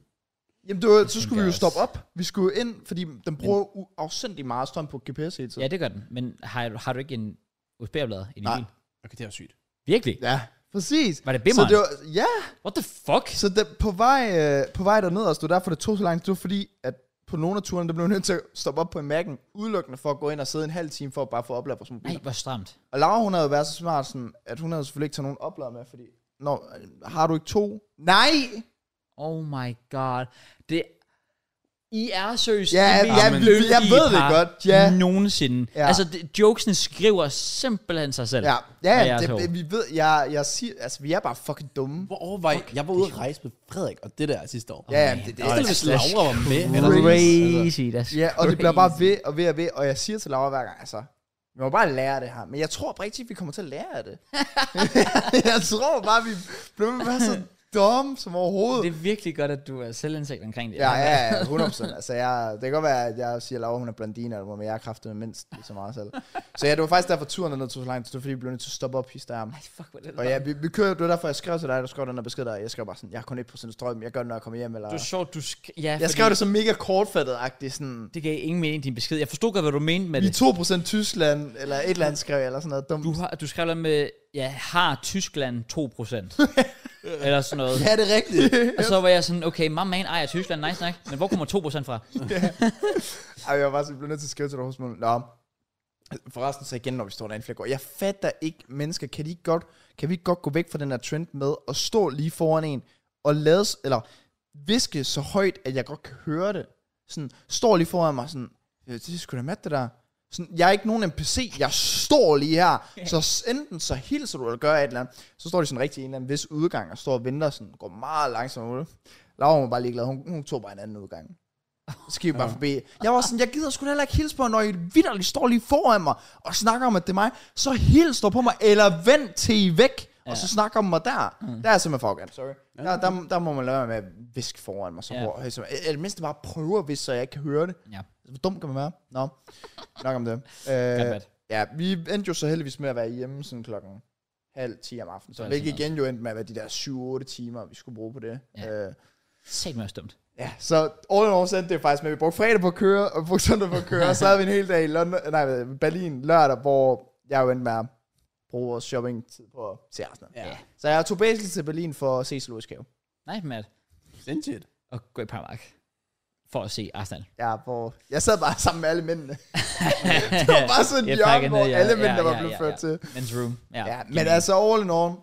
Jamen, det var, så skulle vi jo
også.
stoppe op. Vi skulle jo ind, fordi den bruger Men... afsindig meget strøm på GPS hele tiden.
Ja, det gør den. Men har, har du ikke en USB-oplader i din
Nej.
bil?
Okay, det er jo sygt.
Virkelig?
ja. præcis.
Var det
så
bimmeren?
det var, ja,
What the fuck?
Så det, på, vej, øh, på vej derned, altså, det var derfor, det tog så lang tid, det var fordi, at på nogle af turene, der blev jeg nødt til at stoppe op på en Mac'en, udelukkende for at gå ind og sidde en halv time for at bare få opladet vores
Nej,
mobil.
hvor stramt.
Og Laura, hun havde jo været så smart, sådan, at hun havde selvfølgelig ikke taget nogen oplader med, fordi, Nå, øh, har du ikke to? Nej!
Oh my god. Det... I er seriøst
Ja,
det mest
ja, men-
lykkelige
jeg ved det
par
godt, ja.
Nogensinde.
Ja.
Ja. Altså, det, jokesene skriver simpelthen sig selv.
Ja,
Og
ja,
jeg er
det,
sjov.
det, vi ved, jeg, jeg siger, altså, vi er bare fucking dumme.
Hvor overvej, jeg var ude at rejse med Frederik, og det der sidste år.
Ja, ja, det, det,
Det er hvis Laura var med. Eller sådan noget. Altså,
Crazy, that's
Ja, og det bliver
crazy.
bare ved og ved og ved, og jeg siger til Laura hver gang, altså, vi må bare lære det her. Men jeg tror rigtig, vi kommer til at lære af det. jeg tror bare, vi bliver med at være så dumme som overhovedet.
Det er virkelig godt, at du er selvindsigt omkring det.
Ja, ja, ja, 100%. Altså, jeg, det kan godt være, at jeg siger, at Laura, hun er blandine, eller hvad, men jeg er kraftet med mindst lige så meget selv. Så ja, det var faktisk derfor, turen er nødt til så langt, det var, fordi vi blev nødt til at stoppe op i der.
Ej, fuck, hvor er det
Og ja, vi, vi kører, det var derfor, jeg skrev til dig, der skrev den der besked der, jeg skrev bare sådan, jeg har kun 1% strøm, jeg gør det, når jeg kommer hjem, eller...
Det var sjovt, du sk- ja,
Jeg
fordi
skrev det så mega kortfattet-agtigt, sådan,
Det gav ingen mening, din besked. Jeg forstod godt, hvad du mente med
Vi
det.
er 2% Tyskland, eller et eller andet skrev jeg, eller sådan noget dumt.
Du, har, du skrev noget med, ja, har Tyskland 2%? eller sådan noget.
Ja, det er rigtigt.
Og så var jeg sådan, okay, my man ejer Tyskland, nice nok. Men hvor kommer 2% fra?
Ej, jeg var bare sådan, blev nødt til at skrive til dig hos mig. Nå, forresten så igen, når vi står derinde i flere år. Jeg fatter ikke mennesker. Kan, de ikke godt, kan vi ikke godt gå væk fra den her trend med at stå lige foran en og lade, s- eller viske så højt, at jeg godt kan høre det? Sådan, står lige foran mig sådan, "Øh, det er sgu da mat, det der. Sådan, jeg er ikke nogen NPC, jeg står lige her. Så s- enten så hilser du, eller gør et eller andet. Så står de sådan rigtig i en eller anden vis udgang, og står og venter sådan, går meget langsomt ud. Laura var bare ligeglad, hun, hun tog bare en anden udgang. Skib bare forbi. Jeg var sådan, jeg gider sgu da heller ikke hilse på, jer, når I vidderligt står lige foran mig, og snakker om, at det er mig, så hils dog på mig, eller vend til I er væk, og så snakker om mig der. Mm. Der er jeg simpelthen fucking, sorry. Der, der, der, må man lade være med at viske foran mig, så
Ja.
yeah. som, eller mindst bare prøve at viske, så jeg ikke kan høre det.
Ja,
Hvor dum kan man være? Nå, nok om det.
godt
Øh,
øh,
ja, vi endte jo så heldigvis med at være hjemme sådan klokken halv 10 om aftenen,
Det
så
var
hvilket
altså
igen jo endte med at være de der 7-8 timer, vi skulle bruge på det.
Ja.
Øh,
Sæt mig dumt.
Ja, så all in all så endte det faktisk med, at vi brugte fredag på at køre, og brugte søndag på at køre, og så havde vi en hel dag i London, nej, hvad hedder det, Berlin lørdag, hvor jeg jo endte med at bruge vores shopping-tid på at se Arsenal.
Ja.
Så jeg tog basically til Berlin for at se Zoologisk Have.
Nej, Matt.
Sindssygt.
Og gå i Parmark. For at se Arsenal.
Ja, hvor jeg sad bare sammen med alle mændene. det var bare sådan en hjørne, hvor alle mændene var blevet ført til.
Men's room. Ja,
Ja, men altså all in all,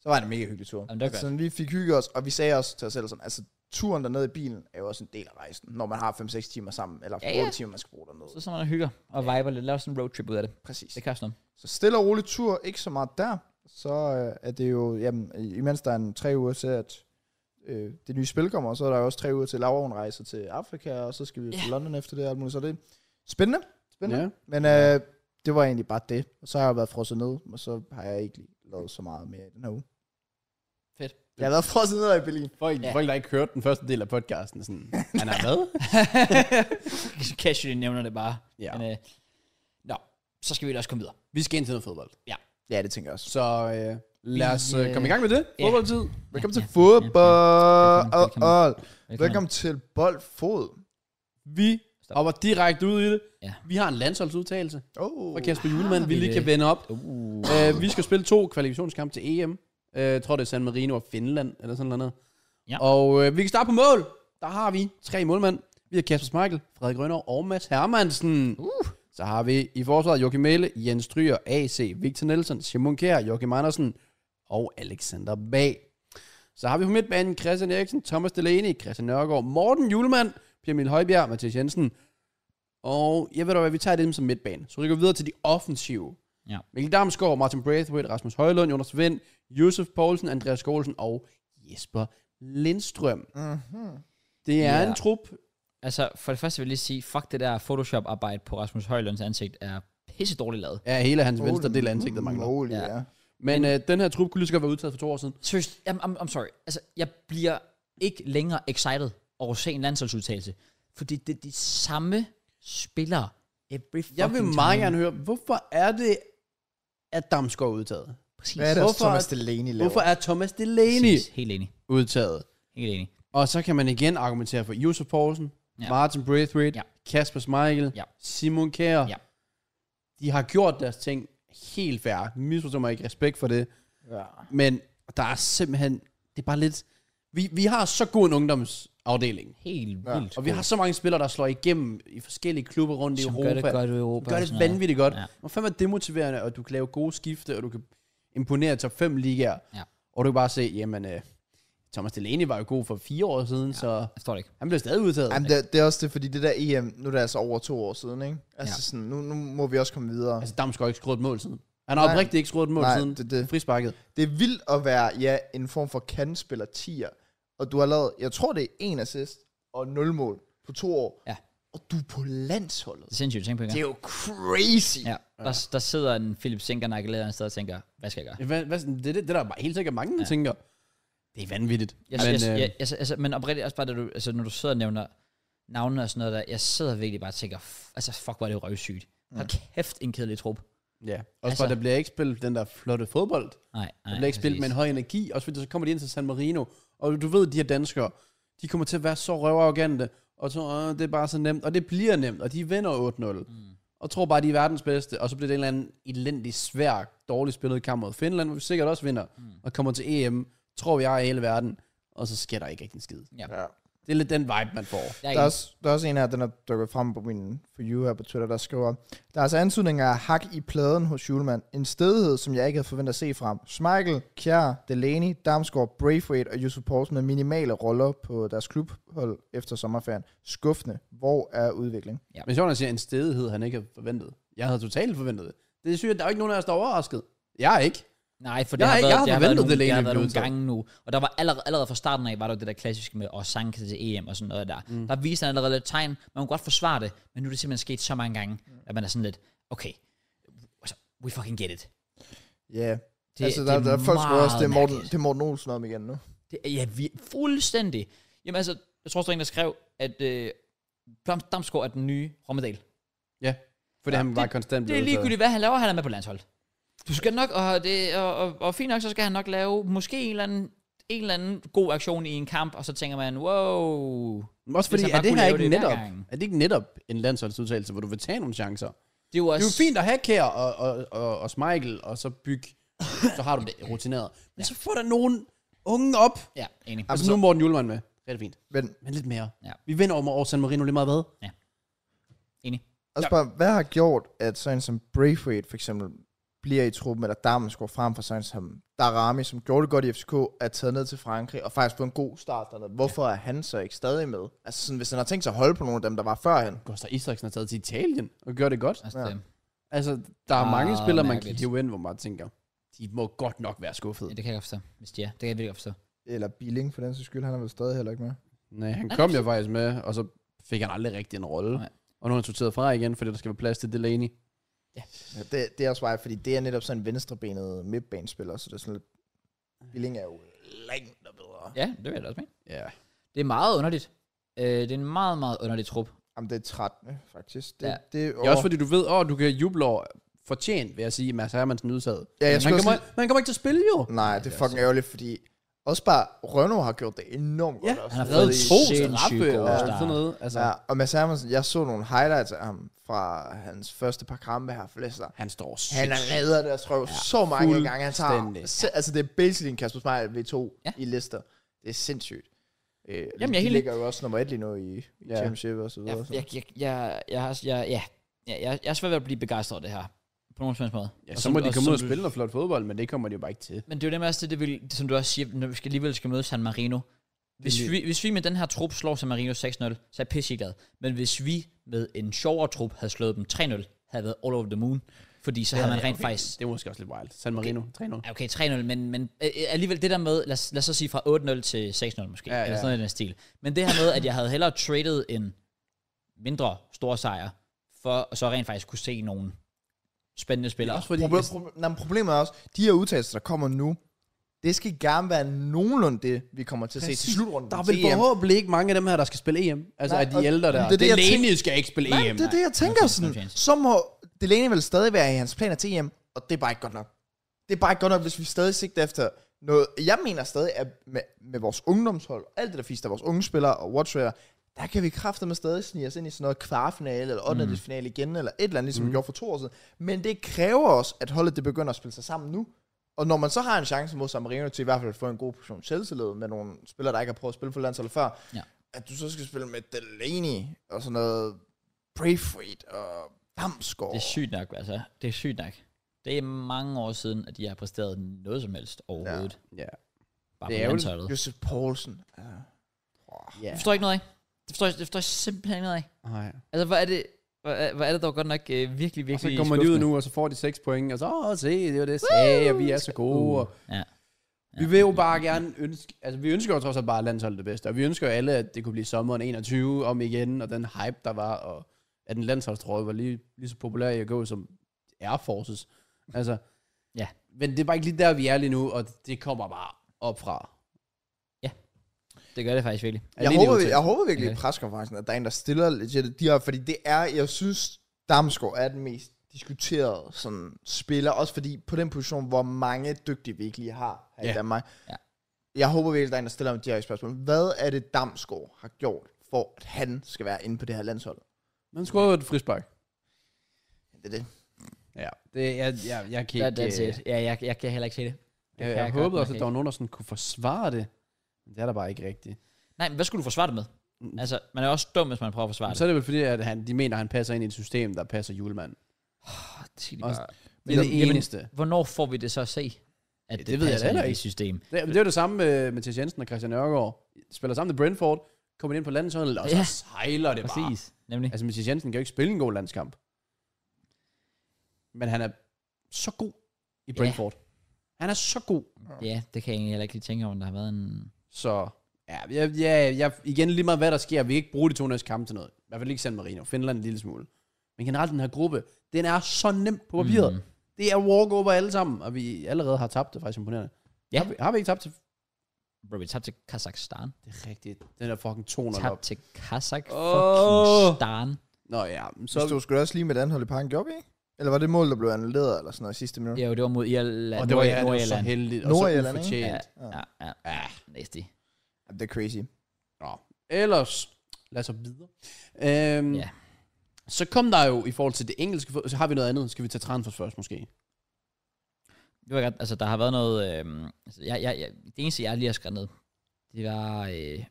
så var det en mega hyggelig tur.
Jamen, det er
altså, vi fik hygget os, og vi sagde også til os selv sådan, altså turen dernede i bilen er jo også en del af rejsen, når man har 5-6 timer sammen, eller 8
Ja, ja.
timer, man skal bruge dernede.
Så sådan man hygger og viber lidt. Lav sådan en roadtrip ud af det.
Præcis.
Det kan sådan noget.
Så stille og rolig tur, ikke så meget der. Så øh, er det jo, jamen, imens der er en tre uger til, at øh, det nye spil kommer, så er der jo også tre uger til, Laura hun rejser til Afrika, og så skal vi yeah. til London efter det, og alt muligt. Så det er spændende, spændende.
Ja.
Yeah. Men øh, det var egentlig bare det. Og så har jeg jo været frosset ned, og så har jeg ikke lavet så meget mere i den her uge.
Fedt.
Jeg har været frosset ned i Berlin.
Folk,
Ja.
folk, der ikke hørte den første del af podcasten, sådan, han er med.
Casually nævner det bare.
Ja.
Men, øh, nå, så skal vi da også komme videre.
Vi skal ind til noget fodbold.
Ja, det tænker jeg også.
Så øh, lad os øh,
øh,
komme i gang med det.
ja.
Fodboldtid.
Velkommen
Ja,
til
ja,
fodbold.
ja. Velkommen,
og- og- Velkommen til boldfod.
Vi
Stop.
hopper direkte ud i det.
Ja.
Vi har en landsholdsudtalelse
Oh.
fra Kasper Julemand, Ah. vi
vi
lige
det?
kan vende op.
Uh.
Uh, vi skal spille to kvalifikationskampe til EM. Uh, jeg tror, det er San Marino og øh, Finland, eller sådan noget.
Ja.
Og uh, vi kan starte på mål. Der har vi tre målmænd. Vi har Kasper Smeichel, Frederik Grønner og Mads Hermansen. Uh. Så har vi i forsvaret Joachim Mæle, Jens Stryger, AC, Victor Nielsen, Simon Kjær, Joachim Andersen og Alexander Bag. Så har vi på midtbanen Christian Eriksen, Thomas Delaney, Christian Nørgaard, Morten Julemand, Pierre Emil Højbjerg, Mathias Jensen. Og jeg ved da hvad, vi tager dem som midtbane. Så vi går videre til de offensive.
Ja.
Mikkel Damsgaard, Martin Braithwaite, Rasmus Højlund, Jonas Vind, Josef Poulsen, Andreas Gårdsen og Jesper Lindstrøm.
Mm-hmm.
Det er
Ja.
en trup.
Altså, for det første vil jeg lige sige, fuck det der Photoshop-arbejde på Rasmus Højlunds ansigt er pisse dårligt lavet.
Ja, hele hans venstre del af
Mhm.
ansigtet mangler.
Mål, ja.
Ja.
ja.
Men øh, den her trup kunne lige så godt være udtaget for to år siden.
Seriøst, I'm, I'm, I'm sorry. Altså, jeg bliver ikke længere excited over at se en landsholdsudtagelse. Fordi det er de samme spillere every fucking
Jeg vil meget
time.
gerne høre, hvorfor er det, at Damsgaard er udtaget?
Præcis.
Hvad er det, også
Hvorfor-
Thomas Delaney laver?
Hvorfor er Thomas Delaney
Præcis. Helt enig.
udtaget?
Helt enig.
Og så kan man igen argumentere for Josef Poulsen, ja.
Ja.
Martin Braithwaite, ja.
Ja.
Kasper Schmeichel, ja.
Ja.
Simon Kjær.
Ja.
De har gjort deres ting helt fair. Misforstå mig ikke respekt for det.
Ja.
Men der er simpelthen, det er bare lidt, vi, vi har så god en ungdomsafdeling.
Helt
Ja,
vildt.
Og vi har så mange spillere, der slår igennem i forskellige klubber rundt
Som
i Europa.
gør det godt i Europa.
gør
og
det
sådan noget.
vanvittigt godt. Ja.
Ja.
Og fandme er det motiverende, og du kan lave gode skifte, og du kan imponere top 5 ligaer.
Ja.
Og du kan bare se, jamen, øh, Thomas Delaney var jo god for fire år siden, ja. så
Jeg forstår det ikke.
han blev stadig udtaget.
Jamen, det, det er også det, fordi det der EM, nu er det altså over to år siden, ikke? Altså
Ja.
sådan, nu, nu må vi også komme videre.
Altså, Damsgaard har ikke skruet et mål siden. Han har
Nej.
oprigtigt ikke skruet et mål
Nej,
siden.
det- det-
Frisparket.
Det er vildt at være, ja, en form for kandspiller 10'er, og du har lavet, jeg tror det er en assist og nul mål på to år,
Ja.
og du er på landsholdet.
Det er sindssygt, tænk på det.
Det er jo crazy.
Ja. Der, der sidder en Philip Senker nakkelæder et sted og tænker, hvad skal jeg gøre?
Hvad, hvad, det, er det, det er der bare helt sikkert mange, der ja. tænker, det er vanvittigt.
Jeg,
Men,
men, jeg,
øh,
jeg, jeg, altså, men oprigtigt også bare, da du, altså, når du sidder og nævner navnene og sådan noget der, jeg sidder virkelig bare og tænker, f- altså fuck, hvor er det røvsygt. Hold
Mm.
kæft, en kedelig trup.
ja. Også
altså-
bare, der bliver ikke spillet den der flotte fodbold.
Nej, nej.
Der bliver ikke spillet med en høj energi. Også fordi så kommer de ind til San Marino. Og du ved, de her danskere, de kommer til at være så røvarrogante. Og så, øh, det er bare så nemt. Og det bliver nemt. Og de vinder 8-0. Mm. Og tror bare, de er verdens bedste. Og så bliver det en eller anden elendig, svær, dårlig spillet kamp mod Finland, hvor vi sikkert også vinder. Mm. Og kommer til EM, tror jeg, i hele verden. Og så sker der ikke rigtig en skid.
Ja.
Det er lidt den vibe, man får.
Jeg er
Der er,
ikke,
også, der er også en her, den er dukket frem på min For You her på Twitter, der skriver, der er altså antydninger af hak i pladen hos Julemand. En stedighed, som jeg ikke havde forventet at se frem. Schmeichel, Kjær, Delaney, Damsgaard, Braithwaite og Yusuf Poulsen med minimale roller på deres klubhold efter sommerferien. Skuffende. Hvor er udvikling?
Men sjovt, at siger en stedighed, han ikke havde forventet. Jeg havde totalt forventet det. Det er sygt, at der er ikke nogen af os, der er overrasket. Jeg er ikke.
nej, for det
Jeg
har
har-
været,
jeg har
det har været
forventet,
nogle,
det
det har
alene
været
blev
nogle
udtaget.
gange nu. Og der var allerede, allerede fra starten af, var der jo det der klassiske med, og Sanke til EM og sådan noget der. Mm. Der viste han allerede lidt tegn. Man kunne godt forsvare det, men nu er det simpelthen sket så mange gange, at man er sådan lidt, okay, altså, we fucking get it.
Ja. Yeah.
Det-
altså,
det
der,
er
der er folk, som også, det er
meget
Morten,
mærkeligt.
det er Morten Olsen om igen nu.
Det, er- ja, vi, fuldstændig. Jamen altså, jeg tror også, der er en, der skrev, at øh, Dam- Damsgaard er den nye Rommedal.
Ja, fordi
Ja,
han bare konstant
Det er
blev
ligegyldigt, hvad han laver, han er med på landshold. Du skal nok, og, det, og, og, og fint nok, så skal han nok lave måske en eller anden, en eller anden god aktion i en kamp, og så tænker man, wow.
udtaget. Også fordi,
Hvis han bare
er det
kunne
her
lave
ikke
det hver
netop,
gang.
er det ikke netop en landsholdsudtalelse, hvor du vil tage nogle chancer?
Det er jo
Det er
også...
jo fint at have Kjær og, og, og, og Smeichel, og så bygge, så har du det rutineret. Men ja. så får der nogen unge op.
Ja, enig.
Altså nu er Morten Julemand med. Rigtig fint.
Men
Men lidt mere.
Ja.
Vi vinder over over San Marino lige meget hvad?
enig.
altså bare, hvad har gjort, at sådan som Braithwaite for eksempel bliver i truppen, eller Damsgaard frem for sådan som Darami, som gjorde det godt i FCK, er taget ned til Frankrig, og faktisk på en god start dernede. Hvorfor er han så ikke stadig med? Altså sådan, hvis han har tænkt sig at holde på nogle af dem, der var førhen.
Gustav Isaksen er taget til Italien og gør det godt.
Altså,
Ja.
ja.
Altså, der er
Ah,
mange spillere, man kan
mærkeligt.
hive ind, hvor man tænker, de må godt nok være skuffede.
ja, det kan jeg godt forstå, hvis de er. Det kan jeg virkelig godt forstå.
Eller Billing for den sags skyld, han er vel stadig heller ikke med.
Nej, han kom jo faktisk med, og så fik han aldrig rigtig en rolle.
Nej.
Og nu er han sorteret fra igen, fordi der skal være plads til Delaney.
Ja, det, det er også bare, fordi det er netop sådan en venstrebenet midtbanespiller, så det er sådan lidt... Billing er jo langt og bedre.
Ja, det vil jeg da også mene.
Ja.
Det er meget underligt. Øh, det er en meget, meget underlig trup.
Jamen, det er 13, faktisk. Det,
Ja.
ja. det,
Det er også fordi, du ved, åh, du kan juble over fortjent, vil jeg sige, Mads Hermansen udtaget.
Ja, jeg
Men han,
skulle
kommer,
også
men han kommer ikke til at spille jo.
Nej, det er fucking ærgerligt, fordi også bare Rønno har gjort det enormt
Ja,
godt. også.
han har
Reddet
Det er
to
sindssygt
straffe
god
og
start.
sådan noget. Altså,
Ja, og Mads Hermansen, jeg så nogle highlights af ham fra hans første par kampe her for Leicester.
han står
Han
sindssygt.
redder deres røv ja, så mange gange. Han tager,
fuldstændig.
se, altså det er basically en Kasper Smeichel V2
Ja.
ja. i Leicester. Det er sindssygt. Øh,
jeg er
de
helt-
ligger jo også nummer et lige nu i, i
Ja.
championship og så videre.
Jeg, jeg, jeg, jeg, jeg, har, jeg, ja. jeg, jeg, jeg er svært ved at blive begejstret over det her. På nogen som helst måde.
Ja,
Og
så
som-
må de
og
komme
som
ud og
du-
spille noget flot fodbold, men det kommer de jo bare ikke til.
Men det er jo dem også, det, det vil, det, som du også siger, når vi skal, alligevel skal møde San Marino. Hvis
Det-
vi, hvis vi med den her trup slår San Marino 6-0, så er jeg pisseglad. Men hvis vi med en sjovere trup havde slået dem 3-0, havde jeg været all over the moon. Fordi så havde man rent faktisk
Det er måske også lidt wild. San Marino, 3-0.
Ja, Okay, 3-0, men, men øh, alligevel det der med, lad os, lad os så sige fra 8-0 til 6-0 måske,
Ja,
ja,
ja.
ja. eller sådan noget i den stil. Men det her med, at jeg havde hellere traded en mindre stor sejr, for at så rent faktisk kunne se nogle spændende spillere.
Også fordi, Altså,
Proble- proble- nej, men problemet er også, de her udtalelser, der kommer nu, det skal gerne være nogenlunde det, vi kommer til at se til
Præcis.
slutrunden.
der er
til
vel
EM.
forhåbentlig ikke mange af dem her, der skal spille EM. Altså
Nej,
af de
og-
ældre der.
det er det, jeg
Delaney
tænker-
skal ikke spille E
Nej,
EM.
det er det, jeg tænker
no chance, no
sådan.
chance.
så må Delaney vel stadig være i hans planer til hjem, og det er bare ikke godt nok. Det er bare ikke godt nok, hvis vi stadig sigter efter noget. Jeg mener stadig, at med, med vores ungdomshold, og alt det der fisk, der er vores unge spillere og whatsoever, der kan vi med stadig snige os ind i sådan noget kvartfinale, eller 8. Mm. finale igen, eller et eller andet, ligesom mm. vi gjorde for to år siden. Men det kræver også, at holdet det begynder at spille sig sammen nu. Og når man så har en chance mod San Marino til i hvert fald at få en god portion selvtillid med nogle spillere, der ikke har prøvet at spille for landsholdet før,
Ja.
at du så skal spille med Delaney og sådan noget, Braithwaite og Damsgaard.
Det er sygt nok, altså. Det er sygt nok. Det er mange år siden, at de har præsteret noget som helst overhovedet. Ja.
Ja.
Bare
Det er
på
jo-
landsholdet.
Josef Poulsen. Ja.
Ja.
Det forstår jeg ikke noget af. Det forstår jeg, det forstår jeg simpelthen ikke noget af.
Nej.
Altså, hvor er det, hvor er, hvor er det dog godt nok øh, virkelig, virkelig
Og så kommer de ud nu, og så får de 6 point, og så, åh, se, det var det, jeg sagde, og vi er så gode. Og
Uh, Ja.
vi vil jo bare gerne ønske, altså vi ønsker jo trods alt bare landsholdet det bedste, og vi ønsker jo alle, at det kunne blive sommeren 21 om igen, og den hype, der var, og at den landsholdstrøje var lige, lige så populær i at gå som Air Forces. Altså,
Ja.
Men det er bare ikke lige der, vi er lige nu, og det kommer bare op fra.
Det gør det faktisk virkelig.
Jeg, håber, jeg, jeg håber
Ja.
virkelig i preskonferencen, at der er en, der stiller legit de her, fordi det er, jeg synes, Damsgaard er den mest diskuterede sådan, spiller, også fordi på den position, hvor mange dygtige vi ikke lige har her
Ja.
i Danmark.
Ja.
Jeg håber virkelig, der er en, der stiller mig de her spørgsmål. Hvad er det, Damsgaard har gjort, for at han skal være inde på det her landshold?
Man skulle jo et frispark.
Det er det.
Ja, det, jeg, jeg, jeg kan
Ja,
ikke...
that's
øh,
it. Ja, jeg, jeg kan heller ikke se det. Det
Jeg,
kan
jeg, jeg
godt
håbede
nok
også, at
ikke.
der var nogen, der sådan kunne forsvare det. Men det er der bare ikke rigtigt.
Nej, men hvad skulle du forsvare det med?
Mm.
Altså, man er også dum, hvis man prøver at forsvare
Så er det vel fordi, at han, de mener, at han passer ind i et system, der passer julemand.
det. Sig det
Og
bare.
det er det
Jamen,
eneste.
Hvornår får vi det så at se? At det,
det
det
ved jeg
ved
da
jeg
heller
ikke.
ikke.
system.
Det, det er jo det samme med Mathias Jensen og Christian Nørgaard. De Spiller sammen med Brentford, kommer ind på landsholdet, og så
Ja.
sejler det bare.
Præcis, nemlig.
Altså Mathias Jensen kan jo ikke spille en god landskamp. Men han er så god i
Ja.
Brentford. Han er så god.
Ja, det kan jeg egentlig heller ikke lige tænke over, om der har været en...
Så ja, jeg, jeg, jeg, igen lige meget hvad der sker, vi kan ikke bruge de to næste kampe til noget. I hvert fald ikke San Marino, Finland en lille smule. Men generelt den her gruppe, den er så nem på
Mhm.
papiret.
Hmm.
Mm. Det er walkover alle sammen, og vi allerede har tabt det, faktisk imponerende.
Ja.
Har, vi, har vi ikke tabt til...
Bro, vi tabte til Kazakhstan.
Det er rigtigt. Den er fucking 200 op.
Tabte til Kazakh
Åh.
fucking stan.
Nå ja, men
Så
så...
vi stod sgu da også lige med et andet hold i parken, gjorde vi ikke? Eller var det mål, der blev annulleret eller sådan noget i sidste minut?
Ja, jo, det var mod Irland.
og det var, ja,
Nord-
det var så
Nordirland.
heldigt, og så
Nordirland, ikke?
ufortjent.
Ja,
Ja.
ja, ja. ja. Næste.
Ja. Ah, Det er crazy.
Nå. Ellers, lad os så videre. Øhm,
Ja.
Så kom der jo, i forhold til det engelske, fod- så har vi noget andet, skal vi tage transfers først måske?
Det var godt. Altså, der har været noget... Øh, altså, jeg, jeg, jeg, det eneste, jeg lige har skrevet ned, det var... Øh,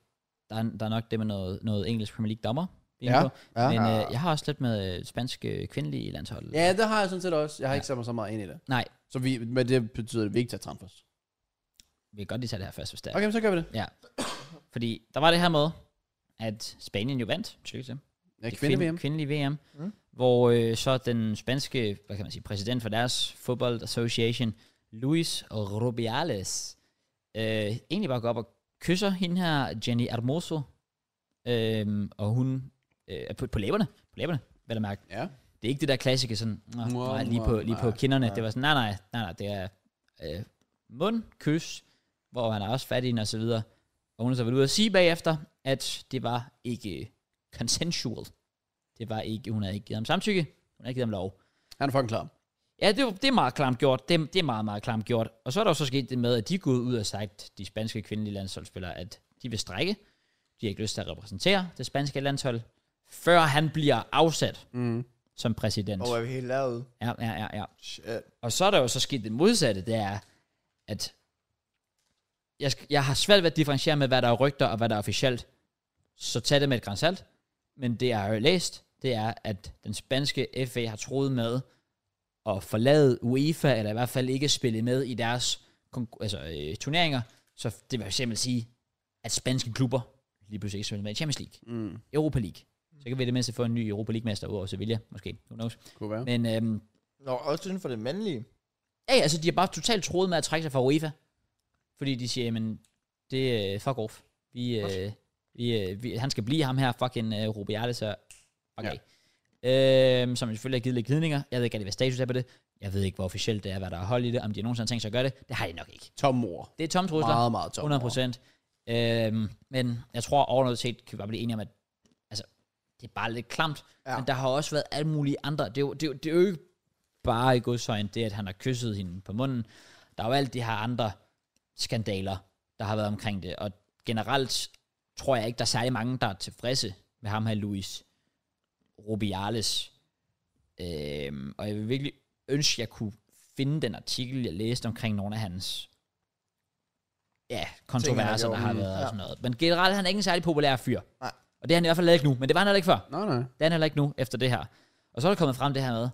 der, er, der er nok det med noget, noget engelsk Premier League dommer. vi er inde
Ja,
på.
ja.
Men øh, jeg har også lidt med øh, spansk øh, kvindelig landshold.
Ja, det har jeg sådan set også. Jeg har ja. ikke sat mig så meget ind i det.
Nej,
Så vi, men det betyder, at vi ikke tager transfers.
vi kan godt lige tage det her først, hvis det er.
Okay, men så gør vi det.
Fordi der var det her med, at Spanien jo vandt, tykker til.
Ja,
Det
kvinde VM.
Kvindelige VM.
Mm.
Mm. Hvor øh, så den spanske, hvad kan man sige, præsident for deres Football Association, Luis Rubiales, øh, egentlig bare går op og kysser hende her, Jenny Hermoso, øh, og hun øh, er på, på læberne, på læberne, hvad der mærke.
Ja.
Det er ikke det der klassiske sådan, "Nå,
Mwah,
nej, lige på,
mwah,
lige på
nej,
kinderne.
nej.
Det var sådan, nej, nej, nej, nej, det er øh, mund, kys, hvor han er også fat i den og så videre. Og hun er så vel ude at sige bagefter, at det var ikke consensual. Det var ikke, hun havde ikke givet ham samtykke, hun havde ikke givet ham lov.
Han er fucking klar.
Ja, det, er jo- det er meget klamt gjort. Det, er- det er meget, meget klamt gjort. Og så er der jo så sket det med, at de er gået ud og sagt, de spanske kvindelige landsholdsspillere, at de vil strække. De har ikke lyst til at repræsentere det spanske landshold, før han bliver afsat
Mm.
som præsident.
Og er vi helt lavet?
Ja, ja, ja, ja.
Shit.
Og så er der jo så sket det modsatte, det er, at jeg, sk- jeg har svært ved at differentiere med, hvad der er rygter og hvad der er officielt. Så tag det med et gran salt. Men det, jeg har læst, det er, at den spanske FA har troet med at forlade UEFA, eller i hvert fald ikke spille med i deres konkur- altså, øh, turneringer. Så det vil simpelthen sige, at spanske klubber lige pludselig ikke spiller med i Champions League.
Mm,
Europa League. Så kan vi i det mindste få en ny Europa League-mester ud over Sevilla, måske. Who knows?
kunne være.
Men øhm,
Nå, også inden for det mandlige.
ja, ja, altså de har bare totalt troet med at trække sig fra UEFA. Fordi de siger, men det er øh, fuck off. Vi, øh, vi, øh, vi, han skal blive ham her, fucking øh, Rubiales og fuck
Ja.
ja. Øhm, som selvfølgelig har givet lidt glidninger. Jeg ved ikke rigtig, hvad status er på det. Jeg ved ikke, hvor officielt det er, hvad der er hold i det. Om de nogensinde har tænkt sig at gøre det. Det har de nok ikke.
Tom ord.
Det er tomme trusler.
Meget, meget tom
100 procent. Øhm, men jeg tror overordnet set, kan vi bare blive enige om, at altså, det er bare lidt klamt.
Ja.
Ja. Men der har også været alle mulige andre. Det er jo, det, er jo- det er jo ikke bare i godsøjen det, at han har kysset hende på munden. Der er jo alle de her andre skandaler, der har været omkring det. Og generelt tror jeg ikke, der er særlig mange, der er tilfredse med ham her, Luis Rubiales. Øhm, og jeg vil virkelig ønske, jeg kunne finde den artikel, jeg læste omkring nogle af hans ja, kontroverser,
gjorde.
der har
Mm,
været og
ja.
sådan noget. Men generelt, han er ikke en særlig populær fyr.
Nej.
Og det er han i hvert fald ikke nu, men det var han heller ikke før.
Nej, nej.
Det er han heller ikke nu, efter det her. Og så er der kommet frem det her med,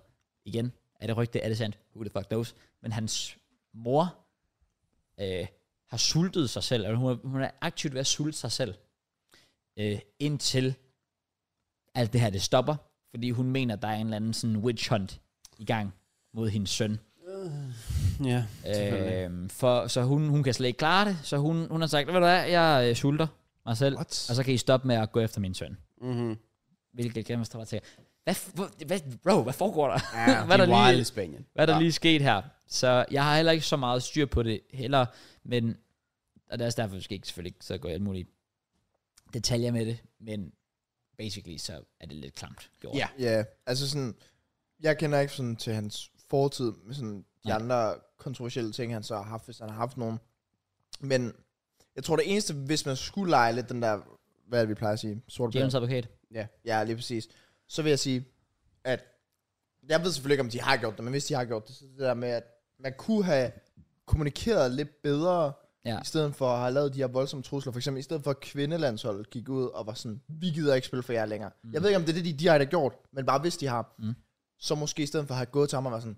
igen, er det rygte, er det sandt? Who the fuck knows? Men hans mor øh, har sultet sig selv, eller hun er, hun er aktivt ved at sulte sig selv, øh, indtil alt det her, det stopper, fordi hun mener, der er en eller anden sådan witch hunt i gang mod hendes søn.
Ja, selvfølgelig.
Øh, for, så hun, hun kan slet ikke klare det, så hun, hun har sagt, ved du hvad, jeg øh, sulter mig selv,
What?
og så kan I stoppe med at gå efter min søn.
Mm-hmm.
Hvilket glemmer står til. Hvad, f- hvor- hvad, bro, hvad foregår der?
Ja,
hvad er der lige-
wild i Spanien.
Hvad er der
Ja.
lige sket her? Så jeg har heller ikke så meget styr på det heller, men, og det er også derfor, jeg ikke selvfølgelig ikke så går i alle mulige detaljer med det, men basically så er det lidt klamt gjort.
Ja.
Ja, altså sådan, jeg kender ikke sådan til hans fortid med sådan de
Nej.
andre kontroversielle ting, han så har haft, hvis han har haft nogen. Men jeg tror det eneste, hvis man skulle lege lidt den der, hvad er det, vi plejer at sige, sort
Djævelens advokat.
Ja, lige præcis. Så vil jeg sige, at jeg ved selvfølgelig ikke, om de har gjort det, men hvis de har gjort det, så det der med, at man kunne have kommunikeret lidt bedre,
Ja.
i stedet for at have lavet de her voldsomme trusler. For eksempel i stedet for, at kvindelandsholdet gik ud og var sådan, vi gider ikke spille for jer længere. Mm. Jeg ved ikke, om det er det, de direkte har gjort, men bare hvis de har,
Mm.
så måske i stedet for at have gået til ham og været sådan,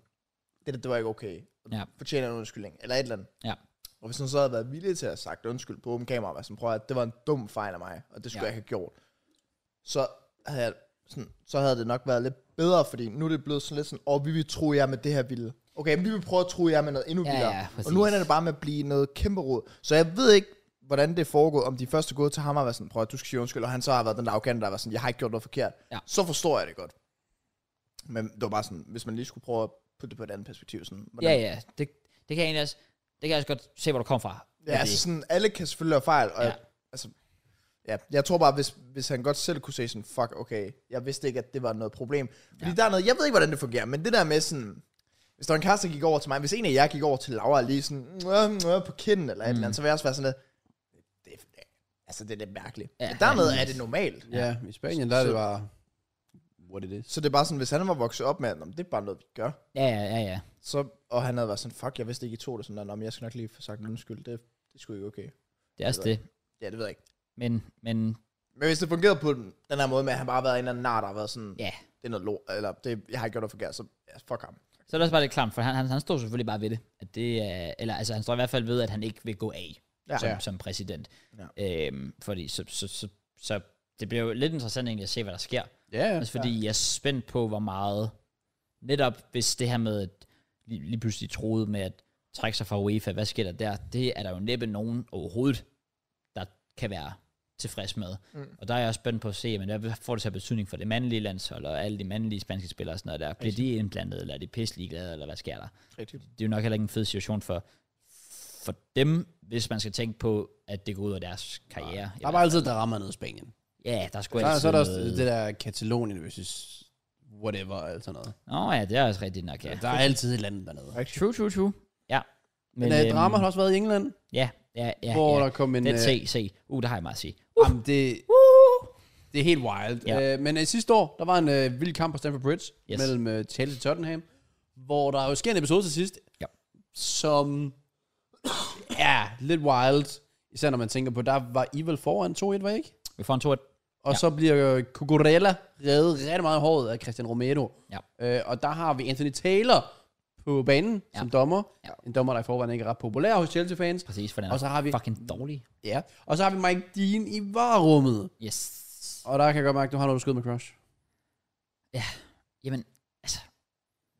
det, der, det var ikke okay.
Ja.
Fortjener en undskyldning, eller et eller andet.
Ja.
Og hvis han så havde været villig til at have sagt undskyld på åben kamera, og været sådan, prøv at det var en dum fejl af mig, og det skulle
Ja.
ja. jeg ikke have gjort så havde, jeg, sådan, så havde det nok været lidt bedre, fordi nu er det blevet sådan lidt sådan, åh, vi vil tro jer med det her vilde. Okay, men vi vil prøve at tro jer med noget endnu
Ja,
vildere.
ja, præcis.
og nu ender det bare med at blive noget kæmpe rod. Så jeg ved ikke, hvordan det er foregået, om de første gået til ham og var sådan, prøv at du skal sige undskyld, og han så har været den der arrogante, der var sådan, jeg har ikke gjort noget forkert.
Ja.
Så forstår jeg det godt. Men det var bare sådan, hvis man lige skulle prøve at putte det på et andet perspektiv, sådan, hvordan,
Ja, ja, det, det kan jeg egentlig også, det kan jeg også godt se, hvor du kom fra.
Ja,
Med
altså
det.
sådan, alle kan selvfølgelig lave fejl, og
Ja.
ja. altså, ja, jeg tror bare, hvis, hvis han godt selv kunne se sådan, fuck, okay, jeg vidste ikke, at det var noget problem. Fordi ja. der er noget, jeg ved ikke, hvordan det fungerer, men det der med sådan, hvis der var en kæreste, der gik over til mig, hvis en af jer gik over til Laura lige sådan, mwah, mwah, på kinden eller et
Mm.
eller andet, så ville jeg også være sådan lidt, det, det, altså det er lidt mærkeligt.
Ja,
Ja, men dernede
ja,
er det normalt.
Ja, i Spanien, der er det
Så-
bare... What it is.
Så det er bare sådan, hvis han var vokset op med, at "Nå, men det er bare noget, vi gør,
Ja, ja, ja, ja.
så, og han havde været sådan, fuck, jeg vidste ikke, I tog det sådan, der, "Nå, men jeg skal nok lige få sagt undskyld, det, det skulle ikke okay.
Det er også
Det
det.
Ja, det ved jeg ikke.
Men, men
Men hvis det fungerede på den den her måde med, at han bare har været en eller anden nar, der har været sådan,
ja,
det er noget lort, eller det, jeg har ikke gjort noget forkert, så ja, fuck ham.
så er det også bare lidt klamt, for han, han, han står selvfølgelig bare ved det. At det er, eller altså, han står i hvert fald ved, at han ikke vil gå af.
Ja.
som,
ja.
som præsident. Ja. Øhm, fordi så, så, så, så det bliver jo lidt interessant egentlig at se, hvad der sker.
Ja, ja.
Altså fordi jeg er spændt på, hvor meget, netop hvis det her med, at lige, lige pludselig troede med at trække sig fra UEFA, hvad sker der der? Det er der jo næppe nogen overhovedet, der kan være tilfreds med. Mm. Og der er jeg også spændt på at se, men hvad får det så af betydning for det mandlige landshold, og alle de mandlige spanske spillere og sådan noget der? Bliver de indblandet, eller er de pisselig glade, eller hvad sker der?
Rigtigt.
det er jo nok heller ikke en fed situation for, for dem, hvis man skal tænke på, at det går ud over deres karriere.
Der er bare altid, der rammer ned i Spanien.
ja, der skulle
Så,
altid
så er der også
noget-
det der Katalonien versus whatever, eller sådan noget.
Nå ja, det er også rigtigt nok, ja.
Der er altid et eller andet dernede.
Rigtigt.
True, true, true. Ja.
Men, men øh,
øhm,
drama har også været i England,
Ja, ja, ja.
hvor
ja.
der kom en...
Den
øh,
se, se. Uh, der har jeg meget at sige.
Jamen, det, det er helt wild.
Ja.
Ja. Øh, men øh, sidste år, der var en øh, vild kamp på Stamford Bridge
Yes.
yes. mellem øh, Chelsea og Tottenham, hvor der jo sker en episode til sidst,
Ja.
som er lidt wild. Især når man tænker på, der var Evil foran 2-1, var I ikke?
Uh, Vi får en 2
Og ja. så bliver øh, Cucurella reddet rigtig meget i håret af Christian Romero.
Ja.
Øh, og der har vi Anthony Taylor på banen ja.
Ja.
som dommer.
Ja.
En dommer, der i forvejen ikke er ret populær hos Chelsea-fans.
Præcis, for den
Og så
er
har vi,
fucking dårlig.
ja. og så har vi Mike Dean i varerummet.
Yes.
Og der kan jeg godt mærke, at du har noget skud med Crush.
Jamen, altså,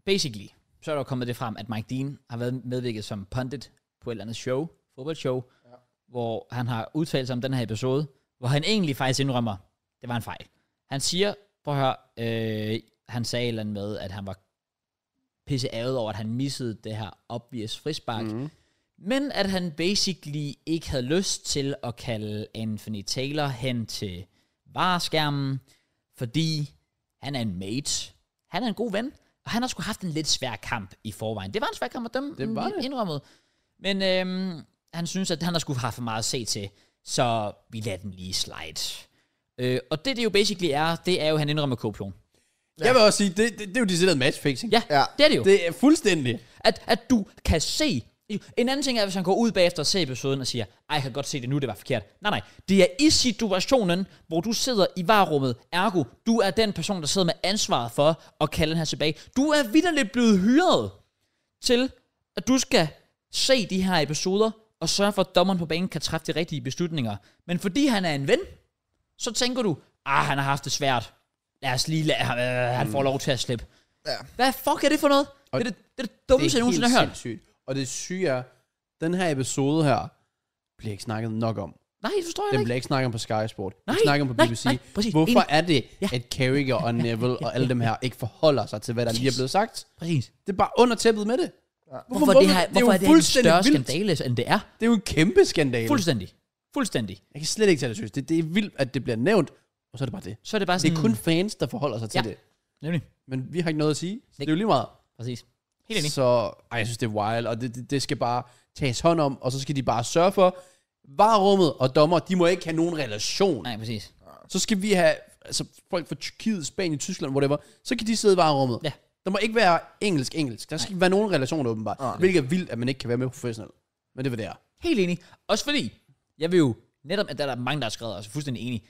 basically, så er der jo kommet det frem, at Mike Dean har været medvirket som pundit på et eller andet show, fodboldshow, ja. hvor han har udtalt sig om den her episode, hvor han egentlig faktisk indrømmer, det var en fejl. Han siger, prøv at høre, øh, han sagde et eller andet med, at han var pisse ærget over, at han missede det her obvious frispark,
Mhm.
mm. men at han basically ikke havde lyst til at kalde Anthony Taylor hen til vareskærmen, fordi han er en mate. Han er en god ven, og han har sgu haft en lidt svær kamp i forvejen. Det var en svær kamp at dømme, mm,
Det var det.
indrømmet. Men øhm, han synes, at han har skulle have for meget at se til, så vi lader den lige slide. Øh, og det, det jo basically er, det er jo, at han indrømmer korruption.
Ja. Jeg vil også sige, det, det, det er jo decideret matchfixing.
Ja,
Ja.
ja, det er det jo.
Det er fuldstændig.
At, at du kan se... En anden ting er, hvis han går ud bagefter og ser episoden og siger, ej, jeg kan godt se det nu, det var forkert. Nej, nej. Det er i situationen, hvor du sidder i varerummet. Ergo, du er den person, der sidder med ansvaret for at kalde den her tilbage. Du er vidderligt blevet hyret til, at du skal se de her episoder og sørge for, at dommeren på banen kan træffe de rigtige beslutninger. Men fordi han er en ven, så tænker du, ah, han har haft det svært. Lad os lige lade ham, øh, han får lov til at slippe.
Ja.
Hvad fuck er det for noget?
Og
Og det er det, det, er det dummeste, jeg nogensinde har hørt.
sindssygt. Og det syge er, den her episode her, bliver ikke snakket nok om.
Nej, det forstår jeg
Den
ikke.
bliver ikke snakket om på Sky Sport. Den
Nej,
snakker om på
nej,
BBC.
nej, præcis.
Hvorfor
Enig.
er det, at Carragher og Neville og alle dem her ikke forholder sig til, hvad der lige er blevet sagt?
Præcis.
Det er bare under tæppet med det. Hvorfor,
Hvorfor, hvorfor, det her,
jo
hvorfor er det en
fuldstændig
større
vildt.
skandale, end det er?
Det er jo en kæmpe skandale.
Fuldstændig. Fuldstændig.
Jeg kan slet ikke tage det seriøst. Det, det er vildt, at det bliver nævnt, og så er det bare det.
Så er det bare
Det
sådan...
er kun fans, der forholder sig til
Mm. Ja.
det.
Nemlig.
Men vi har ikke noget at sige. Så det er
Det-
jo lige meget.
Præcis. Helt enig.
Så ej, jeg synes, det er wild, og det, det, det skal bare tages hånd om, og så skal de bare sørge for, varerummet og dommer, de må ikke have nogen relation.
Nej, præcis.
Så skal vi have altså, folk fra Tyrkiet, Spanien, Tyskland, whatever, så kan de sidde i varerummet.
Ja.
Der må ikke være engelsk-engelsk. Der skal ikke være nogen relation, åbenbart.
Nej.
Hvilket er vildt, at man ikke kan være med professionelt. Men det var det er.
Helt enig. Også fordi, jeg vil jo netop, at der er mange, der har skrevet, og jeg er fuldstændig enig.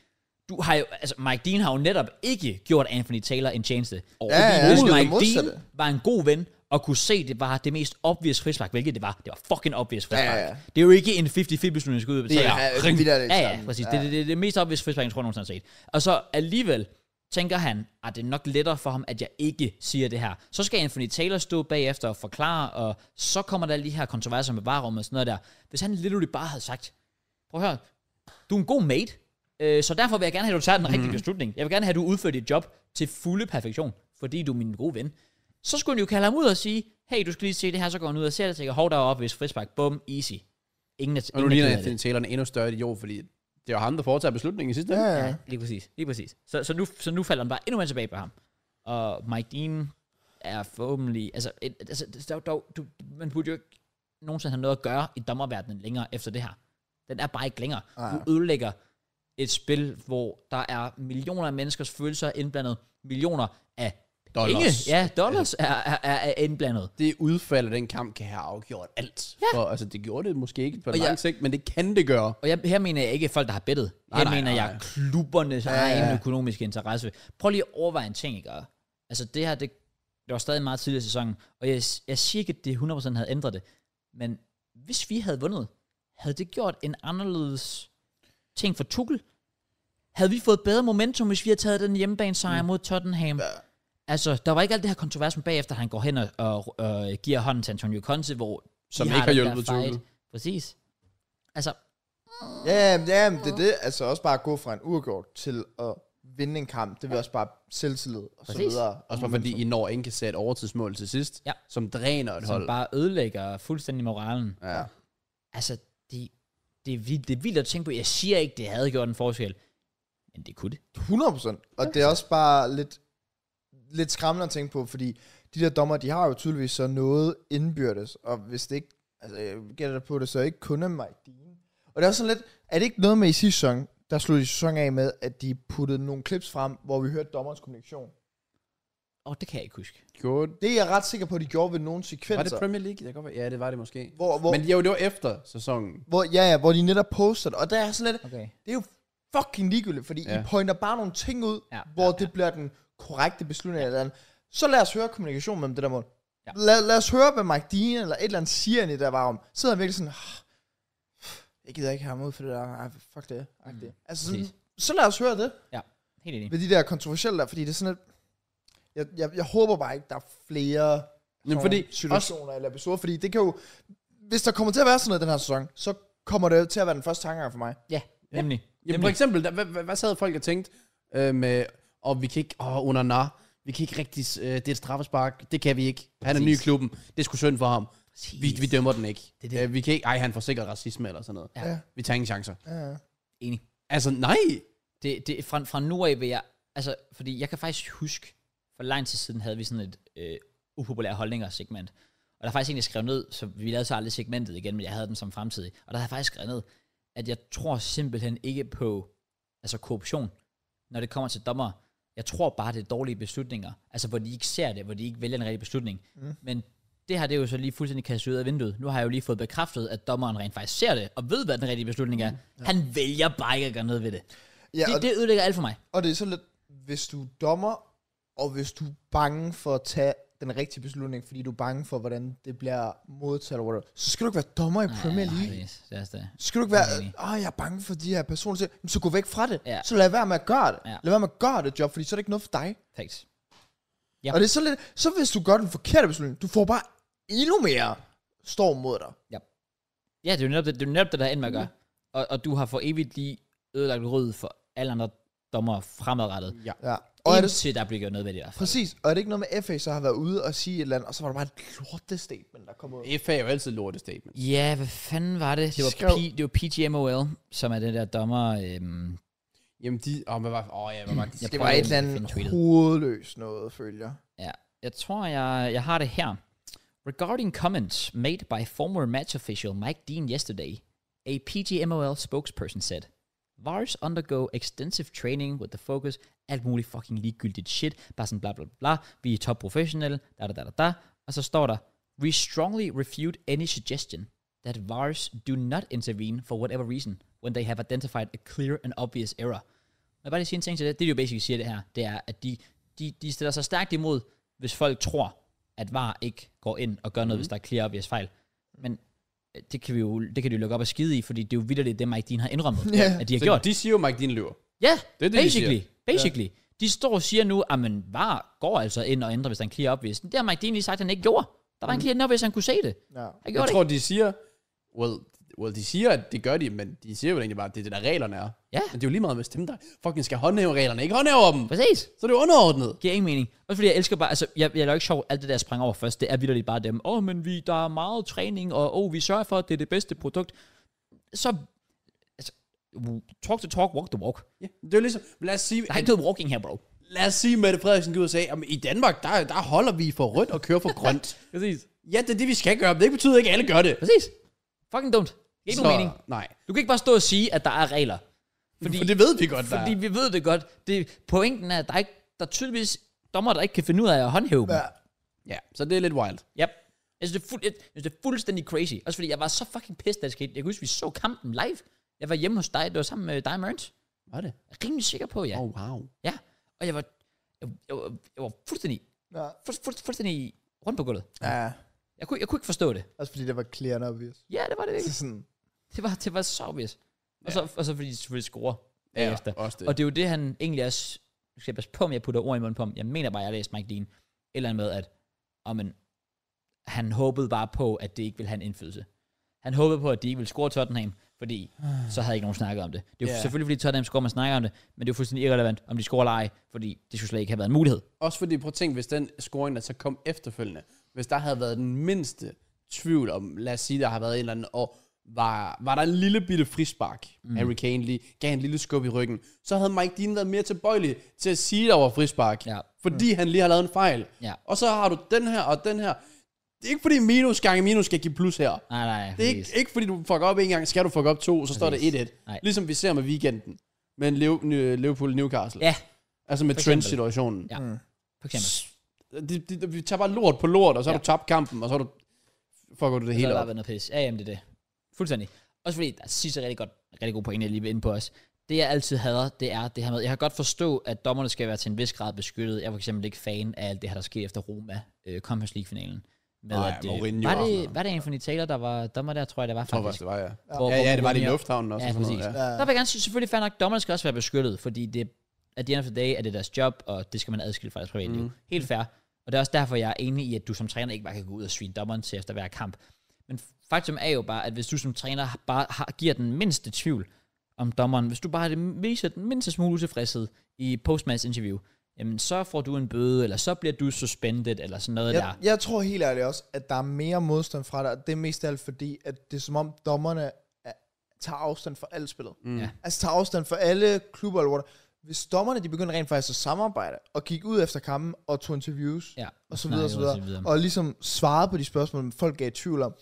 Du har jo, altså Mike Dean har jo netop ikke gjort Anthony Taylor en tjeneste.
ja, ja, det er det
Mike
modsatte.
Dean var en god ven, og kunne se, det var det mest obvious frispark, hvilket det var. Det var fucking obvious frispark.
Ja, ja, ja.
Det er jo ikke en 50-50 beslutning, der skal ud og betale.
Ja,
ring. Det er det
Ja, ja,
samme.
præcis. Ja. Det, det, det, er det mest obvious frispark, jeg tror, jeg nogensinde har set. Og så alligevel tænker han, at det er nok lettere for ham, at jeg ikke siger det her. Så skal Anthony Taylor stå bagefter og forklare, og så kommer der alle de her kontroverser med varerummet og sådan noget der. Hvis han literally bare havde sagt, prøv at høre, du er en god mate, øh, så derfor vil jeg gerne have, at du tager den
Mhm.
rigtige beslutning. Jeg vil gerne have, at du udfører dit job til fulde perfektion, fordi du er min gode ven. Så skulle han jo kalde ham ud og sige, hey, du skal lige se det her, så går han ud og ser det, og tænker, hov, der er op, hvis frispark, bum, easy. Ingen, er-
Og nu
ingen
ligner
er ked af det.
Anthony Taylor en endnu større idiot, fordi det var ham, der foretager beslutningen i sidste ende.
Ja, ja.
Ja, lige præcis. Lige præcis. Så, så, nu, så nu falder han bare endnu mere tilbage på ham. Og Mike Dean er forhåbentlig... Altså, et, altså det- der, der, du, man burde jo ikke nogensinde have noget at gøre i dommerverdenen længere efter det her. Den er bare ikke længere.
Nej.
Du ødelægger et spil, hvor der er millioner af menneskers følelser indblandet. Millioner af
Dollars.
penge. Ja, dollars er, er, er, er indblandet.
Det udfald af den kamp kan have afgjort alt. Ja. For, altså, det gjorde det måske ikke på
Og
lang
jeg-
sigt, men det kan det gøre.
Og jeg, her mener jeg ikke folk, der har bettet. Her
Nej, nej,
mener
nej.
jeg klubbernes
ja, ja.
egen økonomiske interesse. Prøv lige at overveje en ting, ikke? Og, Altså det her, det, det var stadig meget tidligere i sæsonen, og jeg, jeg siger ikke, at det 100% havde ændret det, men hvis vi havde vundet, havde det gjort en anderledes ting for Tuchel? Havde vi fået bedre momentum, hvis vi havde taget den hjemmebanesejr mm. mod Tottenham?
Ja.
Altså, der var ikke alt det her kontrovers med bagefter, han går hen og, og, og giver hånden til Antonio Conte, hvor de
Som ikke har
den der
hjulpet
fight.
Tuchel.
Præcis. Altså,
Ja, men- ja, men det er det. Altså også bare at gå fra en uafgjort til at vinde en kamp. Det vil også bare selvtillid og så
Præcis.
videre.
Også bare fordi I når ikke kan sætte overtidsmål til sidst,
Mm. Ja.
som dræner et
som
hold.
bare ødelægger fuldstændig moralen.
Ja.
Altså, det, det, er vildt, det er vildt at tænke på. Jeg siger ikke, det havde gjort en forskel, men det kunne det.
100 procent. Og det er også bare lidt, lidt skræmmende at tænke på, fordi de der dommer, de har jo tydeligvis så noget indbyrdes, og hvis det ikke, altså jeg gætter på det, så er det ikke kun af Mike Dean. Og det er også sådan lidt, er det ikke noget med i sidste sæson, der sluttede sæsonen af med, at de puttede nogle clips frem, hvor vi hørte dommerens kommunikation?
Åh, oh, det kan jeg ikke huske.
Gjorde
Det er jeg ret sikker på, at de gjorde ved nogle
Var det
sekvenser.
Premier League? Det kan godt være. Ja, det var det måske.
hvor, hvor,
Men jo, det var efter sæsonen.
hvor, ja, ja, hvor de netop poster det. Og der er sådan lidt,
Okay.
det er jo fucking ligegyldigt, fordi ja.
Ja.
I pointer bare nogle ting ud, ja,
Ja,
hvor
ja,
det bliver den korrekte beslutning eller andet. Så lad os høre kommunikation mellem det der mål. Ja.
Ja.
Lad, lad os høre, hvad Mike Dean eller et eller andet siger ind i det der var om. Så er han virkelig sådan, "Ah, jeg gider ikke have ham ud for det der, Ej, fuck det. Mm. det. Altså, sådan,
Præcis.
så lad os høre det
Helt enig.
ved de der kontroversielle der, fordi det er sådan lidt, jeg, jeg, jeg håber bare ikke, der er flere
Men
sådan
fordi, også,
situationer eller episoder, fordi det kan jo, hvis der kommer til at være sådan noget den her sæson, så kommer det til at være den første tankegang for mig.
Ja, nemlig.
jamen, for eksempel, der, hvad, hvad, hvad sad folk og tænkte øh, med, og vi kan ikke, åh, under nar, vi kan ikke rigtig, øh, det er et straffespark, det kan vi ikke. Han er ny i
Præcis.
klubben, det er sgu synd for ham.
Præcis.
Vi, vi dømmer den ikke.
Det
Det,
er det.
det. Vi kan ikke, ej, han får sikkert racisme eller sådan noget.
Ja.
Ja.
Vi tager ingen chancer.
Ja.
Enig.
Altså, nej!
Det, det, fra, fra nu af vil jeg... Altså, fordi jeg kan faktisk huske, for lang tid siden havde vi sådan et øh, upopulære holdninger segment. Og der er faktisk en, jeg skrev ned, så vi lavede så aldrig segmentet igen, men jeg havde den som fremtidig. Og der havde jeg faktisk skrevet ned, at jeg tror simpelthen ikke på altså korruption, når det kommer til dommer. Jeg tror bare, det er dårlige beslutninger. Altså, hvor de ikke ser det, hvor de ikke vælger en rigtig beslutning. Mm. Men det her, det er jo så lige fuldstændig kastet ud af vinduet. Nu har jeg jo lige fået bekræftet, at dommeren rent faktisk ser det, og ved, hvad den rigtige beslutning er. Han vælger bare ikke at gøre noget ved det.
Ja,
Det,
og,
det ødelægger alt for mig.
og det er sådan lidt, hvis du er dommer, og hvis du er bange for at tage den rigtige beslutning, fordi du er bange for, hvordan det bliver modtaget, eller whatever, så skal du ikke være dommer i Premier League.
Ja, præcis. det er også det.
Så skal du ikke være, åh, jeg er bange for de her personer, så, Jamen, så gå væk fra det.
Ja.
Så lad være med at gøre det.
Ja.
Lad være med at gøre det job, fordi så er det ikke noget for dig.
Facts.
Ja.
Ja.
Og det er så lidt, så hvis du gør den forkerte beslutning, du får bare endnu mere storm mod dig.
Ja, det er jo netop det, det, er jo netop det der end med at gøre.
Mm.
Og, og du har for evigt lige ødelagt rød for alle andre dommer fremadrettet.
Ja.
Ja. Og
Og
er det,
indtil der bliver gjort noget ved det i hvert fald.
præcis, og er det ikke noget med FA, så har været ude og sige et eller andet, og så var det bare et lortet statement, der kom ud.
FA er jo altid lortet statement.
Ja, hvad fanden var det? Det var,
skrev-
P, det var PGMOL, som er den der dommer... Øhm,
Jamen, de, åh, hvad var, åh, ja, hvad var det?
Jeg
Det
prøver
var et
ikke
eller
at finde
andet
tweetet.
hovedløst noget, følger.
Jeg tror, jeg, jeg har det her. Regarding comments made by former match official Mike Dean yesterday, a PGMOL spokesperson said, VARs undergo extensive training with the focus, alt muligt fucking ligegyldigt shit, bare sådan bla bla bla, vi er top professionelle, da da da da da, og så står der, We strongly refute any suggestion that VARs do not intervene for whatever reason, when they have identified a clear and obvious error. Men bare lige sige en ting til det. Det, de jo basically siger det her, det er, at de, de, de stiller sig stærkt imod, hvis folk tror, at VAR ikke går ind og gør noget, mm-hmm.
Mhm.
hvis der er clear obvious fejl. Men øh, det kan, vi jo, det kan de jo lukke op og skide i, fordi det er jo vidderligt det, Mike Dean har indrømmet,
Ja.
at de har
Så
gjort.
de siger jo, Mike Dean løber.
Ja,
det, de
basically. basically. Ja. De står og siger nu, at man var går altså ind og ændrer, hvis han clear obvious. Det har Mike Dean lige sagt, at han ikke gjorde. Der var en clear obvious, han kunne se det.
Ja.
Han gjorde
Mhm. Jeg
det
tror, de siger, well, well, de siger, at det gør de, men de siger jo egentlig bare, at det er det, der reglerne er.
Ja.
Men det er jo lige meget, hvis dem, der fucking skal håndhæve reglerne, ikke håndhæver dem.
ikke. Præcis.
Så er det jo underordnet.
giver ingen mening. Også fordi jeg elsker bare, altså, jeg, jeg er jo ikke sjov, alt det der jeg sprang over først, det er vitterligt bare dem, åh, oh, men vi, der er meget træning, og åh, oh, vi sørger for, at det er det bedste produkt. Så, altså, w- talk to talk, walk to walk. Der
Ja. Det er jo ligesom, lad os sige,
er ikke noget walking her, bro.
lad os sige Mette Frederiksen gik ud og sagde, at i Danmark, der, der holder vi for rødt og kører for grønt.
Præcis.
ja, det er det, vi skal gøre, men det betyder ikke, at alle gør det.
Præcis. Fucking dumt. Det er ikke nogen mening.
Nej,
Du kan ikke bare stå og sige, at der er regler.
fordi,
Fordi,
for det ved vi godt, der
fordi
er.
vi ved det godt. Det, pointen er, at der er, ikke, der er tydeligvis dommer, der ikke kan finde ud af at håndhæve dem.
Ja.
Ja, så det er lidt wild.
Ja. Jeg synes, det er, fuld, jeg synes, det er fuldstændig crazy. Også fordi jeg var så fucking pissed, da det skete. Jeg kan huske, vi så kampen live. Jeg var hjemme hos dig. Det var sammen med dig og Mørens.
Var det?
Jeg er rimelig sikker på, ja.
Åh,
Oh.
oh, wow.
Ja. Og jeg var, jeg, jeg, var- jeg var fuldstændig,
Ja.
fuld, fuld, fuldstændig rundt på gulvet.
ja.
Jeg kunne, jeg kunne ikke forstå det.
Også fordi det var clear and obvious.
Ja, det var det
Det
virkelig.
er sådan,
Det var, det var så obvious. Og så, og så fordi de selvfølgelig scorer
Ja,
bagefter.
også det.
Og det er jo det, han egentlig også... Nu skal jeg passe på, om jeg putter ord i munden på ham. Jeg mener bare, jeg læste Mike Dean. Et eller andet med, at oh, men, han håbede bare på, at det ikke ville have en indflydelse. Han håbede på, at de ikke ville score Tottenham, fordi
Ah.
så havde ikke nogen snakket om det. Det er jo
Ja.
selvfølgelig, fordi Tottenham scorer, man snakker om det, men det er jo fuldstændig irrelevant, om de scorer eller ej, fordi det skulle slet ikke have været en mulighed.
Også fordi, prøv at tænke, hvis den scoring, der så kom efterfølgende, hvis der havde været den mindste tvivl om, lad os sige, der har været en eller anden, og var, var der en lille bitte frispark, mm. Harry Kane lige gav en lille skub i ryggen, så havde Mike Dean været mere tilbøjelig til at sige, der var frispark,
Ja. Mm.
fordi han lige har lavet en fejl.
Ja.
Og så har du den her og den her. Det er ikke fordi minus gange minus skal give plus her.
Nej, nej,
Det er ikke, ikke fordi du fucker op en gang, skal du fuck op to, så står
Præcis.
det 1-1.
Nej.
Ligesom vi ser med weekenden. Men Liverpool-Newcastle.
Ja,
Altså med
For eksempel.
Trent-situationen.
Ja. for eksempel.
Det, det, vi tager bare lort på lort, og så har
Ja.
du tabt kampen, og så har du... Fucker du det
så
hele
har
op.
der været noget pis. Ja, jamen det er det. Fuldstændig. Også fordi, der sidste rigtig godt, rigtig god pointe, jeg lige vil ind på os. Det jeg altid hader, det er det her med, jeg kan godt forstå, at dommerne skal være til en vis grad beskyttet. Jeg er for eksempel ikke fan af alt det her, der skete efter Roma øh, Conference League-finalen. Med,
Nej,
øh,
Mourinho og
var,
sådan noget.
det, var det Anthony Taylor, der var dommer der, tror jeg, det var
Tror jeg
faktisk.
faktisk, det var, ja.
Hvor-
Ja, ja,
hvor
det var det i
Mourinho-
lufthavnen også.
Ja,
og sådan
præcis.
noget,
Ja. Der vil jeg gerne sige, selvfølgelig fair nok, dommerne skal også være beskyttet, fordi det, at the end of the day er det deres job, og det skal man adskille fra deres privatliv. Mm. Helt fair. Og det er også derfor, jeg er enig i, at du som træner ikke bare kan gå ud og svine dommeren til efter hver kamp. Men faktum er jo bare, at hvis du som træner har- bare har, giver den mindste tvivl om dommeren, hvis du bare har det, viser den mindste smule utilfredshed i postmatch interview, jamen så får du en bøde, eller så bliver du suspended, eller sådan noget der.
Jeg, jeg tror helt ærligt også, at der er mere modstand fra dig, og det er mest af alt fordi, at det er som om dommerne er, tager afstand fra alt spillet.
Mm.
Ja.
Altså tager afstand fra alle klubber eller whatever. Hvis dommerne de begynder rent faktisk at samarbejde, og gik ud efter kampen, og tog interviews,
Ja,
og så videre, og så
snakker
videre, og ligesom svarede på de spørgsmål, folk gav i tvivl om,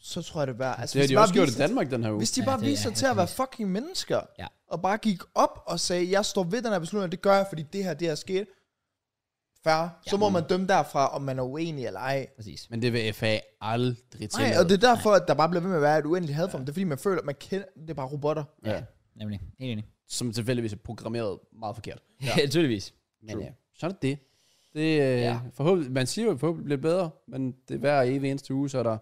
så tror jeg det er værd. Altså,
Altså, det har
hvis
de
bare
også gjort i
viser-
Danmark den her uge.
Hvis de
Ja,
bare
det
ja,
er
viste sig til at være
heldigvis.
fucking mennesker,
Ja.
og bare gik op og sagde, jeg står ved den her beslutning, og det gør jeg, fordi det her, det her sket. Færre. Så
Ja.
må man dømme derfra, om man er uenig eller ej.
Præcis.
Men det vil FA aldrig til.
Nej, og det er derfor, at der bare bliver ved med at være et uendeligt had for dem. Det er fordi, man føler, at man kender, det er bare robotter.
Ja, nemlig. Helt enig.
Som tilfældigvis er programmeret meget forkert.
Ja, tydeligvis.
Men ja, så er det det. det øh, ja.
Ja.
forhåbentlig, man siger jo, at forhåbentlig bliver det bedre, men det er hver evig eneste uge, så er der...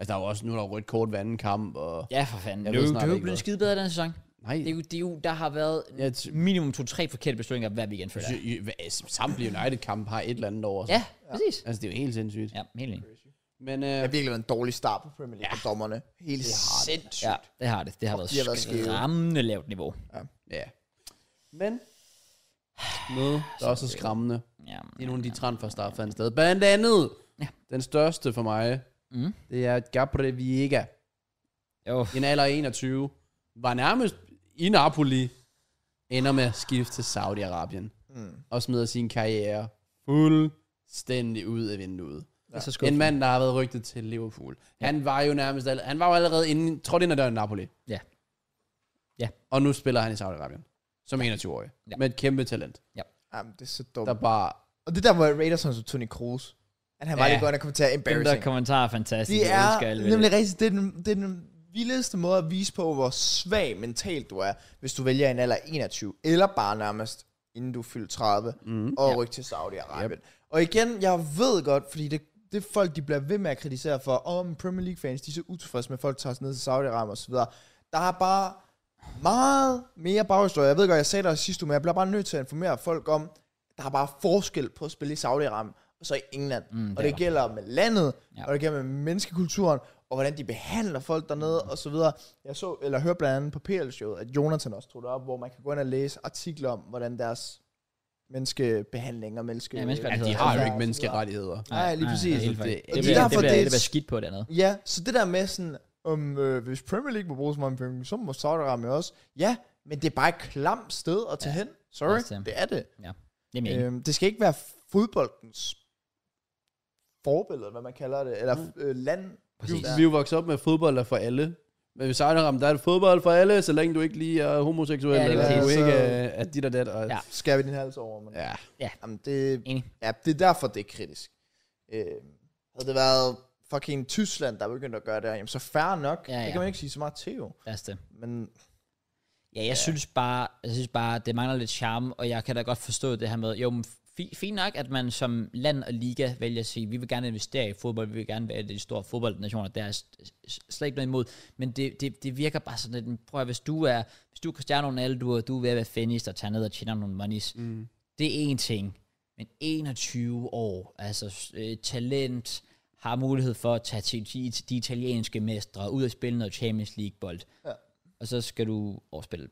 Altså, der er jo også, nu er der jo rødt kort ved anden kamp, og...
Ja, for fanden.
Jeg
Det er
ved
jo-
snart
det er jo
ikke, hvad-
blevet skide bedre i den her sæson.
Nej,
Det er jo, det er jo, der har været
Ja, t-
minimum to-tre forkerte beslutninger hver weekend, føler jeg.
jo, hvad- altså, samtlige United-kamp har et eller andet over. sig.
Ja, præcis.
Altså, det er jo helt sindssygt. Ja.
Ja, helt enig.
Men øh,
Det har virkelig været en dårlig start på Premier League for dommerne. Helt sindssygt.
Ja, det har det. Det har
de har været
været
skæve.
skræmmende lavt niveau.
ja. Men noget, der også er skræmmende,
Ja,
det er nogle af de transfers, der har fandt sted. Blandt andet,
Ja.
den største for mig,
Mm.
det er Gabriel Viega.
Jo,
i en alder af 21, var nærmest i Napoli, ender med at skifte til Saudi-Arabien,
Mm.
og smider sin karriere fuldstændig ud af vinduet.
det er så
En
skuffende.
mand, der har været rygtet til Liverpool. Han var jo nærmest, all- han var jo allerede inden, trådt ind ad døren i Napoli.
Ja. Ja.
Og nu spiller han i Saudi-Arabien, som 21-årig,
Ja.
med et kæmpe talent,
Jamen, det er så dumt.
der bare,
Og det der, hvor Raiders som Tony Kroos, at han var
Ja.
lige godt at komme til at
Dem der
embarrassing.
kommentarer er fantastisk.
Det
Jeg elsker alt
er
ved
nemlig rigtigt, det er, den, det er den vildeste måde at vise på, hvor svag mentalt du er, hvis du vælger en alder af 21, eller bare nærmest inden du fylder 30, mm, og ja. rykke til Saudi-Arabien. Yep. Og igen, jeg ved godt, fordi det, det er folk, de bliver ved med at kritisere for, om oh, Premier League-fans, de er så utilfredse med, at folk tager sig ned til Saudi-Arabien osv. Der er bare meget mere baghistorie. Jeg ved godt, jeg sagde det sidste uge, men jeg bliver bare nødt til at informere folk om, der er bare forskel på at spille i Saudi-Arabien og så i England. Mm, og
det er
det
der.
gælder med landet, ja.
Ja.
og det gælder med menneskekulturen, og hvordan de behandler folk dernede,
Mm.
og så videre. Jeg så, eller hørte blandt andet på PL-showet, at Jonathan også tog det op, hvor man kan gå ind og læse artikler om, hvordan deres menneskebehandling og menneske...
Ja,
ja,
menneskerettigheder.
de har jo ikke menneskerettigheder.
Nej, lige præcis.
helt
Det-
det,
det
det,
bliver-
bliver,
derfor,
det, bliver,
det er-
det bliver skidt på det andet.
Ja, så det der med sådan, om, øh, hvis Premier League må bruge så mange penge, så må Saudi-Arabien også. Ja, men det er bare et klamt sted at tage ja. hen.
også
Sorry,
det.
det er det.
Jamen, jeg er enig.
Øhm, det skal ikke være fodboldens forbillede, hvad man kalder det, eller øh, land.
Præcis.
Vi, vi er jo vokset op med at fodbold er for alle. Men hvis Arnhem, der er det fodbold for alle, så længe du ikke lige er homoseksuel,
Ja,
ja,
det er
eller du
præcis.
ikke er, er dit og dat. Og,
Ja.
Skærer vi din hals over, men...
ja.
Jamen, det,
Enig.
ja, det er derfor, det er kritisk. Øh, havde det været fucking Tyskland, der begyndte at gøre det her, jamen så færre nok.
Ja,
Det
ja.
kan man ikke sige så meget til jo.
Lad os det.
Men
Ja, jeg ja. synes bare, jeg synes bare, det mangler lidt charme, og jeg kan da godt forstå det her med, jo, men fi- fint nok, at man som land og liga vælger at sige, vi vil gerne investere i fodbold, vi vil gerne være de store fodboldnationer, der er s- s- slet ikke noget imod, men det, det, det virker bare sådan lidt, prøv at, hvis du er, hvis du er Cristiano Ronaldo, og du er ved at være finished og tage ned og tjener nogle monies, mm. det er én ting, men 21 år, altså øh, talent, har mulighed for at tage til de, de italienske mestre, ud og spille noget Champions League-bold, og så skal du overspille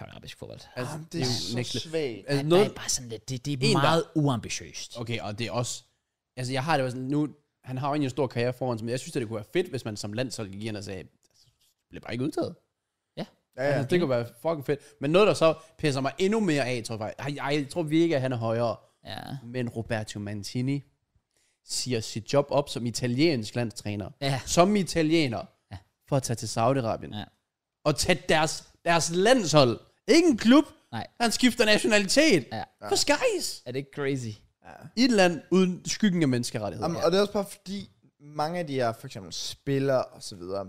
arabisk fodbold.
Altså,
jamen, ah, det er så
nægteligt.
svagt.
Altså,
Altså,
noget,
noget,
det er bare sådan lidt, det, det er
En, der-
meget uambitiøst.
okay, og det er også... Altså, jeg har det bare sådan, nu... Han har jo egentlig en stor karriere foran sig, men jeg synes, at det kunne være fedt, hvis man som land så gik ind og sagde, "Altså, bliver bare ikke udtaget.
Ja,
Ja,
ja.
altså, det kunne være fucking fedt. Men noget, der så pisser mig endnu mere af, tror jeg faktisk. Ej, ej, jeg tror virkelig, at han er højere.
Ja.
Men Roberto Mantini siger sit job op som italiensk landstræner.
Ja.
Som italiener.
Ja.
For at tage til Saudi-Arabien.
Ja.
Og tage deres, deres landshold. Ikke en klub.
Nej.
Han skifter nationalitet.
Ja.
For skies.
Er det ikke crazy?
Et eller andet uden skyggen af menneskerettigheder.
Jamen, og det er også bare fordi, mange af de her, for eksempel spillere og så videre,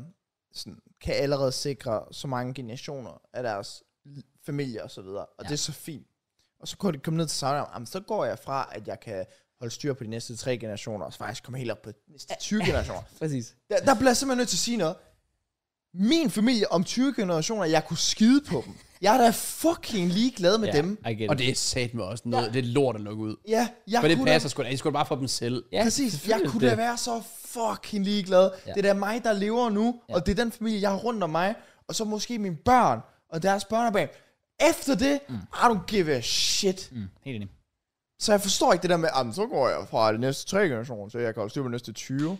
sådan, kan allerede sikre så mange generationer af deres l- familie og så videre. Og ja. det er så fint. Og så kunne det komme ned til Saudi Arabien, jamen, så går jeg fra, at jeg kan holde styr på de næste tre generationer, og så faktisk komme helt op på de næste 20 generationer.
Præcis.
Der, der bliver jeg simpelthen nødt til at sige noget. Min familie om 20 generationer, jeg kunne skide på dem. Jeg er da fucking ligeglad med
Ja,
yeah. dem.
I get
og
it.
det er sat med også noget. Ja. Det er lort at lukke ud.
Ja, jeg
For det
kunne da-
passer sgu da. I skulle bare for dem selv.
Ja,
Præcis, jeg
selvfølgelig
kunne
det.
da være så fucking ligeglad. Ja. Det er da mig, der lever nu, ja. og det er den familie, jeg har rundt om mig, og så måske mine børn og deres børnebørn. Efter det, mm. I don't give a shit. Mm.
Mm, helt enig.
Så jeg forstår ikke det der med, "Ah, men så går jeg fra det næste 3 generationer, så jeg kan holde styr på de næste 20.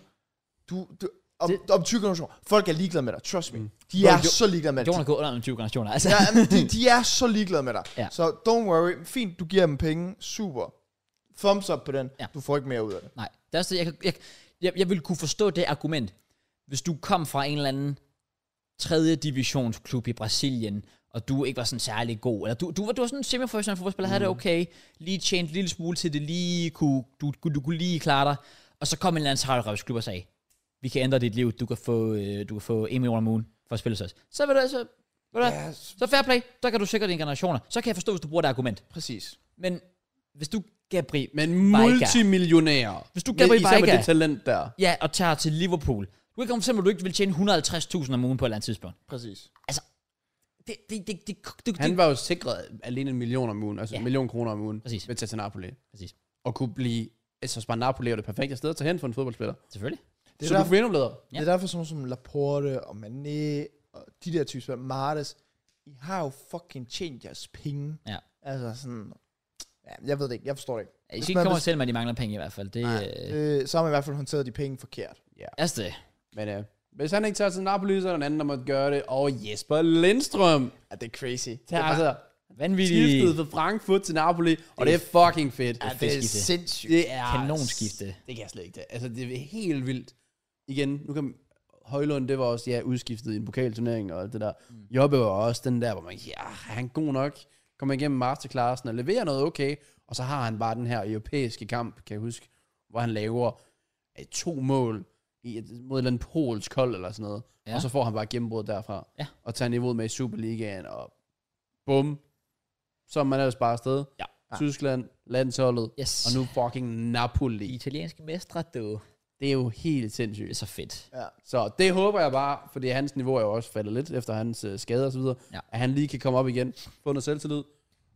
Du, du, om,
Det-
det... om 20 generationer. Folk er ligeglade med dig, trust me. Mm. De er
Jo, jo-
så ligeglade med dig.
Jonas går under med 20 generationer. Altså.
Ja, men de, de er så ligeglade med dig.
Ja.
Ja. Så don't worry. Fint, du giver dem penge. Super. Thumbs up på den.
Ja.
Ja. Du får ikke mere ud af det.
Nej, det er også det, jeg, kan- jeg, jeg, jeg ville kunne forstå det argument, hvis du kom fra en eller anden tredje divisionsklub i Brasilien, og du ikke var sådan særlig god, eller du, du, var, du var sådan en semiprofessionel fodboldspiller, mm. havde det okay, lige tjent en lille smule til det, lige kunne, du, kunne- du kunne lige klare dig, og så kom en eller anden saudi og sagde, vi kan ændre dit liv, du kan få, øh, du kan få 1 million om ugen for at spille hos os. Så vil du altså, vil du,
Ja,
så fair play, så kan du sikre dine generationer. Så kan jeg forstå, hvis du bruger det argument.
Præcis.
Men hvis du, Gabriel,
Men
Bajka.
multimillionærer.
Hvis du
Med-
Gabriel
Især med
Bajka-
det talent der.
Ja, og tager til Liverpool. Du kan komme til, at du ikke vil tjene 150.000 om ugen på et eller andet tidspunkt.
Præcis.
Det, det, det, det, det,
Han
det
var jo sikret alene en million om ugen, altså
Ja.
en million kroner om ugen,
Præcis.
ved at tage til Napoli.
Præcis.
Og kunne blive, altså bare Napoli er det perfekte sted at tage hen for en fodboldspiller.
Selvfølgelig.
Det er,
så
derfor,
du kunne blive endnu bedre.
Ja.
det er derfor sådan nogle som Laporte og Mané og de der typer, Martes, I har jo fucking tjent jeres penge.
Ja.
Altså sådan, ja, jeg ved det ikke, jeg forstår det ikke.
I
Hvis
skal ikke
man-
komme og
hvis-
selv, at de mangler penge i hvert fald. Det, øh,
Øh, så har man i hvert fald håndteret de penge forkert.
altså det.
Men øh, hvis han ikke tager til Napoli, så er der en anden, der måtte gøre det. Og Jesper Lindstrøm
Ja, det er crazy. Det
tager
bare-
altså
Vanvittigt.
skiftet fra Frankfurt til Napoli, og det er fucking fedt.
ja, det er
skifte.
sindssygt.
Det er
Kanonskifte.
Det kan jeg slet ikke. Altså, det er helt vildt. Igen, nu kan Højlund, det var også, ja, udskiftet i en pokalturnering og alt det der. Mm. Jobbe var også den der, hvor man, ja, er han god nok? Kommer igennem masterclassen og leverer noget okay. Og så har han bare den her europæiske kamp, kan jeg huske, hvor han laver øh, to mål i et, mod et eller andet polsk hold eller sådan noget.
Ja.
Ja. Og så får han bare gennembrud derfra.
Ja.
Og tager niveauet med i Superligaen, og bum, så er man ellers bare afsted.
Ja.
Tyskland, landsholdet,
Yes.
og nu fucking
De
Napoli.
italienske mestre, du.
Det er jo helt
Det
sindssygt.
er så fedt.
Ja.
Så det håber jeg bare, fordi hans niveau er jo også faldet lidt efter hans øh, skade og så videre,
Ja.
at han lige kan komme op igen, få noget selvtillid.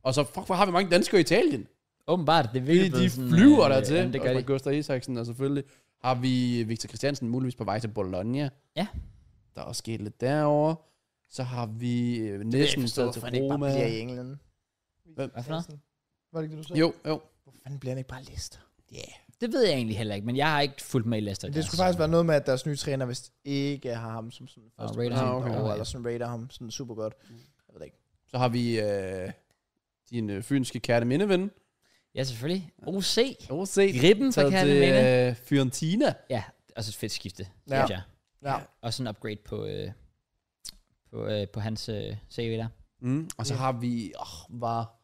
Og så, fuck, hvor har vi mange danskere i Italien?
Åbenbart, det er
De,
virkelig
de
blevet sådan,
flyver
øh,
der til.
jamen, det gør de.
Gustav Isaksen, og selvfølgelig har vi Victor Christiansen muligvis på vej til Bologna.
Ja.
Der er også sket lidt derovre. Så har vi øh, næsten
forstå,
taget til
hvorfor han ikke bare
Roma.
bliver i England.
Hvad for noget?
Var det ikke det, du sagde?
Jo, jo.
Hvorfor fanden bliver han ikke bare Leicester?
Det ved jeg egentlig heller ikke, men jeg har ikke fulgt med i Leicester.
Det skulle faktisk være noget med, at deres nye træner vist ikke har ham som sådan første
rater
person
ham. Ah, okay.
derovre, eller sådan rater ham sådan super godt.
Mm.
Jeg ved det ikke.
Så har vi øh, din øh, fynske kærte mindeven.
Ja, selvfølgelig. OC.
OC.
Griben fra
Taget til
Katalonien.
øh, Fiorentina.
Ja, og så et fedt skifte,
Ja.
synes jeg.
Ja.
Og sådan en upgrade på, øh, på, øh, på hans øh, CV der.
Mm. Og så
Ja.
har vi, åh, var,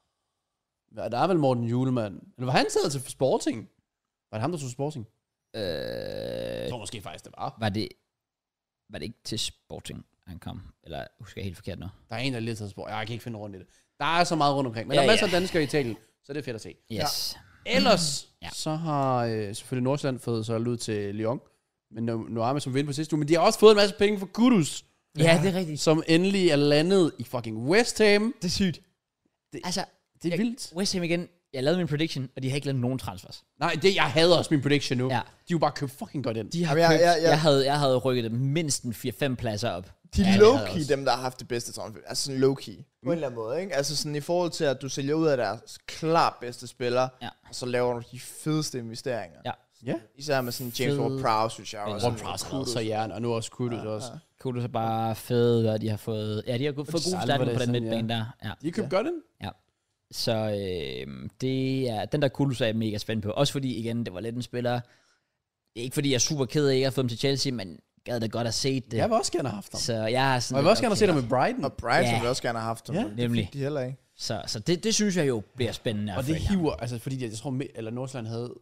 var, der er vel Morten Julemand. Eller var han taget til Sporting? Var det ham, der tog til Sporting?
Øh,
Jeg tror måske faktisk, det var.
var det, var det ikke til Sporting, han kom? Eller husker jeg helt forkert nu?
Der er en, der er lige taget til Sporting. Jeg kan ikke finde rundt i det. Der er så meget rundt omkring. Men
Ja,
der er masser
ja.
af danskere i Italien, så det er fedt at se.
Yes. Ja.
Ellers,
Ja.
ja. så har øh, selvfølgelig Nordsjælland fået så ud til Lyon. Men nu, nu er man som vinder på sidste uge. Men de har også fået en masse penge fra Kudus,
ja, det er rigtigt.
som endelig er landet i fucking West Ham.
Det er sygt.
Altså,
Det er
jeg-
vildt.
West Ham igen. Jeg lavede min prediction, og de har ikke lavet nogen transfers.
Nej, det, jeg hader også min prediction nu.
Ja.
Ja. De er jo bare købt fucking godt ind.
De har
Jamen, jeg-
købt, jeg,
jeg- jeg-
jeg, havde, jeg havde rykket dem mindst en 4-5 pladser op.
De
Ja,
er
det havde
low-key,
jeg også.
dem der har haft det bedste transfer. Altså sådan low-key. På en eller anden måde, ikke? Altså sådan i forhold til, at du sælger ud af deres klart bedste spillere,
Ja.
og så laver du de fedeste investeringer.
Ja.
Ja.
Især med sådan James
Fed-
Ward-Prowse, synes jeg.
Ward-Prowse
også.
Rundt fra skrevet så jern, og nu også Kudus ja, også.
Kudos er bare fede, og de har fået... Ja, de har fået gode
Salvador,
starter på den
sådan,
midtbane der. Ja.
De købte ja. godt ind.
Så øh, det er, den der Kudos er jeg mega spændt på. Også fordi, igen, det var lidt en spiller... Ikke fordi jeg er super ked af, at jeg ikke har fået dem til Chelsea, men gad da godt at se det.
Det. Jeg vil også gerne have haft ham.
Så jeg er sådan...
Og jeg vil også gerne se ham med Brighton.
Og Brighton
Ja.
yeah. vil også gerne have haft dem.
Ja,
men det
nemlig.
fik De heller ikke.
Så, så det, det synes jeg jo bliver spændende. at
Og det
følge ham.
hiver, altså fordi jeg, jeg tror, me- eller Nordsjælland havde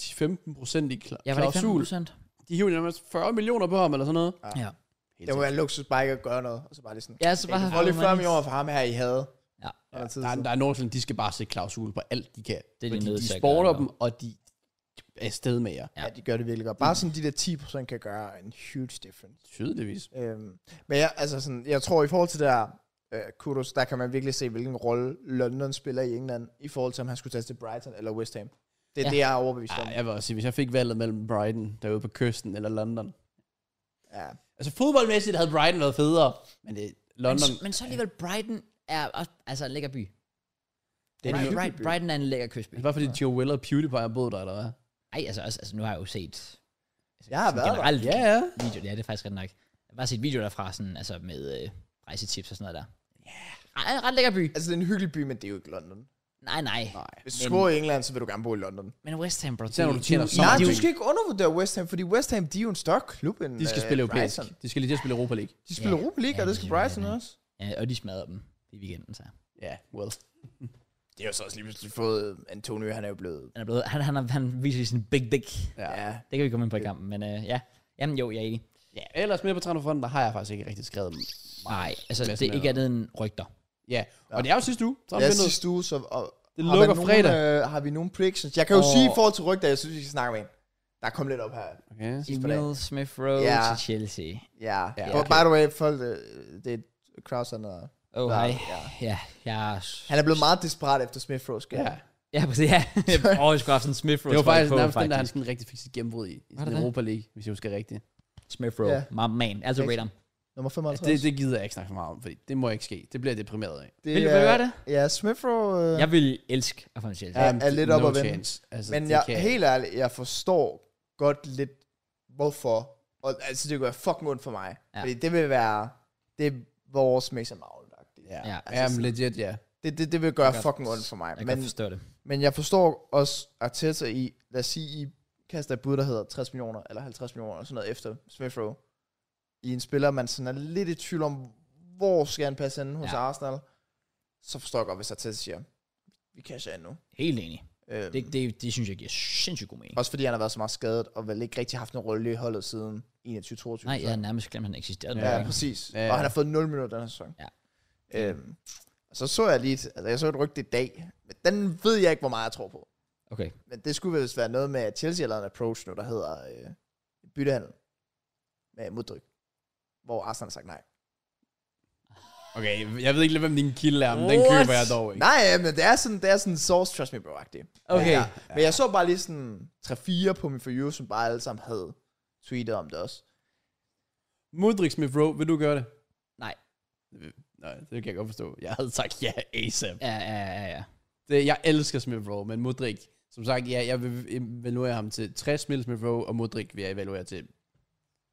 15 procent i kla-
Ja, var det ikke
klausul.
15%?
De hiver nærmest 40 millioner på ham, eller sådan noget.
Ja.
Helt
Det må være en luksus bare ikke at gøre noget. Og så bare lige sådan,
Ja, så bare
jeg kan
have
få lidt
Harvey
40
Manis.
millioner for ham her, I havde.
Ja.
Ja, der,
Der er, der er Nordsjælland, de skal bare sætte klausul på alt, de kan.
de
Det fordi
nødt
de
til at
sporter
gøre
dem, og de er afsted med jer.
Ja.
ja, de gør det virkelig godt. Bare sådan de der 10% kan gøre en huge difference.
Tydeligvis.
Øhm, men jeg, altså sådan, jeg tror, i forhold til det der øh, Kudos, der kan man virkelig se, hvilken rolle London spiller i England, i forhold til, om han skulle tage til Brighton eller West Ham. Det
Ja.
er ja. det, jeg er overbevist om.
Ah, jeg vil også sige, hvis jeg fik valget mellem Brighton, derude på kysten, eller London.
Ja.
Altså fodboldmæssigt havde Brighton været federe, men det,
Men,
London...
s- men så alligevel, Brighton er også, altså en lækker by.
Det er en
Bright-
hyggelig
Bright-
by.
Brighton er en lækker kystby.
Men, bare fordi Joe Will og PewDiePie har boet der, eller hvad?
Ej, altså, også, altså nu har jeg jo set... Altså,
Jeg har
sådan
været der.
generelt
Ja, ja.
Video, ja, det er faktisk ret nok. Jeg har bare set videoer derfra, sådan, altså med øh, rejsetips og sådan noget der. Ja. Ej, en ret lækker by.
Altså, det er en hyggelig by, men det er jo ikke London.
Nej, nej.
Nej.
Hvis
Men-
du bor i England, så vil du gerne bo i London.
Men West Ham, bro.
Især når du
de-
tjener
de-
så
Nej,
de-
meget
du
penge.
skal ikke undervurdere West Ham, fordi West Ham, de er jo en større klub end
De skal
øh,
spille europæisk.
Brighton.
De skal lige til at spille Europa League.
De spiller
Ja.
Europa League,
Ja,
og det
det
skal
er jo
Brighton
det.
også.
Ja, og de smadrer dem i weekenden, så.
Ja, yeah, well.
Det er jo så også lige pludselig fået Antonio, han er jo blevet...
Han, er blevet, han, han, har- han viser sin big dick.
Ja.
Ja.
Det kan vi komme ind på i kampen, men øh, ja. Jamen jo, jeg er enig.
ja. Ellers med på transferfronten, der har jeg faktisk ikke rigtig skrevet dem.
Nej, altså
Madsen
det er
er
ikke andet end rygter.
Ja, og det er jo sidste uge. Så er
Ja,
det noget.
sidste uge, så... Og,
Det
har man
lukker
nogen,
fredag.
Øh, har vi nogen predictions? Jeg kan jo
Og-
sige i forhold til rygter, jeg synes, vi skal snakke med en. Der kom lidt op her.
Okay.
Sidst på
Emil Smith Rowe
Ja.
til Chelsea.
Ja.
Ja,
ja okay.
okay.
By the way, folk, øh, det er et crowd center.
Oh, hej.
Ja, ja.
Ja, jeg er...
Han er blevet meget desperat efter Smith Rowe, skal
Ja.
Ja, præcis. Ja. Åh, jeg skulle have haft en Smith Rowe.
Det var
trøje
faktisk
på,
nærmest den, der han sådan rigtig fik sit gennembrud i, i sådan
det?
Europa League, hvis jeg husker rigtigt.
Smith Rowe.
Ja.
My man. Altså
Rigtig.
rate ham.
Nummer 55.
Altså, det, det gider jeg ikke snakke så meget om, fordi det må ikke ske. Det bliver jeg deprimeret af.
det
Vil du
er-
gøre det?
Ja, Smith Rowe... Øh,
Jeg vil elske at få en Chelsea.
Ja. er lidt op
Um, no
at vende.
chance. Altså,
Men
det
jeg,
kan
helt ærligt, jeg forstår godt lidt, hvorfor. Og, altså, det gør fucking ondt for mig.
Ja.
Ja. Fordi det vil være, det er vores Mason Mount.
Ja,
Ja,
ja
altså
altså, legit, ja.
Det, det, det vil gøre
kan godt-
fucking ondt for mig.
Jeg kan
men,
godt forstå det.
men jeg forstår også Arteta i, lad os sige, I kaster et bud, der hedder 60 millioner, eller 50 millioner, eller sådan noget efter Smith Rowe. I en spiller, man sådan er lidt i tvivl om, hvor skal han passe henne hos
Ja.
ja. Arsenal. Så forstår jeg godt, hvis Arteta siger, vi casher ind nu.
Helt enig.
Øhm,
Det, det, det synes jeg giver sindssygt god mening.
Også fordi han har været så meget skadet, og vel ikke rigtig haft en rolle i holdet siden 21-22.
Nej, jeg
ja,
har nærmest glemt, at han eksisterede.
ja,
Ja.
præcis.
Ja, ja.
Ja. Og han har fået 0 minutter den her sæson.
Ja.
Øhm, og så så jeg lige, et- altså jeg så et rygte i dag, men den ved jeg ikke, hvor meget jeg tror på.
Okay.
Men det skulle vist være noget med, at Chelsea har lavet en approach nu, der hedder øh, byttehandel med moddryk. Hvor Arsenal har sagt nej.
Okay, jeg ved ikke lige, hvem din kilde er, men den
What?
køber jeg dog ikke.
Nej, ja, men det er sådan, det er sådan source trust me bro -agtigt.
Okay.
Ja, men jeg så bare lige sådan 3-4 på min for you, som bare alle sammen havde tweetet om det også.
Modric Smith Rowe, vil du gøre det?
Nej.
Nej, det kan jeg godt forstå. Jeg havde sagt ja, ASAP.
Ja, ja, ja, ja.
Det, jeg elsker Smith Rowe, men Modric, som sagt, ja, jeg vil evaluere ham til 60 mil Smith Rowe, og Modric vil jeg evaluere til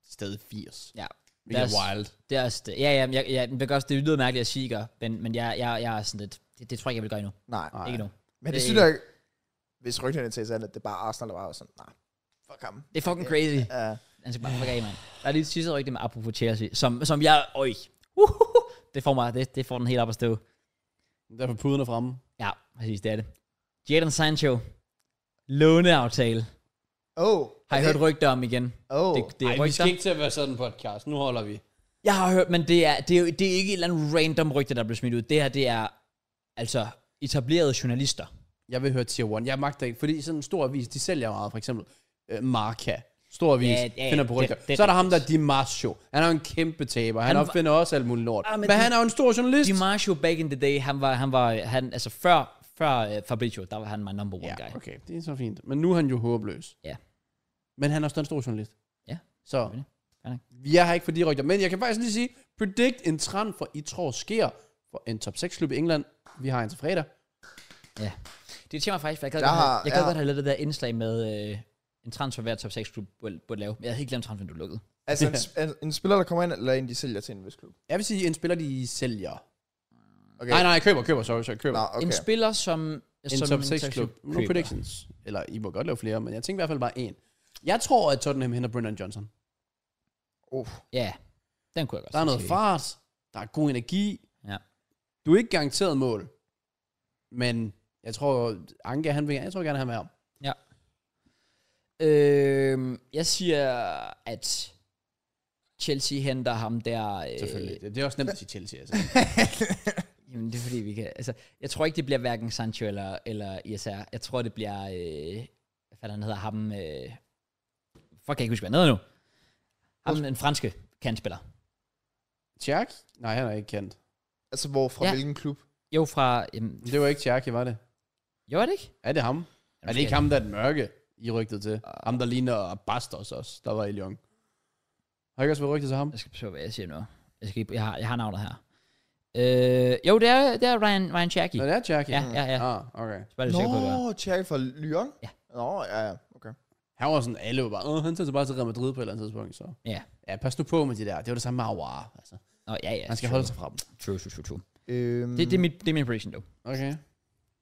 stadig 80.
ja.
Det er
Deres-
wild.
Det er også det. Ja, ja, men jeg, jeg, det, også, det lyder mærkeligt at sige, ikke? men, men jeg, jeg, jeg er sådan lidt, det, det tror jeg ikke, jeg vil gøre endnu.
Nej.
Nej.
Ikke nu.
Men
Det-
det synes jeg, hvis rygterne til sig, at det er bare Arsenal, der var sådan, nej, fuck ham.
Det er fucking crazy.
Uh,
Han skal bare fuck af, mand. Der er lige et sidste rygte med apropos Chelsea, som, som jeg, øj, uhuhu, det får mig, det, det får den helt op at stå.
Derfor puden er fremme.
Ja, præcis, det er det. Jadon Sancho, låneaftale,
oh,
har jeg hørt rygter om igen.
Oh,
Det, det er
Ej, vi
rygter.
skal ikke til at være sådan en podcast. Nu holder vi.
Jeg har hørt, men det er, det er, jo- det er ikke et eller andet random rygte, der blev smidt ud. Det her, det er altså etablerede journalister.
Jeg vil høre Tier 1. Jeg magter ikke, fordi sådan en stor avis, de sælger meget, for eksempel øh, Marca. Stor avis,
Ja,
ja,
ja,
ja, finder på
det-
rygter.
det er
Så er der ham
rigtigt.
der, Di Marzio. Han er jo en kæmpe taber. Han,
Han
han
var-
opfinder også alt muligt lort.
Ah,
Ah,
men
men
Di-
han er jo en stor journalist.
DiMaggio back in the day, han var, han var, han, altså før, før uh, Fabrizio, der var han my number one guy.
ja, okay. Det er så fint. Men nu er han jo håbløs.
Ja.
Men han er også en stor journalist.
Ja,
Så
selvfølgelig. Fair nok.
jeg har ikke for de rygter. Men jeg kan faktisk lige sige, predict en trend for I tror sker for en top 6 klub i England. Vi har en til fredag.
Ja. Det tænker mig faktisk, for jeg gad
Der
godt, have-
har-
jeg gad
ja.
godt have lavet det der indslag med øh, en transfer hver top 6 klub burde, burde lave. Men jeg havde helt glemt transferen, du lukkede.
altså en, sp- en, en, spiller, der kommer ind, eller en, de sælger til en vis klub.
Jeg vil sige, en spiller, de sælger.
Okay.
Nej, nej, køber, køber, sorry, sorry, køber.
Nå,
Okay.
okay.
En spiller, som...
en
som
top 6 klub. No
køber.
predictions. Eller I må godt lave flere, men jeg tænker i hvert fald bare en. Jeg tror, at Tottenham henter Brendan Johnson.
oh,
Ja, den kunne jeg godt
Der er noget
se.
fart, der er god energi.
Ja.
Du er ikke garanteret mål, Men jeg tror, Anke, han vil, jeg tror gerne, han vil have ham.
Øh, jeg siger, at Chelsea henter ham der... Øh,
Selvfølgelig. Det, det er også nemt at sige Chelsea, altså.
Jamen, det er fordi, vi kan... Altså, jeg tror ikke, det bliver hverken Sancho eller, eller ISR. Jeg tror, det bliver... Øh, hvad fanden han hedder ham? Øh, fuck, jeg kan ikke huske, hvad han hedder nu. Ham, den franske kantspiller.
Tjak? Nej, han er ikke kendt.
Altså, hvor fra
Ja.
ja. hvilken klub?
Jo, fra... Jamen,
Men Det var ikke Tjak, var det?
jo, er det ikke?
Er det ham? Er det ikke ham, der er den mørke, I rygtede til? Ham, der ligner Bastos også, der var i Lyon. Har I ikke også været rygtet til ham?
Jeg skal prøve, hvad jeg siger nu. Jeg, skal, ikke- jeg, har, jeg har navnet her. Øh, jo, det er, det er Ryan, Ryan Cherky.
Nå, det er Tjak,
Ja, ja, ja.
Ah, okay.
Bare lidt sikker på, det var.
Nå, Thierry fra Lyon?
Ja.
Nå, ja, ja. Okay.
Han var sådan, alle var bare, Åh, han tager sig bare til Real Madrid på et eller andet tidspunkt, så.
Ja.
Ja, pas nu på med de der. Det var det samme med Aouar, altså.
Nå, ja, ja.
Han skal
true.
holde sig fra dem.
True, true, true, true.
Øhm,
Mm.
Det, det, er mit, det er min prediction, dog.
Okay.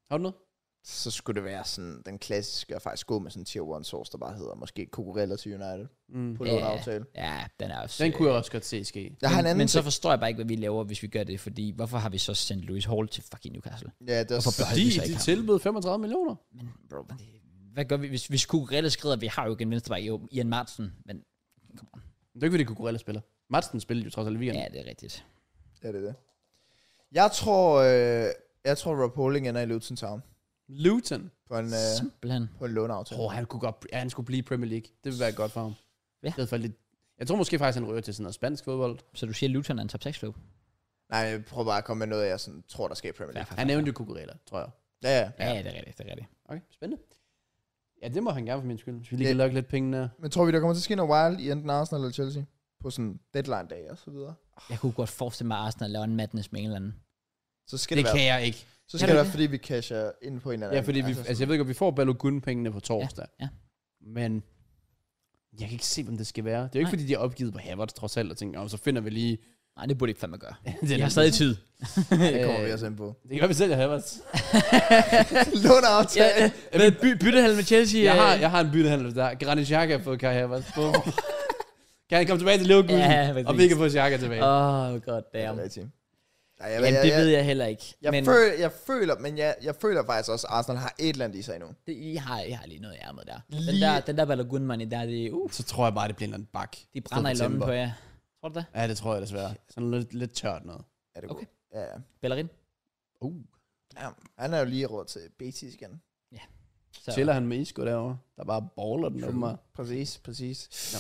Har du noget?
Så skulle det være sådan den klassiske, og faktisk gå med sådan en tier 1 source, der bare hedder måske Cucurella til United
Mm.
på
Ja.
yeah. aftale.
Ja, den er også...
Den
øh,
kunne jeg også godt se ske.
Jeg har en
men,
anden
men så
ting.
forstår jeg bare ikke, hvad vi laver, hvis vi gør det, fordi hvorfor har vi så sendt Louis Hall til fucking Newcastle?
Ja, det er
Hvorfor
også...
bør-
Fordi
vi så ikke
de
ham.
tilbød 35 millioner.
Men bro, det, hvad gør vi, hvis, hvis Kukurella skrider, vi har jo ikke en venstreback, jo, Ian Martsen, men come on.
Det er ikke, fordi Kukurella spiller. Madsen spillede jo trods alt i weekenden.
Ja, det er rigtigt.
Ja, det er det. Jeg tror, øh, jeg tror, Rob Holding ender i Luton Town
Luton.
på en, øh,
Simpelthen.
på en låneaftale.
Åh, oh, han, kunne godt, ja, han skulle blive i Premier League. Det ville være godt for ham.
Ja.
Det fald lidt, jeg tror måske faktisk, han ryger til sådan noget spansk fodbold.
Så du siger, Luton er en top 6 klub?
Nej, jeg prøver bare at komme med noget, jeg sådan, tror, der sker i Premier League.
Han nævnte jo Kukurella, tror jeg.
Ja, ja.
Ja, det er rigtigt, det er rigtigt.
Okay, spændende. Ja, det må han gerne for min skyld. Hvis vi lige kan
Ja.
lukke lidt penge der.
Men tror vi, der kommer til at ske noget wild i enten Arsenal eller Chelsea? På sådan deadline dag og så videre.
Jeg kunne godt forestille mig, at Arsenal laver en madness med en eller anden.
Så skal det,
Det
det være,
kan jeg ikke.
så
Kan
skal
du
det
det?
være, fordi vi casher ind på en eller anden.
Ja, fordi vi, altså, jeg ved ikke, om vi får Balogun-pengene på torsdag.
ja.
Men jeg kan ikke se, hvem det skal være. Det er jo ikke,
Nej.
fordi de er opgivet på Havertz trods alt, og tænker, oh, så finder vi lige...
Nej, det burde de ikke fandme gøre.
det
Jeg har stadig tid.
det kommer vi altså
Øh,
også ind på.
Det gør vi selv, Havertz.
Låneaftale.
ja, med by, byttehal med Chelsea.
Jeg har, jeg har en byttehandel der. Granit Xhaka har fået Kai Havertz på. kan han komme tilbage til Leverkusen?
Ja,
Ja, og vi
præcis.
kan få Xhaka tilbage.
Åh, oh, god
Det er
damn.
rigtigt. Nej, jeg,
Jamen, det ved jeg heller ikke.
Jeg, men... føler, jeg føler, men jeg, jeg føler faktisk også, at Arsenal har et eller andet i sig endnu.
Det, I, har, I har lige noget i ærmet der. Den
Lige-
der, den der Balogun money der, det, uh,
Så tror jeg bare, det bliver en eller anden bak.
de brænder i
Stedet
lommen
Timber.
på jer. Tror du det?
Ja, det tror jeg desværre. Sådan lidt, lidt tørt noget.
Er det
Okay.
okay. Ja, ja.
Ballerin?
Uh,
ja. Han er jo lige råd til Betis igen.
Så.
Tæller han med Isco derovre, der bare baller den åbenbart.
Præcis, præcis.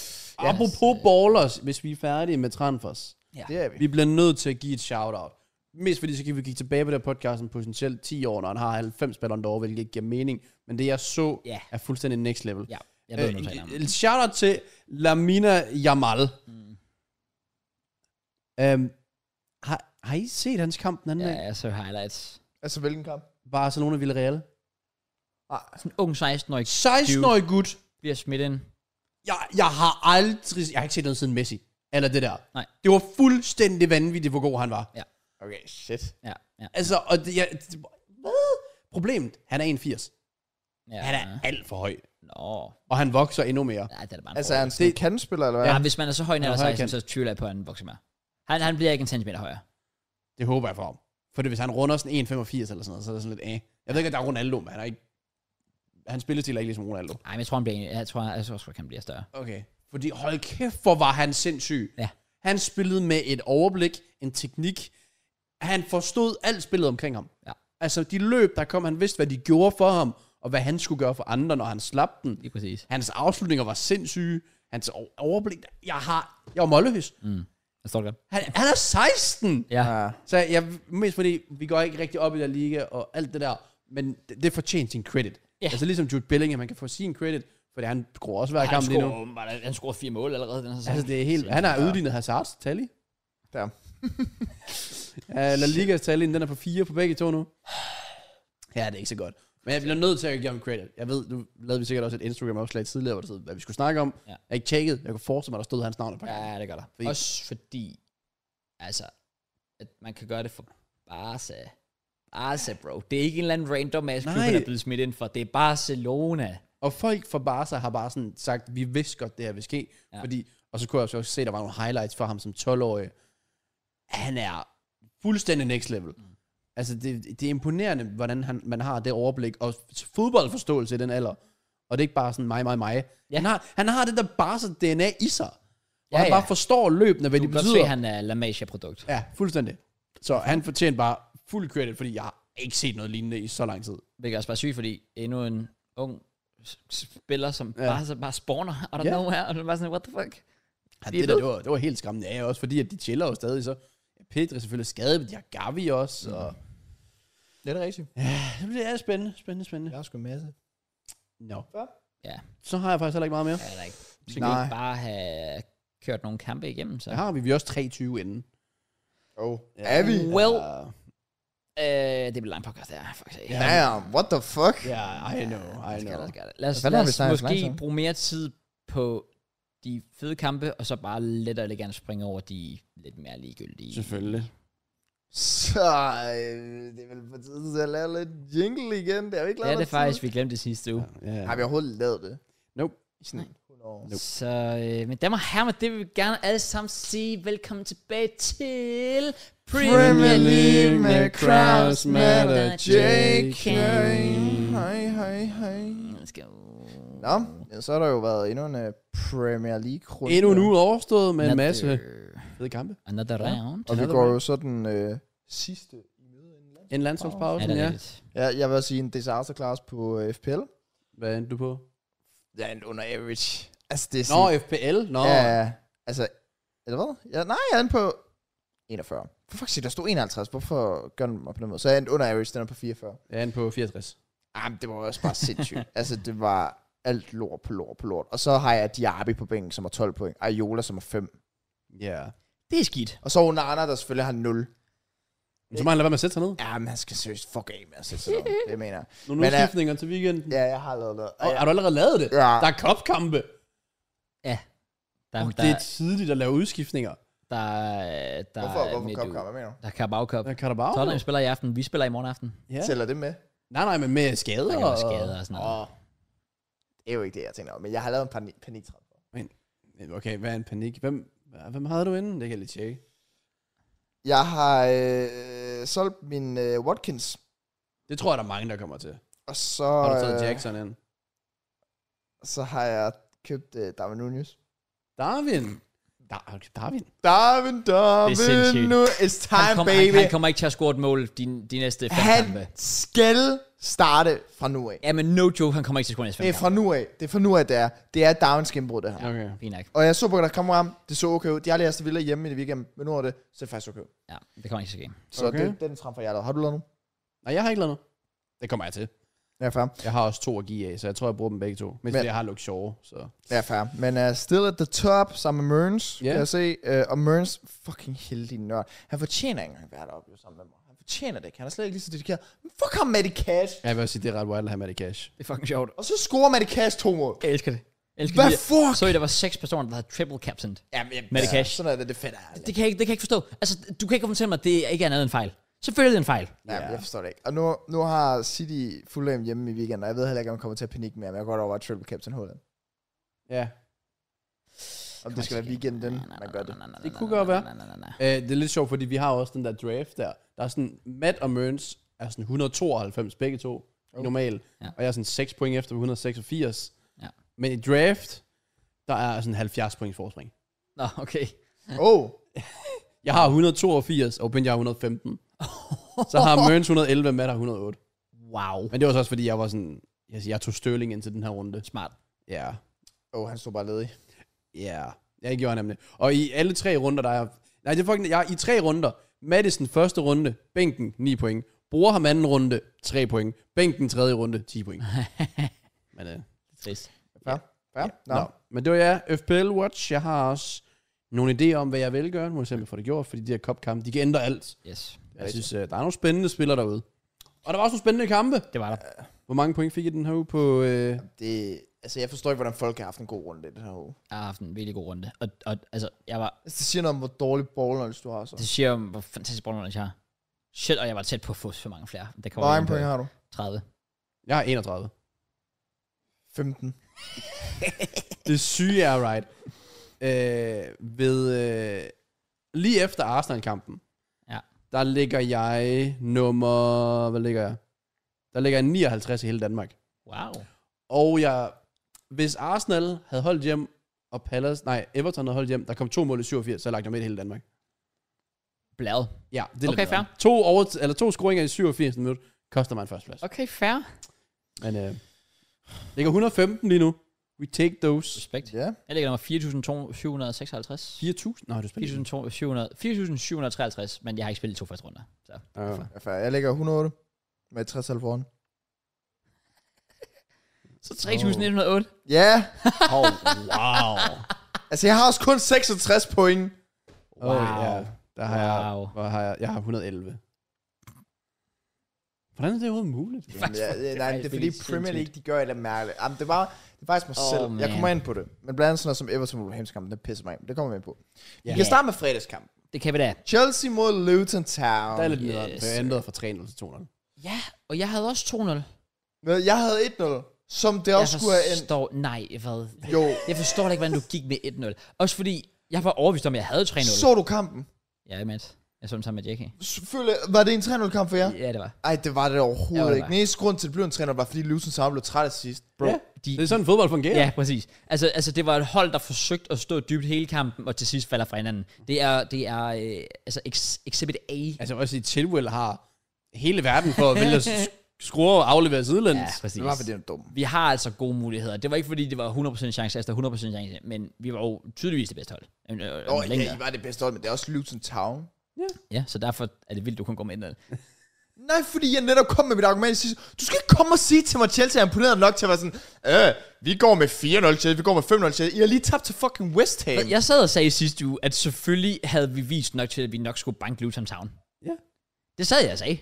Ja, Apropos ballers, hvis vi er færdige med transfers.
Ja.
Det er vi.
Vi bliver nødt til at give et shout-out. Mest fordi, så kan vi kigge tilbage på det her podcast om potentielt 10 år, når han har 90 ballon d'Or, hvilket ikke giver mening. Men det, jeg så,
Ja.
er fuldstændig next level.
Ja, jeg ved,
Øh,
hvad du taler om.
et shout-out til Lamina Jamal.
Mm.
Øhm, har, har I set hans kamp den anden
Ja,
dag?
jeg så highlights.
Altså, hvilken kamp?
Barcelona Villarreal.
Ah,
En ung 16-årig
16-årig gut.
bliver smidt ind.
Jeg, jeg har aldrig... Jeg har ikke set noget siden Messi. Eller det der.
Nej.
Det var fuldstændig vanvittigt, hvor god han var.
okay, shit.
Ja, ja.
Altså, og det, jeg, det, hvad? Problemet, han er 1,80.
ja.
Han er alt for høj.
Nå,
Og han vokser endnu mere.
nej, det er da bare en altså,
Altså, er
han...
han sådan en kantspiller, eller hvad?
Ja, hvis man er så høj, når
Han er
han er 16,
højkant.
så tvivler jeg på, at han vokser mere. Han, han bliver ikke en centimeter højere.
Det håber jeg for ham. For det, hvis han runder sådan 1,85 eller sådan noget, så er det sådan lidt af. Jeg ved ikke, at der er Ronaldo, men han er ikke... Hans spillestil er ikke ligesom Ronaldo.
Nej, men jeg tror, han bliver, en- jeg tror, jeg tror, sgu, at han bliver større.
Okay. Fordi hold kæft, hvor var han sindssyg.
Ja.
Han spillede med et overblik, en teknik. Han forstod alt spillet omkring ham.
Ja.
Altså, de løb, der kom, han vidste, hvad de gjorde for ham, og hvad han skulle gøre for andre, når han slap den.
Lige præcis.
Hans afslutninger var sindssyge. Hans o- overblik. Jeg har... Jeg var målløs.
Jeg står det godt.
Han, han er 16!
Mm. Ja.
Ja.
Så jeg, mest fordi, vi går ikke rigtig op i der liga og alt det der, men det, det fortjener sin credit.
Ja.
Altså ligesom Jude Bellingham, han kan få sin credit, fordi han skruer også hver
Han
kamp lige nu.
scorede, åbenbart, han scorede fire mål allerede den her sæson.
Altså det er helt, han har udlignet Hazards tal i.
Der.
Uh, La Ligas tal i, den er på fire på begge to nu. Ja, det er ikke så godt. Men jeg bliver nødt til at give ham credit. Jeg ved, nu lavede vi sikkert også et Instagram-opslag tidligere, hvor der stod, hvad vi skulle snakke om.
Ja.
Jeg har ikke tjekket. Jeg kunne forestille mig, der stod hans navn et par gange.
Ja, det gør der.
Fordi-
Også fordi, altså, at man kan gøre det for Barca. Barca, bro. Det er ikke en eller anden random ass klub,
Nej.
han er blevet smidt ind for. Det er Barcelona.
Og folk fra Barca har bare sådan sagt, vi vidste godt, det her vil ske.
Ja.
Ja. Fordi, og så kunne jeg også også se, der var nogle highlights for ham som 12-årig. Han er fuldstændig next level. Mm. Altså, det, det er imponerende, hvordan han, man har det overblik og fodboldforståelse i den alder. Og det er ikke bare sådan mig, mig, mig. Ja.
Ja.
Han, har, han har det der Barca DNA i sig. Og ja,
Ja,
han bare
ja.
forstår løbende, hvad
Du
det
kan
betyder.
godt se, han er Lamasia-produkt.
Ja, fuldstændig. Så han fortjente bare fuld credit, fordi jeg har ikke set noget lignende i så lang tid.
Hvilket er også bare sygt, fordi endnu en ung s- spiller, som
Ja.
ja. bare, så bare spawner out of
Ja.
yeah. nowhere, og det er bare sådan, what the fuck?
Ja,
De er
det, der,
ved.
det, var, det var helt skræmmende. Ja, også fordi, at de chiller jo stadig, så Pedri er selvfølgelig skadet, men de har Gavi også. Mm. Og,
Ja, det er rigtigt.
det bliver spændende, spændende, spændende.
Jeg
Ja.
har sgu en masse.
No.
Ja,
Så har jeg faktisk heller ikke meget mere.
det er der ikke. Så kan
Nej.
vi ikke bare have kørt nogle kampe igennem, så.
Der har vi, vi er også 23 inden.
Oh. Er vi?
Well.
Ja,
Øh, det bliver lang podcast, det her, faktisk. Ja.
Damn, what the fuck?
yeah, I know,
Skal
I know.
der, skal der. Lad os,
Hvad fanden
lad
har vi
os
snakket så lang tid
måske
om?
bruge mere tid på de fede kampe, og så bare let og elegant springe over de lidt mere ligegyldige.
Selvfølgelig.
Så øh, det er vel på tide til at lave lidt jingle igen. Det er vi ikke
Det
lavet
er det faktisk, vi glemte det sidste uge.
Ja.
Har vi overhovedet lavet det?
Nope.
I sådan 100 år.
Ja. Så, øh, men damer og herrer, det vil vi gerne alle sammen sige velkommen tilbage til
Premier League med
Kraus,
Kraus, Matt
Matt
og
og
JK.
JK.
Hej, hej, hej.
Let's go.
Nå, ja, så har der jo været endnu en øh, Premier League-runde.
Endnu nu overstået med en
Another-
masse fede kampe.
Another
Ja.
round.
Og vi
Another
går
one.
jo sådan øh, sidste i møde inden lands-
En
Er
landsholdspause,
det
ja.
rigtigt?
Ja, jeg vil sige en disaster class på øh, FPL.
Hvad endte du på?
Ja, en under average. Altså, det er
Nå, FPL. Nå.
Ja, altså, eller hvad? Ja, nej, jeg er inde på 41. Hvorfor siger der stod 51? Hvorfor gør den mig på den måde? Så jeg er under average, den er på 44.
Jeg er inde på 64.
Jamen, Ah, det var også bare sindssygt. altså, det var alt lort på lort på lort. Og så har jeg Diaby på bænken, som har 12 point. Ayola, som har 5.
Ja.
Det er skidt.
Og så Onana, der selvfølgelig har 0.
Men Så må han lade være med at sætte sig ned.
Jamen, han skal seriøst fuck af med at sætte sig ned. Det mener jeg.
Nogle
Men, øh,
udskiftninger til weekenden.
Ja, jeg har lavet noget.
Og, har du allerede lavet det?
Ja.
Der er kopkampe.
Der,
Og
der,
det er tidligt at lave udskiftninger.
der, der, der
Hvorfor,
er
hvorfor
midt
kom,
uge.
kom, hvad mener du?
Der er Carabao Cup.
Der er Carabao.
Tottenham spiller i aften, vi spiller i morgen aften.
Ja.
Tæller det med?
Nej, nej, men med skader.
Der kan være skader og sådan noget.
Åh,
Det er jo ikke det, jeg tænker over, Men jeg har lavet en panik, paniktrap.
Okay, hvad er en panik? Hvem, hvem havde du inden? Det kan jeg lige tjekke.
Jeg har øh, solgt min øh, Watkins.
Det tror jeg, der er mange, der kommer til.
Og så,
Har du taget
øh,
Jackson ind?
så har jeg købt uh, Darwin Nunez.
Darwin. Dar Darwin.
Darwin, Darwin,
Det er sindssygt.
nu it's time,
han, kom,
baby.
han, han kommer ikke til at score et mål de, de næste fem
han
kampe.
skal starte fra nu af.
Ja, men no joke, han kommer ikke til at score de næste
Det
fem
er
kampe.
fra nu af. Det er fra nu af, det er. Det er Darwins gennembrud, det her.
Okay.
Fint nok.
Og jeg så på, at der kom frem. Det så okay ud. De har lige Aston Villa hjemme i det weekend, men nu er det, så er det faktisk okay ud.
Ja, det kommer ikke til at ske.
Så
Okay.
okay. det, det er den tram fra hjertet. Har du lavet nu?
Nej, jeg har ikke lavet noget. Det kommer jeg til.
Ja, fair.
Jeg har også to at give af, så jeg tror, jeg bruger dem begge to. Men,
Men-
jeg har lukket sjove, så...
Ja, fair. Men uh, still at the top sammen med Mørns,
Ja.
yeah. kan jeg se. Uh, og Mørns, fucking heldig nørd. Han fortjener ikke engang at være deroppe jo, sammen med mig. Han fortjener det ikke. Han er slet ikke lige så dedikeret. Men fuck ham med det cash.
Jeg vil også sige, det er ret wild at have med det cash.
Det er fucking sjovt.
Og så scorer man det kasse to mål.
Jeg elsker det. Jeg elsker
Hvad
det.
fuck?
Så I, der var seks personer, der havde triple captained.
Jamen, jamen,
Med det cash.
Sådan er det, det fedt er.
Det kan, jeg, ikke- det kan jeg ikke forstå. Altså, du kan ikke fortælle mig, at det ikke er andet end en fejl. Selvfølgelig er det en fejl.
Ja, jeg forstår det ikke. Og nu, nu har City Fulham hjemme i weekenden, og jeg ved heller ikke, om jeg kommer til at panikke mere, men jeg går over at triple captain Holland.
Ja.
Om det skal være weekenden, man gør det.
Det kunne godt være. Øh, det er lidt sjovt, fordi vi har også den der draft der. Der er sådan, Matt og Mørns er sådan 192 begge to, oh. normalt. Ja.
Ja.
Og jeg er sådan 6 point efter på 186.
Ja.
Men i draft, der er sådan 70 points forspring.
Nå, okay.
Oh,
Jeg har 182, og Benja har 115. så har Mørns 111, og Matt har 108.
Wow.
Men det var så også, fordi jeg var sådan, jeg, jeg tog Sterling ind til den her runde.
Smart.
Ja. Yeah.
oh han stod bare ledig.
Ja, yeah. jeg gjorde nemlig. Og i alle tre runder, der er... Nej, det er fucking... Jeg er i tre runder. Madison første runde, bænken 9 point. Bruger ham anden runde, 3 point. Bænken tredje runde, 10 point. men, øh,
Trist.
Ja, ja.
no.
Nå.
No. men det var ja, FPL Watch. Jeg har også nogle idéer om, hvad jeg vil gøre. Nu må jeg se, om jeg får det gjort, fordi de her kopkampe, de kan ændre alt.
Yes.
Jeg synes, øh, der er nogle spændende spillere derude. Og der var også nogle spændende kampe.
Det var der.
Hvor mange point fik I den her uge på... Øh,
Det, altså, jeg forstår ikke, hvordan folk har haft en god runde i den her uge.
Jeg har haft en virkelig god runde. Og, og altså, jeg var...
Altså, det siger noget om, hvor dårlig ballnøjelse du har, så.
Det siger om, hvor fantastisk ballnål jeg har. Shit, og jeg var tæt på at få så mange flere. Det
Hvor
kommer
mange
ind på
point har du?
30.
jeg har 31.
15.
Det syge er, right? Øh, ved, øh, lige efter Arsenal-kampen,
Ja.
der ligger jeg nummer... Hvad ligger jeg? Der ligger jeg 59 i hele Danmark.
Wow.
Og jeg, hvis Arsenal havde holdt hjem, og Palace, nej, Everton havde holdt hjem, der kom to mål i 87, så havde jeg lagt dem med i hele Danmark.
Blad.
Ja, det er
Okay,
lidt
fair.
nederen. To, over, eller to scoringer i 87 minut koster mig en førsteplads.
Okay, fair.
Men øh, ligger 115 lige nu. We take those.
Respekt.
Ja.
Jeg ligger nummer 4.756.
4.000? Nej, du spiller.
4.700 4.753, men jeg har ikke spillet de to første runder. Så.
Ja.
Jeg, er færdig. jeg ligger 108 med 60 halv foran.
Så 3.108.
Ja.
Oh, wow.
Altså, jeg har også kun 66 point.
wow. Oh, ja. Der har
Wow.
jeg, hvor har jeg, jeg har 111. Hvordan er det overhovedet muligt?
Jamen,
Altså,
ja, ja, nej, det er fordi
sindssygt.
Premier League, de gør et eller andet mærkeligt. Jamen, det var, det er faktisk mig
Åh,
selv. Jeg
man.
kommer ind på det. Men blandt andet sådan noget som Everton Wolverhampton-kampen, den pisser mig af. Det kommer vi ind på.
Ja.
Vi kan starte med fredagskamp.
Det kan vi da.
Chelsea mod Luton Town.
Der er lidt yes.
Yes.
nederen, for jeg ændrede fra 3-0 til 2-0.
Ja, og jeg havde også 2-0.
Ved du, Jeg havde 1-0, som det
Jeg
også skulle have endt.
forstår... Nej, hvad?
Jo,
Jeg forstår da ikke, hvordan du gik med 1-0. Også fordi, jeg var overbevist om, at jeg havde 3-0.
så du kampen?
Ja, Mads. Jeg så den sammen med Jackie.
Selvfølgelig, var det en 3-0-kamp for jer?
Ja, det var.
Ej, det var det
Ja,
overhovedet
det
ja,
var
ikke. Den eneste grund til, at det blev en træner, var fordi Luton Town blev træt af sidst. Bro.
Ja,
De,
det er sådan, fodbold fungerer.
Ja, præcis. Altså, altså, det var et hold, der forsøgte at stå dybt hele kampen, og til sidst falder fra hinanden. Det er, det er øh, altså, ex, Exhibit A.
Altså også i Chilwell har hele verden for at vælge at sk- score og aflevere sidelæns. Ja.
præcis.
Det var fordi, den var dum.
Vi har altså gode muligheder. Det var ikke, fordi det var 100% chance altså, efter 100% chance, men vi var jo tydeligvis det bedste hold. Øh, øh,
Åh, oh,
længere.
ja, I var det bedste hold, men det er også Luton Town.
ja, så derfor er det vildt, du kun går med ind.
Nej, fordi jeg netop kom med mit argument sidst. Du skal ikke komme og sige til mig, at Chelsea er imponeret nok til at være sådan, øh, vi går med 4-0 Chelsea, vi går med 5-0 Chelsea. I har lige tabt til fucking West Ham.
Jeg sad og sagde i sidste uge, at selvfølgelig havde vi vist nok til, at vi nok skulle banke Luton Town.
Ja.
Det sad jeg og sagde.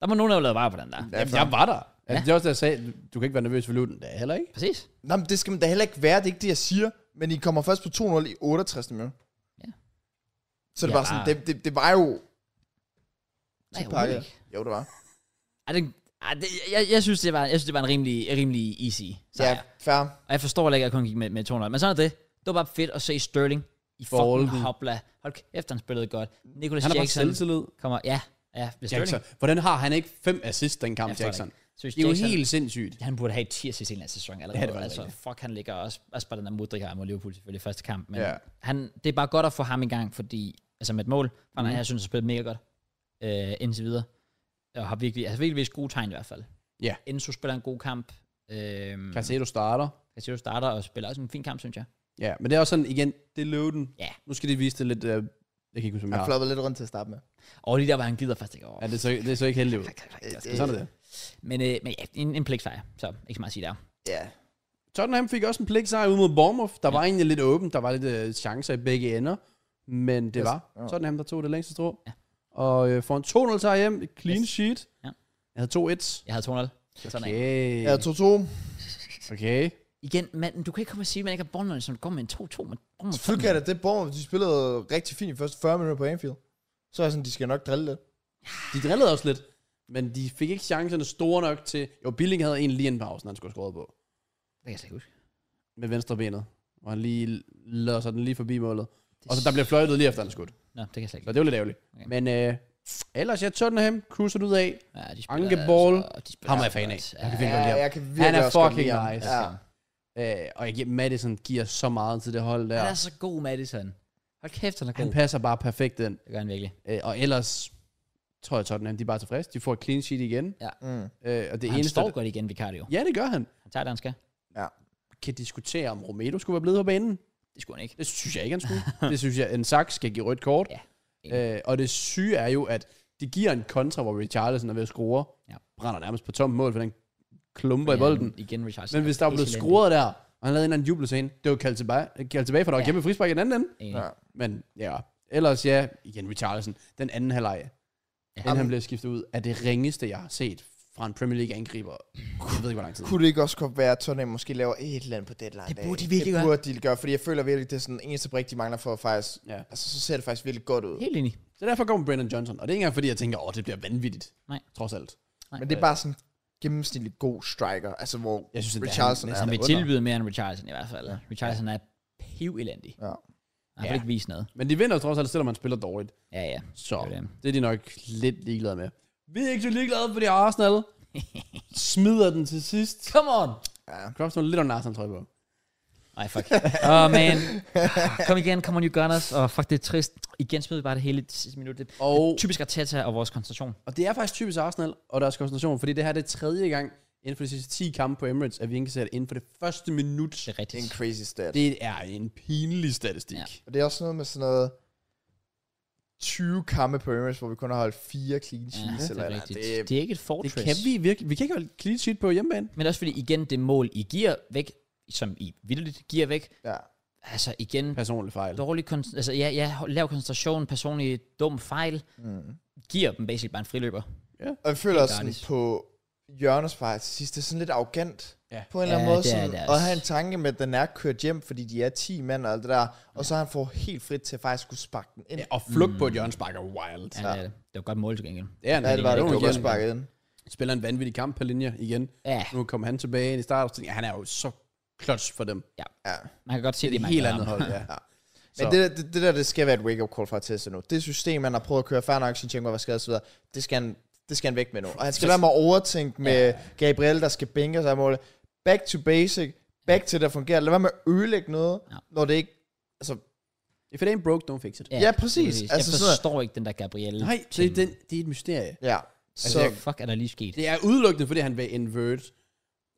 Der må nogen, der have lavet vare på den der.
Jamen, jeg var der. Altså, Det er også det, jeg sagde. Du kan ikke være nervøs for Luton. Det er jeg heller ikke.
Præcis.
Nå, men det skal man da heller ikke være, det er ikke det, jeg siger. Men I kommer først på 2-0 i 68 minutter.
Ja.
Så det
Ja,
var sådan,
bare-
det, det, det var jo...
Nej,
pakket.
overhovedet ikke.
Jo, det var.
Ej, det, ej, det, jeg, jeg, synes, det var, jeg synes, det var en rimelig, rimelig easy sejr.
Ja,
Ja.
fair.
Og jeg forstår heller ikke, at jeg kun gik med, med 200. Men sådan er det. Det var bare fedt at se Sterling i
Bolden.
fucking hopla. Hold kæft, han spillede godt. Nicholas
Han har bare
Jackson
selvtillid.
kommer... Ja, ja. det er Sterling.
Jackson. Hvordan har han ikke fem assist den kamp,
Jeg forstår
Jackson?
det ikke. Synes
Det er jo
Jackson-
helt sindssygt.
Han burde have et 10 sidste af sæsonen allerede.
Ja,
Ja,
det
det
var det
altså, fuck, han ligger også, også bare den der modrik her mod Liverpool selvfølgelig i første kamp. Men
Ja.
ja. han, det er bare godt at få ham i gang, fordi, altså med et mål, for
Mhm.
mm. jeg synes, han spillet mega godt øh, indtil videre. Og har virkelig, altså virkelig vist gode tegn i hvert fald.
Ja.
Enzo spiller en god kamp. Øh,
Casado starter.
Casero starter og spiller også en fin kamp, synes jeg.
Ja, men det er også sådan, igen, det er Luton.
Ja.
Nu skal de vise det lidt... Øh, jeg kan ikke huske, hvad
Han
jeg har.
floppede lidt rundt til at starte med.
Og lige der, hvor han gider faktisk ikke over.
Ja, det er, så, det er så ikke heldigt ud.
Øh,
Sådan er det.
Men, øh, men ja, en, en pligtsejr, så ikke så meget at sige der.
Ja.
Tottenham fik også en pligtsejr ud mod Bournemouth. Der var egentlig lidt åbent. Der var lidt øh, chancer i begge ender. Men det
Yes.
var
Ja.
Tottenham, der tog det længste strå.
Ja.
Og øh, får en 2-0 sejr hjem. Et clean
Yes.
sheet.
Ja.
Jeg havde 2-1.
Jeg havde 200. Sådan okay.
Okay.
Ja, 2-2.
Okay.
Igen, manden, du kan ikke komme og sige, at man ikke har Bournemouth, som går med en 2-2. Man,
Selvfølgelig kan det det. Bournemouth, de spillede rigtig fint i første 40 minutter på Anfield. Så er jeg sådan, de skal nok drille lidt.
De drillede også lidt. Men de fik ikke chancerne store nok til... Jo, Billing havde en lige en pause, han skulle have scoret på.
Det kan jeg slet ikke huske.
Med venstre benet. Og han lige lader sig den lige forbi målet. Og så der blev fløjtet lige efter, han skudt.
Nå, det kan jeg slet
Så
ikke.
det var lidt ærgerligt.
Okay.
Men øh, ellers, ja, Tottenham cruiser ud af.
Ja, de
Ankeball.
altså- de spiller
Ham er jeg
altså
fan af.
godt.
Jeg kan
Ja,
virkelig godt lide ham.
jeg kan virkelig
er
også godt
fucking
lide ham.
nice.
Ja.
Øh, og jeg giver, Madison giver så meget til det hold der.
Han er så god, Madison. Hold kæft, han er god.
Han passer bare perfekt ind.
Det gør han virkelig.
Øh, og ellers tror jeg, Tottenham de er bare tilfredse. De får et clean sheet igen.
Mm.
Øh, og det
Det han
eneste,
står godt igen, Vicario.
Ja, det gør han.
Han tager det, han skal.
Kan diskutere, om Romero skulle være blevet på banen.
Det skulle han ikke.
Det synes jeg ikke, han skulle. det synes jeg, en saks skal give rødt kort.
Ja,
øh, og det syge er jo, at det giver en kontra, hvor Richarlison er ved at score.
Ja.
Brænder nærmest på tomt mål, for den klumper i
Fordi
bolden.
han- Igen, Richardson.
Men hvis der var blevet
Elendig.
scoret der, og han lavede en eller anden jubelscene, det var kaldt tilbage, kaldt tilbage for der var
Ja.
kæmpe frispark i den anden ende.
Enig.
Ja.
Men ja, ellers ja, igen Richarlison, den anden halvleg, ja. inden han
Jamen.
blev skiftet ud, er det ringeste, jeg har set fra en Premier League-angriber. Jeg ved ikke, hvor lang tid.
Kunne det ikke også godt være, at Tottenham måske laver et eller andet på deadline
Det
dag?
burde de virkelig
Det
gøre.
burde de gøre, fordi jeg føler virkelig, det er sådan den eneste brik, de mangler for at faktisk...
Ja.
Altså, så ser det faktisk virkelig godt ud.
Helt enig.
Så derfor kommer Brendan Johnson, og det er ikke engang fordi, jeg tænker, åh, det bliver vanvittigt.
Nej.
Trods alt.
Men det er bare sådan en gennemsnitlig god striker, altså hvor
Jeg synes, at det er
Richarlison
han
er,
næsten
Han
der
vil
under.
tilbyde mere end Richardson i hvert fald. Richardson er piv elendig.
Ja.
Han har ja. ikke vist noget.
Men de vinder trods alt, selvom man spiller dårligt.
Ja, ja.
Så
Det er
det er,
det.
de nok lidt ligeglade med. Vi er ikke så ligeglade, fordi Arsenal smider den til sidst.
Come on!
Kropp står lidt under Arsenal, tror jeg på.
Ej, fuck. Åh, oh, man. Kom igen, come on, you gunners. Og oh, fuck, det er trist. Igen smed vi bare det hele i det sidste minut. Det er
Og,
typisk Arteta og vores koncentration.
og det er faktisk typisk Arsenal og deres koncentration, fordi det her det er tredje gang inden for de sidste 10 kampe på Emirates, at vi indkasserer inden for det første minut.
Det er
Det er
rigtigt.
en crazy stat. Det.
Det er en pinlig statistik.
Ja.
Og det er også noget med sådan noget 20 kampe på Emirates, hvor vi kun har holdt fire clean
Ja,
sheets.
det
eller
er
eller
rigtigt.
andet.
Det er ikke et
Det
fortress.
kan vi virkelig. Vi kan ikke holde clean sheet på hjemmebane.
Men også fordi, igen, det mål, I giver væk, som I vildt giver væk,
ja.
altså igen,
Personlig fejl.
dårlig kon- altså, ja, ja, lav koncentration, personlig dum fejl,
Mm.
giver dem basically bare en friløber.
Og jeg føler også sådan
gratis.
på Jørgens vej til sidst, det er sådan lidt arrogant.
Ja.
På en eller anden
Ja,
måde,
det er
sådan,
det altså.
at
også.
have en tanke med, at den er kørt hjem, fordi de er 10 mænd og alt det der, og så han får helt frit til at faktisk kunne sparke den ind.
Ja, og flugt på et hjørnspark er wild.
Mm. Ja, det, er det. det var et godt mål til gengæld.
Ja,
Ja, det var det,
var
det var godt
igen.
sparket ind.
Spiller en vanvittig kamp per linje igen.
Ja,
Nu kommer han tilbage ind i start, og tænker, jeg, han er jo så klods for dem.
Ja.
man kan godt se, det,
Det er
det
et helt andet hold,
Men
ja. Så-
det, der- det, det, der, det skal være et wake-up call fra Tessa nu. Det system, han har prøvet at køre færre nok, Sinchenko var skadet osv., det skal han, det skal han væk med nu. Og han skal lade mig overtænke med Gabriel, der skal bænke sig af målet. Back to basic, back til det, der fungerer. Lad være med at ødelægge noget,
Ja.
når det ikke... Altså,
If it ain't broke, don't fix it.
Ja, præcis. Altså,
Altså, jeg
sådan-
forstår ikke den der Gabrielle.
Nej, det, er den, det er et mysterie.
ja.
Så
Så,
altså, fuck er der lige sket.
Det er udelukkende, fordi han vil invert.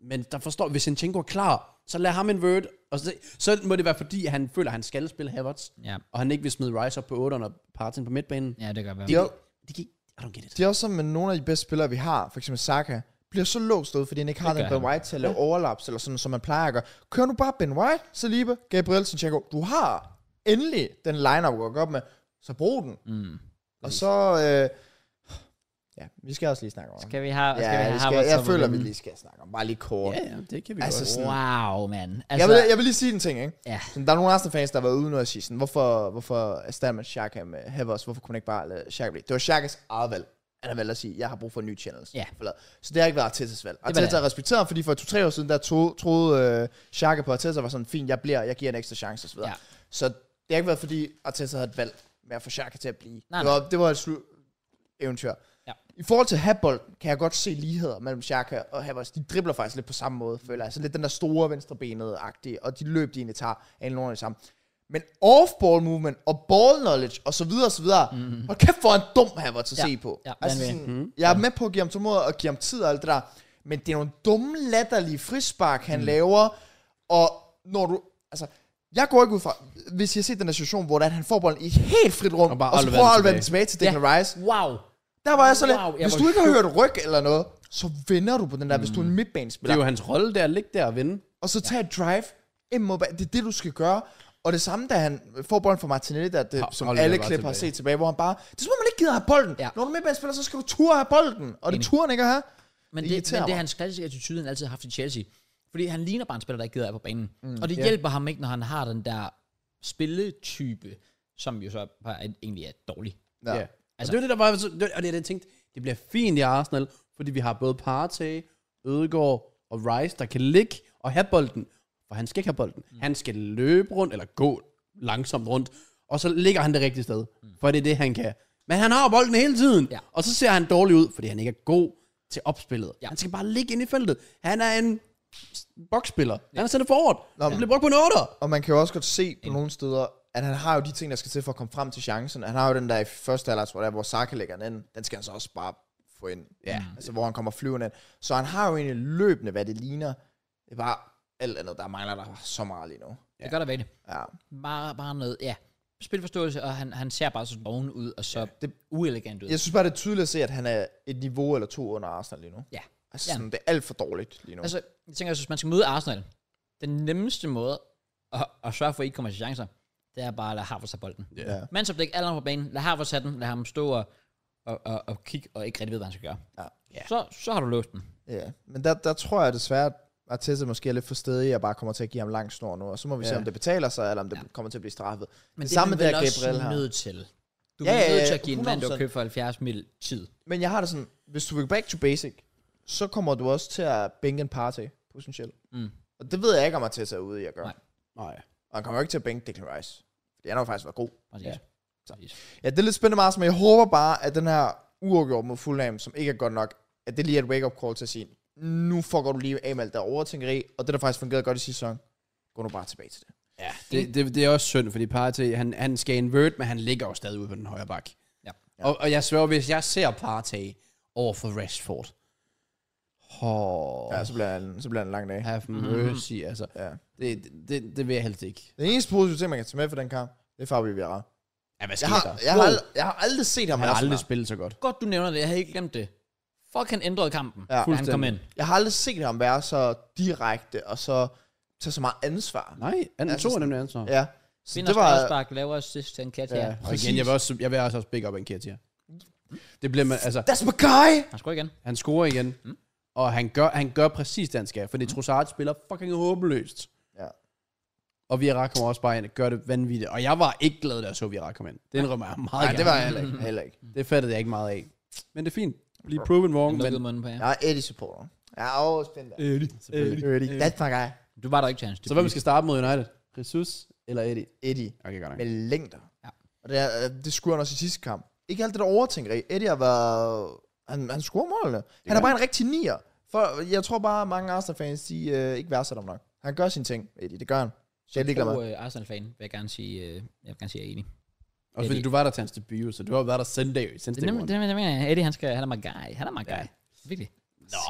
Men der forstår, hvis Sinchenko er klar, så lad ham invert. Og så, så må det være, fordi han føler, at han skal spille Havertz,
Ja,
og han ikke vil smide Rice op på 8'eren og Partin på midtbanen.
ja det kan godt være.
det, er,
Det gik, I don't get it.
det er også sådan med nogle af de bedste spillere, vi har, for eksempel Saka, bliver så låst ud, fordi han ikke har
Det
den
gør
Ben
han.
White til at lave overlaps, eller sådan, som man plejer at gøre. Kør nu bare Ben White, Saliba, Gabriel, Sinchenko. Du har endelig den lineup at gå op med, så brug den.
Mm.
Og så... Øh, ja, vi skal også lige snakke om
Skal vi have,
ja,
skal vi
vi
have
skal,
Havertz
jeg
op
føler,
på
vi
den?
lige skal snakke om. Bare lige kort.
Ja, ja, det kan vi
Altså,
godt.
sådan-
Wow, mand. Altså,
Jeg, vil, jeg vil lige sige en ting, ikke?
Ja.
Sådan, Der er nogle Arsenal-fans, der har været ude nu og sige sådan, hvorfor, hvorfor erstatter man Xhaka med Havertz? Hvorfor kunne man ikke bare lade Xhaka blive? Det var Xhakas eget valg. Han har valgt at sige, jeg har brug for en ny channels.
Ja.
Forlad. Så det har ikke været Artetas valg.
var det.
Arteta er respekteret, fordi for to-tre år siden, der tro, troede øh, Xhaka på Arteta var sådan, fint, jeg bliver, jeg giver en ekstra chance osv.
Ja.
Så det har ikke været, fordi Arteta havde et valg med at få Xhaka til at blive.
Nej,
det, var, det var et slut eventyr.
Ja.
I forhold til Habold kan jeg godt se ligheder mellem Xhaka og Havertz. De dribler faktisk lidt på samme måde, føler jeg. Så lidt den der store venstrebenede-agtige, og de løb, de egentlig tager, er enormt det samme. Men off-ball movement og ball knowledge og så videre og så videre. Mm. Hold kæft, hvor er en dum Havertz at
Mhm. Ja.
se på.
Ja,
altså
vanvittig.
sådan, mm. Jeg er med på at give ham tålmodighed og give ham tid og alt det der. Men det er nogle dumme, latterlige frispark,
Mhm.
han mm. laver. Og når du... Altså, jeg går ikke ud fra... Hvis jeg ser den der situation, hvor det er, at han får bolden i et helt frit rum, og,
Og bare
og så
aldrig
prøver
vende
at vende tilbage til Declan Rice,
Wow.
der var jeg så lidt,
Wow, jeg
hvis
var
du ikke har hørt ryg eller noget, så vender du på den der, mm. hvis du er en
Det er
midtbanespiller.
jo hans rolle der, at ligge der og vinde.
Og så tager et drive ind mod banen. Det er det, du skal gøre. Og det samme, da han får bolden fra Martinelli, der det,
Har-
som
afleverer
alle
bare
klip har
tilbage.
set tilbage, hvor han bare, det er som om, man ikke gider have bolden.
Ja.
Ja. Når du er midtbanespiller, så skal du turde have bolden. Og det turde han ikke at have.
Men
Det
det, det,
irriterer
men det er
mig.
hans klassiske attitude, han altid har haft i Chelsea. Fordi han ligner bare en spiller, der ikke gider af på banen. Mm, og det hjælper ham ikke, når han har den der spilletype, som jo så bare egentlig er dårlig.
Ja.
Ja. Altså, og det var det, der var, så- det var- og det er det, jeg tænkte, det bliver fint i Arsenal, fordi vi har både Partey, Ødegaard og Rice, der kan ligge og have bolden, for han skal ikke have bolden. Mm. Han skal løbe rundt, eller gå langsomt rundt, og så ligger han det rigtige sted, for det er det, han kan. Men han har bolden hele tiden,
Ja.
og så ser han dårlig ud, fordi han ikke er god til opspillet.
Ja.
Ja. Han skal bare ligge inde i feltet. Han er en boksspiller. Han er sendt forward. Han
men-
bliver brugt på en 8'er.
Og man kan jo også godt se på nogle steder, at han har jo de ting, der skal til for at komme frem til chancen. Han har jo den der i første halvleg, tror jeg, der, hvor Saka lægger den ind. Den skal han så også bare få ind. Ja. Altså, hvor han kommer flyvende ind. Så han har jo egentlig løbende, hvad det ligner. Det er bare alt andet, der mangler der så meget lige nu.
Ja. Det gør der ved det.
Ja.
Bare, bare noget, ja. Spilforståelse, og han, han ser bare så doven ud, og så ja, det, uelegant ud.
Jeg synes bare, det er tydeligt at se, at han er et niveau eller to under Arsenal lige nu.
Ja.
Altså,
Ja.
sådan, det er alt for dårligt lige nu. Altså,
Altså, jeg tænker, også, hvis man skal møde Arsenal, den nemmeste måde at, at sørge for, at I ikke kommer til chancer, det er bare at lade Havertz have bolden.
Ja.
Ja.
Mandsopdæk, alle andre på banen, lad Havertz have den, lad ham stå og, og, og, og kigge, og ikke rigtig ved, hvad han skal gøre.
Ja.
Ja. Så, så har du løst den.
ja. Men der, der tror jeg desværre, at Arteta måske er lidt for stedig og bare kommer til at give ham lang snor nu. Og så må vi ja. se,
Ja.
om det betaler sig, eller om det
Ja.
ja. kommer til at blive
Men
straffet. Det
det, det
samme
er du vel
der,
også
Gabriel har.
nødt til. Du er
Ja, ja,
nødt
ja,
til at give en mand, du har
100%.
købt for 70 mil tid.
Men jeg har det sådan, hvis du vil back to basic, så kommer du også til at bænke en party, potentielt.
Mm.
Og det ved jeg ikke, om Arteta er ude i at gøre.
Nej.
Nej.
Nej.
Og han kommer jo ikke til at bænke Declan Rice. Fordi han har jo faktisk været god.
Præcis.
Ja.
Så. Præcis.
Ja, det er lidt spændende, Marsen, men jeg håber bare, at den her uafgjort mod Fulham, som ikke er godt nok, at det lige er et wake-up call til at sige, nu fucker du lige af med alt der overtænkeri, og det der faktisk fungerede godt i sidste sæson, gå nu bare tilbage til det.
Ja, det, det, det er også synd, fordi Partey, han, han skal invert, men han ligger jo stadig ude på den højre bak.
Ja.
Og, og jeg sværger, hvis jeg ser Partey over for Rashford, oh,
Ja, så bliver han, så bliver han en lang dag.
have mercy, mm-hmm. altså.
Ja.
Det, det, det, det vil jeg helst ikke.
Den eneste positive ting, man kan tage med for den kamp, det er Fabio Vieira.
Ja, hvad
Jeg
sker
har,
der?
jeg, har
Wow.
aldrig, jeg har aldrig set ham
han
være
har
så
aldrig
meget.
spillet så godt.
Godt, du nævner det. Jeg havde ikke glemt det. Fuck, han ændrede kampen,
Ja.
ja, da han kom ind.
Jeg har aldrig set ham være så direkte, og så tage så meget ansvar.
Nej, han
Altså
altså, tog
sådan-
nemlig ansvar. Ja,
Ja, så
Vinder
det var...
spark, laver assist til en kat her.
ja, og igen, jeg vil, også, jeg vil også big up en Ketia. Det bliver man, altså,
That's my guy!
Han skulle igen.
han scorer igen, mm. og han gør, han gør præcis det, han skal, fordi Trossard spiller fucking håbløst.
Ja.
Og Vieira kommer også bare ind og gør det vanvittigt. Og jeg var ikke glad, da jeg så Vieira komme ind. Det indrømmer jeg meget
Nej,
gerne.
det var jeg heller ikke. Heller ikke.
det fattede jeg ikke meget af. Men det er fint. Lige proven wrong,
Han lukkede
men...
munden på jer.
Jeg er Eddie-supporter. Jeg er overspændt.
Selvfølgelig.
Eddie. That's my guy.
Du var der ikke, Chance.
Så hvem skal starte mod United? Jesus eller Eddie?
Eddie.
Okay, godt nok.
Med længder.
Ja.
Og det, er, øh, det skulle han også i sidste kamp. Ikke alt det der overtænkeri. Eddie har været... Han, han scorer målene. Han er
gør
bare en rigtig nier. For jeg tror bare, at mange Arsenal-fans, de øh, ikke værdsætter ham nok. Han gør sine ting, Eddie. Det gør han. Jeg er ligeglad med.
med. øh, Arsenal-fan, vil jeg gerne sige, øh, jeg vil gerne sige, jeg er enig.
Også fordi
Eddie.
du var der til hans debut, så du har været der Sunday, since
Det er
day
nemlig,
one.
det, er nemlig- det mener jeg. Eddie, han, skal, han er my guy. Han er my guy. Virkelig.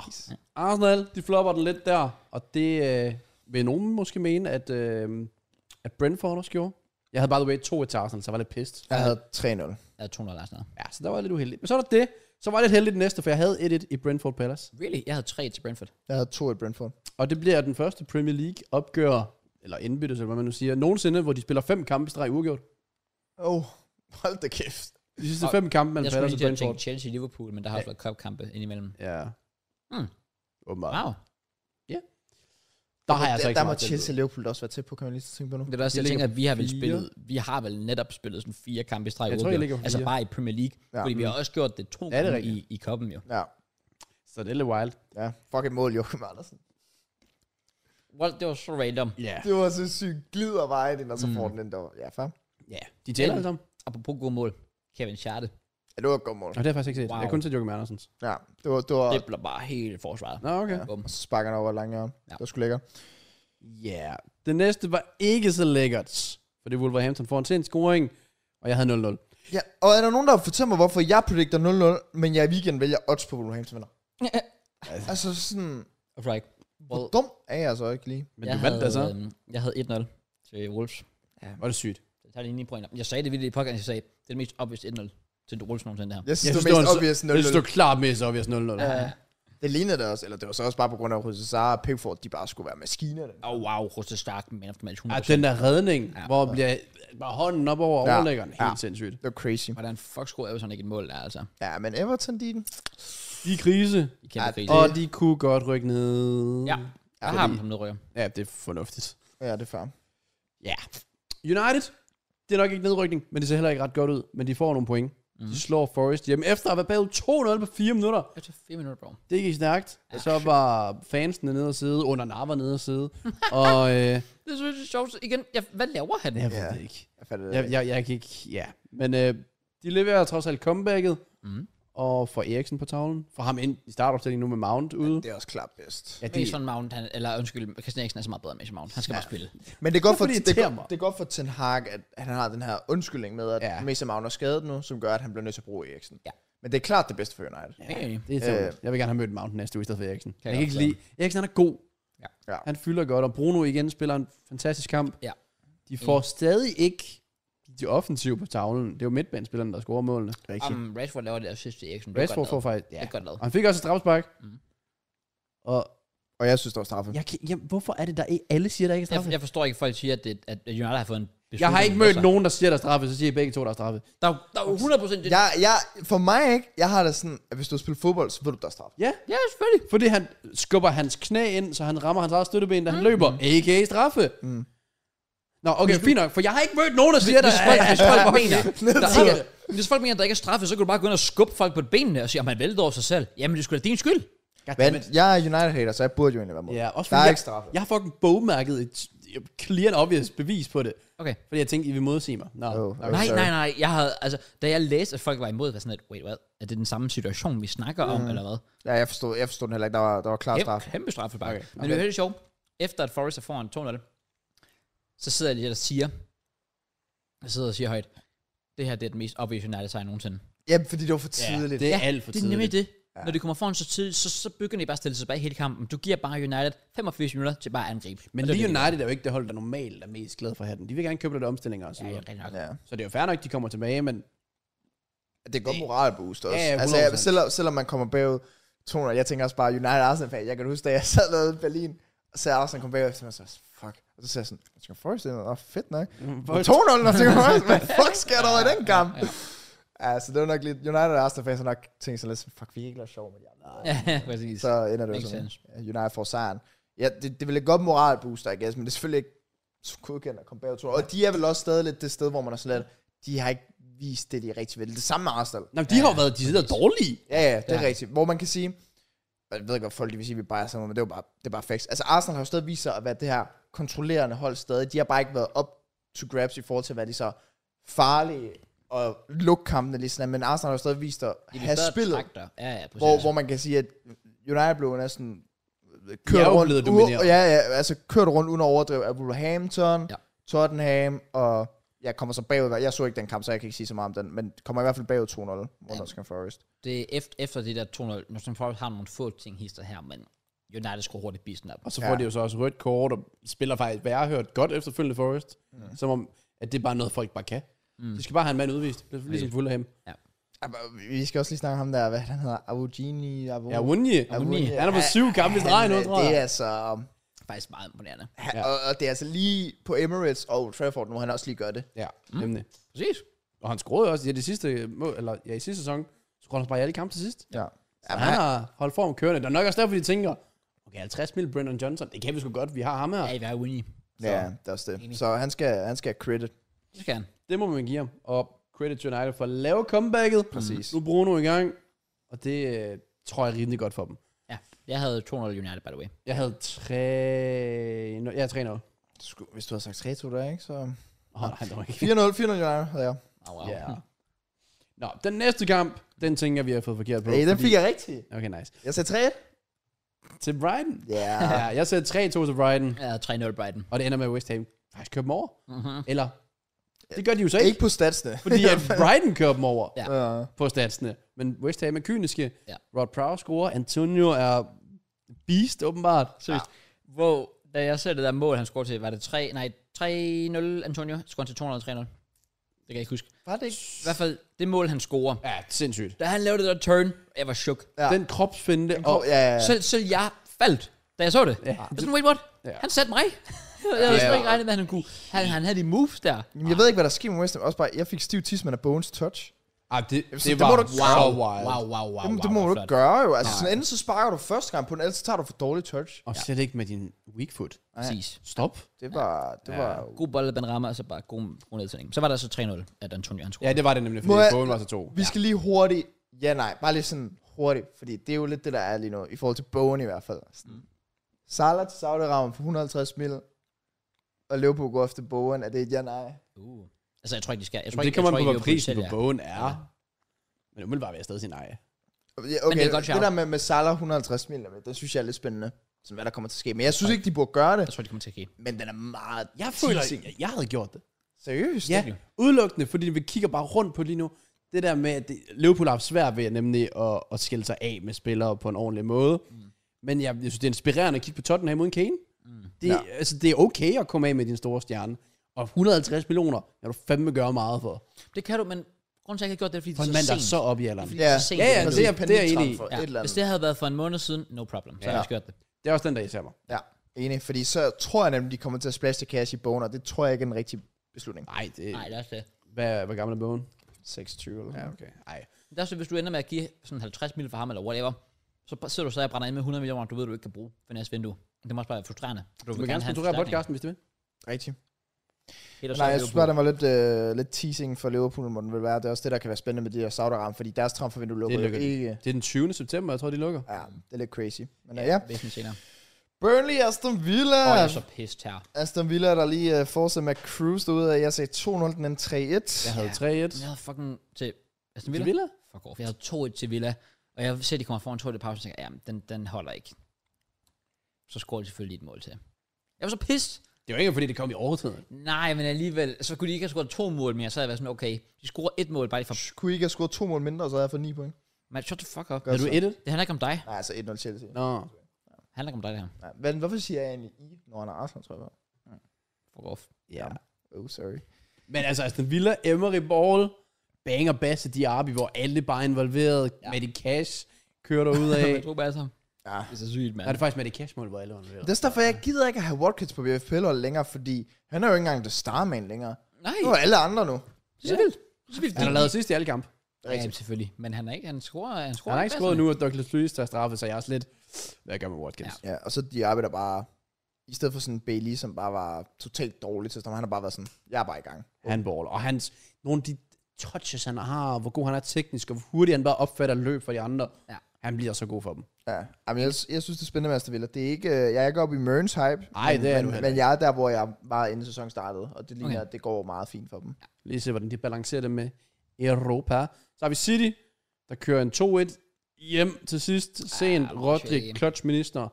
Præcis.
Arsenal, de flopper den lidt der, og det øh, vil nogen måske mene, at, øh, at Brentford også gjorde. Jeg havde by the way to til Arsenal, så jeg var lidt pissed.
Jeg havde 3-0.
Der er 200 eller sådan noget.
Ja, så der var jeg lidt uheldig. Men så er der det. Så var jeg lidt heldig den næste, for jeg havde 1-1 i Brentford Palace.
Really? Jeg havde 3 til Brentford.
Jeg havde 2 i Brentford.
Og det bliver den første Premier League opgør, eller indbyttes, eller hvad man nu siger, nogensinde, hvor de spiller fem kampe i streg uafgjort.
Åh, oh, hold da kæft.
De sidste
Og
fem kampe
jeg
mellem
skulle
Palace
lige
og
til at tænke
Brentford.
Chelsea Liverpool, men der har også været cupkampe indimellem.
Ja.
Mm.
Åbenbart.
Wow.
Der har jeg altså
der,
ikke
der
så
må
meget
Chelsea og Liverpool også være tæt på, kan man lige tænke på nu.
Det er da også,
Vi
jeg tænker,
ligger
at vi har vel
fire.
spillet, vi har vel netop spillet sådan fire kampe i streg.
Jeg tror,
uafgjort.
I ligger på
Altså
fire.
bare i Premier League.
Ja.
Ja. Fordi vi har også gjort det to
det
gange i,
rigtigt?
i koppen jo.
Ja,
Så det er lidt wild.
ja. Fuck et mål, Joachim Andersen.
Well, det var så random.
Ja.
Det var så sygt. Glider vejen ind, og så
Mm.
får den ind der. Ja, fair.
Ja. De tæller alle sammen.
Apropos gode mål. Kevin Scharte.
Ja, det var et godt mål.
Og det har jeg faktisk ikke set. Wow.
Wow.
Jeg har kun set Joachim Andersens.
Ja, det var... Det var
Det blev bare helt forsvaret.
Nå, okay.
ja.
Bum.
Og så sparker han over langt hjørne. Ja.
Ja.
Det var sgu lækkert.
Ja. Yeah. Det næste var ikke så lækkert, fordi Wolverhampton får en sen scoring, og jeg havde 0-0.
Ja, og er der nogen, der vil fortælle mig, hvorfor jeg predikter 0-0, men jeg i weekenden vælger odds på Wolverhampton vinder? Altså sådan,
Right.
hvor
Well,
dum er jeg så ikke lige?
Men du vandt
havde,
altså.
øhm, Jeg havde 1-0 til Wolves.
Var det sygt.
Jeg tager lige 9 pointer. Jeg sagde det vildt i podcast, jeg sagde, det er det mest obvious 1-0 til Wolves nogensinde det her.
Jeg synes,
Jeg
det
synes,
var mest
det var en-
obvious
Det stod
0-0.
klart mest obvious 0-0. Ja.
Ja. Det lignede det også, eller det var så også bare på grund af, at Rosazar og Pickford, de bare skulle være maskiner.
Åh, oh, wow, Russe Stark, man of the match, 100%.
Ah, den der redning, ja.
Ja.
hvor bliver bare hånden op over
Ja.
overlæggeren. Helt
Ja.
sindssygt.
Det var crazy.
Hvordan fuck scorede Everton ikke et mål der, altså?
Ja, men Everton, de...
De er i krise,
I kæmpe ja,
Ja,
og de kunne godt rykke ned.
Ja, jeg har dem som nedrykker.
ja det er fornuftigt.
Ja, det er fair.
Ja. United, det er nok ikke nedrykning, men det ser heller ikke ret godt ud. Men de får nogle point. Mm. De slår Forest hjemme efter at være bagud 2-0 på 4 minutter.
Efter 4 minutter, bro.
Det gik stærkt. Ja. Så var fansene nede og sidde, under Nava nede og sidde. og øh, jeg
Det synes jeg er sjovt. Igen, jeg, hvad laver han?
ved
Ja.
det ikke.
Jeg fatter det.
Jeg, jeg, jeg gik, ja. Men øh, de leverer trods alt comebacket.
Mm.
Og får Eriksen på tavlen. Får ham ind i startopstillingen nu med Mount ude.
ikke. Det er også klart bedst.
Ja,
At
det,
Mason Mount, han, eller undskyld, Christian Eriksen er så meget bedre end Mason Mount. Han skal ja. bare spille.
Men det er godt for,
Hvorfor det
det, er
irriterer
godt,
mig?
det er godt for Ten Hag, at han har den her undskyldning med, at
Ja.
ja. Mason Mount er skadet nu, som gør, at han bliver nødt til at bruge Eriksen.
Ja.
Men det er klart det bedste for United.
Ja. Ja.
det er
Øh.
simpelthen. Jeg vil gerne have mødt Mount næste uge i stedet for Eriksen. Kan jeg, kan
jeg
ikke
godt
lide. Eriksen han er god.
Ja.
Ja.
Han fylder godt. Og Bruno igen spiller en fantastisk kamp.
Ja.
De får stadig ikke de offensive på tavlen. Det er jo midtbanespillerne, der scorer målene.
Um, Rashford laver det assist til Eriksen. Det er
Rashford
godt
får
lavet.
faktisk...
Det
Ja.
er godt lavet.
Og han fik også et straffespark.
Mm.
Og
Og jeg synes, det var straffe.
Jeg kan, jamen, hvorfor er det, der ikke, alle siger, der ikke er
Jeg,
straffe?
jeg forstår ikke, at folk siger, at, det, at United har fået en
jeg,
beslutning.
jeg har ikke mødt
Altså,
nogen, der siger, der er straffe, så siger I begge to, der er straffe.
Der, er jo- der er jo 100% det. Ja,
Jeg, jeg, for mig ikke, jeg har det sådan, at hvis du spiller fodbold, så ved du, der er straffe.
Ja,
ja selvfølgelig.
fordi han skubber hans knæ ind, så han rammer hans eget støtteben, da han
Mm.
løber. A.k.a. straffe. Mm. Nå, okay, fint nok, for jeg har ikke mødt nogen, der siger, der
Hvis folk,
er
hvis folk mener, der
Ned
ikke, er- hvis folk mener, at der ikke er straffe, så kan du bare gå ind og skubbe folk på benene og sige, at man vælter over sig selv. Jamen, det skulle sgu da din skyld.
Men jeg er United-hater, så jeg burde jo egentlig være mod.
Ja, også
der
fordi
er
jeg,
ikke straffe.
Jeg har fucking bogmærket i, t- clear and obvious bevis på det.
Okay.
Fordi jeg tænkte, I vil modsige mig. Nå,
Jo,
okay.
jo.
Nej,
Oh, sorry.
nej, nej. Jeg havde, altså, da jeg læste, at folk var imod, var jeg sådan lidt, wait, hvad? Er det den samme situation, vi snakker om,
Mm.
eller hvad?
Ja, jeg forstod, jeg forstod den heller ikke. Der var, der var klar straf.
Kæmpe, kæmpe straf for Bakker.
Okay.
Men det er jo helt sjovt. Efter at Forrest er foran 200, så sidder jeg lige og siger, jeg sidder og siger højt, det her det er den mest obvious United sejr nogensinde.
Ja, fordi det var for tidligt.
Det er alt for
det er
tidligt.
nemlig det. Ja. Når de kommer foran så tidligt, så, så begynder de bare at stille sig tilbage hele kampen. Du giver bare United 85 minutter til bare at angribe.
Men
Og det er
lige
det, de
United er jo ikke det hold, der normalt er mest glad for at have den. De vil gerne købe lidt omstillinger og så
gør. Ja, ja,
videre.
rigtig nok.
Ja.
Så det er jo fair nok, de kommer tilbage, men
Det er godt moralboost også.
Ja,
Ja,
ja,
ja,
100%.
altså, jeg, selvom, selvom man kommer bagud 200, jeg tænker også bare United Arsenal fan. Jeg kan huske, da jeg sad derude i Berlin, og så Arsenal kom bagud, og så var jeg så, fuck. Og så sagde jeg sådan, jeg tænker, Forrest det er fedt nok. 2-0, og jeg tænker, Forrest, hvad fuck sker der i den kamp? Ja, ja. ja, så det var nok lidt, United og Arsenal fans har nok tænkt sig lidt, sådan, fuck, vi kan ikke lade sjov med de andre.
Ja, præcis.
Så ender det jo
Makes
sådan,
sense.
at United får sejren. Ja, det, det vil et godt moralbooster, I guess, men det er selvfølgelig ikke så godkendt at komme bagud 200. Og de er vel også stadig lidt det sted, hvor man er sådan lidt, de har ikke vist det, de rigtig vil. Det samme med Arsenal.
Nå, men de ja, har jo været de sidder dårlige.
Ja, ja, det er
Ja.
ja. rigtigt. Hvor man kan sige, og jeg ved godt, folk de vil sige, at vi bare er sammen, men det er jo bare, det er bare facts. Altså Arsenal har jo stadig vist sig at være det her kontrollerende hold stadig. De har bare ikke været up to grabs i forhold til, hvad de så farlige og lukke kampene lige sådan, men Arsenal har jo stadig vist at
De vil
have
stadig
spillet,
trække dig. Ja, ja, præcis.
hvor, hvor man kan sige, at United blev næsten
er
kørt
jo
rundt,
blevet
u-
domineret.
ja, ja, altså kørt rundt uden overdrev af Wolverhampton,
Ja.
ja. Tottenham, og jeg kommer så bagud, jeg så ikke den kamp, så jeg kan ikke sige så meget om den, men kommer i hvert fald bagud 2-0 mod
Ja.
Nottingham Forest.
Det er efter, efter det der 200, Nottingham Forest har nogle få ting hister her, men United skulle hurtigt bisen op.
Og så får ja.
Ja.
de jo så også rødt kort, og spiller faktisk, hvad jeg har hørt, godt efterfølgende Forrest. Mm. Som om, at det er bare noget, folk bare kan. Mm. De skal bare have en mand udvist. Det er Ligesom Fulham.
Ja, men øh, Vi skal også lige snakke om ham der, hvad han hedder, Avogini. Avogini.
Ja, Wunye. Han er på syv kampe i streg nu, tror
øh, Det er
jeg.
altså,
Faktisk meget imponerende.
han,
Ja.
ja. og, og, det er altså lige på Emirates og Old Trafford nu, han også lige gør det.
Ja, nemlig.
Præcis.
Og han scorede jo også ja, det sidste, mål- eller, ja, i sidste sæson. Scorede han bare i alle kampe til sidst.
Ja.
Ja, han har holdt form kørende. Der er nok også derfor, de tænker, okay, 50 mil Brendan Johnson, det kan vi sgu godt, vi har ham her.
Ja, I er winnie.
ja, det er også det. Så han skal, han skal have credit.
Det skal han.
Det må man give ham. Og credit til United for at lave comebacket.
Præcis.
Nu er Bruno i gang, og det øh, tror jeg er rimelig godt for dem.
Ja, jeg havde 200 United, by the way.
Jeg havde 3... Nå, Jeg havde 3 0
Sku, hvis du havde sagt 3-2 der, ikke? Så...
Åh, oh, nej, det var
4-0,
ikke.
4-0 United havde jeg.
Oh, wow.
Ja. Nå, den næste kamp, den tænker jeg, vi har fået forkert på.
Hey, den fik jeg rigtigt.
Okay, nice.
Jeg sagde 3
Til Brighton.
Ja.
Ja, jeg sagde 3-2 til Brighton,
Jeg havde 3-0 Brighton.
og det ender med at West Ham. Faktisk kører dem over.
Mm-hmm.
Eller, det gør de jo så ikke,
Ikke på statsene.
fordi at Brighton kører dem over.
Ja.
Ja.
på statsene. Men West Ham er kyniske.
Ja.
Ja. Rod Prowse scorer. Antonio er beast, åbenbart.
Seriøst. Ja. Hvor, da jeg ser det der mål, han scorede til, var det 3, nej, 3-0 Antonio, scorede til 200 3-0. Det kan jeg ikke huske.
Var det ikke?
I hvert fald, det mål, han scorer.
Ja, sindssygt.
Da han lavede det der turn, jeg var chok.
Ja.
Ja.
Den kropsfinde.
Åh,
Og,
ja, ja.
Selv, selv jeg faldt, da jeg så det. Ja.
Ja.
Jeg var sådan, wait, what?
Ja.
Han satte mig. jeg havde
Ja.
slet ikke regnet med, at han kunne. Han, han havde de moves der.
Jamen, Jeg ved ikke, hvad der sker med West Ham. Også bare, jeg fik stiv tidsmand af Bones touch.
ah, det, det,
Så det
var
må du ikke
wow,
gøre.
wild.
Wow, wow, wow.
Jamen,
wow,
det må
hvor
du
flot.
ikke gøre jo. Altså, sådan, enten så sparker du første gang på den, ellers så tager du for dårlig touch.
Og slet ikke med din weak foot.
Præcis.
Stop.
Det var, det
Ja.
var
God bold af Benrahma, og så bare god, god nedtænding. Så var der så 3-0, at Antonio han
Ja,
scorede.
det var det nemlig, fordi
Må jeg-
Bowen var så to.
Vi skal lige hurtigt, ja nej, bare lige sådan hurtigt, fordi det er jo lidt det, der er lige nu, i forhold til Bowen i hvert fald. Sådan. Mm. Salah til Saudi-Arabien for 150 mil, og Liverpool går efter Bowen, er det et ja nej?
Uh. Altså, jeg tror ikke, de skal. Jeg tror
Jamen, det
ikke,
kommer
jeg
man
tror
på,
ikke,
hvad
Liverpool
prisen på
sælger.
Bowen er. Men umiddelbart vil jeg stadig sige nej.
Ja, okay,
det er et
det,
godt shout.
det der med, med Salah 150 mil, jamen, det synes jeg er lidt spændende, sådan, hvad der kommer til at ske. Men jeg synes ikke, de burde gøre
Jeg
det,
tror, de kommer til at ske.
men den er meget
Jeg føler,
teasing.
jeg, jeg havde gjort det.
Seriøst?
Ja, udelukkende, fordi vi kigger bare rundt på lige nu. Det der med, at det, Liverpool har haft svært ved nemlig at, at skille sig af med spillere på en ordentlig måde. Mm. Men jeg, jeg synes, det er inspirerende at kigge på Tottenham uden Kane. Mm. Det, ja.
Ja.
altså, det er okay at komme af med din store stjerne. Og 150 millioner, kan du fandme gøre meget for.
Det kan du, men grunden til, at jeg ikke har gjort det, er, fordi
For en
det er
mand,
så
der
sent.
er så op i alderen.
Fordi-
Ja,
Så sent
ja,
i
ja,
den
det er
tid.
jeg, det er enig i.
Ja.
Ja. Et eller
Hvis
andet.
det havde været for en måned siden, no problem. Så ja. havde jeg også gjort det.
Det er også den, der især mig.
Ja, enig, fordi så tror jeg nemlig, de kommer til at splashe det cash i Bowen, og det tror jeg ikke er en rigtig beslutning.
Nej, det,
Nej,
Ej.
det er også det.
Hvad, hvad gammel er Bowen?
26 eller sådan
Ja, okay. Ej.
Det er også det, hvis du ender med at give sådan 50 mil for ham, eller whatever, så bare sidder du så og brænder ind med 100 millioner, du ved, du ikke kan bruge for næste vindue. Det må også bare være frustrerende. Du
Du må gerne sponsorere podcasten, hvis du vil.
Rigtigt.
Helt
Nej, jeg synes bare, den var lidt, øh, lidt teasing for Liverpool, må den vel være. Det er også det, der kan være spændende med de der saudi arabien fordi deres transfervindue lukker jo
lukker de.
ikke.
Det er den 20. september, jeg tror, de lukker.
Ja, det er lidt crazy. Men ja, ja.
Væsentligt senere.
Burnley Aston Villa.
Åh, jeg er så pissed her.
Aston Villa, der lige uh, fortsætter med at cruise derude af. Jeg sagde 2-0, den anden 3-1.
Jeg
Ja.
havde
Ja.
3-1.
Jeg havde fucking til Aston
Til
Villa.
Villa?
Fuck off. Jeg havde 2-1 til Villa. Og jeg ser, at de kommer foran 2-1 i pausen, og tænker, jamen, den, den holder ikke. Så scorer de selvfølgelig et mål til. Jeg var så pissed.
Det var ikke, fordi det kom i overtiden.
Nej, men alligevel, så kunne de ikke have scoret to mål mere, så havde jeg været sådan, okay, de scorer et mål, bare lige for...
Kunne I ikke have scoret to mål mindre, så havde jeg fået 9 point?
Man, shut the fuck up.
Gør
Havde du
så.
1-1?
Det handler ikke om dig.
Nej, altså 1-0 Chelsea.
Nå.
Det handler ikke om dig, det her.
Nej, men hvorfor siger jeg egentlig I, når han er Arsenal, tror jeg bare?
Fuck off.
Ja.
Oh, sorry.
Men altså, Aston Villa, Emery Ball, Bang og Basse Diaby, hvor alle bare er involveret. Ja. Maddie Cash kører derud af.
Jeg tror bare altså.
Ja.
Det er så sygt, mand.
Nej, det er faktisk Maddie Cash mål, hvor alle var involveret.
Det er også derfor, jeg gider ikke at have Watkins på BFPL længere, fordi han er jo ikke engang the starman længere.
Nej,
Nu er alle andre nu.
det er så
Ja.
vildt. Det er så vildt.
Han har lavet sidst i alle kamp.
Ja, jamen, selvfølgelig. Men han er ikke, han scorer, han scorer
Han har ikke skåret nu, at Douglas Lewis tager straffet, så jeg er også lidt... Hvad gør med Watkins?
Ja.
Ja, og så de arbejder bare... I stedet for sådan Bailey, som bare var totalt dårlig til, så han har bare været sådan, jeg er bare i gang.
Han baller. Og hans, nogle af de touches, han har, og hvor god han er teknisk, og hvor hurtigt han bare opfatter løb for de andre.
Ja.
Han bliver så god for dem.
Ja, Jamen, jeg, jeg synes, det er spændende med Aston Villa. Det er ikke, øh, jeg er ikke oppe i Mørns hype,
Ej,
men,
det er du
men,
heller
men
ikke.
jeg er der, hvor jeg var inden sæsonen startede, og det ligner,
Okay.
okay. at det går meget fint for dem.
Lige se, hvordan de balancerer det med Europa. Så har vi City, der kører en 2-1 hjem til sidst. Sent,
Ah,
ah,
okay.
Rodrik, clutch-minister.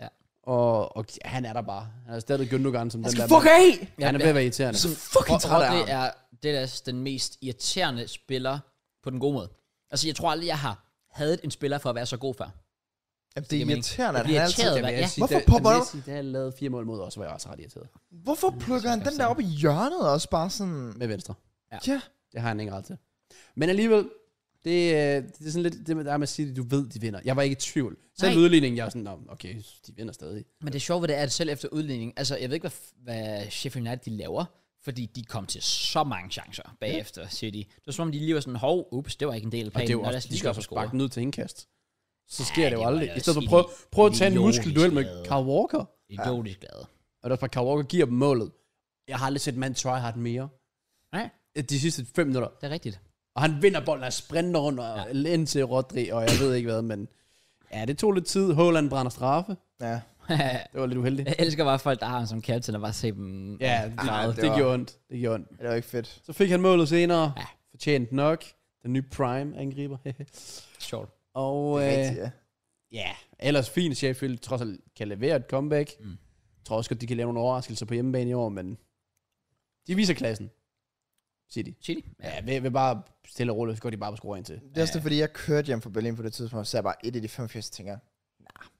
Ja.
Og, og han er der bare. Han er stadig Gündogan som den
Altså,
der...
af!
mand. Han er ved at være irriterende.
Så fucking træt af ham.
Det er, det er altså den mest irriterende spiller på den gode måde. Altså, jeg tror aldrig, jeg har hadet en spiller for at være så god før.
Jamen, det er
mening.
irriterende,
Jeg
at han
bliver
altid...
irriteret.
Jeg vil
Ja.
sige,
Hvorfor
da-
popper
da
du-
Messi, Da han lavede fire mål mod os, var jeg også ret irriteret.
Hvorfor plukker han den der op i hjørnet også bare sådan...
Med venstre.
Ja,
Det har han ingen ret til. Men alligevel, det, øh, det er sådan lidt det, med- der er med at sige, at du ved, de vinder. Jeg var ikke i tvivl. Selv
Nej.
udligningen, jeg er sådan, "Nå, okay, de vinder stadig.
Men det sjove ved det er, at selv efter udligningen, altså jeg ved ikke, hvad, hvad Sheffield United de laver, fordi de kom til så mange chancer bagefter, siger de. Det var som om, de lige var sådan, hov, ups, det var ikke en del af
Og det er
planen.
jo
Nå, lad
også,
os
de
lige
skal
gå
også
og score.
sparke den ud til indkast. Så
Ja,
sker det jo
det var
aldrig.
da
I stedet for
også
prøv, prøv at tage en
idiotisk
muskelduel med
lavet.
Carl Walker.
Idiotisk glade.
Og der er bare, Carl Walker giver dem målet. Jeg har aldrig set en mand try hard mere.
Nej,
De sidste fem minutter.
det er rigtigt.
Og han vinder bolden og sprinter rundt og ja. ind til Rodri, og jeg ved ikke hvad, men... Ja, det tog lidt tid. Haaland brænder straffe.
ja.
Det var lidt uheldigt.
jeg elsker bare folk, der har ham som captain, og bare se dem.
Ja, det,
Ej,
det,
det
det
var-
gjorde ondt. Det gjorde ondt.
det var ikke
Øh,
fedt.
Så fik han målet senere.
Ja.
Ja. Fortjent nok. Den nye Prime-angriber.
Sjovt.
og øh,
Rigtigt, ja.
ja, ellers fint. Sheffield trods alt kan levere et comeback.
Mm.
Mm. Jeg tror også godt, de kan lave nogle overraskelser på hjemmebane i år, men de viser klassen. City.
Chili?
Ja, ved, ved bare stille og roligt, så går de bare på score ind til.
Det er også det, fordi jeg kørte hjem fra Berlin på det tidspunkt, så jeg bare et af de 85 tænker,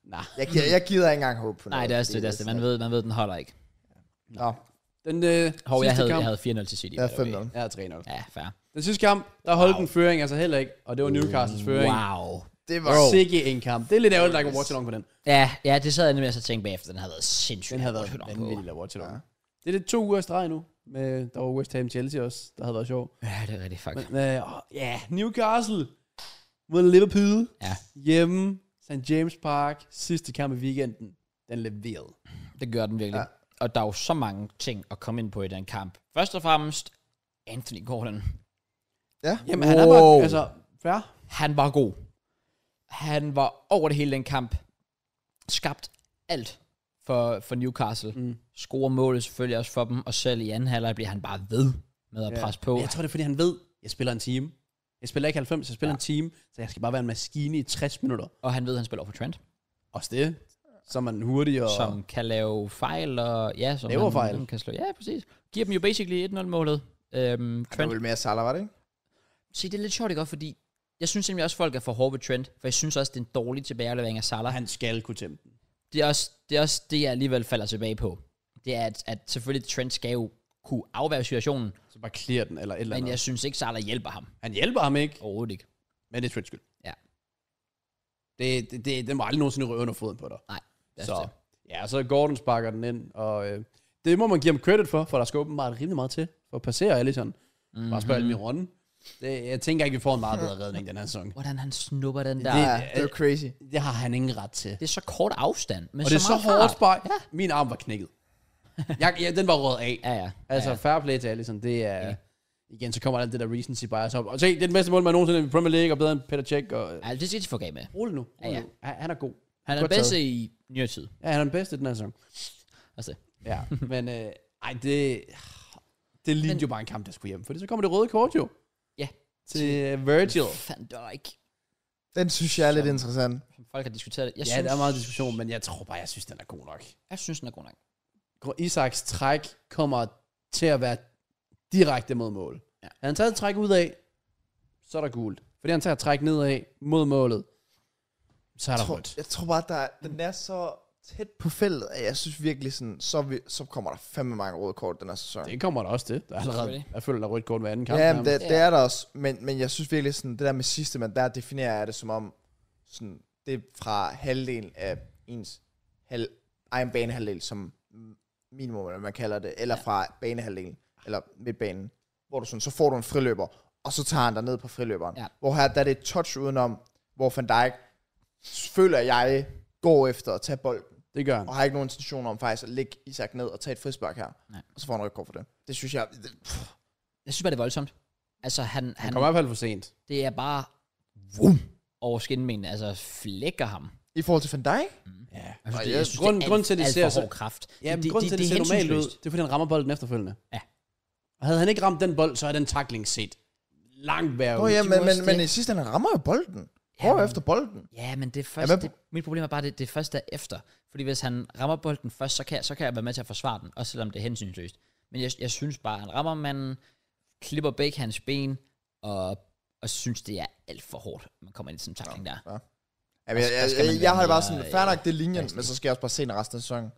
Nah.
jeg, gider, jeg gider ikke engang håbe på noget.
Nej, det er også
fordi
det, det, er også det.
altså.
Man ved, man ved, den holder ikke.
Nå,
Den øh,
Hov, jeg
sidste
havde,
kamp.
jeg havde 4-0 til City.
jeg
by
er
the way.
5
Jeg havde 3-0.
Ja, fair.
Den sidste kamp, der holdt wow. en føring altså heller ikke, og det var Newcastles føring.
Wow.
Det var
Wow. Sikke en kamp. Det er lidt ærgerligt, at der ikke var watch along på den.
Ja, ja, det sad jeg nemlig altså og tænkte bagefter. Den havde været sindssygt.
Den havde været
godt hørt om på.
vanvittig at watch along. Ja. Det er det to uger i streg nu. Med, der var West Ham Chelsea også, der havde været sjov.
Ja, det er rigtig fuck.
Men, øh, åh, ja, Newcastle mod Liverpool.
Ja.
Hjemme, St. James Park, sidste kamp i weekenden. Den leverede.
Det gør den virkelig. Ja.
Ja.
Og der er jo så mange ting at komme ind på i den kamp. Først og fremmest, Anthony Gordon.
Ja,
Jamen, han er bare, altså, fair.
Han var god. Han var over det hele den kamp. Skabt alt for, for Newcastle. Mm.
Mm.
Scorer målet selvfølgelig også for dem. Og selv i anden halvleg bliver han bare ved med at
Ja.
presse på.
Men Jeg tror, det er, fordi han ved, jeg spiller en time. Jeg spiller ikke 90, jeg spiller ja. en time, så jeg skal bare være en maskine i 60 minutter.
Og han ved, at han spiller over for Trent.
Også det. Så er man hurtig og...
som kan lave fejl, og ja, som
Laver
han-
fejl.
han kan slå. Ja, præcis. Giver dem jo basically 1-0-målet. Øhm,
det var
Trent.
vel mere Salah, var det ikke?
Se, det er lidt sjovt, ikke? også? Fordi jeg synes simpelthen også, folk er for hårde ved Trent, for jeg synes også, det er en dårlig tilbagelevering af Salah.
Han skal kunne tæmme den.
Det er, også, det er også det, jeg alligevel falder tilbage på. Det er, at, at selvfølgelig Trent skal jo kunne afværge situationen,
Så bare clear den, eller et eller
men
andet.
jeg synes ikke, Salah hjælper ham.
Han hjælper ham ikke.
Overhovedet ikke.
Men det er Trends skyld.
Ja.
Det, det, det, den må aldrig nogensinde røre under foden på dig.
Nej, det er
Så,
det.
ja, så Gordon sparker den ind, og øh, det må man give ham credit for, for der skal åbenbart rimelig meget til for at passere Allison. Mm-hmm. Bare spørg Almiron. Det, jeg tænker ikke, vi får en meget bedre redning den her sæson.
Hvordan han snupper den der.
Ja,
Det,
det var crazy.
Det har han ingen ret til.
det er så kort afstand, men
og
så
det er så
meget
hårdt
fart.
spark. Ja. Min arm var knækket. Jeg, ja, den var rød af.
Ja, ja.
Altså, fair play til Allison, det er... Igen, så kommer alt det der recency bias op. Og se, det er den bedste målmand nogensinde i Premier League, og bedre end Peter Cech, og
ja det skal de få gav med.
Rolig nu.
Ja,
Rolig
ja.
nu. Han han er god.
Han er
Godt
bedst i nyere tid.
Ja, han er den bedste i den her sæson.
Altså,
Ja, men øh, ej, det, det lignede
Men-
jo bare en kamp, der skulle hjem. Fordi så kommer det røde kort jo.
Ja.
Til øh, Virgil.
Van Dijk.
Den synes jeg er lidt interessant.
Folk har diskuteret det. Jeg
ja,
synes,
der er meget diskussion, men jeg tror bare, jeg synes, den er god nok.
Jeg synes, den er god nok.
Isaks træk kommer til at være direkte mod mål.
Ja.
Ja. Han tager et træk ud af, så er der gult. Fordi han tager et træk nedad mod målet, så er
Jeg
der
tror,
rødt.
jeg tror bare, der er, den er så tæt på feltet, at jeg synes virkelig sådan, så, vi, så kommer der fandme mange røde kort den her sæson.
Det kommer der også til. Der er allerede,
Selvfølgelig.
jeg føler, der er rødt kort hver anden kamp.
Ja, men
nærmest.
det, det er der også, men, men jeg synes virkelig sådan, det der med sidste mand, der definerer jeg det som om, sådan, det er fra halvdelen af ens halv, egen banehalvdel, som minimum, eller hvad man kalder det, eller fra banehalvdelen, eller midtbanen, hvor du sådan, så får du en friløber, og så tager han dig ned på friløberen.
Ja.
Hvor her, der er det et touch udenom, hvor Van Dijk, føler jeg, går efter at tage bolden,
det gør han.
og har ikke nogen intention om faktisk at lægge Isak ned og tage et frispark her,
Nej.
og så får han rødt kort for det. Det synes jeg, det,
Jeg synes bare, det er voldsomt. Altså, han, han,
Han kommer i hvert fald for sent.
det er bare over skinbenene. Altså, flækker ham.
i forhold til Van Dijk,
Ja.
Jeg synes,
Og
det,
ja,
jeg synes,
grunden-
det er
grunden til,
alt,
at det
alt
ser
for
så-
hård kraft.
Ja, men grunden til, at det, ser normalt ud, det er, fordi han rammer bolden efterfølgende.
Ja.
Og havde han ikke ramt den bold, så er den tackling set langt værre
Nå
ud.
ja, men,
jo
men,
også
men
det.
i sidste ende rammer jo bolden.
Ja,
Hvor
men-
efter bolden?
Ja, men det er først,
Ja,
ja,
men-
det, mit problem er bare, det, det er først derefter. Fordi hvis han rammer bolden først, så kan, jeg- så kan jeg være med til at forsvare den, også selvom det er hensynsløst. Men jeg, jeg synes bare, han rammer manden, klipper begge hans ben, og, og synes, det er alt for hårdt, man kommer ind i sådan en takling der.
Jamen, jeg,
der
jeg,
skal man
jeg, jeg
være
har det bare
mere,
sådan, fair nok,
øh,
det er linjen,
realistisk.
men så skal jeg også bare se den resten af sæsonen.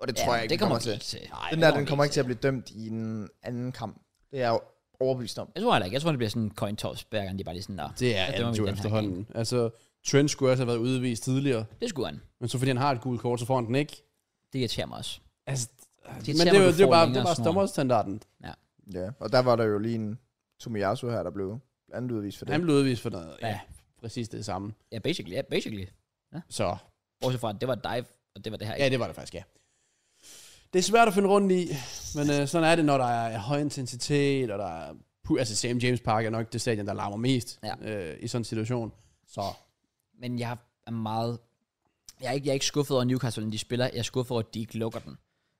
Og det
Ja,
tror jeg ikke,
det
den kommer
kommer vi
til.
ikke til. Nej,
Den
det
der,
kommer
den
vi
kommer
ikke
ikke til at blive dømt i en anden kamp. Det er jeg jo overbevist om.
Jeg tror heller ikke. Jeg tror, det bliver sådan en coin toss, hver gang de bare lige sådan, Nå,
Det er
det
alt
må vi
jo
den her
efterhånden. Altså, Trent skulle også have været udvist tidligere,
det skulle han.
men så fordi han har et gult kort, så får han den ikke.
Det irriterer mig også.
Altså,
Det
men
irriterer
det er
mig,
jo
du
det er
får
bare, det
længere
er bare
snor.
stommerstandarden.
Ja, og der var der jo lige en Tomiyasu her, der blev andet udvist for det.
Han blev udvist for noget. Ja,
Ja.
præcis det samme.
Ja, basically. Ja, basically.
Så
Bortset fra, at det var et dive, og det var det her.
ja, det var det faktisk, ja. Det er svært at finde rundt i, men øh, sådan er det, når der er høj intensitet, og der er... pu- Altså, Sam James Park er nok det stadion, der larmer mest
Ja.
øh, i sådan en situation. Så
men jeg er meget... Jeg er, ikke, jeg er ikke skuffet over Newcastle, når de spiller. Jeg er skuffet over, at de ikke lukker den.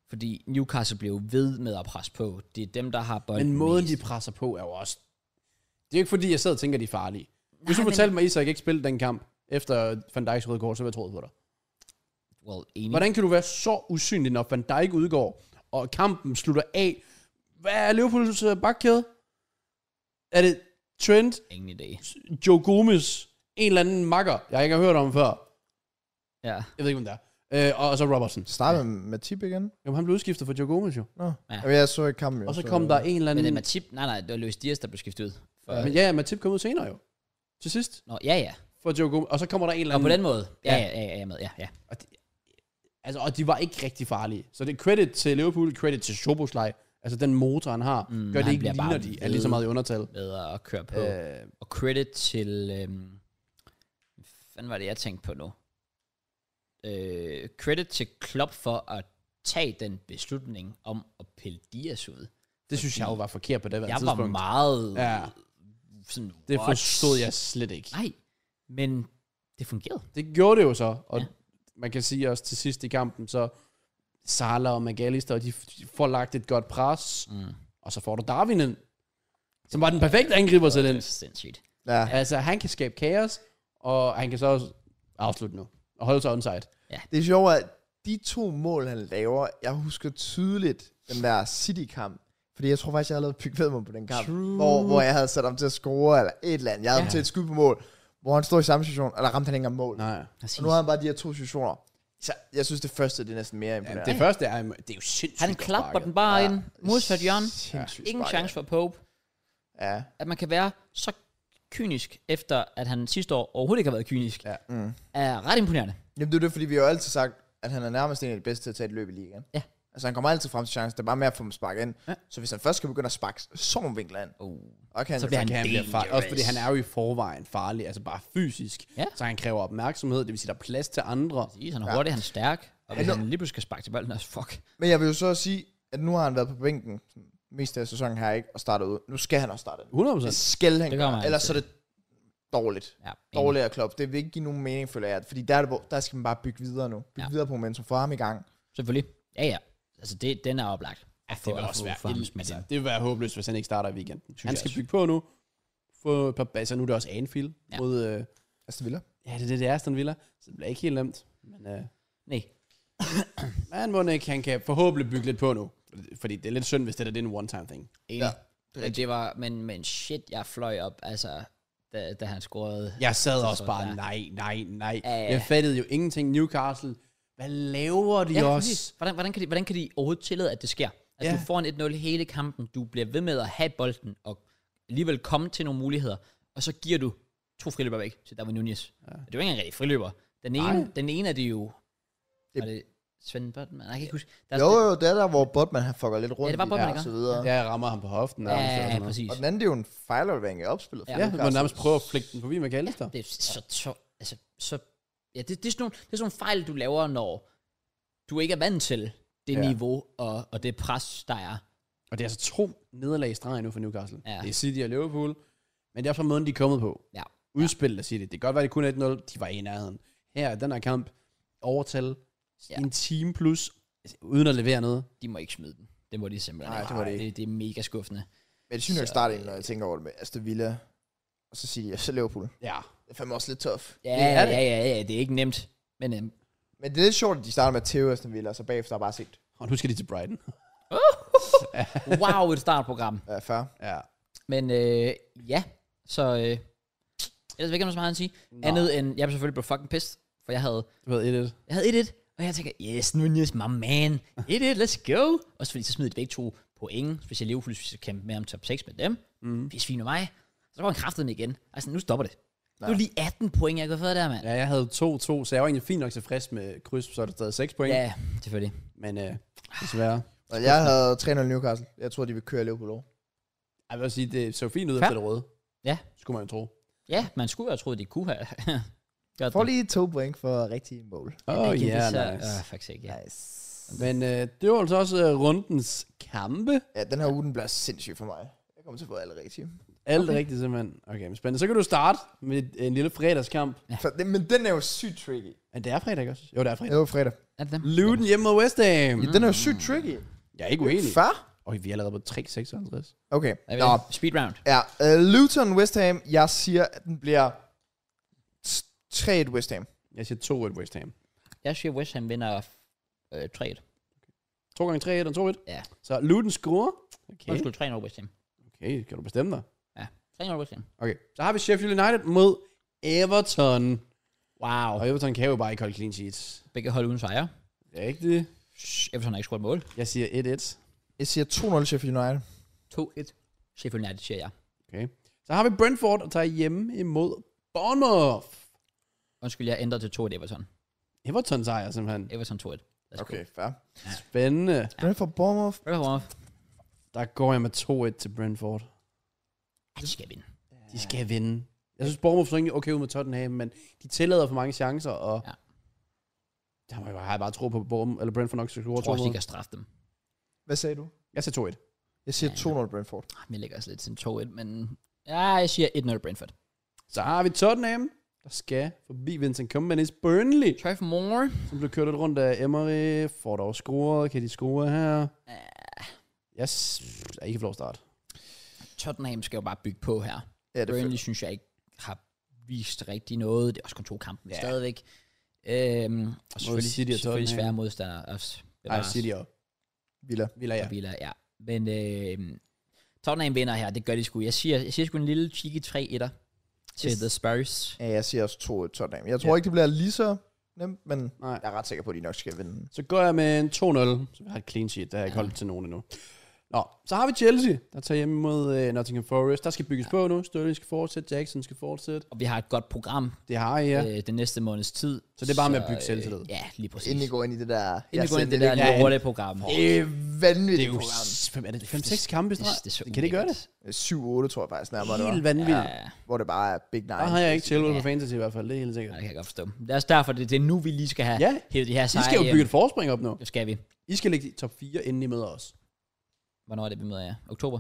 Fordi Newcastle bliver jo ved med at presse på. Det er dem, der har bolden
Men måden, de
mest.
presser på, er jo også... Det er jo ikke fordi, jeg sad og tænker, at de er farlige. Hvis
Nej,
du
men-
fortalte mig, at Isak ikke spillede den kamp, efter Van Dijk's røde kort, så ville jeg troet på dig.
Mm. Well, enig.
Hvordan kan du være så usynlig, når Van Dijk udgår, og kampen slutter af? Hvad er Liverpools øh, bakkæde? Er det Trent,
Ingen idé.
Joe Gomez, en eller anden makker, jeg ikke har hørt om før?
Ja.
Jeg ved ikke, hvem det er. Øh, og, og så Robertson.
Startede med, med Tip igen.
Jamen, han blev udskiftet for Joe Gomez jo.
Nå. Ja. Jeg så ikke kampen jo.
Og så kom der en eller
Men det er
anden...
Matip... Nej, nej, det var Luis Dias, der blev skiftet ud. For,
Men ja, ja, Matip kom ud senere jo. Til sidst.
Nå, ja, ja.
For Joe Gomez. Og så kommer der en eller
Og
anden...
på den måde. Ja,
Ja.
ja, ja, ja, jeg er med. Ja, ja.
Og de, altså, og de var ikke rigtig farlige. Så det er credit til Liverpool, credit til Szoboszlej. Altså, den motor, han har, mm, gør
han
det ikke
bliver bare
ligner de, er
ved.
lige så meget i undertal.
Med at køre på. Øh.
Øh,
Og credit til... Øhm, hvad fanden var det, jeg tænkte på nu? Øh, credit til Klopp for at tage den beslutning om at pille Dias ud.
det synes jeg jo var forkert på det her
Jeg
tidspunkt.
var meget...
Ja.
Sådan,
Det
what?
forstod jeg slet ikke.
Nej, men det fungerede.
Det gjorde det jo så, og
Ja.
ja. man kan sige også til sidst i kampen, så Salah og McAllister, de f- de får lagt et godt pres,
Mm.
og så får du Darwin ind, som var den perfekte angriber til den.
Det er sindssygt.
Ja.
Altså, han kan skabe kaos, og han kan så også afslutte nu, og holde sig onside.
Det er sjovt, at de to mål, han laver, jeg husker tydeligt den der City-kamp. Fordi jeg tror faktisk, jeg har lavet pyg ved mig på den kamp.
True.
Hvor, hvor jeg havde sat ham til at score, eller et eller andet. Jeg havde ja. ham
Ja.
til et skud på mål, hvor han stod i samme situation, og der ramte han ikke engang mål. Nej.
Nej.
Præcis.
Og nu har han bare de her to situationer. Så jeg synes, det første det er næsten mere
Ja,
imponerende.
det første er, det er jo sindssygt.
Han
godt
klapper
sparket.
den bare ind, modsat Jørgen.
Sindssygt
Ingen
sparket.
chance for Pope,
Ja.
at man kan være så kynisk, efter at han sidste år overhovedet ikke har været kynisk,
Ja.
Mm.
er ret imponerende.
Jamen, det er det, fordi vi har jo altid sagt, at han er nærmest en af de bedste til at tage et løb i ligaen.
Ja.
Altså, han kommer altid frem til chancen. Det er bare med at få dem sparket ind.
Ja.
Ja. Så hvis han først skal begynde at sparke sådan nogle vinkler ind,
Oh.
og kan
Så
det
bliver
Han
han
kan blive farlig.
dangerous.
Også fordi han er jo i forvejen farlig, altså bare fysisk.
Ja.
Så han kræver opmærksomhed, det vil sige, der er plads til andre.
Præcis, han er hurtig, han er stærk, og hvis
Ja.
han lige pludselig skal sparke til bolden, også fuck.
Men jeg vil jo så sige, at nu har han været på bænken mest af sæsonen her, ikke? Og startet ud. Nu skal han også starte ud.
100
Det skal han
Det gør
gøre.
man
Ellers så er det dårligt.
Ja,
Dårligt af Klopp. Det vil ikke give nogen mening, føler jeg. Fordi der, er det, hvor- der skal man bare bygge videre nu. Bygge
Ja.
ja. videre på momentum. Få ham i gang.
Selvfølgelig. Ja, ja. Altså, det, den er oplagt. Ja,
Det vil også være, altså, det vil være håbløst, hvis han ikke starter i weekenden. Synes han
jeg
skal
også.
bygge på nu. Få et par, altså nu er det også Anfield
Ja.
ja. mod, øh,
Altså, Villa.
ja det er det, det er Aston Villa, så det bliver ikke helt nemt. Men øh,
Nej.
man må ikke, han kan forhåbentlig bygge lidt på nu. Fordi det er lidt synd, hvis det der det er en one-time thing.
Ja, det, det var, men, men shit, jeg fløj op, altså, da, da han scorede.
Jeg sad
Så
også
så
bare,
der.
nej, nej, nej.
Ja, ja.
Jeg fattede jo ingenting. Newcastle, hvad laver de ja,
præcis.
også?
Hvordan, hvordan, kan de, hvordan kan de overhovedet tillade, at det sker? Altså, ja.
Ja.
du får en 1-0 hele kampen, du bliver ved med at have bolden, og alligevel komme til nogle muligheder, og så giver du to friløber væk til Darwin Nunez. Ja. Det er jo ikke engang rigtig friløber. Den ene, den ene er det jo... Det,
Det-
var det Svend Botman? Nej, Jeg kan ikke huske. Der, er-
Jo, jo, det er der, hvor Botman han fucker lidt rundt
det var
i
Botman,
og
ikke?
så videre. Ja.
Jeg rammer ham på hoften.
Ja,
nærmest, eller
ja,
sådan
ja,
noget.
præcis.
Og den anden, det er jo en fejlaflevering af opspillet. for
Ja.
Ja, hvor
Newcastle.
nærmest prøver at flække den forbi McAllister.
Det er så, så, altså, så ja, det, det, er sådan nogle, det er sådan nogle fejl, du laver, når du ikke er vant til det ja.
Ja.
niveau og, og det pres, der er.
Og det er altså to nederlag i streg nu for Newcastle.
Ja.
Ja. Det er City og Liverpool. Men det er også fra måden, de er kommet på.
Ja.
Udspillet af City. Det kan godt være, det kun er 1-0. De var i nærheden. Her i den her kamp, overtal
Ja.
ja. en time plus, altså, uden at levere noget.
De må ikke smide den. Det må de simpelthen
Nej,
ikke.
det må de ikke.
Det, det er mega skuffende.
Men det synes jeg ikke starter ind, når jeg tænker over det med Aston Villa. Og så siger jeg, så Liverpool.
Ja.
Det er fandme også lidt tough.
Ja,
Det er det.
ja, ja, ja, det er ikke nemt. Men øhm,
Men det er lidt sjovt, at de starter med Theo Aston Villa, og så bagefter har jeg bare set,
Og nu skal de til Brighton.
wow, et startprogram.
ja, fair.
Ja.
Men øh, ja, så øh, ellers vil jeg ikke have så meget at sige.
Nå.
Andet end, jeg blev selvfølgelig blev fucking pissed, for jeg havde
Det var 1-1.
Jeg havde 1-1, og jeg tænker, yes, Nunez, my man. 1-1, let's go. Og fordi så smider de begge to point, hvis jeg Liverpool skal kæmpe med om top 6 med dem. Mm. Hvis vi mig. Så går han kraftedeme igen. Altså, nu stopper det. Nu er lige 18 point, jeg kan få der, mand.
Ja, jeg havde 2-2, så jeg var egentlig fint nok tilfreds med kryds, så er der stadig 6 point.
Ja, selvfølgelig.
Men øh, desværre.
Og jeg havde 3-0 Newcastle. Jeg tror, de vil køre Liverpool over.
Jeg vil også sige, det så fint ud
Ja.
efter det røde.
Ja.
Skulle man jo tro.
Ja, man skulle jo have troet, de kunne have. Godt.
Får lige to point for rigtige mål.
Åh, oh, ja, yeah, nice.
nice. Øh, faktisk ikke, ja.
Nice.
Men øh, det var altså også øh, rundens kampe.
Ja, den her uge, den bliver sindssyg for mig. Jeg kommer til at få alle rigtige.
Alt okay. rigtigt, simpelthen. Okay, men spændende. Så kan du starte med en lille fredagskamp.
For den, men den er jo sygt tricky.
Er det er fredag ikke også? Jo, det er
Ja,
fredag.
det var fredag.
Er det dem?
Luton hjemme mod West Ham.
Ja, den er jo sygt tricky.
Jeg er ikke uenig.
Far?
Og vi er allerede på 3,56.
Okay.
Er vi
Nå,
det? Speed round.
ja. Uh, Luton, West Ham. Jeg siger, at den bliver t- 3-1 West Ham.
Jeg siger 2-1 West Ham.
Jeg siger, West Ham vinder øh, 3 1
2 gange 3 1 og 2-1.
Ja.
Så Luton scorer. Okay.
Undskyld, 3 0 West Ham.
okay, kan du bestemme dig.
3 0 West Ham.
Okay, så har vi Sheffield United mod Everton.
Wow.
Og Everton kan jo bare ikke holde clean sheets.
Begge hold uden sejre.
Rigtigt.
Shh, Everton har ikke scoret mål.
Jeg siger 1-1.
Jeg siger 2-0 Sheffield United.
2-1. Sheffield United, siger jeg.
Okay. Så har vi Brentford og tager hjemme imod Bournemouth.
Undskyld, jeg ændrer til 2-1 Everton.
Everton sejrer simpelthen.
Everton 2-1. Let's
Okay, fair.
Spændende.
Den er for Bournemouth.
Go. Brentford.
Der går jeg med 2-1 til Brentford.
Ja, de skal vinde.
De skal vinde. Jeg synes, Bournemouth så egentlig okay ud med Tottenham, men de tillader for mange chancer, og...
Ja.
Ja. Der må jeg bare, har jeg bare tro på, at Bournemouth, eller Brentford nok skal score
Jeg tror også, de
2-0.
kan straffe dem.
Hvad sagde du?
Jeg siger 2-1.
Jeg siger
Ja.
2-0 Brentford.
Ah, men Jeg ligger også lidt til 2-1, men... Ja, jeg siger 1-0 Brentford.
Så har vi Tottenham, der skal forbi Vincent Kompany's Burnley,
Trevor Moore.
som blev kørt lidt rundt af Emery. Får dog scoret. Kan de score her?
Ah,
Jeg yes. er ikke for lov at starte.
Tottenham skal jo bare bygge på her.
Ja, det er
Burnley
fedt.
synes jeg ikke har vist rigtig noget. Det er også kun to kampe, men
Ja.
stadigvæk. Øhm, og selvfølgelig,
City og
selvfølgelig
Tottenham.
svære modstandere. Også,
Nej, City og
Villa.
Villa, ja.
og Villa, ja. Men øh, Tottenham vinder her, det gør de sgu. Jeg siger, jeg siger sgu en lille cheeky 3-1'er til
Yes.
The Spurs.
Ja, jeg siger også 2-1 Tottenham. Jeg tror
Ja.
ikke, det bliver lige så nemt, men
Nej.
jeg er ret sikker på, at de nok skal vinde.
Så går jeg med en 2-0. Så vi har et clean sheet. Der har jeg ikke holdt til nogen endnu. Nå, så har vi Chelsea, der tager hjemme mod uh, Nottingham Forest. Der skal bygges ja. på nu. Sterling skal fortsætte. Jackson skal fortsætte.
Og vi har et godt program
Det har jeg, ja.
ja. øh, den næste måneds tid.
Så det er bare med at bygge selvtillid.
Øh, ja, lige præcis.
Inden I går ind i det der...
Inden vi
Jeg
går ind i
sendte
det der
et-
Ja,
lorte program.
Det er vanvittigt program.
s- Hvem er det? 5-6 kampe i streg?
så
Kan det gøre det?
ulækkert.
7-8, tror jeg faktisk nærmere, det var.
Helt vanvittigt.
Ja,
Hvor det bare er big nine.
Der har jeg ikke Chilwell på
Ja.
fantasy i hvert fald. Det er helt
ja,
sikkert.
det kan jeg godt forstå. Det er også derfor, det, det er nu, vi lige skal have
Ja.
hævet de her
I
sejre.
skal jo
hjem.
bygge et forspring op nu.
Det skal vi.
I skal ligge i top 4, inden I møder os.
Hvornår er det, vi møder jer? Oktober?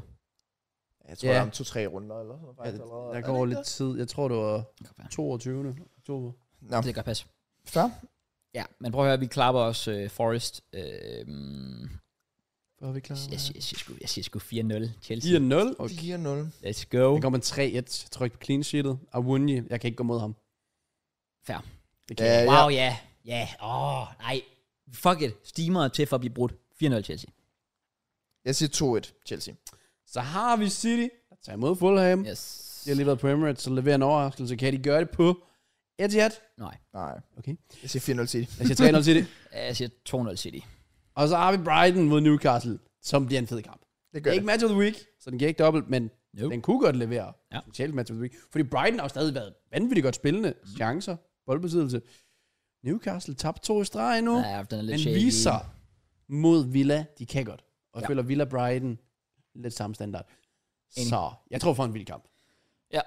Jeg tror,
Ja.
yeah. der er om to-tre runder eller sådan noget.
Ja,
faktisk allerede.
der
Er
går
det ikke
lidt tid. Jeg tror, det var
Kom her.
22. oktober.
Nå,
Det kan godt passe.
fair.
Ja, men prøv at høre, vi klapper også øh, Forest. Øh,
Hvor er vi klar?
jeg, siger, jeg, siger sgu, jeg siger sgu 4-0 Chelsea.
4-0.
Okay.
Okay.
4-0.
Let's go.
Jeg går med 3-1. Jeg tror ikke på clean sheetet. Awunji, jeg kan ikke gå mod ham.
Fair.
Det kan
Ja,
jeg.
ja.
Wow, ja. Ja, åh, nej. Fuck it. Steamer til for at blive brudt. 4-0 Chelsea.
Jeg siger 2-1 Chelsea.
Så har vi City, der tager imod Fulham.
Yes.
De har lige været på Emirates, så leverer en overraskelse. Kan de gøre det på Etihad?
Nej,
Nej.
Okay.
Jeg siger 4-0 City.
Jeg siger 3-0 City.
jeg siger 2-0 City.
Og så har vi Brighton mod Newcastle, som bliver en fed kamp.
Det
Det
gør
er
det.
ikke match of the week, så den giver ikke dobbelt, men
Nope.
den kunne godt levere
Ja.
ja. potentielt match of the week. Fordi Brighton har jo stadig været vanvittigt godt spillende. Chancer, boldbesiddelse. Newcastle tabte to i streg nu, ja,
Ja, den er
men
lidt shaky.
viser mod Villa, de kan godt. Og
Ja.
ja. føler Villa Brighton lidt samme standard.
Enig.
Så jeg tror for en vild kamp.
Ja,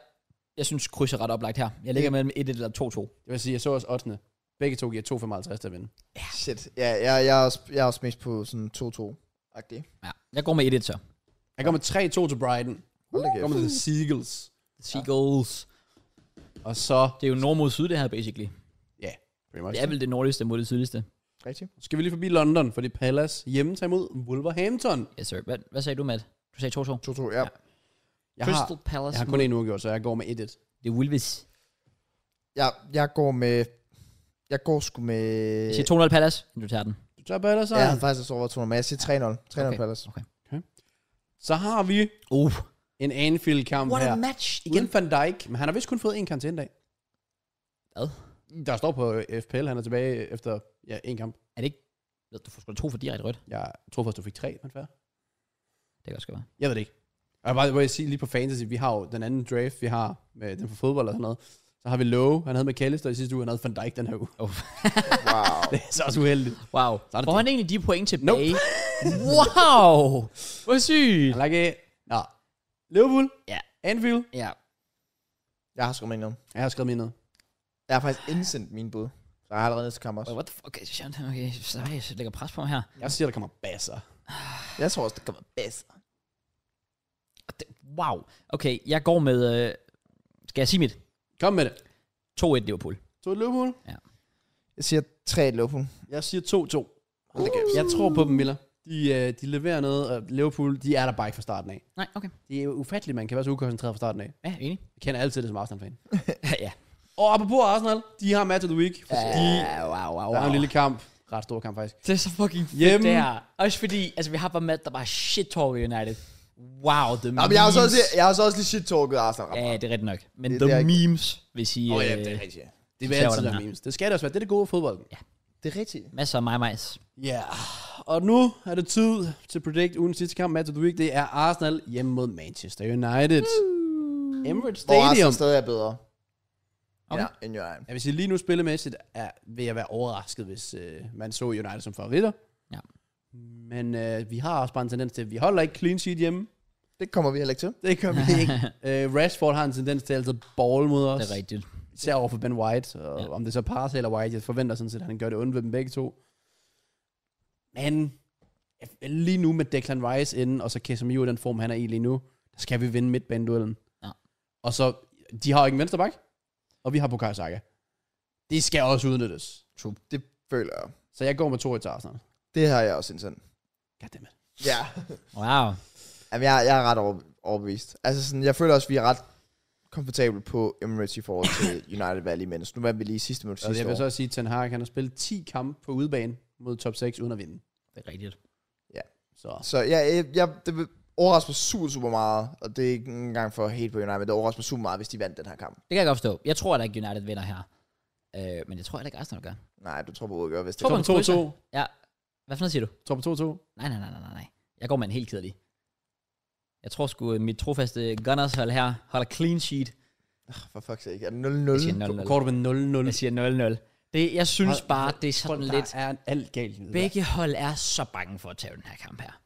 jeg synes kryds er ret oplagt her. Jeg ligger mellem 1-1 eller 2-2.
Det vil sige, jeg så også 8. Begge to giver 2,55 til at vinde.
Shit. Ja, jeg, jeg, er også, jeg er også mest på sådan 2-2-agtig.
Ja, jeg går med 1-1 så.
Jeg kommer 3-2 til Brighton.
Hold da
Jeg kommer
kæft.
til The Seagulls.
Seagulls.
Og så...
Det er jo nord mod syd, det her, basically.
Ja, pretty much.
Det er vel det nordligste mod det sydligste.
Rigtigt.
Skal vi lige forbi London, fordi Palace hjemme tager imod Wolverhampton.
Yes, sir. Hvad, hvad sagde du, Matt? Du sagde 2-2.
2-2, ja.
Ja.
ja.
Jeg
Crystal
har,
Palace.
jeg har kun en uafgjort, så jeg går med 1-1.
Det er Wolves.
Jeg, jeg går med... Jeg går sgu med...
Jeg siger 2-0 Palace, inden du tager den.
Du tager Palace
jeg
ja.
havde faktisk også overvejet 200, men jeg siger 3-0. 3-0
Okay.
okay. Palace.
Så har vi
Uh.
en Anfield-kamp
What a
her.
match igen.
Igen Van Dijk, men han har vist kun fået én karantæne dag.
Hvad?
Der står på øh, FPL, han er tilbage efter ja, én kamp.
Er det ikke... Ved Du får sgu da to for direkte rødt.
Jeg tror først, du fik tre, men fair.
Det kan også godt være.
Jeg ved det ikke. Og jeg bare, hvor jeg sige lige på fantasy, vi har jo den anden draft, vi har med den for fodbold og sådan noget. Så har vi Lowe, han havde McAllister i sidste uge, han havde Van Dijk den her uge.
Wow.
Det er så også uheldigt.
Wow.
Så er det
Får
det.
han egentlig de point tilbage? Nope. wow. Hvor sygt.
Jeg af. Nå. Liverpool.
Ja.
Anfield.
Ja.
Jeg har sgu med noget.
Jeg har skrevet min ned.
Jeg har faktisk indsendt min bud. Så jeg har allerede næste kamp også.
Wait, what the fuck? Okay, shit. okay. Så jeg lægger pres på ham her.
Jeg siger, der kommer basser.
Jeg tror også, det kommer bedst.
Og det- Wow. Okay, jeg går med... Øh, skal jeg sige mit?
Kom med det.
2-1 Liverpool.
To Liverpool.
Jeg siger 3 Liverpool.
Jeg siger 2-2.
Hold da kæft.
Jeg tror på dem, Miller. De, øh, de leverer noget, og Liverpool, de er der bare ikke fra starten af.
Nej, okay.
Det er jo ufatteligt, man kan være så ukoncentreret fra starten af.
Ja, enig.
Jeg kender altid det som Arsenal-fan.
ja.
Og apropos Arsenal, de har match of the week, fordi
Ja, wow, wow,
der er en lille kamp. Ret stor kamp, faktisk.
Det er så fucking fedt
Hjemme.
det her. Også fordi, altså vi har bare Matt, der bare shit talk United. Wow, the
Nå,
memes.
men jeg har så også, jeg har så også lige shit-talket Arsenal. ret
Ja,
meget.
det er rigtigt nok. Men
Det-
the
det er ikke-
memes, hvis I...
Åh,
Oh,
ja,
ja,
det er
øh,
rigtigt. ja.
Det vil
Så laver
altid
den
være
her.
memes. Det skal det også være. Det er det gode fodbold. Ja.
Det er rigtigt.
masser af mig, majs.
Ja, yeah. og nu er det tid til Predict ugen sidste kamp, Match of the Week. Det er Arsenal hjemme mod Manchester United. Emirates
Hvor Arsenal
Stadium.
stadig er bedre.
Okay.
Ja, end United.
Jeg vil sige, lige nu spillemæssigt er, vil jeg være overrasket, hvis øh, man så United som favoritter.
Ja.
Men øh, vi har også bare en tendens til, at vi holder ikke clean sheet hjemme.
Det kommer vi heller ikke til.
Det gør vi ikke. øh, Rashford har en tendens til altid ball mod os.
Det er rigtigt.
Især over for Ben White. Og
Ja.
ja. om det så er Parse eller White, jeg forventer sådan set, at han gør det ondt ved dem begge to. Men jeg- lige nu med Declan Rice inden, og så Casemiro i den form, han er i lige nu, der skal vi vinde midtbaneduellen.
Ja.
Og så, de har jo ikke en vensterbak, og vi har Bukayo Saka. Det skal også udnyttes.
True. Det føler jeg.
Så jeg går med to i Arsenal.
Det har jeg også indsendt.
Goddammit.
Ja.
Wow.
Jamen, jeg, jeg er ret over- overbevist. Altså, sådan, jeg føler også, at vi er ret komfortable på Emirates i forhold til United Valley, men nu var vi lige i sidste minut
Og
sidste
jeg
år.
vil så også sige, at Ten Hag, han har spillet 10 kampe på udebane mod top 6 uden at vinde.
Det er rigtigt.
Så
Så ja, jeg, jeg, det vil overraske mig super, super meget, og det er ikke engang for helt på United, men det overrasker mig super meget, hvis de vandt den her kamp.
Det kan jeg godt forstå. Jeg tror da ikke, United vinder her. Øh, men jeg tror heller ikke, Arsenal gør.
Nej, du tror på udgør, hvis det
Tror
tror
på
på
en
2-2.
krydser. Ja. Hvad for noget siger du?
Tror på 2-2.
Nej, nej, nej, nej, nej, nej. Jeg går med en helt kedelig. Jeg tror sgu, øh, mit trofaste Gunners hold her holder clean sheet.
For fuck's sake, er det 0-0?
Jeg
Mm.
siger
Du
0-0.
går du med 0-0.
Jeg siger 0-0. Det, jeg synes
Hold-
bare, det er sådan
Folk,
lidt...
der er alt galt i det der.
Begge hold er så bange for at tage den her kamp her.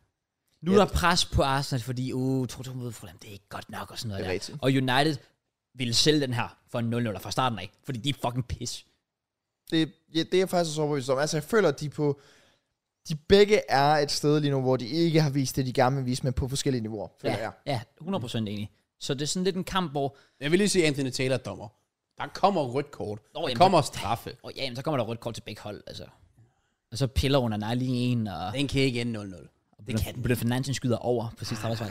Nu
Ja.
er der pres på Arsenal, fordi uh, 2-2 mod Fulham, det er ikke godt nok og sådan noget
Det er
der. Og United ville sælge den her for en 0-0 fra starten af, fordi de er fucking pis.
Det, ja, det er jeg faktisk også overbevist om. Altså, jeg føler, at de er på... de begge er et sted lige nu, hvor de ikke har vist det, de gerne vil vise, men på forskellige niveauer, føler
Ja,
jeg.
ja, 100% enig. Så det er sådan lidt en kamp, hvor...
Jeg vil lige sige, Anthony Taylor er dommer. Der kommer rødt kort.
Nå,
der
jamen,
kommer straffe.
Og ja, men så kommer der rødt kort til begge hold, altså. Og så piller under nej lige en, og...
Den kan ikke ende 0-0. Det kan den. Ah.
Bølle Finansen skyder over på sidste arbejdsvej.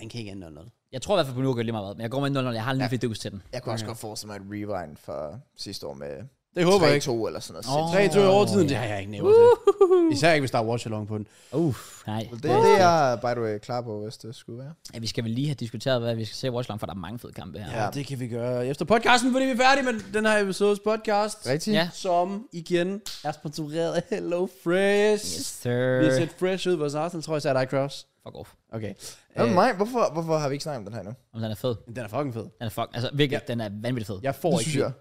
Den kan ikke ende 0-0.
Jeg tror i hvert fald på nu, at lige meget hvad, men jeg går med 0 jeg har en lille fedus til den.
Jeg kunne også godt forestille mig et rewind fra sidste år med
Det
3-2
håber jeg ikke.
eller sådan noget.
Åh.
Oh.
3-2 i overtiden, det har jeg ikke nævnt til. Især ikke, hvis der er watch-along på den.
Uff, nej.
Det, det er jeg, by the way, klar på, hvis det skulle være.
Ja, vi skal vel lige have diskuteret, hvad vi skal se i Watchlong, for der er mange fede kampe her.
Ja, det kan vi gøre efter podcasten, fordi vi er færdige med den her episodes podcast.
Rigtigt?
Ja.
Som igen er sponsoreret af Hello Fresh.
Yes,
Yes.
sir.
Vi har set fresh ud, vores Arsenal tror jeg sagde dig, Cross.
Fuck off.
Okay.
Hvad med mig? Hvorfor, hvorfor har vi ikke snakket om den her endnu?
Om den er fed.
Den er fucking fed.
Den er fuck. Altså virkelig, den er vanvittigt fed.
Jeg får
Det
ikke
synes jeg.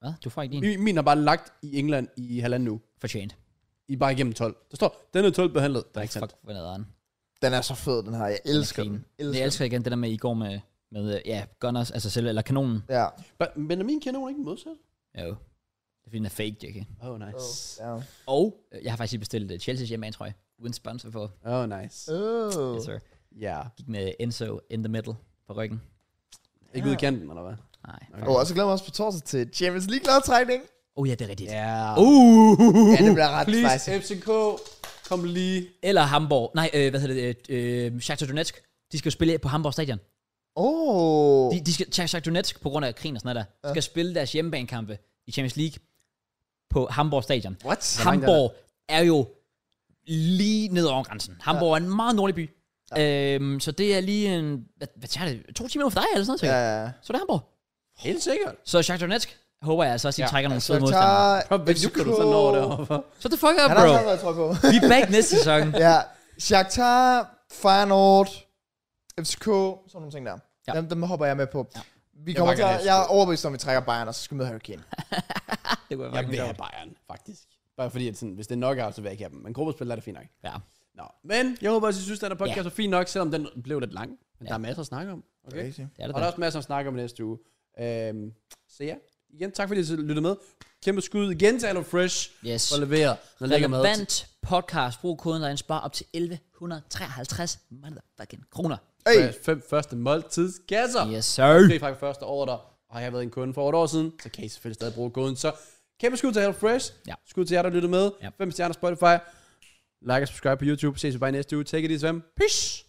Hvad? Du får ikke din?
min. Min har bare lagt i England i halvanden uge.
Fortjent.
I er bare igennem 12. Der står, den er 12 behandlet. Det er ikke sandt.
Fuck, hvad er den?
Den er så fed, den her. Jeg elsker den.
Elsker. Jeg
Elsker.
elsker igen det der med, I går med, med øh, ja, gunners, altså selv, eller kanonen.
den. Ja.
But- Men er min kanon ikke modsat?
Jo. Det er fordi, den er fake, Jackie.
Oh, nice.
ja.
Og øh, jeg har faktisk lige bestilt øh, Chelsea's hjemmebane, tror jeg. Uden sponsor for.
Oh, nice.
Oh.
Yes, sir.
Ja.
Gik med Enzo in the middle på ryggen.
Ikke ude i kanten, eller hvad?
Nej.
Okay.
Og så glæder mig også på torsdag til Champions League lodtrækning. Uh-huh.
Oh ja, det er rigtigt.
Ja.
Uh!
Ja, det bliver ret
Please,
spicy.
FCK. Kom lige.
Eller Hamburg. Nej, øh, hvad hedder det? Øh, Shakhtar Donetsk. De skal jo spille på Hamburg stadion.
Åh.
De, de skal, Shakhtar Donetsk, på grund af krigen og sådan noget der,
Ja.
skal spille deres hjemmebanekampe i Champions League på Hamburg Stadion.
What?
langt er det?
Hamburg er jo lige ned over grænsen. Hamburg er en meget nordlig by. Øhm, så det er lige en, hvad, hvad tager det, to timer for dig eller sådan noget?
Ja,
Ja.
ja.
Så er det Hamburg.
Helt sikkert.
Så Shakhtar Donetsk håber jeg altså også, at de
Ja.
ja. trækker nogle fede
Så
modstandere.
tager
Hvem du kan du så nå derovre?
Så det fuck up,
Han har
bro.
også været trøj på.
Vi er back næste sæson.
ja. Shakhtar, Feyenoord, FCK, sådan nogle ting der.
Ja.
Ja. Dem, dem hopper jeg med på. Ja. Vi
Jeg
kommer til,
bakker
at-
FCK.
jeg er overbevist om, at vi trækker Bayern, og så skal vi møde Harry Kane.
Det kunne jeg
Jeg
fucking
vil
gøre.
have Bayern, faktisk. Bare fordi, at sådan, hvis det er knockout, så vil jeg ikke have dem. Men gruppespil er det fint nok.
Ja.
Nå. Men jeg håber også, I synes, den her podcast
Ja.
er fin nok, selvom den blev lidt lang. Men
Ja.
der er masser at snakke om. Okay?
Crazy.
Det er det
Og der er
da.
også masser at snakke om i næste uge. Øhm, så ja, igen, tak fordi I lyttede med. Kæmpe skud igen til HelloFresh
Yes.
for at levere noget lækker mad. til-
Relevant podcast. Brug koden, der er en spar op til 1153 motherfucking kroner.
Hey,
Hey. Fem første måltidskasser.
Yes, sir.
Det er faktisk første år der, og har jeg været en kunde for et år siden, så kan I selvfølgelig stadig bruge koden. Så kæmpe skud til HelloFresh.
Ja.
Skud til jer, der lytter med.
Ja.
Fem stjerner Spotify. Like og subscribe på YouTube. Ses vi bare i næste uge. Take it easy, fam. Peace.